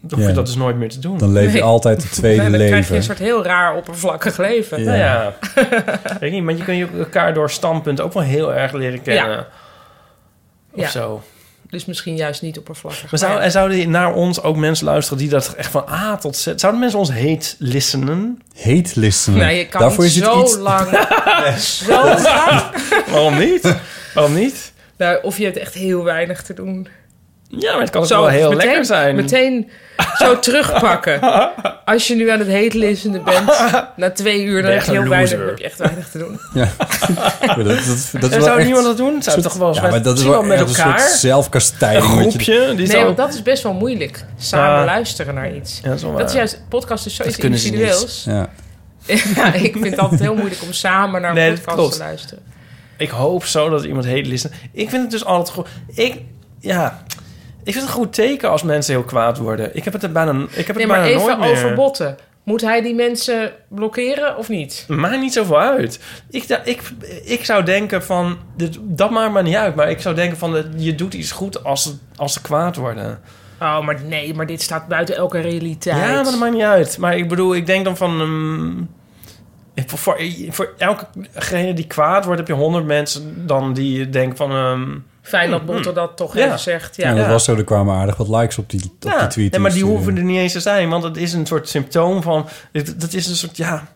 F: dan hoef
G: Ja.
F: je dat dus nooit meer te doen.
G: Dan leef je
C: Nee.
G: altijd het tweede
C: dan
G: leven.
C: krijg je een soort heel raar oppervlakkig leven.
G: Ja.
F: Nou ja, weet niet, maar je kunt je elkaar door standpunten ook wel heel erg leren kennen.
C: Ja.
F: Of zo.
C: Dus misschien juist niet oppervlakkig.
F: Maar zou, en zouden naar ons ook mensen luisteren die dat echt van A tot Z... Zouden mensen ons hate listenen?
G: Hate listenen.
C: Nou, je kan
G: Daarvoor
C: niet
G: is het
C: zo
G: iets...
C: lang. Zo lang.
F: Waarom niet? Waarom niet?
C: Nou, of je hebt echt heel weinig te doen.
F: Ja, maar het kan ook wel heel
C: meteen,
F: lekker zijn.
C: Meteen zo terugpakken. Als je nu aan het heet listenen bent, na twee uur, dan
F: Ben
C: heb
F: je echt
C: je,
F: een
C: heel weinig,
F: loser.
C: heb je echt weinig te doen.
G: Ja. Maar dat, dat, dat is wel
F: En zou
G: echt-
F: niemand dat doen? Zou het toch wel eens
G: Ja, maar dat is
F: misschien
G: wel
F: wel met
G: echt een soort
F: elkaar? Een
G: zelfkastijding. wat je-
F: groepje? Die
C: Nee,
F: zou...
C: want dat is best wel moeilijk. Samen
F: Ja.
C: luisteren naar iets.
F: Ja, dat is wel
C: Dat is
F: waar.
C: juist, podcast is zoiets
F: Dat kunnen ze niet.
C: individueels.
G: Ja.
C: Ja, ik vind het altijd heel moeilijk om samen naar een
F: Nee, dat
C: podcast
F: klopt.
C: te luisteren.
F: Ik hoop zo dat iemand hate listen. Ik vind het dus altijd goed. Ik, ja, ik vind het een goed teken als mensen heel kwaad worden. Ik heb het er bijna, ik heb het
C: Nee, maar
F: bijna
C: even
F: nooit meer.
C: over botten. Moet hij die mensen blokkeren of niet?
F: Maakt niet zoveel uit. Ik, da- ik, ik zou denken van... dit- Dat maakt me niet uit. Maar ik zou denken van... eh, Je doet iets goed als, ze- als ze kwaad worden.
C: Oh, maar nee, maar dit staat buiten elke realiteit.
F: Ja, maar dat maakt niet uit. Maar ik bedoel, ik denk dan van... ehm, ik- voor, voor, voor elkegene die kwaad wordt... heb je honderd mensen dan die denken van... ehm,
C: Fijn dat Botter dat toch
F: Ja.
C: even zegt.
G: Ja,
C: Ja.
G: dat was zo. Er kwamen aardig wat likes op die, op die tweet.
F: nee, maar die
G: Dus, eh,
F: hoeven er niet eens te zijn. Want het is een soort symptoom van... dit- Dat is een soort, ja...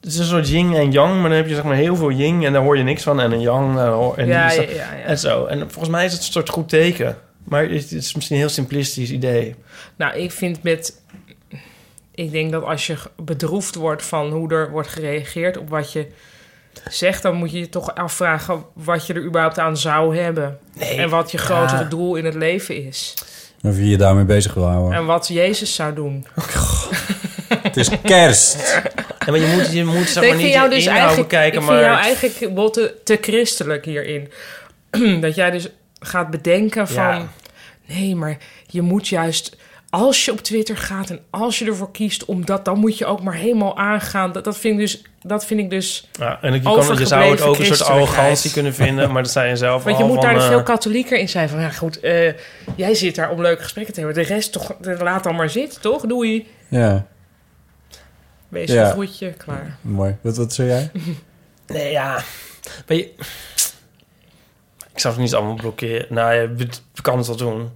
F: Het is een soort yin en yang. Maar dan heb je zeg maar heel veel yin en daar hoor je niks van. En een yang daar hoor- en,
C: Ja,
F: die-
C: ja, ja, ja.
F: en zo. En volgens mij is het een soort goed teken. Maar het is misschien een heel simplistisch idee.
C: Nou, ik vind met... Ik denk dat als je bedroefd wordt van hoe er wordt gereageerd op wat je zegt... dan moet je je toch afvragen wat je er überhaupt aan zou hebben. en wat je grotere
F: ja.
C: doel in het leven is.
G: Of je je daarmee bezig wil houden.
C: En wat Jezus zou doen.
G: Het is kerst.
F: En maar je moet, je moet zeg
C: Nee,
F: maar niet in de inhoud bekijken.
C: dus ik
F: Maar
C: vind jou eigenlijk Botte, te christelijk hierin. dat jij dus gaat bedenken van...
F: Ja.
C: Nee, maar je moet juist... Als je op Twitter gaat en als je ervoor kiest om dat... dan moet je ook maar helemaal aangaan. Dat, dat, vind, ik dus, dat vind ik dus...
F: ja, en je, kan, je zou het ook een soort
C: Overgebleven
F: arrogantie kunnen vinden. Maar dat zei je zelf
C: Want je
F: al
C: moet
F: van,
C: daar dus
F: eh,
C: veel katholieker in zijn. Van ja, goed, eh, jij zit daar om leuke gesprekken te hebben. De rest toch, laat dan maar zitten, toch? Doei.
G: Ja,
C: Wees
G: Ja.
C: een groetje, klaar.
G: mooi. Wat, wat zei jij?
F: Nee, ja. Maar je- Ik zou het niet allemaal blokkeren. Nou, je bet- kan het wel doen.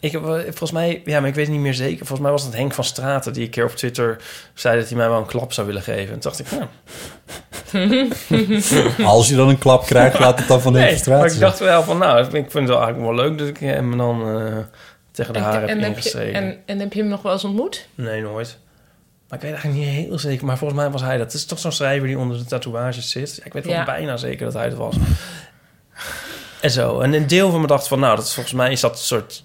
F: Ik heb, wel- volgens mij, ja, maar ik weet het niet meer zeker. Volgens mij was het Henk van Straten die een keer op Twitter zei dat hij mij wel een klap zou willen geven. En toen dacht ik, nou,
G: Als je dan een klap krijgt, laat het dan van de
F: nee. Maar ik
G: frustratie.
F: dacht wel van, nou, ik vind het wel eigenlijk wel leuk dat ik hem dan eh, tegen de haren heb
C: heb je,
F: ingesteken.
C: en, en heb je hem nog wel eens ontmoet?
F: Nee, nooit. Maar ik weet eigenlijk niet heel zeker. Maar volgens mij was hij dat. Het is toch zo'n schrijver die onder de tatoeages zit. Ja, ik weet wel
C: Ja.
F: bijna zeker dat hij het was. en zo. En een deel van me dacht van... Nou, dat is, volgens mij is dat een soort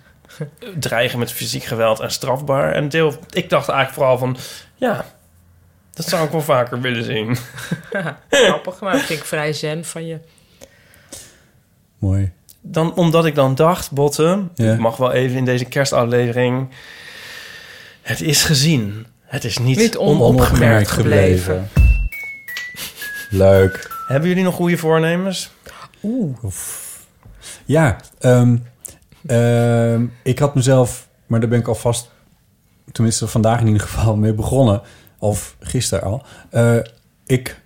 F: dreigen met fysiek geweld en strafbaar. En een deel... Ik dacht eigenlijk vooral van... Ja, dat zou ik wel vaker willen zien.
C: Grappig, maar dat vind ik vrij zen van je.
G: Mooi.
F: Dan, omdat ik dan dacht, Botten...
G: Ja.
F: Ik mag wel even in deze kerstaflevering... Het is gezien. Het is niet,
C: Niet
F: onopgemerkt.
C: onopgemerkt gebleven.
G: Leuk.
F: Hebben jullie nog goede voornemens?
G: Ja, ehm, ehm, ik had mezelf, maar daar ben ik alvast, tenminste vandaag in ieder geval, mee begonnen. Of gisteren al. Eh, ik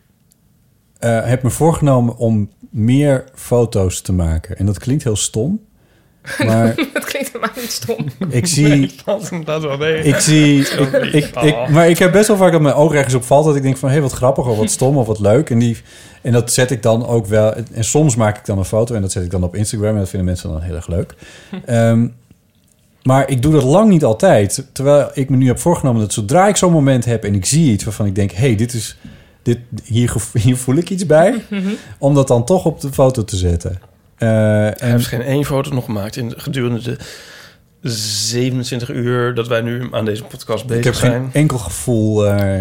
G: eh, heb me voorgenomen om meer foto's te maken. En dat klinkt heel stom. Maar
C: Dat klinkt helemaal niet stom.
G: ik zie
F: Dat inderdaad wel mee.
G: Ik zie... Ik, ik, ik- maar ik heb best wel vaak dat mijn oog ergens op valt... dat ik denk van, hé, wat grappig of wat stom of wat leuk. En, die, en dat zet ik dan ook wel... En soms maak ik dan een foto en dat zet ik dan op Instagram... en dat vinden mensen dan heel erg leuk. Ehm, maar ik doe dat lang niet altijd. Terwijl ik me nu heb voorgenomen dat zodra ik zo'n moment heb... en ik zie iets waarvan ik denk, hé, hey, dit is... Dit, hier, gevo- hier voel ik iets bij. Om dat dan toch op de foto te zetten. Eh,
F: Hij
G: en,
F: heeft geen één foto nog gemaakt in de- gedurende de 27 uur dat wij nu aan deze podcast bezig
G: ik heb geen
F: zijn.
G: enkel gevoel... eh,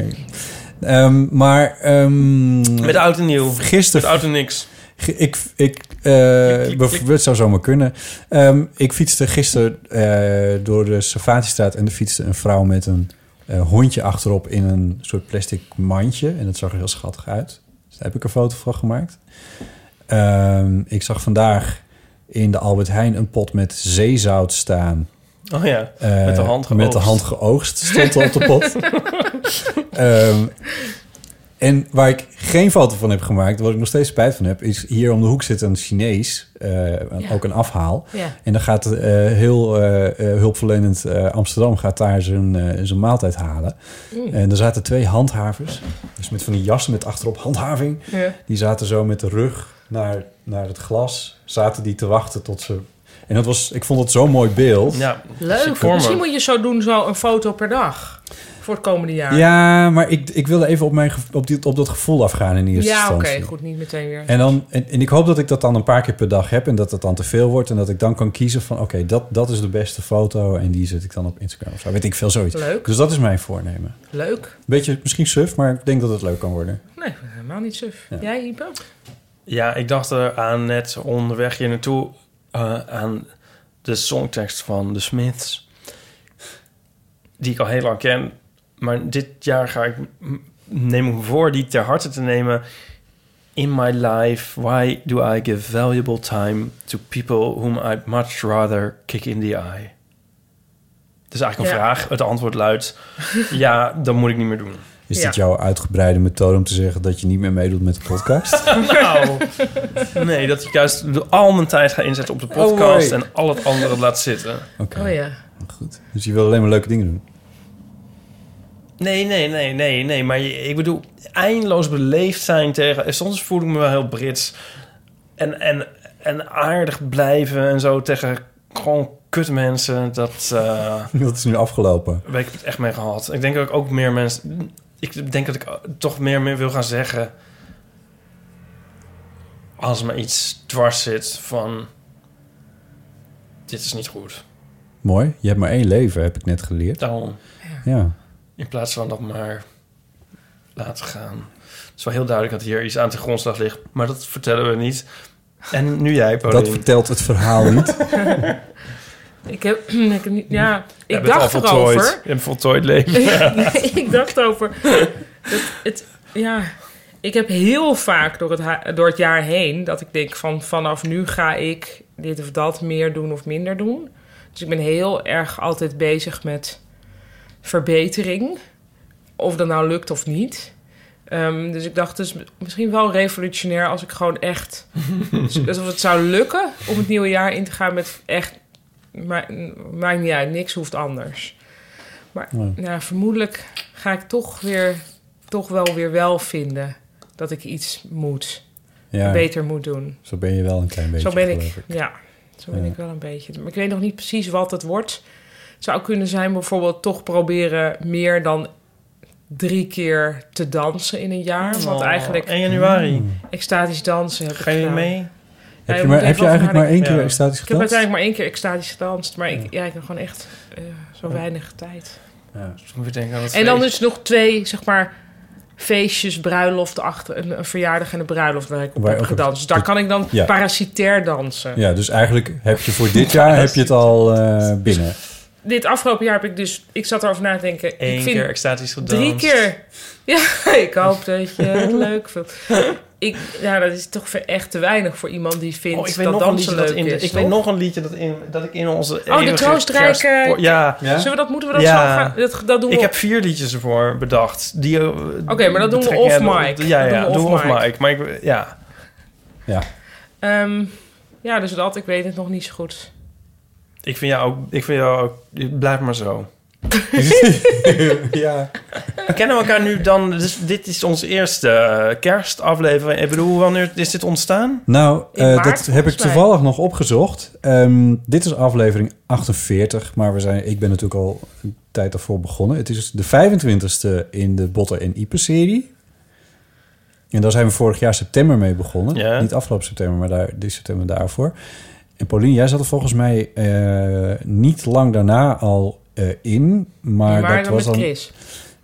G: ehm, maar... ehm,
F: Met oud en nieuw. Met
G: Gisteren,
F: oud en niks.
G: ge- ik, ik, eh,
F: Klik, klik,
G: bev-
F: klik.
G: het zou zomaar kunnen. Ehm, ik fietste gisteren eh, door de Savatistraat en er fietste een vrouw met een eh, hondje achterop in een soort plastic mandje. En dat zag er heel schattig uit. Dus daar heb ik een foto van gemaakt. Ehm, ik zag vandaag in de Albert Heijn een pot met zeezout staan.
F: Oh ja,
G: Eh,
F: met de hand geoogst.
G: Met de hand geoogst stond er op de pot. Ehm, En waar ik geen foto van heb gemaakt, wat ik nog steeds spijt van heb, is hier om de hoek zit een Chinees, eh, ook een afhaal.
C: Ja.
G: En dan gaat eh, heel eh, eh, hulpverlenend eh, Amsterdam gaat daar zijn, eh, zijn maaltijd halen.
F: Mm.
G: En er zaten twee handhavers, dus met van die jassen met achterop handhaving.
C: Ja.
G: Die zaten zo met de rug naar, naar het glas, zaten die te wachten tot ze... En dat was, ik vond het zo'n mooi beeld.
F: Ja,
G: Dus
C: Leuk.
F: voor me.
C: Misschien moet je zo doen, zo een foto per dag. Voor het komende jaar.
G: Ja, maar ik, ik wilde even op, mijn, gev- op, die, op dat gevoel afgaan in eerste
C: Ja, oké.
G: instantie.
C: goed, niet meteen weer.
G: En, dan, en, en ik hoop dat ik dat dan een paar keer per dag heb en dat dat dan te veel wordt. En dat ik dan kan kiezen van oké, dat, dat is de beste foto en die zet ik dan op Instagram of zo. Weet ik veel zoiets.
C: Leuk.
G: Dus dat is mijn voornemen.
C: Leuk.
G: Beetje misschien suf, maar ik denk dat het leuk kan worden.
C: Nee, helemaal niet suf. Jij, Ipe?
F: Ja, ik dacht er aan net onderweg hier naartoe eh, aan de songtekst van The Smiths. Die ik al heel lang ken. Maar dit jaar ga ik, m- neem ik me voor die ter harte te nemen. In my life, why do I give valuable time to people whom I'd much rather kick in the eye? Dat is eigenlijk een
C: Ja.
F: vraag. Het antwoord luidt, ja, dat moet ik niet meer doen.
G: Is
C: Ja.
G: dit jouw uitgebreide methode om te zeggen dat je niet meer meedoet met de podcast?
F: Nou, nee, dat ik juist al mijn tijd ga inzetten op de podcast
G: Oh,
F: en al het andere laat zitten.
G: Oké,
C: Oh ja.
G: goed. Dus je wil alleen maar leuke dingen doen.
F: Nee, nee, nee, nee, nee. Maar je- ik bedoel, eindeloos beleefd zijn tegen... en Soms voel ik me wel heel Brits. En, en, en aardig blijven en zo tegen gewoon kut mensen. Dat eh
G: Dat is nu afgelopen.
F: heb ik het echt mee gehad. Ik denk dat ik ook meer mensen... Ik denk dat ik toch meer, meer wil gaan zeggen... Als me iets dwars zit van... Dit is niet goed.
G: Mooi. Je hebt maar één leven, heb ik net geleerd.
F: Daarom...
G: Ja.
F: In plaats van dat maar laten gaan. Het is wel heel duidelijk dat hier iets aan de grondslag ligt, maar dat vertellen we niet. En nu jij, Paulien.
G: Dat vertelt het verhaal niet.
C: Ik heb, ik heb niet, ja,
F: Jij
C: ik
F: bent
C: dacht
F: al voltooid.
C: erover.
F: Je hebt voltooid leven.
C: Nee, ik dacht over. Het, het, ja, ik heb heel vaak door het, ha- door het jaar heen dat ik denk van vanaf nu ga ik dit of dat meer doen of minder doen. Dus ik ben heel erg altijd bezig met verbetering. Of dat nou lukt of niet. Ehm, dus ik dacht, dus misschien wel revolutionair als ik gewoon echt. alsof het zou lukken om het nieuwe jaar in te gaan met echt. ma- Maakt niet uit, niks hoeft anders. Maar nou, vermoedelijk ga ik toch, weer, toch wel weer wel vinden dat ik iets moet,
G: Ja,
C: beter moet doen.
G: zo ben je wel een klein beetje,
C: zo ben ik,
G: geloof ik.
C: Ja, zo ben ik wel een beetje. Maar ik weet nog niet precies wat het wordt. Het zou kunnen zijn bijvoorbeeld toch proberen meer dan drie keer te dansen in een jaar. Want eigenlijk Mm.
F: 1 januari.
C: extatisch dansen heb
F: Oh. Ga
C: ik
F: je
C: gedaan.
F: mee?
G: Heb
C: Ja,
G: je,
C: je
G: maar,
C: moet
G: heb je
C: even
G: eigenlijk maar één
F: nadenken.
G: keer
F: Ja.
G: extatisch
C: Ik heb
G: gedanst?
C: uiteindelijk maar één keer extatisch dansen. Maar ik, ja, ik heb gewoon echt eh, zo weinig tijd.
F: Dus moet je denken aan het
C: En dan
F: feest.
C: dus nog twee, zeg maar, feestjes, bruiloften achter. Een, een verjaardag en een bruiloft waar ik op
G: Waar
C: heb
G: ook een-
C: gedanst. Dus daar kan ik dan
G: Ja.
C: parasitair dansen.
G: Ja, dus eigenlijk heb je voor dit jaar heb je het al eh, binnen.
C: Dit afgelopen jaar heb ik dus... Ik zat erover na te denken. ik
F: Eén
C: vind
F: keer extatisch gedanst.
C: drie keer... Ja, ik hoop dat je het leuk vindt. Ik, ja, dat is toch ver- echt te weinig voor iemand die vindt
F: Oh, ik weet
C: dat
F: nog een liedje
C: dansen
F: dat
C: leuk is.
F: in. ik weet
C: toch? Oh,
F: nog een liedje dat in dat ik in onze.
C: de
F: eeuwige
C: troostrijke-
F: kerstpo- Ja.
C: Zullen we dat, moeten we dat
F: Ja.
C: zo gaan... Dat, dat doen we
F: Ik
C: op-
F: heb vier liedjes ervoor bedacht. die, eh,
C: Oké, maar dat doen we
F: betrekken-
C: off mic.
F: Ja, ja,
C: Dat
F: doen we off mic. Maar ik, ja.
G: Ja.
C: Ehm, ja, dus dat. Ik weet het nog niet zo goed.
F: Ik vind jou ook. Ik vind jou ook. Blijf maar zo.
G: ja.
C: Eh.
F: Kennen we elkaar nu dan? Dus dit is onze eerste eh, kerstaflevering. Ik bedoel, wanneer is dit ontstaan?
G: Nou,
C: In
G: eh,
C: maart,
G: dat heb ik
C: volgens mij.
G: toevallig nog opgezocht. Ehm, dit is aflevering 48, maar we zijn, ik ben natuurlijk al een tijd daarvoor begonnen. Het is dus de 25ste in de Botten en Ipe-serie. En daar zijn we vorig jaar september mee begonnen.
F: Ja.
G: Niet afgelopen september, maar daar, dit september daarvoor. En Paulien, jij zat er volgens mij eh, niet lang daarna al eh, in. Maar,
C: Maar,
G: dat
C: dan
G: was
C: met
G: dan
C: Chris.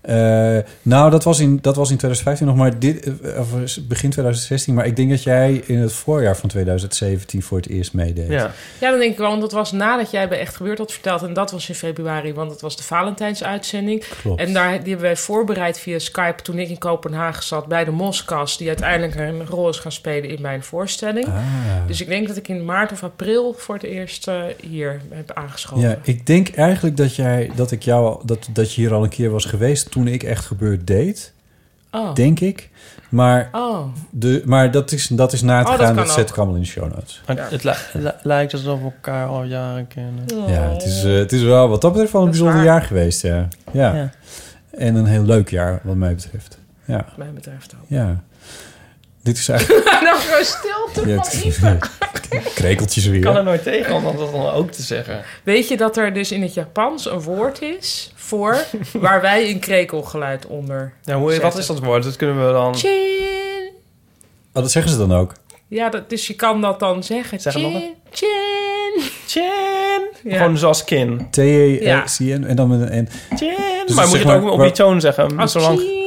G: Eh, nou, dat was, in, dat was in 2015 nog maar dit, eh, of begin 2016. Maar ik denk dat jij in het voorjaar van 2017 voor het eerst meedeed.
F: Ja.
C: Ja, dan denk ik wel, want dat was nadat jij bij Echt Gebeurd had verteld. En dat was in februari, want dat was de Valentijnsuitzending.
G: Klopt.
C: En daar, die hebben wij voorbereid via Skype toen ik in Kopenhagen zat bij de Moskas. Die uiteindelijk een rol is gaan spelen in mijn voorstelling.
G: Ah.
C: Dus ik denk dat ik in maart of april voor het eerst eh, hier heb aangeschoven.
G: Ja, ik denk eigenlijk dat, jij, dat, ik jou, dat, dat je hier al een keer was geweest toen ik echt gebeurd deed.
C: Oh.
G: denk ik. Maar,
C: Oh.
G: de, maar dat, is, dat is na te
C: Oh, dat
G: gaan.
C: kan
G: Dat zet
C: ook.
G: ik allemaal in de show notes.
F: Maar Het li- li- lijkt alsof we elkaar al jaren kennen.
G: Ja, het is, eh, het is wel wat dat betreft wel een
C: Oh. Dat is
G: bijzonder
C: waar.
G: jaar geweest. Ja. Ja.
F: Ja.
G: En een heel leuk jaar, wat mij betreft. Ja,
C: Wat mij betreft ook.
G: ja. Dit is eigenlijk...
C: nou, gewoon stilte
G: Ja,
C: van Ipe.
G: het- Krekeltjes
F: Ik kan er
G: weer.
F: nooit tegen om dat dan ook te zeggen.
C: Weet je dat er dus in het Japans een woord is voor waar wij een krekelgeluid onder.
F: Ja, hoe, wat
C: Zetten.
F: is dat woord? Dat kunnen we dan...
C: Chin.
G: Oh, dat zeggen ze dan ook.
C: Ja, dat, dus je kan dat dan zeggen.
F: Zeg het nog
C: chin, chin.
F: Chin.
C: Ja.
F: Gewoon zoals kin.
G: T-E-C-N en dan met een E N.
F: Chin.
G: Dus
F: maar
G: zeg
F: moet je
G: maar-
F: het ook op
G: waar-
F: die toon zeggen?
C: Als
F: zolang...
C: Oh, chin.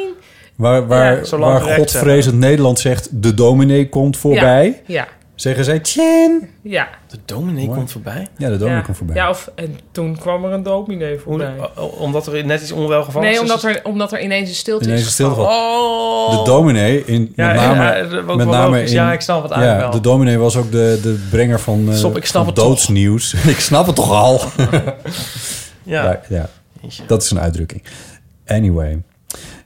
G: Waar, waar,
F: Ja, zolang
G: waar
F: direct
G: godvrezend Nederland zegt... de dominee komt voorbij,
C: Ja,
G: zeggen zij... Tjen!
C: ja.
F: De dominee komt voorbij.
G: Ja, de dominee
C: ja.
G: komt voorbij.
C: Ja, of, en toen kwam er een dominee
F: Hoe,
C: voorbij.
F: o- o- omdat er net iets onwelgevalligs
C: nee,
F: is.
C: omdat er, omdat er ineens een stilte
G: Ineens een
C: is.
G: stilte
C: gevallen.
G: van-
F: Oh!
G: De dominee, in,
F: Ja,
G: met
F: ja,
G: name...
F: ja, dat ook
G: met
F: wel
G: name
F: logisch.
G: in-
F: Ja, ik snap het
G: ja,
F: eigenlijk wel.
G: de dominee was ook de, de brenger van, eh
F: Stop, ik snap
G: van
F: het toch.
G: doodsnieuws. ik snap het toch al?
F: ja.
G: Ja, ja. dat is een uitdrukking. Anyway.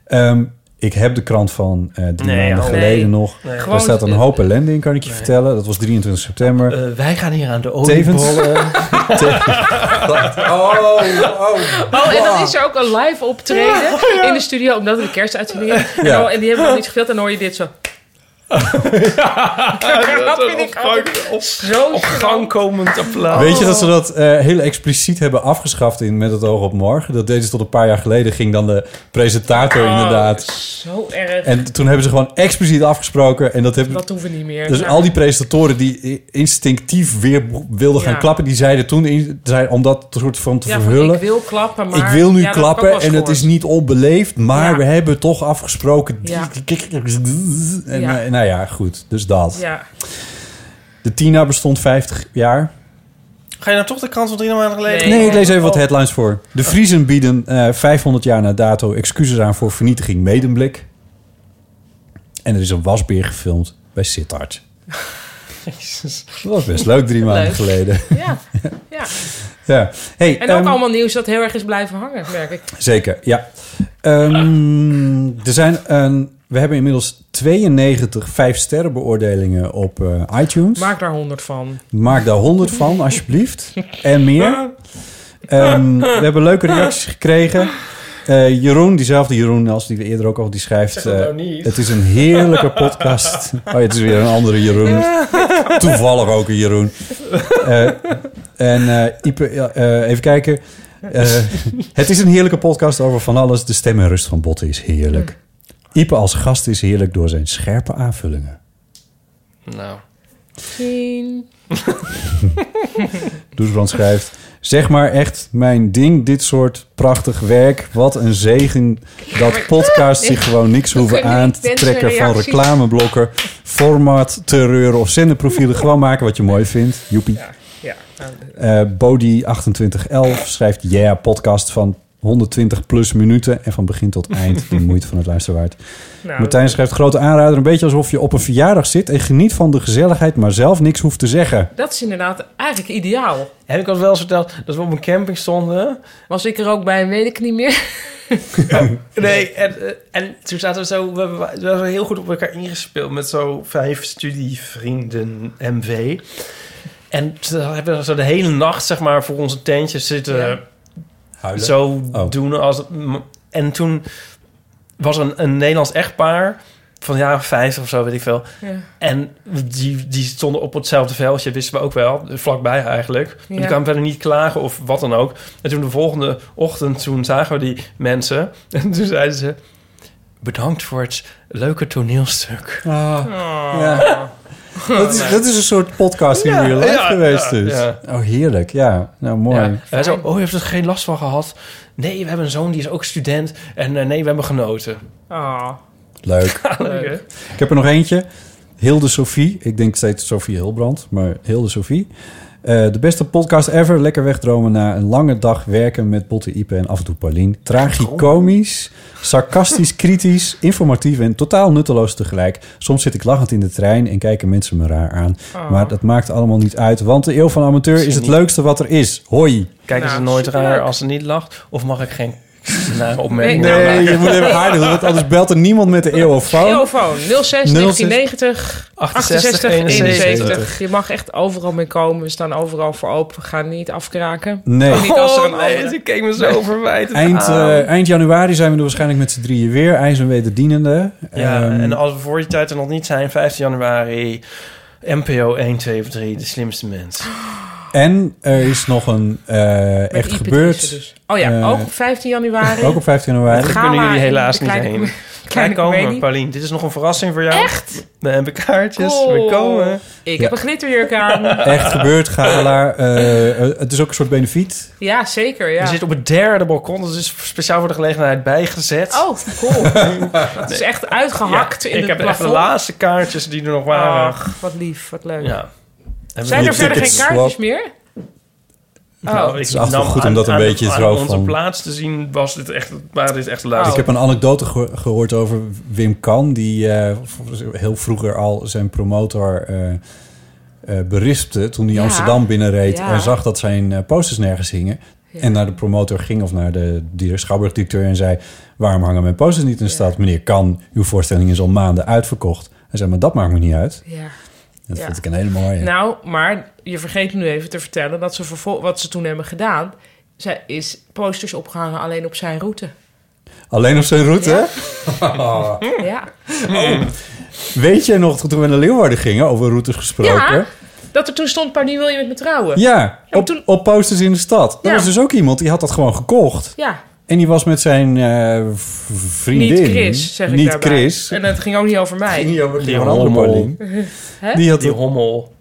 G: Ehm, ik heb de krant van eh, drie
F: Nee,
G: maanden
F: oh.
G: geleden
C: Nee.
G: nog.
F: Nee.
G: Daar
C: Gewoon-
G: staat een hoop ellende in, kan ik je vertellen. Dat was 23 september.
F: Eh, wij gaan hier aan de
G: Tevens.
F: oliebollen.
G: oh, oh.
C: Oh, en dan is er ook een live optreden in de studio, omdat het een kerstuitzending is. En,
G: Ja.
C: dan- en die hebben nog niet gespeeld, en dan hoor je dit zo. dat vind ik altijd zo
F: Op gang komend applaus.
G: Weet je dat ze dat eh, heel expliciet hebben afgeschaft in Met het oog op morgen? Dat deden ze tot een paar jaar geleden. Ging dan de presentator
C: Oh,
G: inderdaad.
C: Zo erg.
G: En toen hebben ze gewoon expliciet afgesproken. En dat hebben,
C: dat hoeven niet meer.
G: Dus
C: Nou,
G: al die presentatoren die i- instinctief weer b- wilden
C: Ja.
G: gaan klappen, die zeiden toen in, zei, om dat soort van te
C: ja, van,
G: verhullen.
C: ik wil klappen, maar...
G: "Ik wil nu
C: Ja, dat heb ik ook wel
G: klappen
C: eens
G: en het is
C: gehoord.
G: niet onbeleefd, maar
C: Ja.
G: we hebben toch afgesproken.
C: Ja.
G: En,
C: Ja.
G: eh, nou ja, goed. Dus dat.
C: Ja,
G: De Tina bestond 50 jaar.
F: Ga je nou toch de krant van drie maanden geleden?
C: Nee. Oh.
G: Nee, ik lees even wat headlines voor. De Vriezen bieden eh, 500 jaar na dato excuses aan voor vernietiging Medemblik. En er is een wasbeer gefilmd bij Sittard. Dat was best leuk drie maanden
C: Leuk.
G: geleden.
C: ja, ja.
G: Ja. Hey,
C: En ook
G: ehm,
C: allemaal nieuws dat heel erg is blijven hangen, merk ik.
G: Zeker, ja. Ehm, er zijn een, we hebben inmiddels 92 vijfsterren beoordelingen op eh, iTunes.
C: Maak daar honderd van.
G: Maak daar 100 van, alsjeblieft. En meer. Ehm, we hebben leuke reacties gekregen. Eh, Jeroen, diezelfde Jeroen als die we eerder ook al, die schrijft...
F: dat
G: eh,
F: nou niet.
G: het is een heerlijke podcast. Oh ja, het is weer een andere Jeroen. Toevallig ook een Jeroen. Eh, en eh, Ipe, ja, eh, even kijken. Eh, het is een heerlijke podcast over van alles. De stem en rust van Botten is heerlijk. Ipe als gast is heerlijk door zijn scherpe aanvullingen.
F: Nou.
C: Tien.
G: Doesbrand schrijft... Zeg maar echt mijn ding, dit soort prachtig werk. Wat een zegen dat podcasts zich gewoon niks hoeven
C: kunnen
G: aan
C: niet
G: te
C: mensen
G: trekken van
C: reacties.
G: reclameblokken, format, terreur of zenderprofielen. Gewoon maken wat je mooi vindt. Joepie.
C: Ja, nou,
G: Eh Bodie2811 schrijft... Yeah, podcast van 120 plus minuten en van begin tot eind de moeite van het luisteren waard.
C: nou,
G: Martijn schrijft grote aanrader, een beetje alsof je op een verjaardag zit en geniet van de gezelligheid, maar zelf niks hoeft te zeggen.
C: dat is inderdaad eigenlijk ideaal.
F: Heb ik al wel eens verteld dat we op een camping stonden?
C: Was ik er ook bij, weet ik niet meer.
F: Nee, en, eh, en toen zaten we zo... We, we, we waren heel goed op elkaar ingespeeld met zo vijf studievrienden MV. En toen hebben we zo de hele nacht, zeg maar, voor onze tentjes zitten...
C: Ja.
G: Huilen.
F: zo
G: Oh.
F: doen als... En toen was er een, een Nederlands echtpaar van jaren 50 of zo, weet ik veel.
C: Ja.
F: En die, die stonden op hetzelfde veldje, wisten we ook wel, vlakbij eigenlijk. En die
C: Ja.
F: kwamen verder niet klagen of wat dan ook. En toen de volgende ochtend, toen zagen we die mensen. En toen zeiden ze, bedankt voor het leuke toneelstuk.
G: Ja. Dat, is, dat is een soort podcast in
F: Ah. Ja,
G: real life
F: ja,
G: geweest
F: ja,
G: dus.
F: ja.
G: Oh, heerlijk. Ja, nou mooi.
F: Ja. En zo, oh, je hebt er geen last van gehad? Nee, we hebben een zoon, die is ook student. En eh, nee, we hebben genoten.
C: Ah,
G: Leuk.
F: Leuk, hè?
G: Ik heb er nog eentje. Hilde Sophie. Ik denk steeds Sophie Hilbrand, maar Hilde Sophie. Eh, de beste podcast ever. Lekker wegdromen na een lange dag werken met Botte, Ipe en af en toe Paulien. Tragicomisch, sarcastisch, kritisch, informatief en totaal nutteloos tegelijk. Soms zit ik lachend in de trein en kijken mensen me raar aan.
F: Oh.
G: Maar dat maakt allemaal niet uit, want de eeuw van amateur is het leukste wat er is. Hoi.
F: Kijken
C: Nou,
F: ze nooit
C: superleuk.
F: raar als ze niet lacht? Of mag ik geen Nare opmerking.
C: Nee,
G: Nee, je moet even haar doen, want anders belt er niemand met de eeuwofoon.
C: Telefoon 06 1990
F: 68,
C: 68 71.
F: 71.
C: Je mag echt overal mee komen. We staan overal voor open. We gaan niet afkraken.
G: Nee.
C: Niet als er een
F: Oh, nee,
C: ander-
F: dat keek me zo verwijtend
G: Eind,
F: aan.
G: eh, eind januari zijn we er waarschijnlijk met z'n drieën weer. IJs en wederdienende.
F: Ja,
G: Ehm,
F: en als we voor die tijd er nog niet zijn, 15 januari, NPO 173, de slimste
C: Oh,
F: mens.
G: en er is nog een eh,
C: Met
G: echt
C: Ipe
G: gebeurd.
C: Driessen dus. Oh ja,
G: Eh,
C: ook op 15
F: dus.
C: januari.
G: Ook op 15 januari.
F: Daar
C: Gala
F: kunnen jullie
C: in
F: helaas
C: de
F: niet
C: kleine-
F: heen. Wij
C: Kleine
F: komen,
C: comedie.
F: Paulien. Dit is nog een verrassing voor jou. Echt? We hebben kaartjes,
C: Cool.
F: we komen.
C: Ik
G: Ja.
C: heb een glitterjurk aan.
G: Echt gebeurd, gala. Eh, eh, het is ook een soort benefiet.
C: Ja, zeker.
F: We
C: Ja.
F: zitten op het derde balkon, dat is speciaal voor de gelegenheid bijgezet.
C: Oh, cool. Het is echt uitgehakt
F: Ja,
C: in
F: ik
C: het
F: heb echt de
C: plafond.
F: laatste kaartjes die er nog waren.
C: Ach, wat lief, wat leuk.
F: Ja. Hebben
C: Zijn
F: we-
C: er verder geen
G: ticketswap.
C: kaartjes meer?
F: Nou,
C: Oh.
F: ik
G: is altijd wel
F: nam
G: goed om dat een
F: de-
G: beetje
F: aan
G: zo
F: onze
G: van-
F: plaats te zien was dit echt, waren dit echt de laatste.
C: Oh.
G: Ik heb een anekdote geho- gehoord over Wim Kan, die eh, v- heel vroeger al zijn promotor eh, eh, berispte toen hij
C: Ja.
G: Amsterdam binnenreed
C: Ja.
G: en zag dat zijn eh, posters nergens hingen. En naar de promotor ging of naar de dir- schouwburgdirecteur en zei: Waarom hangen mijn posters niet in de stad? Meneer Kan, uw voorstelling is al maanden uitverkocht. Hij zei: Maar dat maakt me niet uit.
C: Ja.
G: Dat
C: Ja.
G: vond ik een hele mooie.
C: Nou, maar je vergeet me nu even te vertellen dat ze vervol- wat ze toen hebben gedaan. Zij is posters opgehangen alleen op zijn route.
G: Alleen op zijn route.
C: Ja.
G: hè?
F: Hmm.
C: Ja.
G: Weet jij nog toen we naar Leeuwarden gingen, over routes gesproken?
C: ja. Dat er toen stond, Paulien wil je met me trouwen?
G: Ja,
C: maar
G: op,
C: toen-
G: op posters in de stad. Er
C: Ja.
G: was dus ook iemand die had dat gewoon gekocht.
C: Ja.
G: En die was met zijn eh, v- vriendin.
C: Niet Chris, zeg ik
G: Niet
C: daarbij.
G: Chris.
C: En dat ging ook niet over mij.
G: Ging niet over-
F: Die
G: over een andere
F: hommel.
G: Paulien. Die had
F: Die hommel.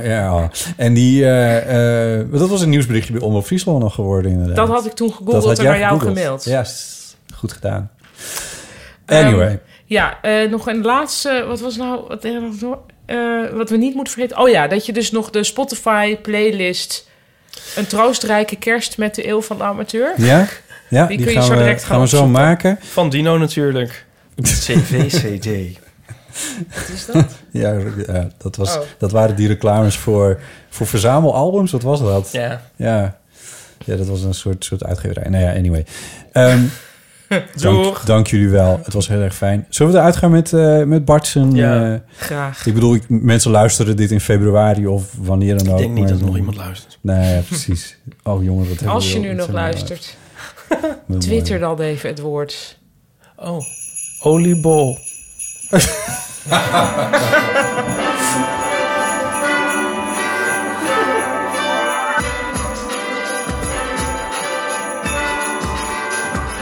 G: ja. En die, eh, eh, dat was een nieuwsberichtje bij Omroep Friesland nog geworden inderdaad.
C: Dat had ik toen
G: Dat had
C: gegoogeld en
G: jij
C: naar jou
G: gegoogeld.
C: gemaild. Ehm,
G: Ja, s- goed gedaan. Anyway,
C: Ja, eh, nog een laatste. Wat was nou? Wat, eh, nog door- eh, wat we niet moeten vergeten. Oh ja, dat je dus nog de Spotify-playlist. Een troostrijke kerst met de eeuw van de amateur.
G: ja, ja die,
C: kun je
G: gaan,
C: zo
G: we,
C: direct gaan
G: gaan we zo
C: opzoeken.
G: maken.
F: Van Dino natuurlijk. CVCD.
C: Wat is dat?
G: Ja, ja, dat, was,
C: Oh.
G: dat waren die reclames voor, voor verzamelalbums. Wat was dat?
F: ja.
G: Ja. ja, dat was een soort, soort uitgeverij. Nou ja, anyway. Ehm,
F: Doeg.
G: dank, dank jullie wel. Het was heel erg fijn. Zullen we eruit gaan met, eh met Bart zijn...
F: Ja.
G: eh,
C: Graag.
G: ik bedoel, ik, mensen luisteren dit in februari of wanneer dan ook.
F: Ik denk niet
G: maar-
F: dat er nog iemand luistert.
G: Nee, ja, precies. Oh jongen, wat hebben
C: Als je
G: we wel-
C: nu
G: wat
C: nog
G: zijn we
C: luistert,
G: nou- Heel mooi.
C: twitter dan even het woord.
F: Oh, oliebol.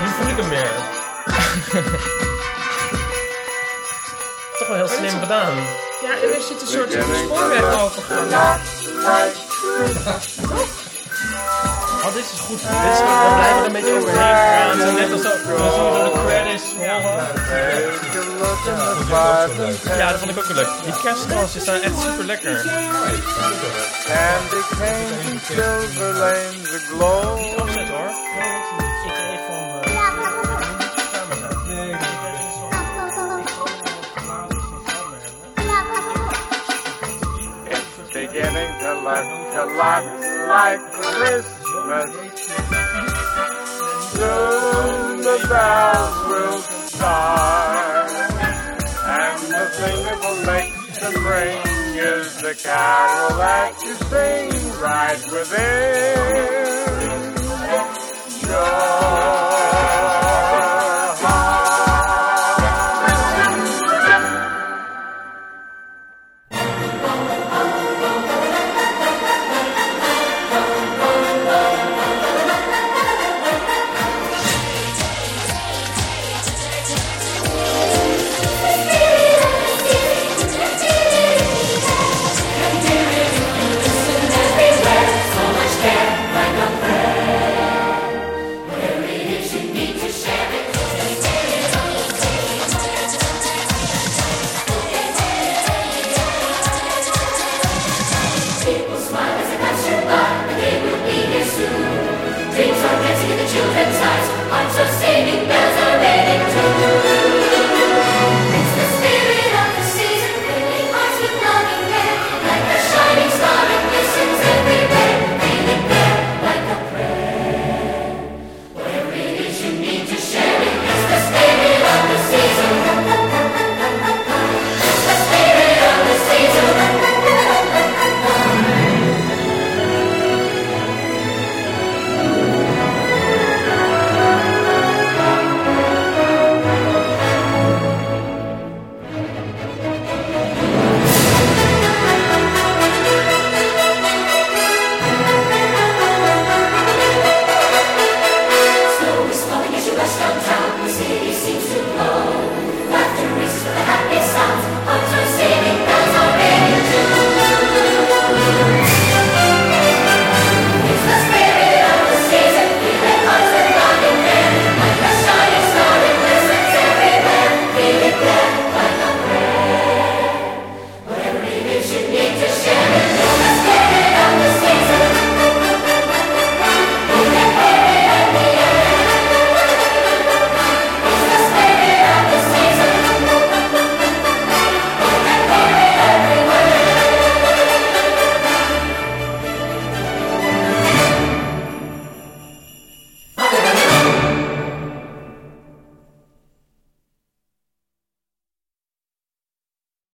F: Nu voel ik hem weer. Toch wel heel slim gedaan.
C: Ja, er zit een soort spoorweg overgegaan.
F: Oh, dit is goed. Dit is goed. We blijven er een beetje overheen gaan. Zo Net als dat we door de credits rollen. Ja, dat vond ik ook wel leuk. Die kerstkans is daar echt super lekker.
H: And it came in silver lanes aglow.
F: Opzet hoor. Ik kreeg van... eh,
H: It's beginning to look a lot like Christmas. Soon the bells will start, and the singer will make the ring. Is the carol that you sing right within?